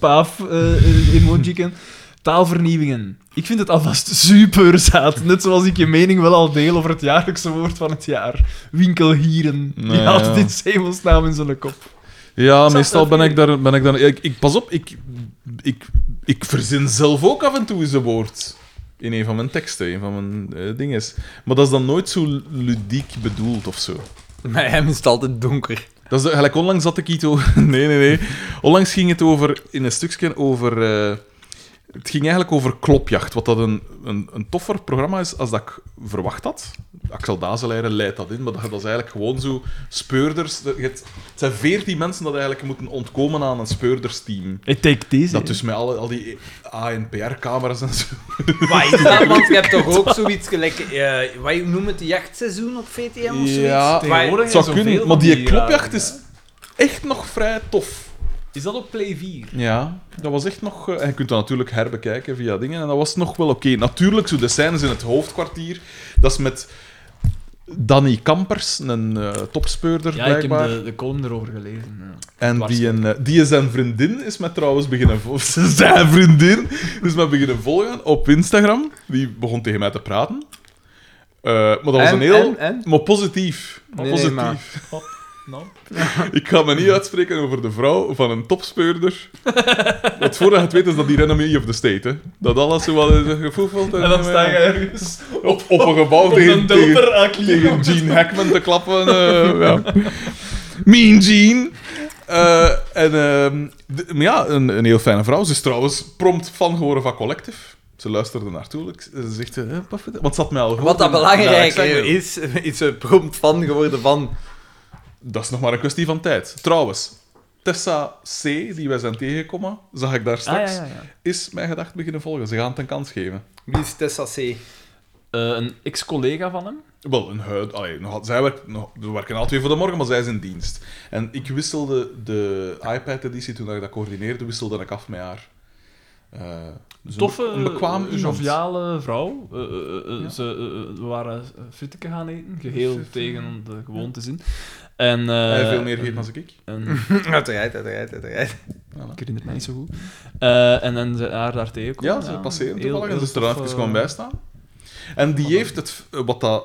Speaker 3: spaaf-emojiken? Taalvernieuwingen. Ik vind het alvast super zaad. Net zoals ik je mening wel al deel over het jaarlijkse woord van het jaar. Winkelhieren. Die
Speaker 1: Nee,
Speaker 3: haalt
Speaker 1: ja.
Speaker 3: dit zemelsnaam in zijn kop.
Speaker 1: Ja, meestal ben ik daar... Ben ik daar ik, ik, pas op, ik, ik, ik verzin zelf ook af en toe eens een woord. In een van mijn teksten, een van mijn eh, dingen. Maar dat is dan nooit zo ludiek bedoeld of zo.
Speaker 2: Bij hem is het altijd donker.
Speaker 1: Dat is de- gelijk onlangs had ik iets over... Nee, nee, nee. Onlangs ging het over, in een stukje over... eh, het ging eigenlijk over Klopjacht, wat dat een, een, een toffer programma is als dat ik verwacht had. Axel Dazelijren leidt dat in, maar dat, dat is eigenlijk gewoon zo speurders... de- je hebt- Het zijn veertien mensen dat eigenlijk moeten ontkomen aan een speurdersteam.
Speaker 3: Ik take deze.
Speaker 1: Dat dus met alle, al die ANPR-camera's en zo.
Speaker 2: Wat is dat? Want je hebt toch ook zoiets gelijk... eh wat noemen het? De jachtseizoen op VTM of zoiets?
Speaker 1: Ja,
Speaker 2: Waar-
Speaker 1: Het zou kunnen, maar die eh, klopjacht is echt nog vrij tof.
Speaker 3: eh, Is dat op Play 4?
Speaker 1: Ja, dat was echt nog... eh, En je kunt dat natuurlijk herbekijken via dingen. En dat was nog wel oké. Natuurlijk, zo de scènes in het hoofdkwartier. Dat is met Danny Kampers, een eh, topspeurder
Speaker 3: Ja, ik heb
Speaker 1: blijkbaar.
Speaker 3: de, de column erover gelezen. ja.
Speaker 1: En
Speaker 3: dwars.
Speaker 1: die, een, eh, die zijn vriendin is mij trouwens beginnen volgen. Zijn vriendin is mij beginnen volgen op Instagram. Die begon tegen mij te praten. Eh, maar dat was
Speaker 2: En-
Speaker 1: een heel...
Speaker 2: en- en?
Speaker 1: Maar positief. Maar
Speaker 2: Nee,
Speaker 1: positief.
Speaker 2: maar-
Speaker 1: Ik ga me niet uitspreken over de vrouw van een topspeurder. Want voordat je het weet is dat die Renami of the State. Hè. Dat alles zo wat een gevoel valt.
Speaker 3: En dan sta je ergens
Speaker 1: op, op een gebouw tegen,
Speaker 3: een
Speaker 1: tegen,
Speaker 3: doper aan kleren.
Speaker 1: tegen Gene Hackman te klappen. eh, ja. Mean Gene. Eh, en, ehm, d- maar ja, een, een heel fijne vrouw. Ze is trouwens prompt fan geworden van Collective. Ze luisterde naartoe. Ik- Ze zegt... eh, wat vind je- want ze had mij al gehoord
Speaker 2: Wat dat
Speaker 1: in- in
Speaker 2: belangrijk
Speaker 1: haar segment.
Speaker 2: is, is ze prompt fan geworden van...
Speaker 1: Dat is nog maar een kwestie van tijd. Trouwens, Tessa C, die wij zijn tegengekomen, zag ik daar straks,
Speaker 3: Ah, ja, ja.
Speaker 1: is mijn gedacht beginnen volgen. Ze gaan het een kans geven.
Speaker 2: Wie is Tessa C?
Speaker 3: Eh, een ex-collega van hem.
Speaker 1: Wel, een huid... Allee, nog, al- zij werkt, nog, we werken alle twee voor de morgen, maar zij is in dienst. En ik wisselde de iPad-editie, toen ik dat coördineerde, wisselde ik af met haar. Eh, dus een-
Speaker 3: Toffe, eh,
Speaker 1: een bekwaam iemand.
Speaker 3: joviale vrouw. Eh, eh, eh, Ze eh, we waren eh, fritteken gaan eten, geheel tegen de gewoontes in. En, eh,
Speaker 1: Hij heeft veel meer gegeten dan ik.
Speaker 3: en-
Speaker 2: Uiteraard, uiteraard, uiteraard.
Speaker 3: ik herinner het mij niet zo goed. Eh, en dan ze haar daar tegenkomen.
Speaker 1: Ja, ze passeren
Speaker 3: Heel-
Speaker 1: toevallig. En
Speaker 3: heel
Speaker 1: ze is er dan
Speaker 3: tof,
Speaker 1: even
Speaker 3: eh,
Speaker 1: gewoon bij staan. En die heeft het, eh, wat dat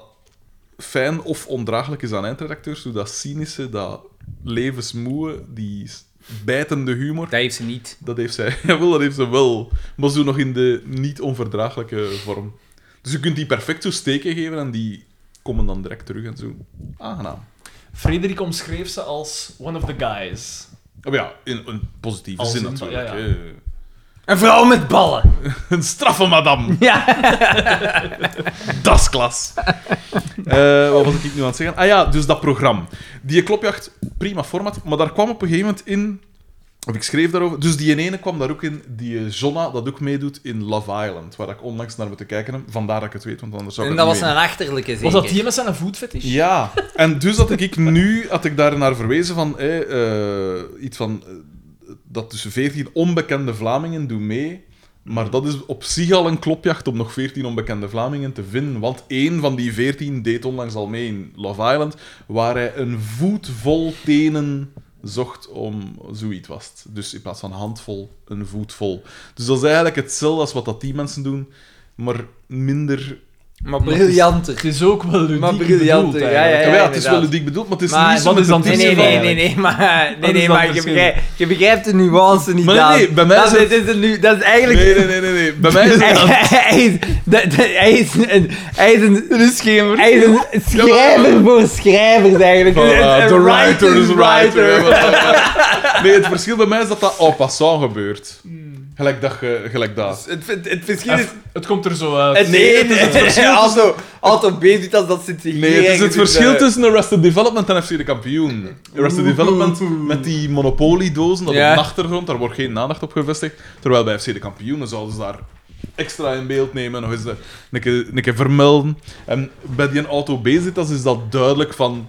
Speaker 1: fijn of ondraaglijk is aan eindredacteurs, zo dat cynische, dat levensmoe, die s- bijtende humor,
Speaker 2: Dat heeft ze niet.
Speaker 1: dat heeft zij wel, dat heeft ze wel. Maar zo nog in de niet onverdraaglijke vorm. Dus je kunt die perfect zo steken geven en die komen dan direct terug en zo. Aangenaam.
Speaker 3: Frederik omschreef ze als one of the guys.
Speaker 1: Oh, Maar ja, in een positieve
Speaker 3: Als
Speaker 1: zin
Speaker 3: in-
Speaker 1: natuurlijk.
Speaker 3: ja, ja.
Speaker 1: hè.
Speaker 2: Een vrouw met ballen!
Speaker 1: Een straffe madame.
Speaker 2: Ja.
Speaker 1: dat is klas. Eh, wat was ik nu aan het zeggen? Ah ja, dus dat programma. Die klopjacht, prima format. Maar daar kwam op een gegeven moment in... Of ik schreef daarover... Dus die ene kwam daar ook in, die eh, Jonna, dat ook meedoet in Love Island. Waar ik onlangs naar moet te kijken heb. Vandaar dat ik het weet, want anders zou ik
Speaker 2: En
Speaker 1: het
Speaker 2: dat was
Speaker 1: niet
Speaker 2: een
Speaker 1: weten.
Speaker 2: achterlijke zeker.
Speaker 3: Was dat hier met zijn voetfetish?
Speaker 1: Ja, en dus had ik nu had ik daar naar verwezen van eh, eh, iets van eh, dat dus 14 onbekende Vlamingen doen mee. Maar dat is op zich al een klopjacht om nog 14 onbekende Vlamingen te vinden. Want één van die 14 deed onlangs al mee in Love Island, waar hij een voet vol tenen zocht om zoiets was. het. Dus in plaats van handvol, een voet vol. Dus dat is eigenlijk hetzelfde als wat dat die mensen doen, maar minder
Speaker 2: Maar briljanter.
Speaker 3: Het is ook wel ludiek
Speaker 2: Maar briljanter,
Speaker 3: bedoeld,
Speaker 2: ja,
Speaker 1: Ja,
Speaker 2: ja, ja.
Speaker 3: eigenlijk.
Speaker 1: maar ja, het is wel
Speaker 2: inderdaad.
Speaker 1: ludiek bedoeld, maar het is
Speaker 2: Maar
Speaker 1: niet zo
Speaker 3: wat
Speaker 1: met
Speaker 3: is dan
Speaker 1: de
Speaker 2: Nee,
Speaker 1: titel
Speaker 2: nee,
Speaker 3: Principe
Speaker 2: nee,
Speaker 1: van-
Speaker 2: nee, nee, maar, nee,
Speaker 3: is
Speaker 2: nee,
Speaker 3: dan
Speaker 2: maar je,
Speaker 3: verschil?
Speaker 2: begrijpt, je begrijpt de nuance niet
Speaker 1: Maar nee,
Speaker 2: aan.
Speaker 1: nee, bij mij
Speaker 2: dat,
Speaker 1: is het-
Speaker 2: dit is een nu, dat is eigenlijk...
Speaker 1: Nee, nee, nee, nee, nee. Bij mij is
Speaker 2: Hij,
Speaker 1: het...
Speaker 2: hij is, dat- dat- hij is een, hij is een, hij is een schrijver voor schrijvers eigenlijk.
Speaker 1: Voilà,
Speaker 2: Een- een
Speaker 1: eh, the writer is writer.
Speaker 2: writer.
Speaker 1: nee, het verschil bij mij is dat dat en passant gebeurt. Gelijk dat, ge- gelijk dat.
Speaker 2: Het, het, het verschil is...
Speaker 3: Het komt er zo
Speaker 1: Eh,
Speaker 3: uit.
Speaker 2: Het, nee, het, verschil Alto, Alto bezig als dat zit hier.
Speaker 1: Nee, het is het
Speaker 2: eigenlijk,
Speaker 1: verschil
Speaker 2: eh,
Speaker 1: tussen Arrested Development en FC de kampioen. Arrested Development met die monopoliedozen, dat
Speaker 2: Ja.
Speaker 1: op de achtergrond, daar wordt geen aandacht op gevestigd. Terwijl bij FC de kampioenen zouden ze daar extra in beeld nemen, nog eens de, een, keer, een keer vermelden. En bij die auto bezit is dat duidelijk van...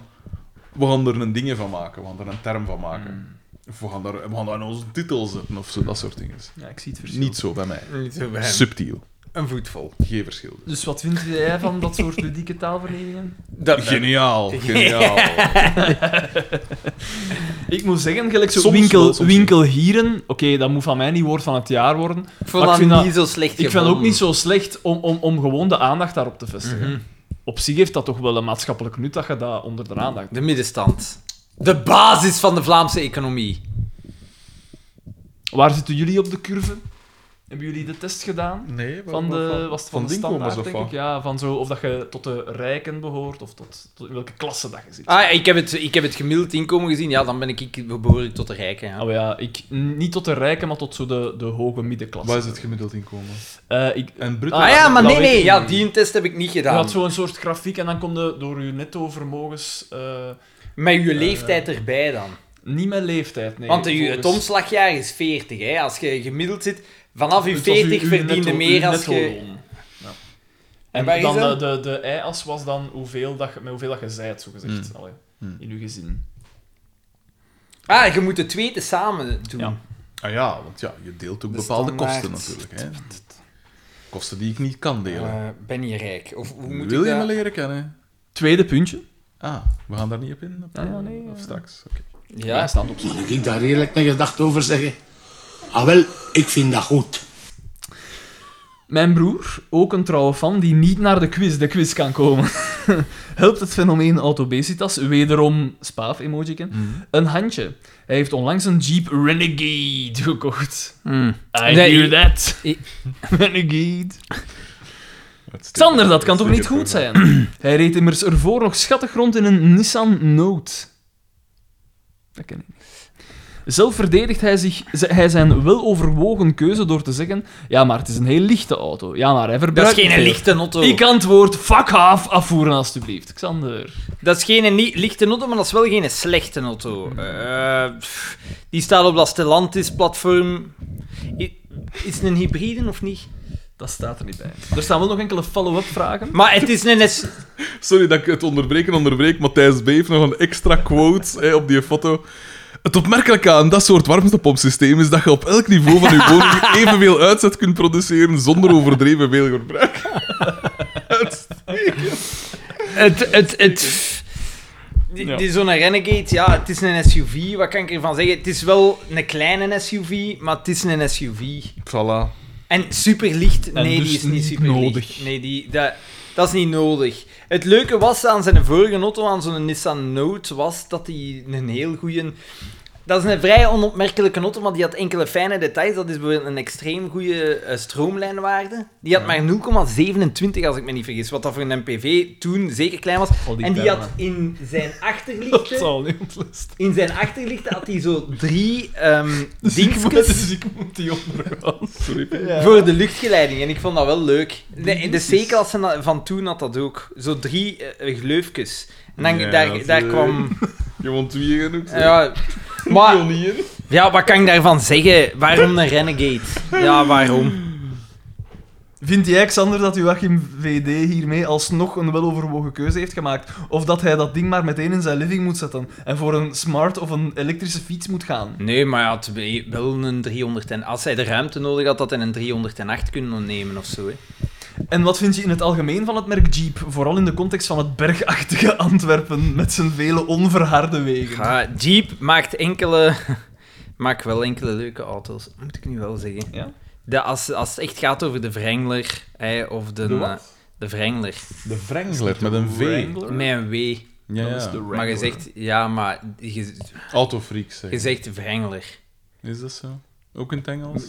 Speaker 1: We gaan er een ding van maken, we gaan er een term van maken.
Speaker 2: Hmm.
Speaker 1: Of we gaan, daar, we gaan daar in onze titel zetten, of zo, dat soort dingen.
Speaker 3: Ja, ik zie het verschil.
Speaker 1: Niet zo bij mij.
Speaker 2: Niet zo bij hem.
Speaker 1: Subtiel.
Speaker 2: Een voetvol.
Speaker 1: Geen verschil.
Speaker 3: Dus wat vind jij van dat soort ludieke taalverenigingen?
Speaker 2: Dat,
Speaker 1: Geniaal, geniaal.
Speaker 3: Ik moet zeggen, gelijk zo
Speaker 1: Soms
Speaker 3: winkel,
Speaker 1: wel, soms
Speaker 3: winkelhieren. Oké, dat moet van mij niet woord van het jaar worden.
Speaker 2: ik vond
Speaker 3: Maar
Speaker 2: dat
Speaker 3: ik vind dat-
Speaker 2: niet zo slecht
Speaker 3: Ik vind het ook niet zo slecht om, om, om gewoon de aandacht daarop te vestigen.
Speaker 1: Mhm.
Speaker 3: Op zich heeft dat toch wel een maatschappelijk nut dat je dat onder de aandacht...
Speaker 2: De middenstand. De basis van de Vlaamse economie.
Speaker 3: Waar zitten jullie op de curve? Hebben jullie de test gedaan?
Speaker 1: Nee,
Speaker 3: Van de, was het van, de
Speaker 1: Dinkel, maar
Speaker 3: standaard,
Speaker 1: zo
Speaker 3: denk
Speaker 1: van.
Speaker 3: ik. Ja, van zo, of dat je tot de rijken behoort, of tot, tot in welke klasse dat je zit.
Speaker 2: Ah, ik heb het, ik heb het gemiddeld inkomen gezien. Ja, dan ben ik, ik behoorlijk tot de Ah, rijken. Ja.
Speaker 3: Oh ja, ik, niet tot de rijken, maar tot zo de, de hoge middenklasse.
Speaker 1: Waar is het gemiddeld inkomen?
Speaker 3: Eh, ik,
Speaker 1: En bruto?
Speaker 3: Ah,
Speaker 2: Ah ja, maar
Speaker 3: dat
Speaker 2: nee,
Speaker 3: weet
Speaker 2: nee.
Speaker 3: ik
Speaker 2: Ja,
Speaker 3: niet.
Speaker 2: die test heb ik niet
Speaker 3: je
Speaker 2: gedaan.
Speaker 3: had zo'n soort grafiek en dan kon je door je netto vermogens... eh,
Speaker 2: Met uw leeftijd erbij dan.
Speaker 3: niet met leeftijd, nee.
Speaker 2: Want de- het
Speaker 3: volgens-
Speaker 2: omslagjaar is 40. Hè. Als je gemiddeld zit, vanaf je
Speaker 3: Het was uw-
Speaker 2: 40
Speaker 3: uw
Speaker 2: verdiende
Speaker 3: netto-
Speaker 2: meer
Speaker 3: uw
Speaker 2: als je...
Speaker 3: netto-loon. Ja.
Speaker 2: En
Speaker 3: En
Speaker 2: waar is
Speaker 3: dan de,
Speaker 2: dat?
Speaker 3: de, de y-as was dan hoeveel dat, je- met hoeveel dat je zijt,
Speaker 2: Hmm.
Speaker 3: zogezegd. Allee, in uw gezin.
Speaker 2: Ah, je moet de twee te samen doen.
Speaker 3: Ja.
Speaker 1: Ah ja, want ja, je deelt ook
Speaker 2: De
Speaker 1: bepaalde
Speaker 2: standaard.
Speaker 1: kosten natuurlijk. Hè. Kosten die ik niet kan delen.
Speaker 2: Eh, ben je rijk? Of hoe moet
Speaker 1: Wil
Speaker 2: ik
Speaker 1: je
Speaker 2: dat-
Speaker 1: me leren kennen?
Speaker 3: Tweede puntje.
Speaker 1: Ah, we gaan daar niet op in? Op- Of straks? Oké.
Speaker 2: Ja,
Speaker 3: staat op.
Speaker 6: Mag ik daar eerlijk een gedachte over zeggen? Ah wel, ik vind dat goed.
Speaker 3: Mijn broer, ook een trouwe fan, die niet naar de quiz, de quiz kan komen. Helpt het fenomeen autobesitas, wederom spaaf emojicon, een handje. Hij heeft onlangs een Jeep Renegade gekocht. I
Speaker 2: Nee,
Speaker 3: knew
Speaker 2: ik-
Speaker 3: that.
Speaker 2: ik-
Speaker 3: Renegade.
Speaker 1: Uitstekend.
Speaker 3: Xander, dat kan toch niet
Speaker 1: Uitstekend
Speaker 3: goed zijn? Hij reed immers ervoor nog schattig rond in een Nissan Note. Dat ken ik niet. Zelf verdedigt hij, zich, ze- hij zijn weloverwogen keuze door te zeggen... Ja, maar het is een heel lichte auto. Ja, maar hij verbruikt
Speaker 2: dat is
Speaker 3: niet
Speaker 2: geen
Speaker 3: veel."
Speaker 2: lichte auto.
Speaker 3: Ik antwoord, fuck half afvoeren alstublieft. Xander.
Speaker 2: Dat is geen ni- lichte auto, maar dat is wel geen slechte auto. Eh, pff, die staat op dat Stellantis-platform. I- Is het een hybride of niet?
Speaker 3: Dat staat er niet bij. Er staan wel nog enkele follow-up vragen.
Speaker 2: Maar het is een... S-
Speaker 1: Sorry dat ik het onderbreken onderbreek. maar Thijs B heeft nog een extra quote hè, op die foto. Het opmerkelijke aan dat soort warmtepompsysteem is dat je op elk niveau van je woning evenveel uitzet kunt produceren zonder overdreven veel verbruik.
Speaker 2: het... het, het die, die zo'n Renegade, ja, het is een SUV. Wat kan ik ervan zeggen? Het is wel een kleine SUV, maar het is een SUV.
Speaker 1: Voilà.
Speaker 2: En superlicht,
Speaker 3: En
Speaker 2: nee,
Speaker 3: dus
Speaker 2: die is niet
Speaker 3: niet
Speaker 2: superlicht.
Speaker 3: nodig.
Speaker 2: Nee, die, dat, dat is niet nodig. Het leuke was aan zijn vorige auto, aan zo'n Nissan Note, was dat hij een heel goede... Dat is een vrij onopmerkelijke auto, maar die had enkele fijne details. Dat is bijvoorbeeld een extreem goede eh, stroomlijnwaarde. Die had maar 0,27 als ik me niet vergis, wat dat voor een MPV toen zeker klein was.
Speaker 3: Al die
Speaker 2: en die
Speaker 3: termen.
Speaker 2: had in zijn
Speaker 3: Dat
Speaker 2: achterlichten...
Speaker 3: zal niet ontlust.
Speaker 2: In zijn achterlichten had hij zo drie ehm dingetjes
Speaker 3: Dus ik moet die onderhouden. Sorry.
Speaker 2: voor de luchtgeleiding. En ik vond dat wel leuk. dus De, in de C-klasse na- van toen had dat ook. Zo drie eh, eh, gleufjes. En dan,
Speaker 1: Ja,
Speaker 2: daar,
Speaker 1: dat is
Speaker 2: daar
Speaker 1: leuk.
Speaker 2: kwam...
Speaker 1: Je woont wie genoeg? zeg.
Speaker 2: Ja, maar
Speaker 1: Pionier.
Speaker 2: ja, wat kan ik daarvan zeggen? Waarom een Renegade? Ja, waarom?
Speaker 3: Vindt jij, Xander, dat Joachim VD hiermee alsnog een weloverwogen keuze heeft gemaakt? Of dat hij dat ding maar meteen in zijn living moet zetten en voor een smart of een elektrische fiets moet gaan?
Speaker 2: Nee, maar hij had we- wel een 300 en... Als hij de ruimte nodig had, had hij een 308 kunnen nemen of zo. Hè.
Speaker 3: En wat vind je in het algemeen van het merk Jeep? Vooral in de context van het bergachtige Antwerpen met zijn vele onverharde wegen.
Speaker 2: Ja, Jeep maakt enkele... Maakt wel enkele leuke auto's, moet ik nu wel zeggen.
Speaker 3: Ja?
Speaker 2: De, als, als het echt gaat over de Wrangler hè, of de...
Speaker 3: De
Speaker 2: eh,
Speaker 3: wat?
Speaker 2: De Vrengler.
Speaker 1: De Wrangler, met een V.
Speaker 2: Met een W.
Speaker 1: Ja, ja.
Speaker 2: Maar je zegt... Ja, maar... Je,
Speaker 1: Autofreak,
Speaker 2: je
Speaker 1: zeg.
Speaker 2: zegt Vrengler.
Speaker 1: Is dat zo? Ook in het Engels?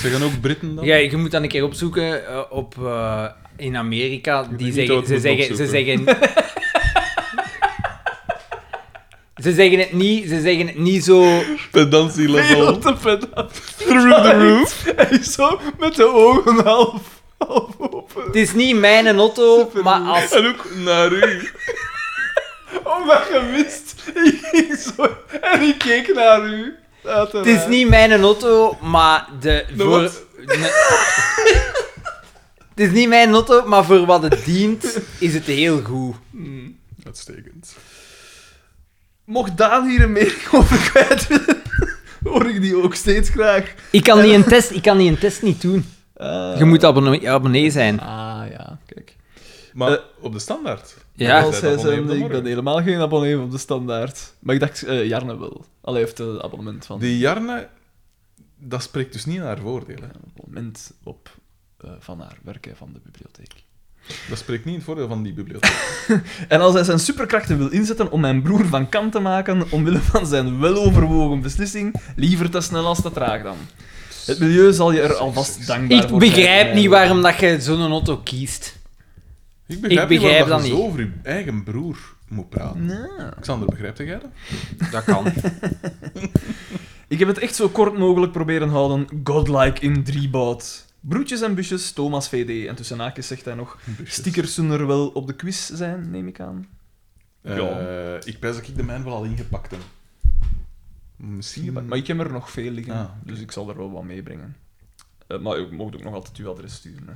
Speaker 1: Zeggen ook Britten dan?
Speaker 2: Ja, je moet dan een keer opzoeken eh, op... eh, in Amerika, die
Speaker 1: niet
Speaker 2: zeggen,
Speaker 1: wat
Speaker 2: ze,
Speaker 1: moet
Speaker 2: zeggen, ze zeggen... ze zeggen het niet, ze zeggen het niet zo...
Speaker 1: Pedantie level.
Speaker 3: Wat een pedant.
Speaker 1: Through the roof.
Speaker 3: Hij is zo met de ogen half, half open.
Speaker 2: Het is niet mijn Otto, maar als...
Speaker 1: En ook naar u.
Speaker 3: Oh, maar gewist. Ik ging zo... En ik keek naar u.
Speaker 2: Het is niet mijn Otto, maar de... voor...
Speaker 1: wat?
Speaker 2: Ne- het is niet mijn Otto, maar voor wat het dient, is het heel goed.
Speaker 1: Uitstekend.
Speaker 3: Mocht Daan hier een mening over kwijt willen, hoor ik die ook steeds graag.
Speaker 2: Ik kan die een test, ik kan die een test niet doen.
Speaker 3: Ah.
Speaker 2: Je moet abonne- abonnee zijn.
Speaker 3: Ah, ja. Kijk.
Speaker 1: Maar
Speaker 3: Eh,
Speaker 1: op de standaard.
Speaker 2: Ja.
Speaker 3: Als hij
Speaker 1: dat
Speaker 3: zei,
Speaker 1: abonnee op de
Speaker 3: ik ben
Speaker 1: morgen.
Speaker 3: helemaal geen abonnee op de standaard. Maar ik dacht, eh, Jarne wel. Allee, heeft een abonnement van...
Speaker 1: Die Jarne, dat spreekt dus niet naar haar voordeel. hè.
Speaker 3: Een abonnement op eh, van haar werken van de bibliotheek.
Speaker 1: Dat spreekt niet in het voordeel van die bibliotheek.
Speaker 3: En als hij zijn superkrachten wil inzetten om mijn broer van kant te maken, omwille van zijn weloverwogen beslissing, liever te snel als te traag dan. Het milieu zal je er alvast dankbaar
Speaker 2: Ik
Speaker 3: voor
Speaker 2: begrijp
Speaker 3: zijn.
Speaker 2: niet waarom dat je zo'n Otto kiest.
Speaker 1: Ik begrijp,
Speaker 2: Ik begrijp
Speaker 1: niet waarom
Speaker 2: dat
Speaker 1: je
Speaker 2: niet.
Speaker 1: zo over je eigen broer moet praten. Xander, begrijp jij dat?
Speaker 2: Dat kan.
Speaker 3: Ik heb het echt zo kort mogelijk proberen houden. Godlike in driebout. Broertjes en busjes, Thomas VD. En tussen haakjes zegt hij nog, stickers zullen er wel op de quiz zijn, neem ik aan.
Speaker 1: Eh, ik pijs dat ik de mijn wel al ingepakt heb. Misschien.
Speaker 3: Maar,
Speaker 1: maar-
Speaker 3: ik heb er nog veel liggen,
Speaker 1: Hmm. Ah, oké.
Speaker 3: dus ik zal er wel wat meebrengen. Eh, maar je mocht ook nog altijd uw adres sturen. Hè.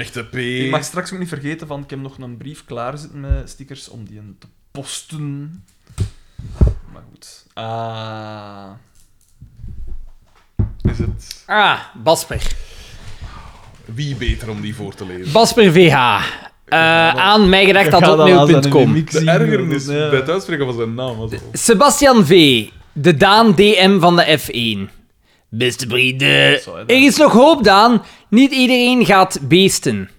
Speaker 1: Echte P.
Speaker 3: Ik mag straks ook niet vergeten van, ik heb nog een brief klaarzitten met stickers om die in te posten. Maar goed. Ah.
Speaker 1: Is het
Speaker 2: Ah, Basper.
Speaker 1: wie beter om die voor te lezen?
Speaker 2: Basper VH. Eh aan mijgedacht.hotmail.com
Speaker 1: De ergernis dus, bij het uitspreken van zijn naam. was al-
Speaker 2: Sebastian V. De Daan DM van de F1. Beste vrienden. Er is nog hoop, Daan. Niet iedereen gaat beesten.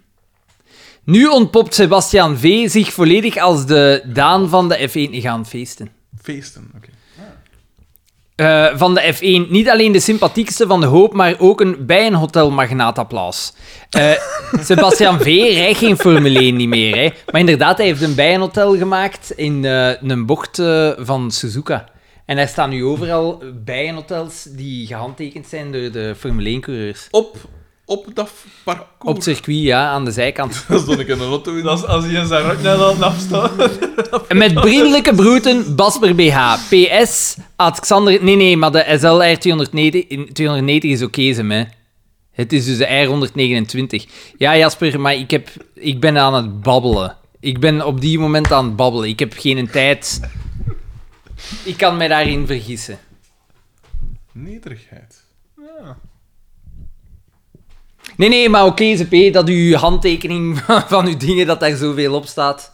Speaker 2: Nu ontpopt Sebastian V. zich volledig als de Daan van de F1 gaan feesten.
Speaker 1: Feesten, oké.
Speaker 2: Eh, van de F1 niet alleen de sympathiekste van de hoop, maar ook een bij een hotelmagnaat applaus. Eh, Sebastian V. rijdt geen Formule 1 niet meer. Hè. Maar inderdaad, hij heeft een bijenhotel gemaakt in eh, een bocht eh, van Suzuka. En daar staan nu overal bijenhotels die gehandtekend zijn door de Formule 1-coureurs.
Speaker 1: Op, op dat parcours.
Speaker 2: Op het circuit, ja, aan de zijkant.
Speaker 1: Dat is dan ik een auto in.
Speaker 3: Als, als je zijn rotnet aan afstaat.
Speaker 2: En Met vriendelijke broeten, Basper BH. PS, had Xander... Nee, nee, maar de SLR 290, in- 290 is oké, ze hè. Het is dus de R129. Ja, Jasper, maar ik, heb, ik ben aan het babbelen. Ik ben op die moment aan het babbelen. Ik heb geen tijd. Ik kan mij daarin vergissen.
Speaker 1: Nederigheid.
Speaker 2: Nee, nee, maar oké, ZP, dat uw handtekening van, van uw dingen, dat daar zoveel op staat.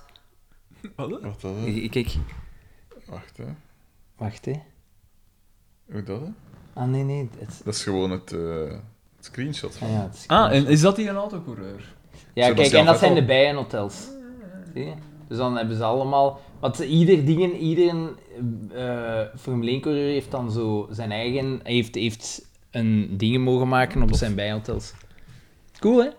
Speaker 1: Wat dat? hè?
Speaker 2: Kijk, Kijk,
Speaker 1: Wacht, hè.
Speaker 2: wacht, hè.
Speaker 1: Hoe dat? hè?
Speaker 2: Ah, nee, nee. Het,
Speaker 1: Dat is gewoon het, eh, het screenshot van.
Speaker 2: ah, ja, het is-
Speaker 3: Ah, en is dat die een autocoureur?
Speaker 2: Ja, kijk,
Speaker 1: Sebastian
Speaker 2: en dat zijn de
Speaker 1: Vettel.
Speaker 2: bijenhotels. Zie je? Dus dan hebben ze allemaal... Want ieder ding, ieder eh Formule 1-coureur heeft dan zo zijn eigen... Heeft, heeft een dingen mogen maken op zijn bijenhotels. Cool, hè?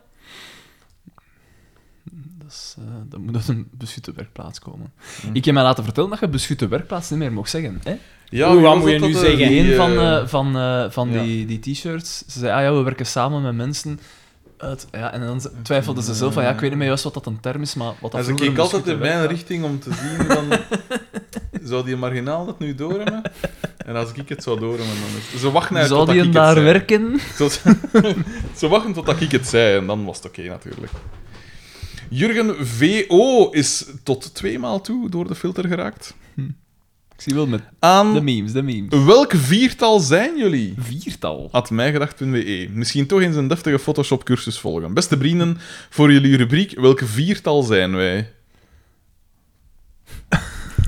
Speaker 3: Dat, is, eh, dat moet uit een beschutte werkplaats komen.
Speaker 1: Hm.
Speaker 3: Ik heb mij laten vertellen dat je beschutte werkplaats niet meer mocht zeggen. Hè?
Speaker 1: Ja,
Speaker 2: Oeh,
Speaker 1: wie
Speaker 2: wat
Speaker 1: was
Speaker 2: moet je
Speaker 1: dat
Speaker 2: nu
Speaker 1: dat, eh,
Speaker 2: zeggen?
Speaker 1: die,
Speaker 3: Geen
Speaker 1: eh,
Speaker 3: van, eh, van, eh, van
Speaker 1: ja.
Speaker 3: die, die t-shirts. Ze zei, ah ja, we werken samen met mensen. Uit, ja, en dan ze- twijfelde ze zelf van, ja, ik weet niet meer juist wat dat een term is, maar wat dat
Speaker 1: en ze
Speaker 3: vroeger een
Speaker 1: keek altijd in
Speaker 3: beschutte
Speaker 1: mijn
Speaker 3: werkplaats-
Speaker 1: richting om te zien van... zou die marginaal dat nu doorhebben? En als ik het zou doorhebben, dan is Ze wachten eigenlijk
Speaker 3: Zou
Speaker 1: tot dat
Speaker 3: die
Speaker 1: ik
Speaker 3: daar
Speaker 1: het zei.
Speaker 3: werken?
Speaker 1: Tot- ze wachten totdat ik het zei en dan was het oké natuurlijk. Jurgen VO is tot tweemaal toe door de filter geraakt.
Speaker 3: Ik zie wel met de
Speaker 1: Aan
Speaker 3: memes, de memes.
Speaker 1: welk viertal zijn jullie?
Speaker 3: Viertal.
Speaker 1: At mijgedacht.be. E. Misschien toch eens een deftige Photoshop-cursus volgen. Beste vrienden, voor jullie rubriek, welke viertal zijn wij?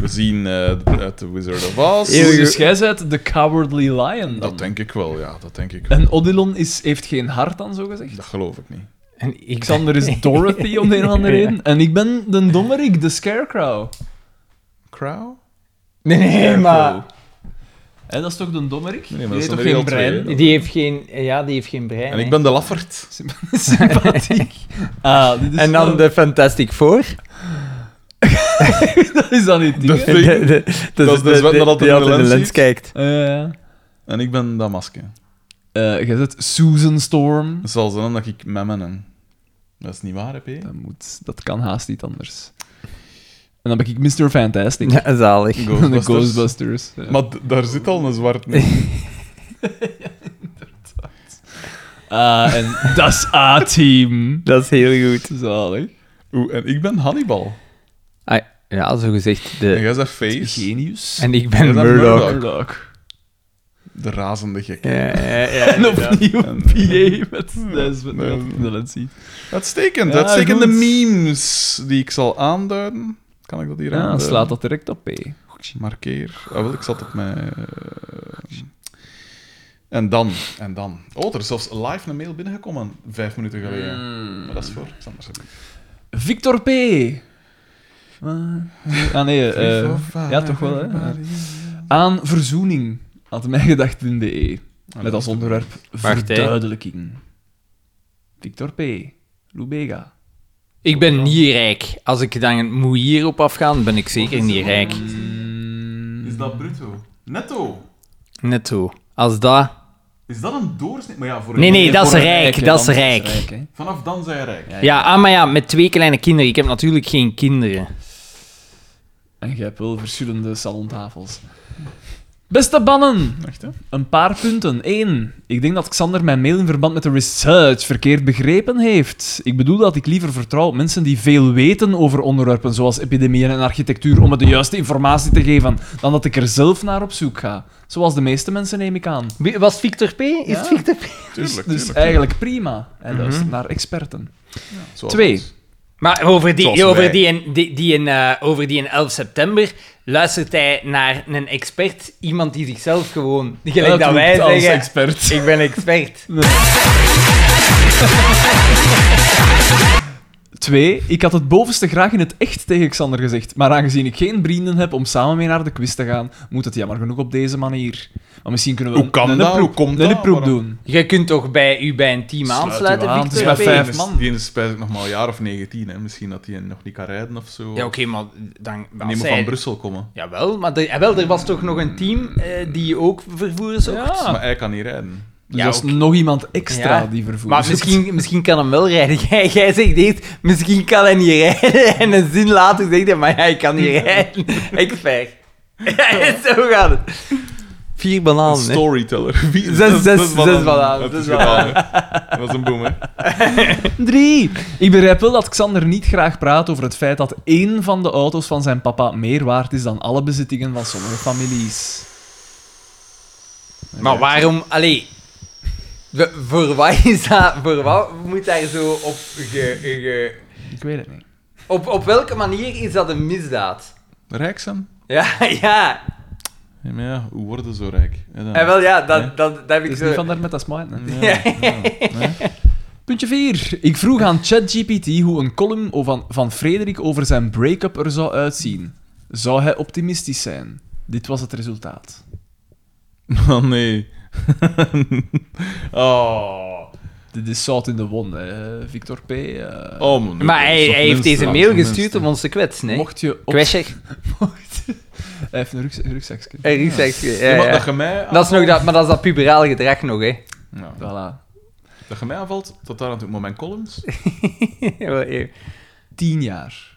Speaker 1: We zien eh, uit The Wizard of Oz.
Speaker 3: Dus jij bent de Cowardly Lion dan.
Speaker 1: Dat denk ik wel, ja, dat denk ik wel.
Speaker 3: En Odilon is, heeft geen hart dan, zo gezegd?
Speaker 1: Dat geloof ik niet.
Speaker 2: En ik
Speaker 3: Xander is Dorothy om de een of andere
Speaker 2: Ja.
Speaker 3: reden. En ik ben de dommerik, de Scarecrow.
Speaker 1: Crow?
Speaker 2: Nee, nee, maar...
Speaker 3: Hé, dat is toch de dommerik?
Speaker 1: Nee, maar
Speaker 3: Die
Speaker 1: dat
Speaker 3: heeft
Speaker 1: zijn
Speaker 3: toch
Speaker 1: er
Speaker 3: geen
Speaker 1: heel twee,
Speaker 3: brein?
Speaker 1: hè?
Speaker 2: Die heeft geen... Ja, die heeft geen brein.
Speaker 1: En ik
Speaker 2: hè.
Speaker 1: ben de laffert.
Speaker 3: Sympathiek. Ah, dit is
Speaker 2: En dan
Speaker 3: wel-
Speaker 2: de Fantastic Four.
Speaker 3: Dat is dan niet.
Speaker 1: De
Speaker 3: ding, hè?
Speaker 1: Thing.
Speaker 2: dat
Speaker 1: is de zwet dat altijd
Speaker 2: die
Speaker 1: in de lens ziet.
Speaker 2: kijkt.
Speaker 3: Eh,
Speaker 1: En ik ben dat masker.
Speaker 3: eh, jij zet Susan Storm.
Speaker 1: Het zal zijn dat ik memmen en... Dat is niet waar, hè, P?
Speaker 3: Dat, moet, dat kan haast niet anders. En dan ben ik Mr. Fantastic.
Speaker 2: Ja, zalig.
Speaker 3: De
Speaker 1: Ghostbusters.
Speaker 3: Ghostbusters. ja.
Speaker 1: Maar d- daar zit al een zwart mee.
Speaker 3: Ah, en dat is A-team.
Speaker 2: Dat is heel goed.
Speaker 3: Zalig.
Speaker 1: Oeh, en ik ben Hannibal.
Speaker 2: Ah, ja, zo gezegd.
Speaker 1: En
Speaker 2: De...
Speaker 1: jij zegt Face.
Speaker 3: Genius.
Speaker 2: En ik ben
Speaker 1: Ja, dat is
Speaker 2: Murdoch.
Speaker 1: Murdoch.
Speaker 3: Sherlock.
Speaker 1: De razende gek.
Speaker 2: Ja, ja, ja.
Speaker 3: En opnieuw
Speaker 1: En-
Speaker 3: PA met dat is wat
Speaker 1: Nee.
Speaker 3: ik in de lens zie.
Speaker 1: Uitstekend.
Speaker 3: Ja,
Speaker 1: Uitstekende
Speaker 3: goed.
Speaker 1: memes die ik zal aanduiden. Kan ik dat hier
Speaker 3: Ja,
Speaker 1: aanduiden?
Speaker 3: slaat dat direct op P.
Speaker 1: Markeer. Ah, wel, ik zat op mijn... eh, En dan, en dan. Oh, er is zelfs live een mail binnengekomen, vijf minuten geleden.
Speaker 3: Hmm.
Speaker 1: Maar dat is voor Xander.
Speaker 3: Victor P. Ah, ah, nee, eh, ja, toch wel, hè? Aan verzoening had mijngedachten.de. E.
Speaker 2: Ah,
Speaker 3: Met als onderwerp
Speaker 2: Wacht, hè.
Speaker 3: verduidelijking. Victor P. Lubega.
Speaker 2: Ik ben niet rijk. Als ik dan een moeier op afgaan, ben ik zeker niet rijk.
Speaker 3: Hmm.
Speaker 1: Is dat bruto? Netto?
Speaker 2: Netto. Als dat...
Speaker 1: Is dat een doorsnee? Maar ja, voor
Speaker 2: Nee, nee, dat is
Speaker 3: Voor een
Speaker 2: rijk.
Speaker 3: hè,
Speaker 2: Dat is
Speaker 3: dan
Speaker 2: rijk.
Speaker 3: hè.
Speaker 1: Vanaf dan zijn je rijk.
Speaker 2: Ja, ah, maar ja, met twee kleine kinderen. Ik heb natuurlijk geen kinderen.
Speaker 3: En je hebt wel verschillende salontafels. Beste bannen!
Speaker 1: Echt, hè?
Speaker 3: Een paar punten. Eén, ik denk dat Xander mijn mail in verband met de research verkeerd begrepen heeft. Ik bedoel dat ik liever vertrouw op mensen die veel weten over onderwerpen zoals epidemieën en architectuur om me de juiste informatie te geven, dan dat ik er zelf naar op zoek ga. Zoals de meeste mensen neem ik aan.
Speaker 2: Wie- Was het Victor P? Is het Victor P?
Speaker 3: Dus,
Speaker 1: Tuurlijk,
Speaker 3: dus
Speaker 1: tuurlijk. Mhm.
Speaker 3: eigenlijk prima. Hij luistert naar experten.
Speaker 1: Zoals
Speaker 3: Twee,
Speaker 1: ons.
Speaker 2: Maar over die,
Speaker 1: Zoals
Speaker 2: over
Speaker 1: wij.
Speaker 2: die, en- die, die en, eh, over die en 11 september luistert hij naar een expert. Iemand die zichzelf gewoon... Gelijk dat wij
Speaker 3: Uitroept als
Speaker 2: zeggen,
Speaker 3: expert.
Speaker 2: ik ben expert.
Speaker 3: Twee, ik had het bovenste graag in het echt tegen Xander gezegd, maar aangezien ik geen vrienden heb om samen mee naar de quiz te gaan, moet het jammer genoeg op deze manier. Maar misschien kunnen we
Speaker 1: Hoe
Speaker 3: een-
Speaker 1: kan
Speaker 3: een
Speaker 1: dat?
Speaker 3: oproep-
Speaker 1: Hoe komt
Speaker 3: een
Speaker 1: dat?
Speaker 3: oproep
Speaker 1: Waarom?
Speaker 3: doen.
Speaker 2: Je kunt toch bij u bij een team
Speaker 3: Sluit u
Speaker 2: aansluiten,
Speaker 3: aan, het is
Speaker 2: Victor
Speaker 3: maar
Speaker 2: P?
Speaker 3: vijf
Speaker 1: Die is-
Speaker 3: man.
Speaker 1: Die is spijtig nog maar een jaar of 19, hè. Misschien dat hij nog niet kan rijden of zo.
Speaker 2: Ja, oké, maar dan...
Speaker 1: En
Speaker 2: als
Speaker 1: die moet
Speaker 2: hij-
Speaker 1: van Brussel komen.
Speaker 2: Jawel, maar er, jawel, er was toch nog een team eh, die ook vervoeren zocht?
Speaker 3: Ja.
Speaker 1: Maar hij kan niet rijden.
Speaker 3: Dus
Speaker 2: Ja,
Speaker 3: dat is
Speaker 2: oké.
Speaker 3: nog iemand extra
Speaker 2: Ja.
Speaker 3: die vervoert. Dus
Speaker 2: Maar misschien, misschien kan hem wel rijden. Jij, jij zegt dit, misschien kan hij niet rijden. En een zin later zegt hij, maar ja, ik kan niet rijden. Expert. Zo gaat het. Vier
Speaker 1: Een
Speaker 2: bananen, hè.
Speaker 1: storyteller. Wie-
Speaker 2: Zes-
Speaker 1: dat is- dat is
Speaker 2: zes-
Speaker 1: wat
Speaker 2: zes
Speaker 1: een-
Speaker 2: bananen,
Speaker 1: Het
Speaker 2: zes
Speaker 1: is gedaan, hè. Dat is een boom, hè.
Speaker 3: Drie. Ik begrijp wel dat Xander niet graag praat over het feit dat één van de auto's van zijn papa meer waard is dan alle bezittingen van sommige families.
Speaker 2: Maar waarom... Allee... we- Voor wat is dat... Voor wat moet daar zo op... Ge, ge-
Speaker 3: Ik weet het niet.
Speaker 2: op, op welke manier is dat een misdaad?
Speaker 1: Rijk zijn?
Speaker 2: Ja, ja.
Speaker 1: Ja, maar ja, hoe worden zo rijk? Ja, dan.
Speaker 2: En wel, ja, dat,
Speaker 1: Nee.
Speaker 2: dat, dat heb ik
Speaker 3: Het is
Speaker 1: eh,
Speaker 2: zo...
Speaker 3: niet van daar met dat smile. hè.
Speaker 1: Ja, ja, nee.
Speaker 3: Puntje 4. Ik vroeg aan ChatGPT hoe een column o- van, van Frederik over zijn break-up er zou uitzien. Zou hij optimistisch zijn? Dit was het resultaat.
Speaker 1: Oh, nee. oh.
Speaker 3: Dit is zout in de won, hè, Victor P. Eh,
Speaker 1: oh man,
Speaker 2: Maar hij,
Speaker 1: dat is
Speaker 2: hij heeft
Speaker 1: toch
Speaker 2: deze
Speaker 1: minstens-
Speaker 2: mail
Speaker 1: minstens.
Speaker 2: gestuurd om ons te kwetsen, hè.
Speaker 3: Mocht je op...
Speaker 2: Kwetsig.
Speaker 3: Hij heeft een rugzak- rugzakje.
Speaker 2: Een rugzakje, ja,
Speaker 1: Ja, maar
Speaker 2: ja.
Speaker 1: dat je mij...
Speaker 2: Dat is nog dat, maar dat is dat puberaal gedrag nog, hè.
Speaker 1: Ja,
Speaker 3: Voilà.
Speaker 1: dat je mij aanvalt, tot daar aan toe. Maar mijn columns?
Speaker 2: Wel, eh.
Speaker 3: 10 jaar.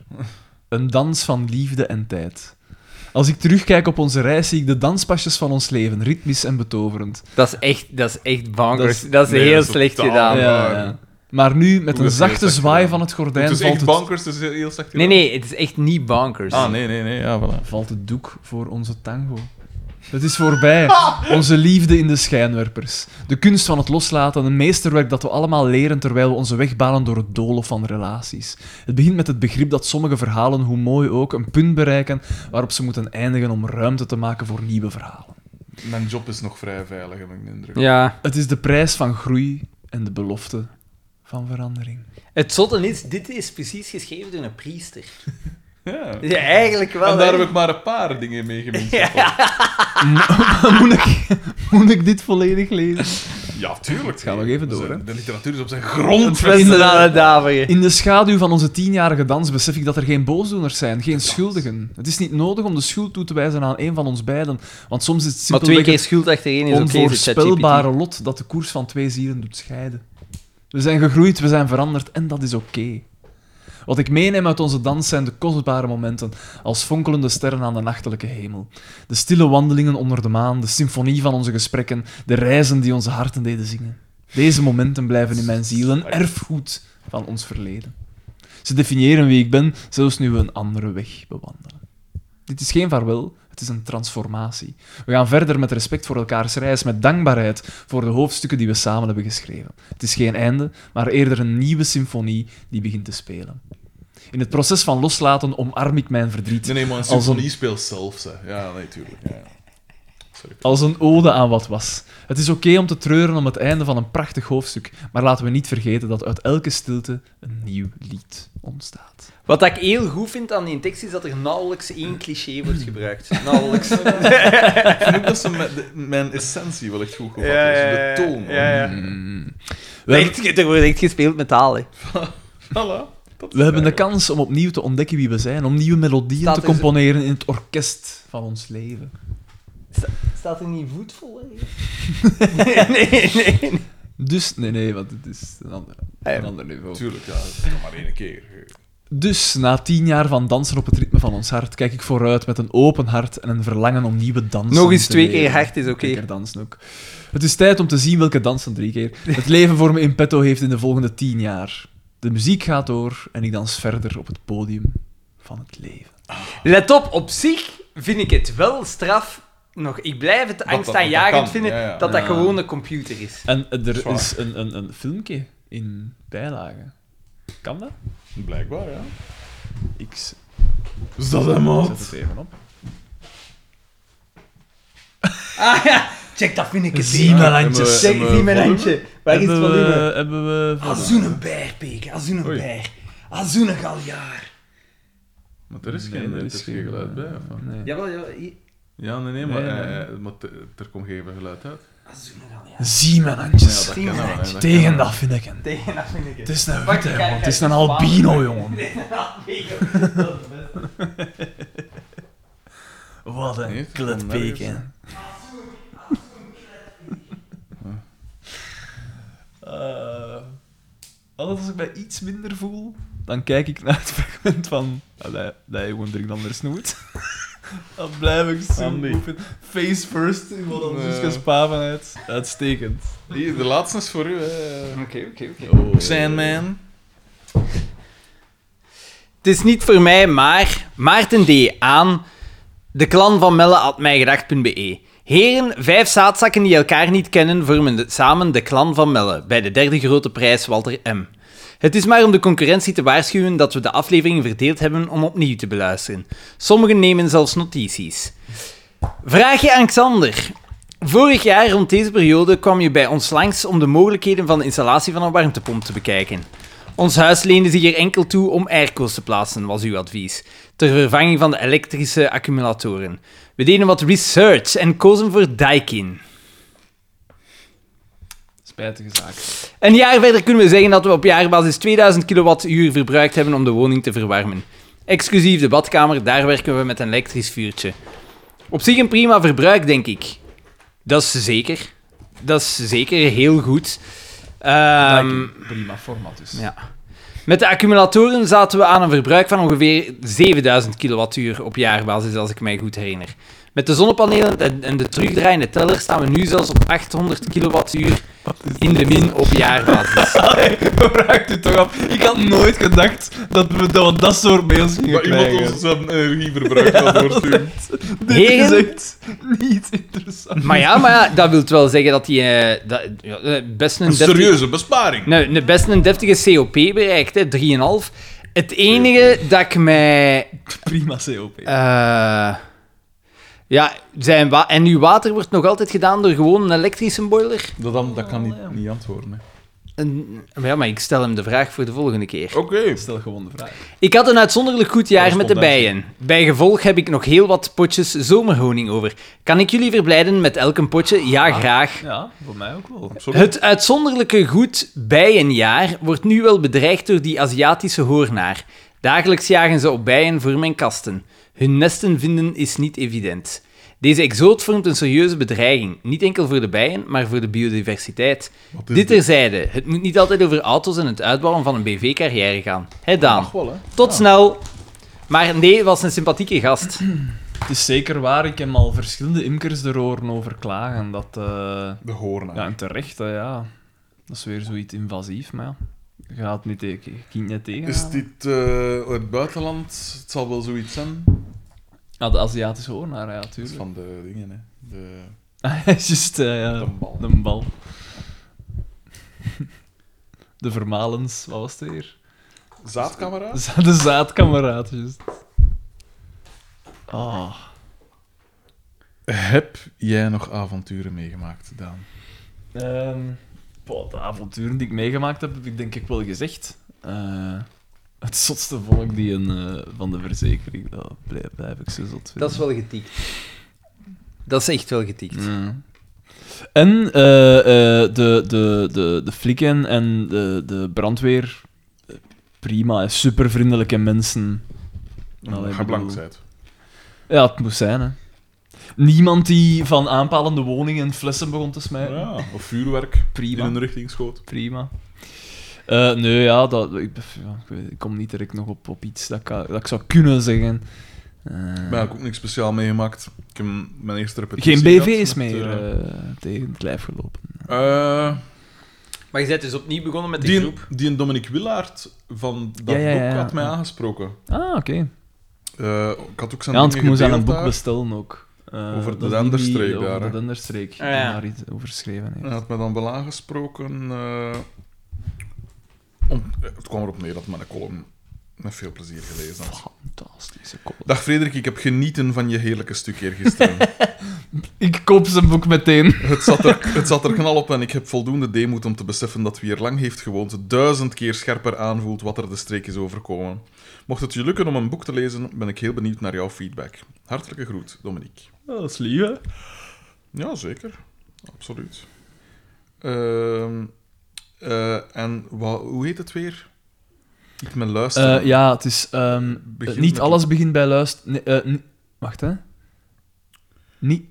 Speaker 3: Een dans van liefde en tijd. Als ik terugkijk op onze reis, zie ik de danspasjes van ons leven, ritmisch en betoverend.
Speaker 2: dat is echt, dat is echt bonkers.
Speaker 3: Dat
Speaker 2: Dat
Speaker 3: is-
Speaker 2: is,
Speaker 1: nee,
Speaker 2: heel
Speaker 1: dat is
Speaker 2: slecht
Speaker 1: totaal
Speaker 2: gedaan.
Speaker 1: niet.
Speaker 3: Ja,
Speaker 1: maar-
Speaker 3: ja. Maar nu, met
Speaker 1: Hoe
Speaker 3: een
Speaker 1: is dat
Speaker 3: zachte
Speaker 1: gezegd
Speaker 3: zwaai
Speaker 1: gedaan?
Speaker 3: van het gordijn,
Speaker 1: Het is
Speaker 3: valt
Speaker 1: echt
Speaker 3: het...
Speaker 1: bankers, het is heel zacht.
Speaker 2: Nee, nee, het is echt niet bonkers.
Speaker 1: Ah, nee, nee, nee, ja, voilà.
Speaker 3: valt het doek voor onze tango. Het is voorbij. Onze liefde in de schijnwerpers. De kunst van het loslaten, een meesterwerk dat we allemaal leren terwijl we onze weg banen door het doolhof van relaties. Het begint met het begrip dat sommige verhalen, hoe mooi ook, een punt bereiken waarop ze moeten eindigen om ruimte te maken voor nieuwe verhalen.
Speaker 1: Mijn job is nog vrij veilig, heb ik de indruk.
Speaker 2: Ja.
Speaker 3: Het is de prijs van groei en de belofte van verandering.
Speaker 2: Het zotte is, dit is precies geschreven door een priester.
Speaker 1: Ja.
Speaker 2: Ja, eigenlijk wel.
Speaker 1: En daar
Speaker 2: hè.
Speaker 1: heb ik maar een paar dingen mee gemist.
Speaker 3: moet, ik, moet ik dit volledig lezen?
Speaker 1: Ja, tuurlijk.
Speaker 3: ga nog even door, hè.
Speaker 1: De literatuur is op zijn
Speaker 2: Het
Speaker 1: grond.
Speaker 2: beste aan het daveren.
Speaker 3: In de schaduw van onze tienjarige dans besef ik dat er geen boosdoeners zijn, geen schuldigen. Het is niet nodig om de schuld toe te wijzen aan een van ons beiden, want soms is het
Speaker 2: Maar twee
Speaker 3: simpelweg
Speaker 2: keer
Speaker 3: het
Speaker 2: schuld achtereen is oké, zegt ChatGPT.
Speaker 3: onvoorspelbare lot dat de koers van twee zielen doet scheiden. We zijn gegroeid, we zijn veranderd en dat is oké. Wat ik meeneem uit onze dans zijn de kostbare momenten, als fonkelende sterren aan de nachtelijke hemel. De stille wandelingen onder de maan, de symfonie van onze gesprekken, de reizen die onze harten deden zingen. Deze momenten blijven in mijn ziel een erfgoed van ons verleden. Ze definiëren wie ik ben, zelfs nu we een andere weg bewandelen. Dit is geen vaarwel, het is een transformatie. We gaan verder met respect voor elkaars reis, met dankbaarheid voor de hoofdstukken die we samen hebben geschreven. Het is geen einde, maar eerder een nieuwe symfonie die begint te spelen. In het proces van loslaten omarm ik mijn verdriet.
Speaker 1: Nee, nee, maar een
Speaker 3: als een
Speaker 1: symfonie speelt zelfs. Hè. Ja, nee, tuurlijk. Ja, ja.
Speaker 3: Als een ode aan wat was. Het is oké om te treuren om het einde van een prachtig hoofdstuk, maar laten we niet vergeten dat uit elke stilte een nieuw lied ontstaat.
Speaker 2: Wat ik heel goed vind aan die tekst is dat er nauwelijks één cliché wordt gebruikt. Nauwelijks.
Speaker 1: Ik vind ook dat ze mijn, de- mijn essentie wel echt goed gevat
Speaker 2: Ja,
Speaker 1: is.
Speaker 2: ja,
Speaker 1: De
Speaker 2: ja,
Speaker 1: toon.
Speaker 2: ja, ja.
Speaker 3: We, hebben,
Speaker 2: Mm. Echt, er wordt echt gespeeld met taal, hè.
Speaker 1: Voilà. Dat is
Speaker 3: we hebben de
Speaker 2: Eh,
Speaker 1: eigenlijk-
Speaker 3: kans om opnieuw te ontdekken wie we zijn, om nieuwe melodieën
Speaker 2: Staat
Speaker 3: te
Speaker 2: er zo-
Speaker 3: componeren in het orkest van ons leven.
Speaker 2: Staat er niet voetvol, nee, nee, nee. nee.
Speaker 3: Dus, nee, nee, want het is een ander,
Speaker 2: Ah, ja.
Speaker 3: een ander niveau.
Speaker 1: Tuurlijk, ja. Dat is nog maar één keer.
Speaker 3: Dus na tien jaar van dansen op het ritme van ons hart, kijk ik vooruit met een open hart en een verlangen om nieuwe dansen
Speaker 2: Nog eens
Speaker 3: te
Speaker 2: twee keer
Speaker 3: leren.
Speaker 2: hard is oké.
Speaker 3: Twee keer dansen ook. Het is tijd om te zien welke dansen drie keer het leven voor me in petto heeft in de volgende tien jaar. De muziek gaat door en ik dans verder op het podium van het leven.
Speaker 2: Let op, op zich vind ik het wel straf. Nog, ik blijf het
Speaker 1: dat- dat
Speaker 2: angstaanjagend
Speaker 1: kan,
Speaker 2: vinden
Speaker 1: ja, ja.
Speaker 2: dat dat
Speaker 3: Ja.
Speaker 2: gewoon een computer is.
Speaker 3: En eh, er
Speaker 1: Zwaar.
Speaker 3: is een, een, een filmpje in bijlage. Kan dat?
Speaker 1: Blijkbaar, ja.
Speaker 3: Ik z-
Speaker 1: Is dat hem,
Speaker 3: zet het even op.
Speaker 2: Ah ja, check, dat vind ik het.
Speaker 3: Zie mijn handjes.
Speaker 2: Check, zie mijn handje. Waar is het Ah,
Speaker 3: Hebben
Speaker 2: volume?
Speaker 3: we... Hebben we volume?
Speaker 2: Azoene bijrpeken, azoene bijer, azoene Ah, galjaar.
Speaker 1: Maar er is
Speaker 3: Nee,
Speaker 1: geen,
Speaker 3: er
Speaker 1: er
Speaker 3: is
Speaker 1: is geen
Speaker 3: geen,
Speaker 1: geluid bij. of wat?
Speaker 3: Nee.
Speaker 2: Jawel, jawel. hier.
Speaker 1: Ja, nee, nee, maar,
Speaker 3: Nee,
Speaker 1: eh,
Speaker 3: nee.
Speaker 1: eh, maar te- er komt geen geluid uit.
Speaker 2: Azoene galjaar.
Speaker 3: Ah, Zie mijn handjes.
Speaker 1: Ja, dat kennen we, hè, dat kennen
Speaker 3: Tegen
Speaker 1: we.
Speaker 3: dat vind ik hem.
Speaker 2: Tegen dat vind ik het.
Speaker 3: Het is een
Speaker 2: Pak
Speaker 3: witte,
Speaker 2: je
Speaker 3: jongen.
Speaker 2: kijk,
Speaker 3: Het is een
Speaker 2: kijk,
Speaker 3: albino, jongen. Wat
Speaker 1: Nee,
Speaker 3: een
Speaker 1: het komt
Speaker 3: klutpeek, hè.
Speaker 1: nergens,
Speaker 3: Eh, Altijd als ik mij iets minder voel, dan kijk ik naar het fragment van... Ah, Allee, nee, gewoon drink dan maar snoet. Dan blijf ik zo
Speaker 1: Andy.
Speaker 3: goed vinden. Face first, in wat
Speaker 1: Nee.
Speaker 3: anders is uit. Uitstekend.
Speaker 1: Hier, de laatste is voor u. eh.
Speaker 2: Oké, oké, oké.
Speaker 3: Oh.
Speaker 1: Sandman.
Speaker 2: Het is niet voor mij, maar Maarten D. aan de klan van Melle at mijgedacht.be. E. Heren, vijf zaadzakken die elkaar niet kennen vormen de- samen de klan van Melle bij de derde grote prijs Walter M. Het is maar om de concurrentie te waarschuwen dat we de afleveringen verdeeld hebben om opnieuw te beluisteren. Sommigen nemen zelfs notities. Vraagje aan Xander. Vorig jaar rond deze periode kwam je bij ons langs om de mogelijkheden van de installatie van een warmtepomp te bekijken. Ons huis leende zich er enkel toe om airco's te plaatsen, was uw advies, ter vervanging van de elektrische accumulatoren. We deden wat research en kozen voor Daikin.
Speaker 3: Spijtige zaak.
Speaker 2: Een jaar verder kunnen we zeggen dat we op jaarbasis 2000 kilowattuur verbruikt hebben om de woning te verwarmen. Exclusief de badkamer, daar werken we met een elektrisch vuurtje. Op zich een prima verbruik, denk ik. Dat is zeker. Dat is zeker heel goed. Ehm,
Speaker 3: Prima format dus.
Speaker 2: ja. Met de accumulatoren zaten we aan een verbruik van ongeveer 7000 kilowattuur op jaarbasis, als ik mij goed herinner. Met de zonnepanelen en- en de terugdraaiende teller staan we nu zelfs op 800 kilowattuur in de min op jaarbasis.
Speaker 3: Raakt u toch af? Ik had nooit gedacht dat we dat, dat soort mails gingen
Speaker 1: Maar iemand
Speaker 3: krijgen.
Speaker 1: ons zijn energieverbruik kan doorsturen.
Speaker 3: Dit is
Speaker 2: Heren?
Speaker 3: echt niet interessant.
Speaker 2: Maar ja, maar ja, dat wil wel zeggen dat hij eh, dat- ja, eh, best een
Speaker 1: Een
Speaker 2: deftige-
Speaker 1: serieuze besparing.
Speaker 2: Nou, ne- best een deftige COP bereikt, hè, 3,5. Het enige dat ik mij...
Speaker 3: Prima COP.
Speaker 2: eh, ja, zijn wa- en uw water wordt nog altijd gedaan door gewoon een elektrische boiler?
Speaker 1: Dat, dan, dat kan niet, niet antwoorden. Hè.
Speaker 2: Een- Ja, maar ik stel hem de vraag voor de volgende keer.
Speaker 1: Oké.
Speaker 3: Stel gewoon de vraag.
Speaker 2: Ik had een uitzonderlijk goed jaar met de
Speaker 1: Correspondentie.
Speaker 2: bijen. Bij gevolg heb ik nog heel wat potjes zomerhoning over. Kan ik jullie verblijden met elk een potje? Ja, graag.
Speaker 3: Ja, voor mij ook wel.
Speaker 1: Sorry.
Speaker 2: Het uitzonderlijke goed bijenjaar wordt nu wel bedreigd door die Aziatische hoornaar. Dagelijks jagen ze op bijen voor mijn kasten. Hun nesten vinden is niet evident. Deze exoot vormt een serieuze bedreiging, niet enkel voor de bijen, maar voor de biodiversiteit.
Speaker 1: is
Speaker 2: Dit
Speaker 1: dit?
Speaker 2: terzijde, het moet niet altijd over auto's en het uitbouwen van een BV-carrière gaan. Hé Daan,
Speaker 1: wel, hè.
Speaker 2: tot snel! Maar nee, was een sympathieke gast.
Speaker 3: Het is zeker waar, ik heb al verschillende imkers er horen over klagen. Dat, eh,
Speaker 1: De hoornaar.
Speaker 3: Ja, en terecht, hè, ja. Dat is weer zoiets invasief, maar ja. Je gaat niet tegen, je kunt niet tegen.
Speaker 1: Is dit eh, uit het buitenland? Het zal wel zoiets zijn.
Speaker 3: Ja, Ah, de Aziatische hoornaar, ja,
Speaker 1: Het is
Speaker 3: tuurlijk.
Speaker 1: van de dingen, hè. De...
Speaker 3: Juist, eh, ja.
Speaker 1: De bal.
Speaker 3: De bal. De vermalens, wat was het weer?
Speaker 1: Zaadcamera?
Speaker 3: Za- De zaadkameraad, juist. Oh.
Speaker 1: Heb jij nog avonturen meegemaakt, Daan?
Speaker 3: Ehm, boah, de avonturen die ik meegemaakt heb, heb ik denk ik wel gezegd. Eh, het zotste volk die een, eh, van de verzekering, dat blijf, blijf ik zo zot
Speaker 2: Dat is wel getikt. Dat is echt wel getikt.
Speaker 3: En eh, eh, de, de, de, de flikken en de, de brandweer, eh, prima, hè. super vriendelijke mensen. Allee,
Speaker 1: Ga blank
Speaker 3: Nou, bedoel-
Speaker 1: zijn.
Speaker 3: Ja, het moest zijn, hè. Niemand die van aanpalende woningen flessen begon te smijten.
Speaker 1: Ja, of vuurwerk
Speaker 3: Prima.
Speaker 1: in een richting schoot.
Speaker 3: Prima. Eh, nee, ja, dat, ik, ja, ik weet- ik kom niet direct nog op, op iets dat ik, dat ik zou kunnen zeggen. Eh,
Speaker 1: Maar ja, ik heb ook niks speciaal meegemaakt. Ik heb mijn eerste repetitie
Speaker 3: geen
Speaker 1: gehad
Speaker 3: BV's
Speaker 1: met,
Speaker 3: meer
Speaker 1: eh,
Speaker 3: eh, tegen het lijf gelopen.
Speaker 1: eh,
Speaker 2: Maar je bent dus opnieuw begonnen met de
Speaker 1: die,
Speaker 2: groep.
Speaker 1: die een Dominic Willaert van dat
Speaker 3: Ja, ja, ja,
Speaker 1: boek
Speaker 3: ja.
Speaker 1: had mij aangesproken.
Speaker 3: Ah, oké.
Speaker 1: Eh, ik had ook zijn
Speaker 3: Ja, want ik
Speaker 1: dingen
Speaker 3: moest aan een
Speaker 1: gedeeld
Speaker 3: boek
Speaker 1: daar.
Speaker 3: bestellen ook. Eh,
Speaker 1: Over de
Speaker 3: dat is die-
Speaker 1: Denderstreek
Speaker 3: over
Speaker 1: daar, hè?
Speaker 3: de Denderstreek, die
Speaker 2: Ah, ja.
Speaker 3: daar iets over geschreven heeft.
Speaker 1: Hij had me dan wel aangesproken. eh, om, het kwam erop neer dat men een column met veel plezier gelezen had.
Speaker 3: Fantastische kop.
Speaker 1: Dag Frederik, ik heb genieten van je heerlijke stuk eergisteren.
Speaker 3: Ik koop zijn boek meteen.
Speaker 1: Het zat, er, het zat er knal op en ik heb voldoende deemoed om te beseffen dat wie er lang heeft gewoond duizend keer scherper aanvoelt wat er de streek is overkomen. Mocht het je lukken om een boek te lezen, ben ik heel benieuwd naar jouw feedback. Hartelijke groet, Dominique.
Speaker 3: Dat is lief, hè?
Speaker 1: Ja, zeker. Absoluut. Ehm, eh, en wa- hoe heet het weer? Ik ben luisteren.
Speaker 3: Eh, ja, het is... ehm,
Speaker 1: Begin
Speaker 3: eh, niet
Speaker 1: met-
Speaker 3: alles begint bij luisteren... wacht, hè. Niet,
Speaker 1: Niet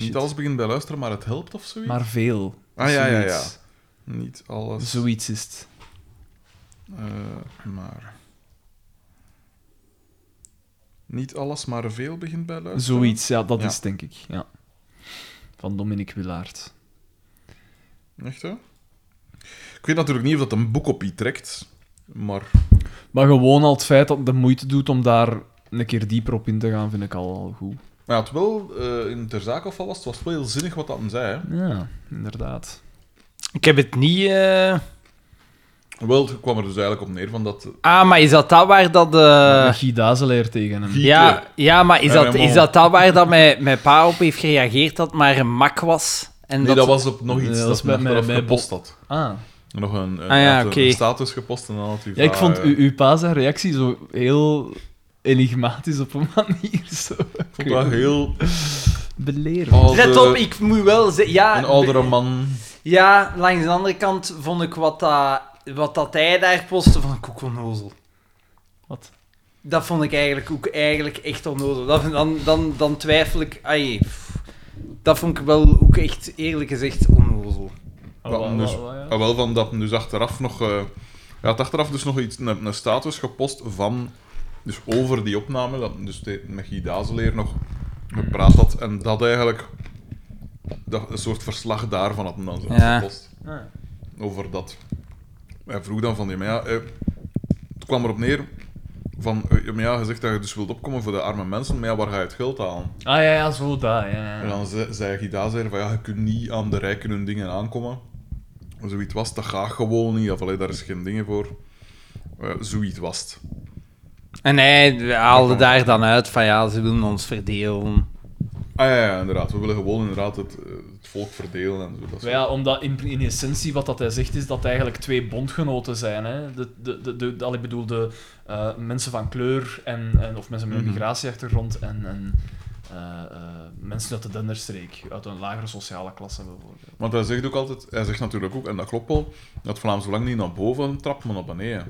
Speaker 3: shit.
Speaker 1: alles begint bij luisteren, maar het helpt of zoiets?
Speaker 3: maar veel.
Speaker 1: Ah, ja, ja, ja.
Speaker 3: Zoiets.
Speaker 1: Niet alles.
Speaker 3: Zoiets is het.
Speaker 1: Eh, maar. Niet alles, maar veel begint bij luisteren.
Speaker 3: Zoiets, ja, dat
Speaker 1: Ja.
Speaker 3: is het, denk ik. Ja. Van Dominique Willaert.
Speaker 1: Echt hè? Ik weet natuurlijk niet of dat een boek op je trekt, maar
Speaker 3: Maar gewoon al het feit dat het de moeite doet om daar een keer dieper op in te gaan, vind ik al, al goed.
Speaker 1: hij had wel, eh, in ter zake of al was, het was wel heel zinnig wat dat hem zei. Hè?
Speaker 3: Ja, inderdaad.
Speaker 2: Ik heb het niet... eh,
Speaker 1: Wel, het kwam er dus eigenlijk op neer van dat...
Speaker 2: Ah, maar is dat dat waar dat... eh,
Speaker 3: Guy Dazelaer tegen hem.
Speaker 1: Guy-
Speaker 2: Ja, ja, maar is
Speaker 1: Ja,
Speaker 2: dat,
Speaker 1: Raymond.
Speaker 2: is dat dat waar dat mijn, mijn pa op heeft gereageerd dat het maar een mak was? En
Speaker 1: Nee, dat, was op nog iets
Speaker 3: Nee, dat
Speaker 1: dat,
Speaker 3: was bij-
Speaker 1: men achteraf
Speaker 3: bij- bij
Speaker 1: gepost had.
Speaker 3: Ah.
Speaker 1: Nog een, een,
Speaker 2: Ah, ja,
Speaker 1: had een
Speaker 2: oké.
Speaker 1: status gepost en dan had hij... eh,
Speaker 3: Ja, ik vond u, uw pa zijn reactie zo heel enigmatisch op een manier. Zo.
Speaker 1: Ik vond dat heel...
Speaker 3: Belerend.
Speaker 1: Oude,
Speaker 2: Let op, ik moet wel zeggen... Ja,
Speaker 1: eh, Een oudere man.
Speaker 2: ja, langs de andere kant vond ik wat dat, wat dat hij daar postte van ik ook onnozel.
Speaker 3: Wat?
Speaker 2: Dat vond ik eigenlijk ook eigenlijk echt onnozel. Dat, vind- dan, dan, dan twijfel ik... ai, pff. dat vond ik wel ook echt eerlijk gezegd onnozel.
Speaker 1: Dat hem dus, ah, wel van dat hem dus achteraf nog... eh hij had achteraf dus nog iets, een, een status gepost van... Dus over die opname, dat hem dus te- met Guy Dazeleer nog gepraat had. En dat eigenlijk... Dat, een soort verslag daarvan had hem dan zo
Speaker 2: Ja.
Speaker 1: gepost. Over dat. Hij vroeg dan van die... Maar ja, eh, het kwam erop neer van... eh, maar ja, je zegt dat je dus wilt opkomen voor de arme mensen. Maar ja, waar ga je het geld halen?
Speaker 3: Ah ja, ja, zo daar. Ja,
Speaker 1: En dan ze- zei Gida zei van ja, je kunt niet aan de rijken hun dingen aankomen. Of Zoiets was, het, dat gaat gewoon niet. Of allee, daar is geen dingen voor. Eh, zoiets was. het.
Speaker 2: En hij haalde daar dan uit van ja, ze willen ons verdelen.
Speaker 1: Ah Ah ja, ja, inderdaad. We willen gewoon inderdaad het, eh, het volk verdelen en zo. Dat
Speaker 3: Maar
Speaker 1: soort-
Speaker 3: Ja, omdat in, in essentie wat dat hij zegt is dat het eigenlijk twee bondgenoten zijn. Hè? De, de, de, de, al, ik bedoel, de eh, mensen van kleur en, en, of mensen met een
Speaker 1: Mhm.
Speaker 3: migratieachtergrond en, en eh, eh, mensen uit de denderstreek, uit een lagere sociale klasse bijvoorbeeld.
Speaker 1: Want hij zegt ook altijd, hij zegt natuurlijk ook, en dat klopt wel, dat Vlaams Belang niet naar boven trapt, maar naar beneden.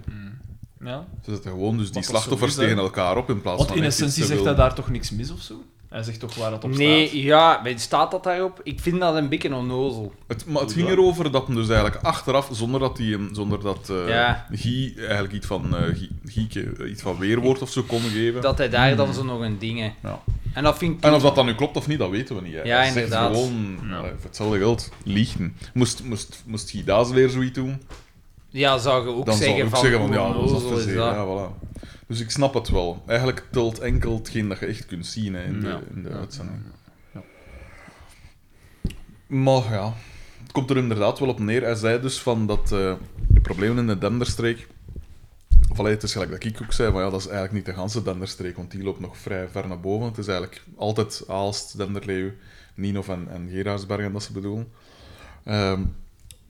Speaker 3: Ja?
Speaker 1: Ze zetten gewoon dus die
Speaker 3: Wat dat
Speaker 1: slachtoffers
Speaker 3: zo is, hè.
Speaker 1: tegen elkaar op in plaats
Speaker 3: Want
Speaker 1: van...
Speaker 3: in
Speaker 1: echt iets
Speaker 3: essentie
Speaker 1: te
Speaker 3: zegt hij
Speaker 1: willen.
Speaker 3: daar toch niks mis of zo? Hij zegt toch waar dat op
Speaker 2: Nee,
Speaker 3: staat?
Speaker 2: ja, staat dat daarop? Ik vind dat een beetje onnozel.
Speaker 1: Het, maar het ging erover dat hem dus eigenlijk achteraf, zonder dat, die, hem- zonder dat eh
Speaker 2: Ja.
Speaker 1: Guy eigenlijk iets van, eh Guy- Guieke, eh, iets van weerwoord of zo kon geven.
Speaker 2: Dat hij daar dan zo nog een ding...
Speaker 1: Hmm. Ja.
Speaker 2: En dat vind ik...
Speaker 1: En of dat dan nu klopt of niet, dat weten we niet. Hè.
Speaker 2: Ja,
Speaker 1: Hij zegt
Speaker 2: inderdaad.
Speaker 1: gewoon, eh, voor hetzelfde geld, liegen. Moest, moest, moest Guy Dazeler zoiets doen,
Speaker 2: Ja, zou je ook
Speaker 1: Eh, dan zou
Speaker 2: zeggen
Speaker 1: ik
Speaker 2: van...
Speaker 1: zeggen van,
Speaker 2: hoe
Speaker 1: ja, dat is
Speaker 2: onnozel
Speaker 1: te
Speaker 2: is
Speaker 1: zeggen.
Speaker 2: dat?
Speaker 1: Ja, voilà. Dus ik snap het wel. Eigenlijk telt enkel hetgeen dat je echt kunt zien hè, in de,
Speaker 3: Ja.
Speaker 1: in de uitzending. Maar ja, het komt er inderdaad wel op neer. Hij zei dus van dat eh, de problemen in de Denderstreek... Of allee, het is gelijk dat ik ook zei, van ja, dat is eigenlijk niet de ganse Denderstreek, want die loopt nog vrij ver naar boven. Het is eigenlijk altijd Aalst, Denderleeuw, Ninov en, en Gerardsberg en dat ze bedoelen. Ehm,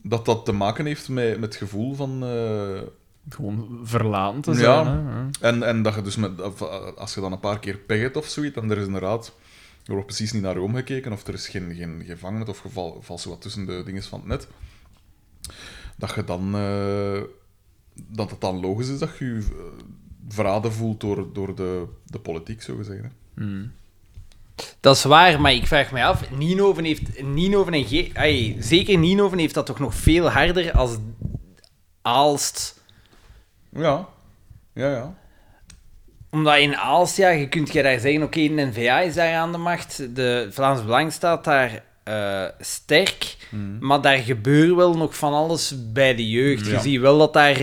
Speaker 1: dat dat te maken heeft met, met het gevoel van... eh,
Speaker 3: Gewoon verlaten te
Speaker 1: Ja.
Speaker 3: zijn. hè? Ja.
Speaker 1: en, en dat je dus met, of, eh, als je dan een paar keer pech hebt of zoiets, dan er is inderdaad, er wordt precies niet naar je omgekeken of er is geen, geen gevangenis of geval, valt zo wat tussen de dingen van het net. Dat je dan, eh, dat het dan logisch is dat je je eh, verraden voelt door, door de, de politiek, zo gezegd. Hè.
Speaker 2: Dat is waar, maar ik vraag mij af, Ninoven heeft... Ninoven en Ge- ai, zeker Ninoven heeft dat toch nog veel harder als Aalst.
Speaker 1: Ja, ja, ja.
Speaker 2: Omdat in Aalst, ja, je kunt je daar zeggen, oké, de N-VA is daar aan de macht, de Vlaams Belang staat daar eh, sterk,
Speaker 3: Mhm.
Speaker 2: maar daar gebeurt wel nog van alles bij de jeugd. Je
Speaker 1: Ja.
Speaker 2: ziet wel dat daar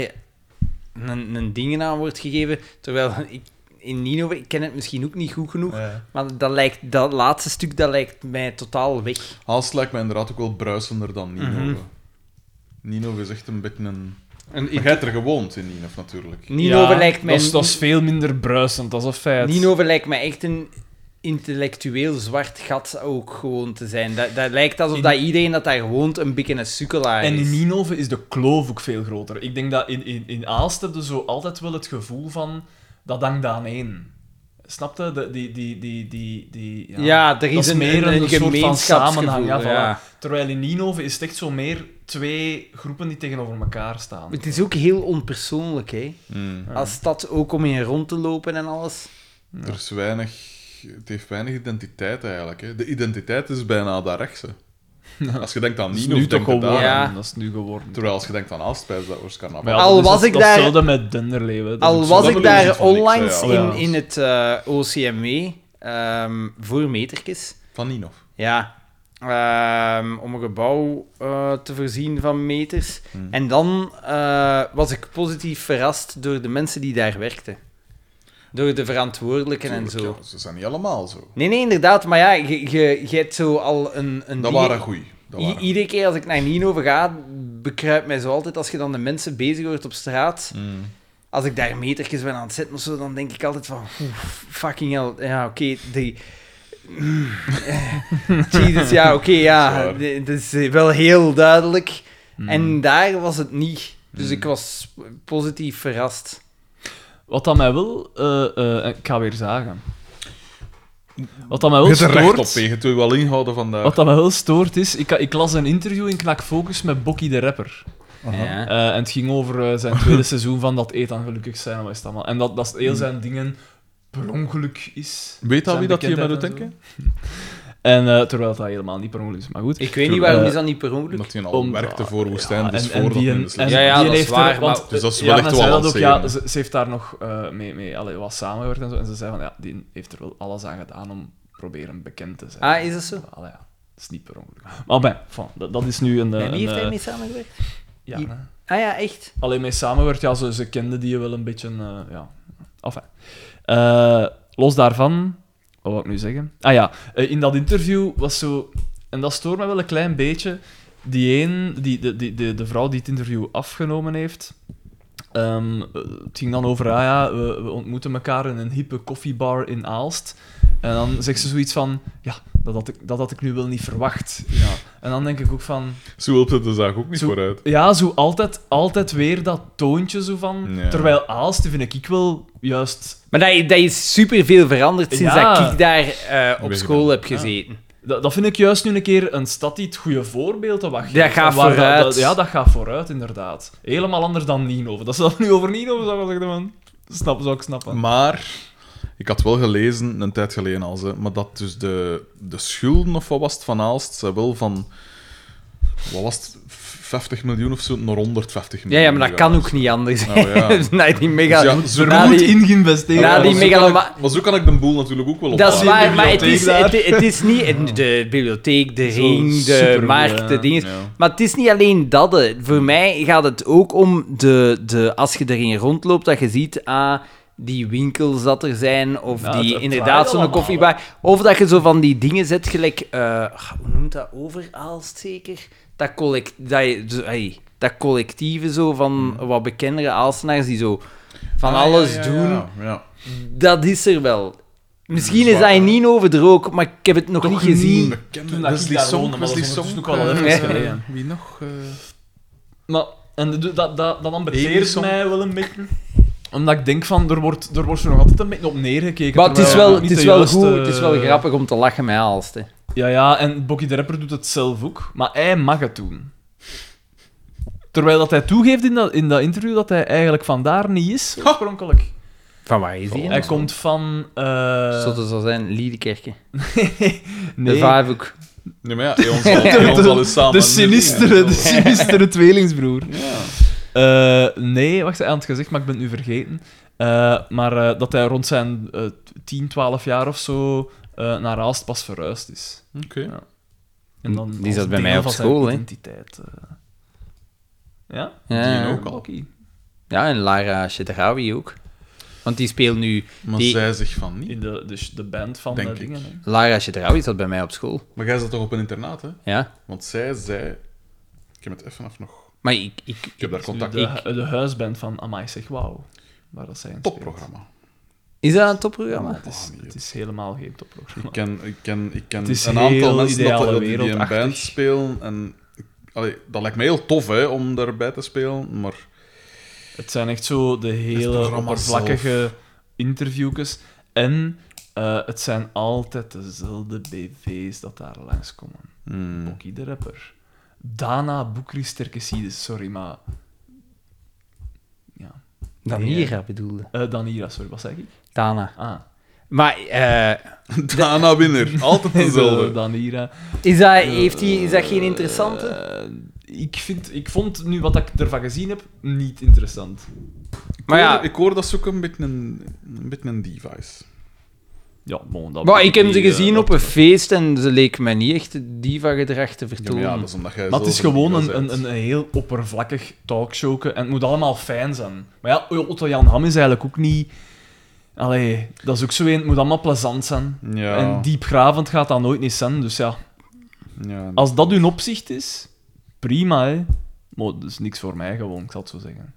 Speaker 2: een, een dingen aan wordt gegeven, terwijl ik, in Ninoven, ik ken het misschien ook niet goed genoeg, maar dat, lijkt, dat laatste stuk, dat lijkt mij totaal weg.
Speaker 1: Haast lijkt mij inderdaad ook wel bruisender dan Nino. Nino is echt een beetje een...
Speaker 2: En
Speaker 1: Je
Speaker 2: ik-
Speaker 1: hebt er gewoond in Nino, natuurlijk.
Speaker 2: Ninoven
Speaker 3: Ja,
Speaker 2: lijkt mij...
Speaker 3: dat, is, dat is veel minder bruisend, dat is een feit.
Speaker 2: Ninoven lijkt mij echt een intellectueel zwart gat ook gewoon te zijn. Dat, dat lijkt alsof
Speaker 3: In-
Speaker 2: dat iedereen dat daar woont een beetje een sukkelaar
Speaker 3: En
Speaker 2: is.
Speaker 3: in Ninove is de kloof ook veel groter. Ik denk dat in, in, in Aalst heb je zo altijd wel het gevoel van... Dat hangt aan één. Snap je? De- die, die, die, die, die,
Speaker 2: ja. er is,
Speaker 3: dat is
Speaker 2: een,
Speaker 3: meer een,
Speaker 2: een
Speaker 3: soort van
Speaker 2: gemeenschapsgevoel,
Speaker 3: samenhang. Ja, voilà.
Speaker 2: ja.
Speaker 3: Terwijl in Ninove is het echt zo meer twee groepen die tegenover elkaar staan.
Speaker 2: Het is ook heel onpersoonlijk, hè.
Speaker 3: Hmm.
Speaker 1: Mm.
Speaker 2: Als stad ook om in rond te lopen en alles.
Speaker 1: Er is weinig... Het heeft weinig identiteit eigenlijk. Hè. De identiteit is bijna daar rechts. hè. Als je denkt aan
Speaker 3: Dat is
Speaker 1: Nino,
Speaker 3: nu
Speaker 1: denk
Speaker 3: toch
Speaker 1: je
Speaker 3: geworden.
Speaker 1: daar.
Speaker 2: Ja.
Speaker 3: Dat is nu geworden.
Speaker 1: Terwijl als je denkt aan Aalst, is dat waarschijnlijk
Speaker 3: Maar ja,
Speaker 2: Al
Speaker 3: dat is
Speaker 2: was
Speaker 3: het-
Speaker 2: ik
Speaker 3: dat
Speaker 2: daar-
Speaker 3: is hetzelfde met Denderleeuw. hè. Dat is
Speaker 2: Al
Speaker 3: ook
Speaker 2: was
Speaker 3: zo.
Speaker 2: ik
Speaker 1: dat is
Speaker 2: daar
Speaker 1: iets van niks,
Speaker 2: onlangs
Speaker 1: hè,
Speaker 3: ja.
Speaker 2: in, in het eh OCMW ehm, voor metertjes...
Speaker 1: van Nino.
Speaker 2: Ja. Ehm, om een gebouw eh, te voorzien van meters.
Speaker 1: Hmm.
Speaker 2: En dan eh, was ik positief verrast door de mensen die daar werkten. Door de verantwoordelijken en zo.
Speaker 1: Tuurlijk, ja, ze zijn niet allemaal zo.
Speaker 2: Nee, nee, inderdaad. Maar ja, je, je, je hebt zo al een... een
Speaker 1: Dat
Speaker 2: ding-
Speaker 1: waren goeie. Dat
Speaker 2: I-
Speaker 1: waren
Speaker 2: iedere keer als ik naar Nino ga, bekruipt mij zo altijd als je dan de mensen bezig hoort op straat.
Speaker 1: goeie. Mm.
Speaker 2: Als ik daar metertjes ben aan het zetten of zo, dan denk ik altijd van... oef, Fucking hell. Ja, oké, die... Mm, eh, Jesus, ja, oké, ja.
Speaker 1: Zwaar.
Speaker 2: de- Het is eh, wel heel duidelijk. En daar was het niet. Dus ik was positief verrast.
Speaker 3: Wat dat mij wel... eh, eh, ik ga weer zagen. Wat dat mij wel
Speaker 1: Je hebt er recht op,
Speaker 3: stoort...
Speaker 1: hè. je hebt je wel ingehouden
Speaker 2: Eh,
Speaker 1: vandaag.
Speaker 3: Wat dat me wel stoort is, ik, ik las een interview in Knak Focus met Bokkie de Rapper.
Speaker 2: Ja.
Speaker 3: Eh, en het ging over eh, zijn tweede seizoen van dat eet aan gelukkig zijn. en Wat is het allemaal. En dat, dat
Speaker 2: Hmm.
Speaker 3: heel zijn dingen per ongeluk is.
Speaker 1: Weet dat
Speaker 3: Zijn
Speaker 1: wie dat hier met doet
Speaker 3: bekendheid
Speaker 1: denken?
Speaker 3: En eh, terwijl dat helemaal niet per ongeluk is, maar goed.
Speaker 2: Ik weet niet
Speaker 1: Tuurlijk.
Speaker 2: waarom
Speaker 3: Eh,
Speaker 2: is dat niet per ongeluk.
Speaker 1: Omdat hij al
Speaker 3: Om-
Speaker 1: werkte voor Woestijn,
Speaker 3: Ja,
Speaker 1: dus
Speaker 3: en- en
Speaker 1: voordat
Speaker 3: die
Speaker 1: hij in
Speaker 3: een-
Speaker 1: de slechte-
Speaker 3: en
Speaker 2: Ja, ja,
Speaker 3: die
Speaker 2: dat is
Speaker 3: heeft er-
Speaker 2: waar,
Speaker 3: want-
Speaker 2: maar-
Speaker 1: Dus dat is
Speaker 3: ja,
Speaker 1: wel echt
Speaker 3: men
Speaker 1: wel
Speaker 3: zei
Speaker 1: aan
Speaker 3: dat ook,
Speaker 1: het
Speaker 3: ja,
Speaker 1: zegenen.
Speaker 3: ze, ze heeft daar nog eh, mee, mee allee, wat samengewerkt en zo. En ze zei van, ja, die heeft er wel alles aan gedaan om proberen bekend te zijn.
Speaker 2: Ah, is dat zo?
Speaker 3: Allee, ja. Dat is niet per ongeluk. Maar ben, van, dat, dat is nu een... eh,
Speaker 2: Met wie
Speaker 3: een,
Speaker 2: heeft
Speaker 3: eh,
Speaker 2: hij mee samengewerkt?
Speaker 3: ja,
Speaker 2: Die-
Speaker 3: hè.
Speaker 2: Ah ja, echt.
Speaker 3: alleen mee samenwerkt, ja, ze, ze kende die wel een beetje, eh, ja. Enfin. Eh, los daarvan, wat wou ik nu zeggen? Ah ja, eh, in dat interview was zo, en dat stoort me wel een klein beetje, die een, die, de, die, de, de vrouw die het interview afgenomen heeft, ehm, eh, het ging dan over, ah ja, we, we ontmoeten elkaar in een hippe koffiebar in Aalst. En dan zegt ze zoiets van, ja, dat had ik, dat had ik nu wel niet verwacht. Ja. En dan denk ik ook van,
Speaker 1: Zo hielp het de zaak ook niet
Speaker 3: Zo-
Speaker 1: vooruit.
Speaker 3: ja, zo altijd, altijd weer dat toontje zo van.
Speaker 1: Ja.
Speaker 3: Terwijl Aalst vind ik ik wel juist.
Speaker 2: Maar dat, dat is superveel veranderd sinds
Speaker 3: Ja.
Speaker 2: dat ik daar eh, op
Speaker 1: Weer
Speaker 2: school
Speaker 1: gedaan.
Speaker 2: heb gezeten.
Speaker 3: Dat, dat vind ik juist nu een keer een stad die het goede voorbeeld te wachten.
Speaker 2: Dat gaat vooruit.
Speaker 3: ja, dat gaat vooruit, inderdaad. Helemaal anders dan Nienhoven. Dat ze dat nu over Nienhoven zouden zeggen, man. Snap, zou ik snappen.
Speaker 1: Maar ik had wel gelezen, een tijd geleden al, ze, maar dat dus de, de schulden of wat was het van Aalst, ze wel van, wat was het, 50 miljoen of zo, naar 150
Speaker 2: Ja,
Speaker 1: miljoen.
Speaker 2: ja, maar dat kan
Speaker 1: gegaan.
Speaker 2: ook niet anders.
Speaker 1: Nou ja.
Speaker 2: nee, die mega...
Speaker 1: Dus ja, ze
Speaker 2: na
Speaker 1: moet
Speaker 2: die-
Speaker 3: in geïnvesteerd.
Speaker 2: Ja,
Speaker 1: Maar
Speaker 2: die
Speaker 1: zo
Speaker 2: megaloma-
Speaker 1: kan ik- Maar zo kan ik de boel natuurlijk ook wel op.
Speaker 2: Dat is waar, maar het is,
Speaker 3: Ah, bibliotheek
Speaker 2: het, het is niet in de bibliotheek, de
Speaker 3: Zo
Speaker 2: ring, de
Speaker 3: supergoed,
Speaker 2: markt, de
Speaker 3: ja.
Speaker 2: dingen.
Speaker 1: Ja.
Speaker 2: Maar het is niet alleen dat. hè. Voor mij gaat het ook om de, de, als je erin rondloopt, dat je ziet, ah, die winkels dat er zijn, of
Speaker 3: Ja, het-
Speaker 2: die
Speaker 3: het
Speaker 2: inderdaad
Speaker 3: draait
Speaker 2: zo'n
Speaker 3: allemaal,
Speaker 2: koffiebar. Of dat je zo van die dingen zet, gelijk, eh, hoe noemt dat, overaalst zeker? Dat, collect, dat, je- zo, ai, dat collectieve zo van
Speaker 3: Hmm.
Speaker 2: wat bekendere Aalstenaars die zo
Speaker 3: Ah,
Speaker 2: van alles doen.
Speaker 1: Ja, ja.
Speaker 2: Dat is er wel. Misschien is
Speaker 1: Zwaar,
Speaker 2: hij
Speaker 1: hè?
Speaker 2: niet over de rook, maar ik heb het nog niet gezien.
Speaker 1: Toen
Speaker 3: dat ik
Speaker 1: Wesley
Speaker 3: daar
Speaker 1: Song,
Speaker 3: woonde, maar dat
Speaker 1: Wesley
Speaker 3: is
Speaker 1: Song.
Speaker 3: ondertussen ook al
Speaker 1: eh,
Speaker 3: even geleden.
Speaker 1: ja. Wie nog? eh,
Speaker 3: Maar, en de- de- dat, dat, dat ambeteert
Speaker 1: Edison.
Speaker 3: mij wel een beetje. Omdat ik denk van, er wordt er, wordt er nog altijd een beetje op neergekeken.
Speaker 2: Maar het is
Speaker 3: terwijl
Speaker 2: wel,
Speaker 3: eh, niet
Speaker 2: het is
Speaker 3: de
Speaker 2: wel
Speaker 3: juiste- eh,
Speaker 2: goed, het is wel grappig om te lachen met Aalst. hè.
Speaker 3: Ja, ja, en Bokkie de Rapper doet het zelf ook, maar hij mag het doen. Terwijl dat hij toegeeft in dat, in dat interview dat hij eigenlijk vandaar niet is, oorspronkelijk.
Speaker 2: Van waar is
Speaker 3: Hij
Speaker 2: die?
Speaker 3: komt van... eh,
Speaker 2: Zotte zal zijn, Liedekerke. De
Speaker 3: nee,
Speaker 2: vijf ook.
Speaker 1: Nee, maar ja, Eons al- Eons al is samen.
Speaker 3: de sinistere, de sinistere tweelingsbroer.
Speaker 1: Ja.
Speaker 3: Eh, nee, wacht, hij had het gezegd, maar ik ben het nu vergeten. Eh, maar eh, dat hij rond zijn eh, 10, 12 jaar of zo eh, naar Aalst pas verhuisd is.
Speaker 1: Oké.
Speaker 3: Ja. En dan
Speaker 2: Die
Speaker 3: als
Speaker 2: zat bij
Speaker 3: deel
Speaker 2: mij op
Speaker 3: van zijn
Speaker 2: school, hè.
Speaker 3: identiteit. eh. Ja?
Speaker 1: Die
Speaker 2: Ja.
Speaker 1: ook al.
Speaker 3: Bokkie.
Speaker 2: ja, en Lara Chedrawi ook. Want die speelt nu...
Speaker 1: Maar
Speaker 2: Die-
Speaker 1: zij zich van niet.
Speaker 3: In de, de, de band van
Speaker 1: Denk
Speaker 3: eh,
Speaker 1: ik.
Speaker 3: dingen. hè.
Speaker 2: Lara Chedrawi zat bij mij op school.
Speaker 1: Maar jij zat toch op een internaat, hè?
Speaker 2: Ja.
Speaker 1: Want zij zei... Ik heb het even af nog...
Speaker 2: Maar ik... ik
Speaker 1: Ik heb daar contact
Speaker 3: De, hu- de huisband van Amai zeg wauw. Waar dat zijn
Speaker 1: Topprogramma.
Speaker 2: is dat een topprogramma?
Speaker 3: Het is, het is helemaal geen topprogramma.
Speaker 1: Ik ken, ik ken, ik ken
Speaker 3: Het is
Speaker 1: een aantal
Speaker 3: heel
Speaker 1: mensen dat,
Speaker 3: ideale
Speaker 1: dat die in een
Speaker 3: wereldachtig.
Speaker 1: band spelen. En, allee, dat lijkt me heel tof hè, om daarbij te spelen. Maar
Speaker 3: Het zijn echt zo de hele
Speaker 1: programma
Speaker 3: oppervlakkige interviewjes. En eh, het zijn altijd dezelfde BV's dat daar langskomen.
Speaker 1: hmm,
Speaker 3: Bokkie de rapper. Dana Boekri Sterkesides, sorry, maar... Ja.
Speaker 2: Danira bedoelde.
Speaker 3: Eh, Danira, sorry, wat zeg ik?
Speaker 2: Dana.
Speaker 3: Ah,
Speaker 2: Maar eh,
Speaker 1: Dana Winner, altijd
Speaker 3: zo,
Speaker 1: dezelfde.
Speaker 3: eh, Danira.
Speaker 2: is, dat, heeft die, is dat geen interessante?
Speaker 3: Eh, ik, vind, ik vond nu wat ik ervan gezien heb niet interessant.
Speaker 2: Maar ja,
Speaker 1: Oh, Ik hoor dat ze ook een beetje een, een, beetje een diva is.
Speaker 3: Ja, bon, dat
Speaker 2: Maar ik heb ze
Speaker 3: die, eh,
Speaker 2: gezien
Speaker 3: dat-
Speaker 2: op een feest en ze leek mij niet echt diva-gedrag te
Speaker 1: Ja, maar
Speaker 2: vertonen.
Speaker 1: ja, dat is omdat jij
Speaker 3: Maar het
Speaker 1: zelf
Speaker 3: is gewoon
Speaker 1: diva
Speaker 3: een, een,
Speaker 1: bent.
Speaker 3: een heel oppervlakkig talkshowke en het moet allemaal fijn zijn. Maar ja, Otto Jan Ham is eigenlijk ook niet. Allee, dat is ook zo een, het moet allemaal plezant zijn.
Speaker 1: Ja,
Speaker 3: En diepgravend gaat dat nooit niet zijn. Dus ja,
Speaker 1: ja.
Speaker 3: als dat hun opzicht is, prima hè. Maar dat is niks voor mij gewoon, ik zal het zo zeggen.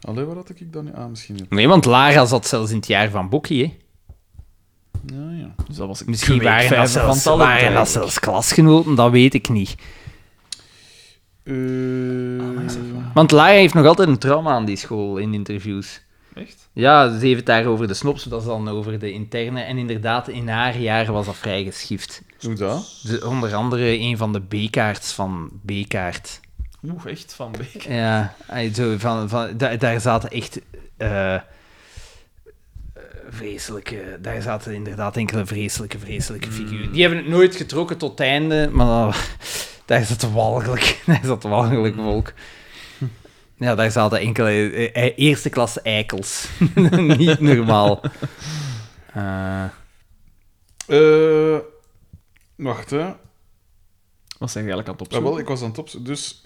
Speaker 1: Allee, waar had ik dan nu aan? Misschien... niet.
Speaker 2: Nee, want Lara zat zelfs in het jaar van Bokkie, hè.
Speaker 1: Ja, ja.
Speaker 3: Dus dat was ik
Speaker 2: Misschien
Speaker 3: een
Speaker 2: waren dat,
Speaker 3: weekvijver van
Speaker 2: zelfs,
Speaker 3: talent,
Speaker 2: waren dat
Speaker 3: eigenlijk.
Speaker 2: zelfs klasgenoten, dat weet ik niet.
Speaker 3: Ah,
Speaker 1: Eh,
Speaker 2: Want Lara heeft nog altijd een trauma aan die school in interviews.
Speaker 3: Echt?
Speaker 2: Ja, ze heeft het daar over de snops, dat is dan over de interne. En inderdaad, in haar jaar was dat vrij geschift.
Speaker 1: Hoe dat?
Speaker 2: Ze- onder andere een van de B-kaarts van B-kaart.
Speaker 3: Oeh, echt van Beek.
Speaker 2: Ja, ey, zo van, van, da- daar zaten echt eh, eh, vreselijke... Daar zaten inderdaad enkele vreselijke, vreselijke
Speaker 1: Hmm.
Speaker 2: figuren. Die hebben het nooit getrokken tot het einde, maar dat- daar zat walgelijk, daar zat walgelijk
Speaker 1: Hmm.
Speaker 2: volk. Ja, daar zaten enkele eh, eh, eerste klasse eikels. Niet normaal. Eh,
Speaker 1: Eh, wacht, hè.
Speaker 3: Wat zijn je eigenlijk aan het
Speaker 1: Ja,
Speaker 3: opzoeken?
Speaker 1: wel, ik was aan het opzoeken. Dus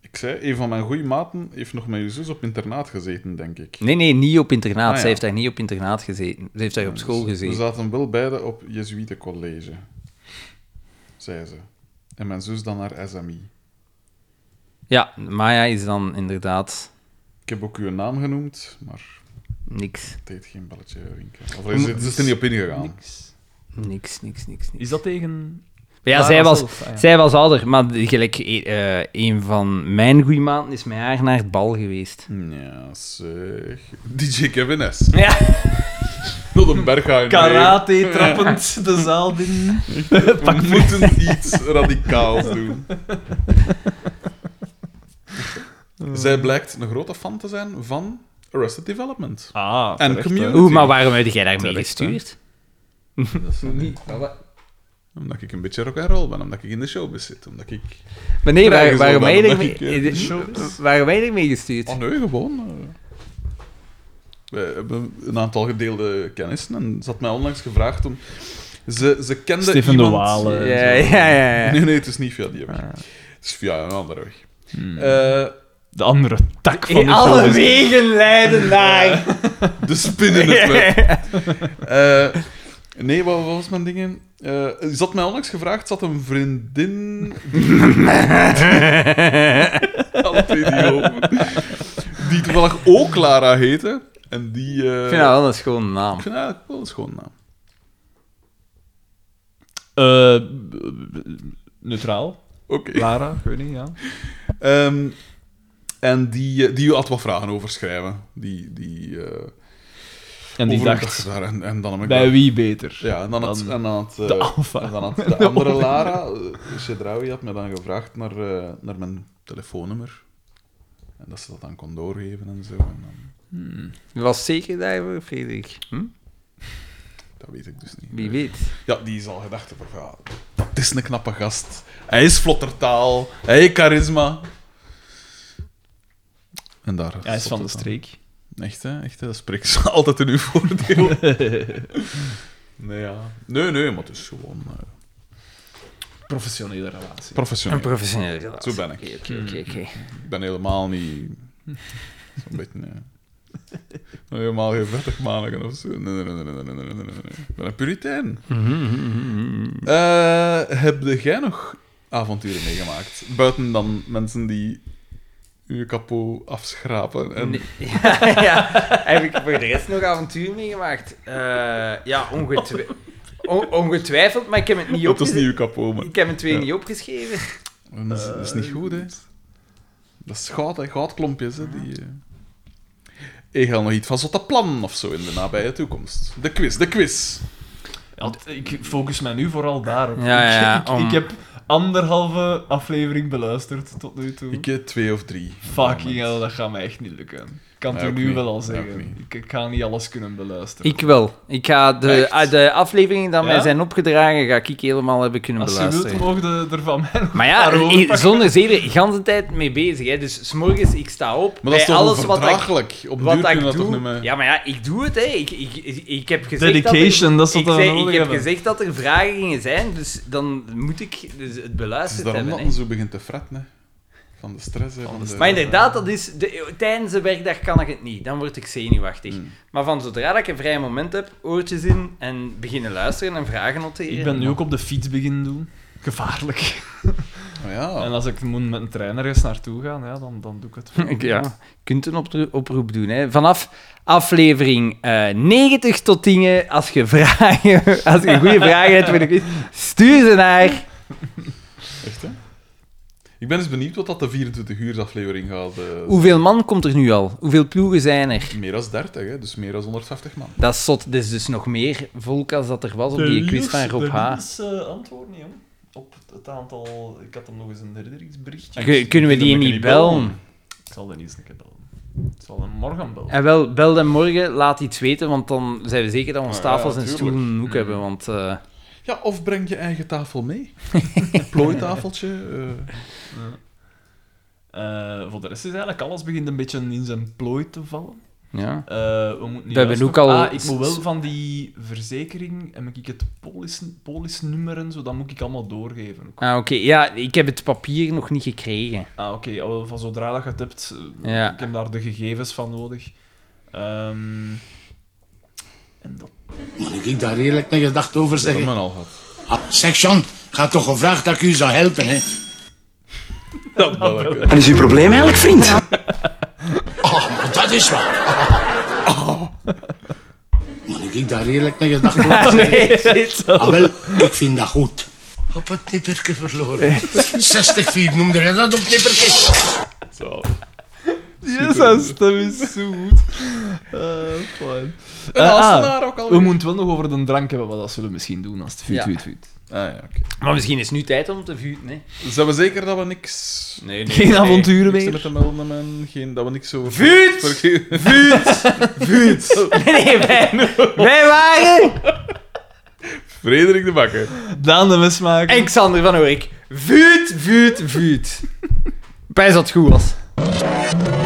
Speaker 1: ik zei, een van mijn goede maten heeft nog met je zus op internaat gezeten, denk ik.
Speaker 2: nee, nee, niet op internaat.
Speaker 1: Ah, ja.
Speaker 2: Zij heeft daar niet op internaat gezeten. Ze heeft daar op school
Speaker 1: Dus We
Speaker 2: gezeten.
Speaker 1: zaten wel beide op Jesuitencollege, zei ze. En mijn zus dan naar SMI.
Speaker 2: Ja, Maya is dan inderdaad...
Speaker 1: Ik heb ook uw naam genoemd, maar
Speaker 2: Niks.
Speaker 1: deed geen belletje rinken. Of is, het- is het er niet op ingegaan?
Speaker 2: Niks, niks, niks, niks.
Speaker 3: Is dat tegen...
Speaker 2: Maar ja,
Speaker 3: Lara
Speaker 2: zij was,
Speaker 3: zelf, ah, ja.
Speaker 2: zij was ouder, maar de- gelijk eh, eh, een van mijn goede maanden is met haar naar het bal geweest.
Speaker 1: Ja, zeg. DJ Kevin S.
Speaker 2: Ja.
Speaker 1: Tot een berghaar.
Speaker 3: Karate trappend de zaal binnen.
Speaker 1: We moeten iets radicaals doen. Zij blijkt een grote fan te zijn van Arrested Development.
Speaker 3: Ah,
Speaker 1: En Community.
Speaker 2: Oeh, maar waarom heb jij daar mee
Speaker 3: Terecht, hè.
Speaker 2: gestuurd?
Speaker 1: Omdat ik een beetje rock'n'roll ben, omdat ik in de showbiz zit. Omdat ik...
Speaker 2: Maar nee, waar,
Speaker 1: Krijgen ze
Speaker 2: waarom,
Speaker 1: wel
Speaker 2: heb
Speaker 1: dan,
Speaker 2: je
Speaker 1: denk
Speaker 2: daarmee-
Speaker 1: ik, eh,
Speaker 2: eh, waarom heb je daarmee gestuurd?
Speaker 1: Oh nee, gewoon... eh, We hebben een aantal gedeelde kennissen en ze had mij onlangs gevraagd om... Ze, ze kende
Speaker 3: Stefan de
Speaker 1: iemand...
Speaker 3: Walen. en
Speaker 2: ja,
Speaker 3: zo.
Speaker 2: ja, ja, Ah. ja.
Speaker 1: Nee, nee, het is niet via die weg. Het is via een andere weg.
Speaker 2: Hmm.
Speaker 1: Eh,
Speaker 3: De andere tak van
Speaker 2: In
Speaker 3: de
Speaker 2: alle
Speaker 1: dus.
Speaker 3: showbiz.
Speaker 2: wegen leiden naar.
Speaker 1: de spin in het web. Eh, nee, wat was mijn dingen? Eh ze had mij onlangs gevraagd, ze had een vriendin... Alle twee die open. Die toevallig ook Clara heette. En die... eh,
Speaker 2: Ik vind dat wel een schone naam.
Speaker 1: ik vind dat eigenlijk wel een schoon naam.
Speaker 3: Eh, neutraal.
Speaker 1: Oké.
Speaker 3: Lara, ik weet niet, ja.
Speaker 1: Ehm, en die, eh, die had wat vragen over schrijven. Die, die, eh
Speaker 3: En die
Speaker 1: over-
Speaker 3: dacht,
Speaker 1: daar, en, en dan heb ik
Speaker 3: bij
Speaker 1: daar-
Speaker 3: wie beter?
Speaker 1: Ja, en dan had,
Speaker 3: Dan
Speaker 1: en dan had, eh,
Speaker 3: de alfa.
Speaker 1: en dan had de andere Lara, eh, Chedraui, had me dan gevraagd naar, eh, naar mijn telefoonnummer. En dat ze dat dan kon doorgeven en zo. En dan,
Speaker 2: Was zeker daarvoor, Frederik? Hm?
Speaker 1: dat weet ik dus niet.
Speaker 2: Wie weet.
Speaker 1: Ja, die is al gedacht hebben, ja, dat is een knappe gast. Hij is vlottertaal, hij heeft charisma. En daar
Speaker 3: Hij is
Speaker 1: stopt
Speaker 3: van de
Speaker 1: het dan.
Speaker 3: streek.
Speaker 1: Echt, hè? Echt, hè? Dat spreekt ze altijd in uw voordeel. nee, ja. Nee, nee, maar het is gewoon eh,
Speaker 3: Professionele relatie.
Speaker 1: professioneel.
Speaker 2: Een professionele relatie.
Speaker 1: Zo ben ik.
Speaker 2: Oké, oké, oké, oké.
Speaker 1: Ik ben helemaal niet... Zo'n beetje... eh, helemaal geen vettigmanigen of zo. Nee, nee, nee, nee, nee, nee, nee, nee, nee. Ik ben een puritein.
Speaker 2: Mhm,
Speaker 1: Eh, heb jij nog avonturen meegemaakt? Buiten dan mensen die je kapot afschrapen. En...
Speaker 2: Nee, ja, ja. Heb ik voor de rest nog avontuur meegemaakt? Eh, ja, ongetwi- on- ongetwijfeld, maar ik heb het niet
Speaker 1: Het was niet
Speaker 2: opgeschreven.
Speaker 1: uw kapot, maar...
Speaker 2: Ik heb het twee
Speaker 1: Ja.
Speaker 2: niet opgeschreven.
Speaker 1: Dat is, dat is niet goed, hè? Eh, Dat is goud, hè? Goudklompjes, hè? Die, eh. Ik ga nog iets van zotte plannen of zo in de nabije toekomst. De quiz, de quiz.
Speaker 3: Ja, t- ik focus mij nu vooral daarop.
Speaker 2: Ja, ja, ja,
Speaker 3: ik,
Speaker 2: om-
Speaker 3: ik heb anderhalve aflevering beluisterd tot nu toe.
Speaker 1: Ik heb twee of drie.
Speaker 3: Fucking hell, dat gaat mij echt niet lukken. Ik kan het
Speaker 1: Nee,
Speaker 3: u
Speaker 1: ook
Speaker 3: nu
Speaker 1: niet.
Speaker 3: wel al
Speaker 1: Nee, ook
Speaker 3: zeggen.
Speaker 1: niet.
Speaker 3: Ik, ik ga niet alles kunnen beluisteren.
Speaker 2: Ik wel. Ik ga de,
Speaker 1: Echt?
Speaker 2: ah, de afleveringen die mij
Speaker 3: Ja?
Speaker 2: zijn opgedragen, ga ik helemaal hebben kunnen
Speaker 3: Als je
Speaker 2: beluisteren.
Speaker 3: wilt, mogen de- er van mij nog
Speaker 2: maar ja,
Speaker 3: een paar
Speaker 2: eh,
Speaker 3: overpakken.
Speaker 2: zonder zeven, de hele tijd mee bezig. Hè. Dus s'morgens, ik sta op.
Speaker 1: Maar dat is
Speaker 2: bij
Speaker 1: toch
Speaker 2: alles wat ik
Speaker 1: onverdraaglijk? Op
Speaker 2: wat
Speaker 1: duur kunnen
Speaker 2: ik
Speaker 1: dat toch
Speaker 2: doe.
Speaker 1: niet meer...
Speaker 2: Ja, maar ja, ik doe het, hè. Ik, ik, ik, ik heb gezegd
Speaker 3: Dedication, dat
Speaker 2: dat
Speaker 3: is
Speaker 2: er, ik,
Speaker 3: wat we
Speaker 2: zei-
Speaker 3: nodig
Speaker 2: ik heb
Speaker 3: hebben.
Speaker 2: gezegd dat er vragen gingen zijn, dus dan moet ik dus het
Speaker 1: Het is
Speaker 2: beluisterd
Speaker 1: daarom
Speaker 2: hebben,
Speaker 1: dat
Speaker 2: hè.
Speaker 1: men zo begint te fretten, hè. Van de stress, hè. Van de
Speaker 2: Maar inderdaad, dat is de, tijdens de werkdag kan ik het niet. Dan word ik zenuwachtig. Maar van zodra dat ik een vrij moment heb, oortjes in en beginnen luisteren en vragen noteren.
Speaker 3: Ik ben nu ook op de fiets beginnen doen. Gevaarlijk.
Speaker 1: Oh, ja.
Speaker 3: En als ik moet met een trainer eens naartoe gaan, ja, dan, dan doe ik het.
Speaker 2: Ik- Ja, je kunt een opro- oproep doen. Hè. Vanaf aflevering eh, 90 tot dingen, als je, vragen, als je goede vragen hebt voor de quiz, stuur ze naar...
Speaker 1: Echt, hè? Ik ben eens benieuwd wat dat de 24 uur aflevering gaat. eh,
Speaker 2: Hoeveel man komt er nu al? Hoeveel ploegen zijn er?
Speaker 1: Meer dan 30, hè. Dus meer dan 150 man.
Speaker 2: Dat is zot. Dat is dus nog meer volk als dat er was op die quiz van Rob H.
Speaker 3: eh, antwoord niet, hoor. Op het aantal... Ik had hem nog eens een
Speaker 2: Kun-
Speaker 3: herinneringsberichtje.
Speaker 2: Kunnen we die
Speaker 1: kunnen we
Speaker 2: niet
Speaker 1: niet bellen?
Speaker 2: bellen?
Speaker 3: Ik zal er niet eens een keer bellen. Ik zal hem morgen bellen.
Speaker 2: En wel, bel hem morgen, laat iets weten, want dan zijn we zeker dat we onze
Speaker 1: Ah, ja,
Speaker 2: tafels en
Speaker 1: tuurlijk. Mm.
Speaker 2: stoelen in een hoek hebben. Want eh,
Speaker 1: Ja, of breng je eigen tafel mee. Plooitafeltje. eh.
Speaker 3: Eh, voor de rest is eigenlijk alles begint een beetje in zijn plooi te vallen.
Speaker 2: ja.
Speaker 3: Eh, we moeten niet
Speaker 2: We hebben
Speaker 3: luisteren.
Speaker 2: ook al-
Speaker 3: Ah, ik moet wel van die verzekering... Heb ik het polis, polisnummer en zo, dat moet ik allemaal doorgeven. ook.
Speaker 2: Ah, oké. Ja, ik heb het papier nog niet gekregen.
Speaker 3: Ah, oké. al Van zodra dat je het hebt, eh,
Speaker 2: Ja.
Speaker 3: ik heb daar de gegevens van nodig. Ehm, en dat...
Speaker 6: Moet ik daar eerlijk een gedachte over
Speaker 1: Dat hebben
Speaker 6: zeggen?
Speaker 1: we al gehad.
Speaker 6: Ah, zeg, Jean, ga toch gevraagd dat ik u zou helpen, hè?
Speaker 1: Dat wel, hè.
Speaker 7: En is uw probleem eigenlijk, vriend?
Speaker 6: Oh, maar dat is waar. ik daar eerlijk naar gedacht over
Speaker 2: Nee, shit.
Speaker 6: Ah, wel, ik vind dat goed. Op het nipperke verloren. 60 vier noemde hij dat op het nipperke.
Speaker 3: Jezus, dat is zo goed. Eh, fijn. Eh, ah, we moeten wel nog over de drank hebben, maar dat zullen we misschien doen als het vuut,
Speaker 2: Ja.
Speaker 3: vuut, vuut.
Speaker 1: Ah, ja, oké.
Speaker 2: Maar misschien is het nu tijd om te vuren, hè?
Speaker 1: Zijn we zeker dat we niks...
Speaker 2: Nee,
Speaker 3: Geen avonturen
Speaker 1: Niks
Speaker 3: meer.
Speaker 1: met de melden en geen, dat we niks over...
Speaker 2: Vuut!
Speaker 1: Vuut! Vuut!
Speaker 2: Nee, nee, wij, wij waren...
Speaker 1: Frederik de Bakker.
Speaker 3: Daan de Mesmaker.
Speaker 2: En Xander van Oerik. Vuut, vuut, vuut. Bij dat het goed was.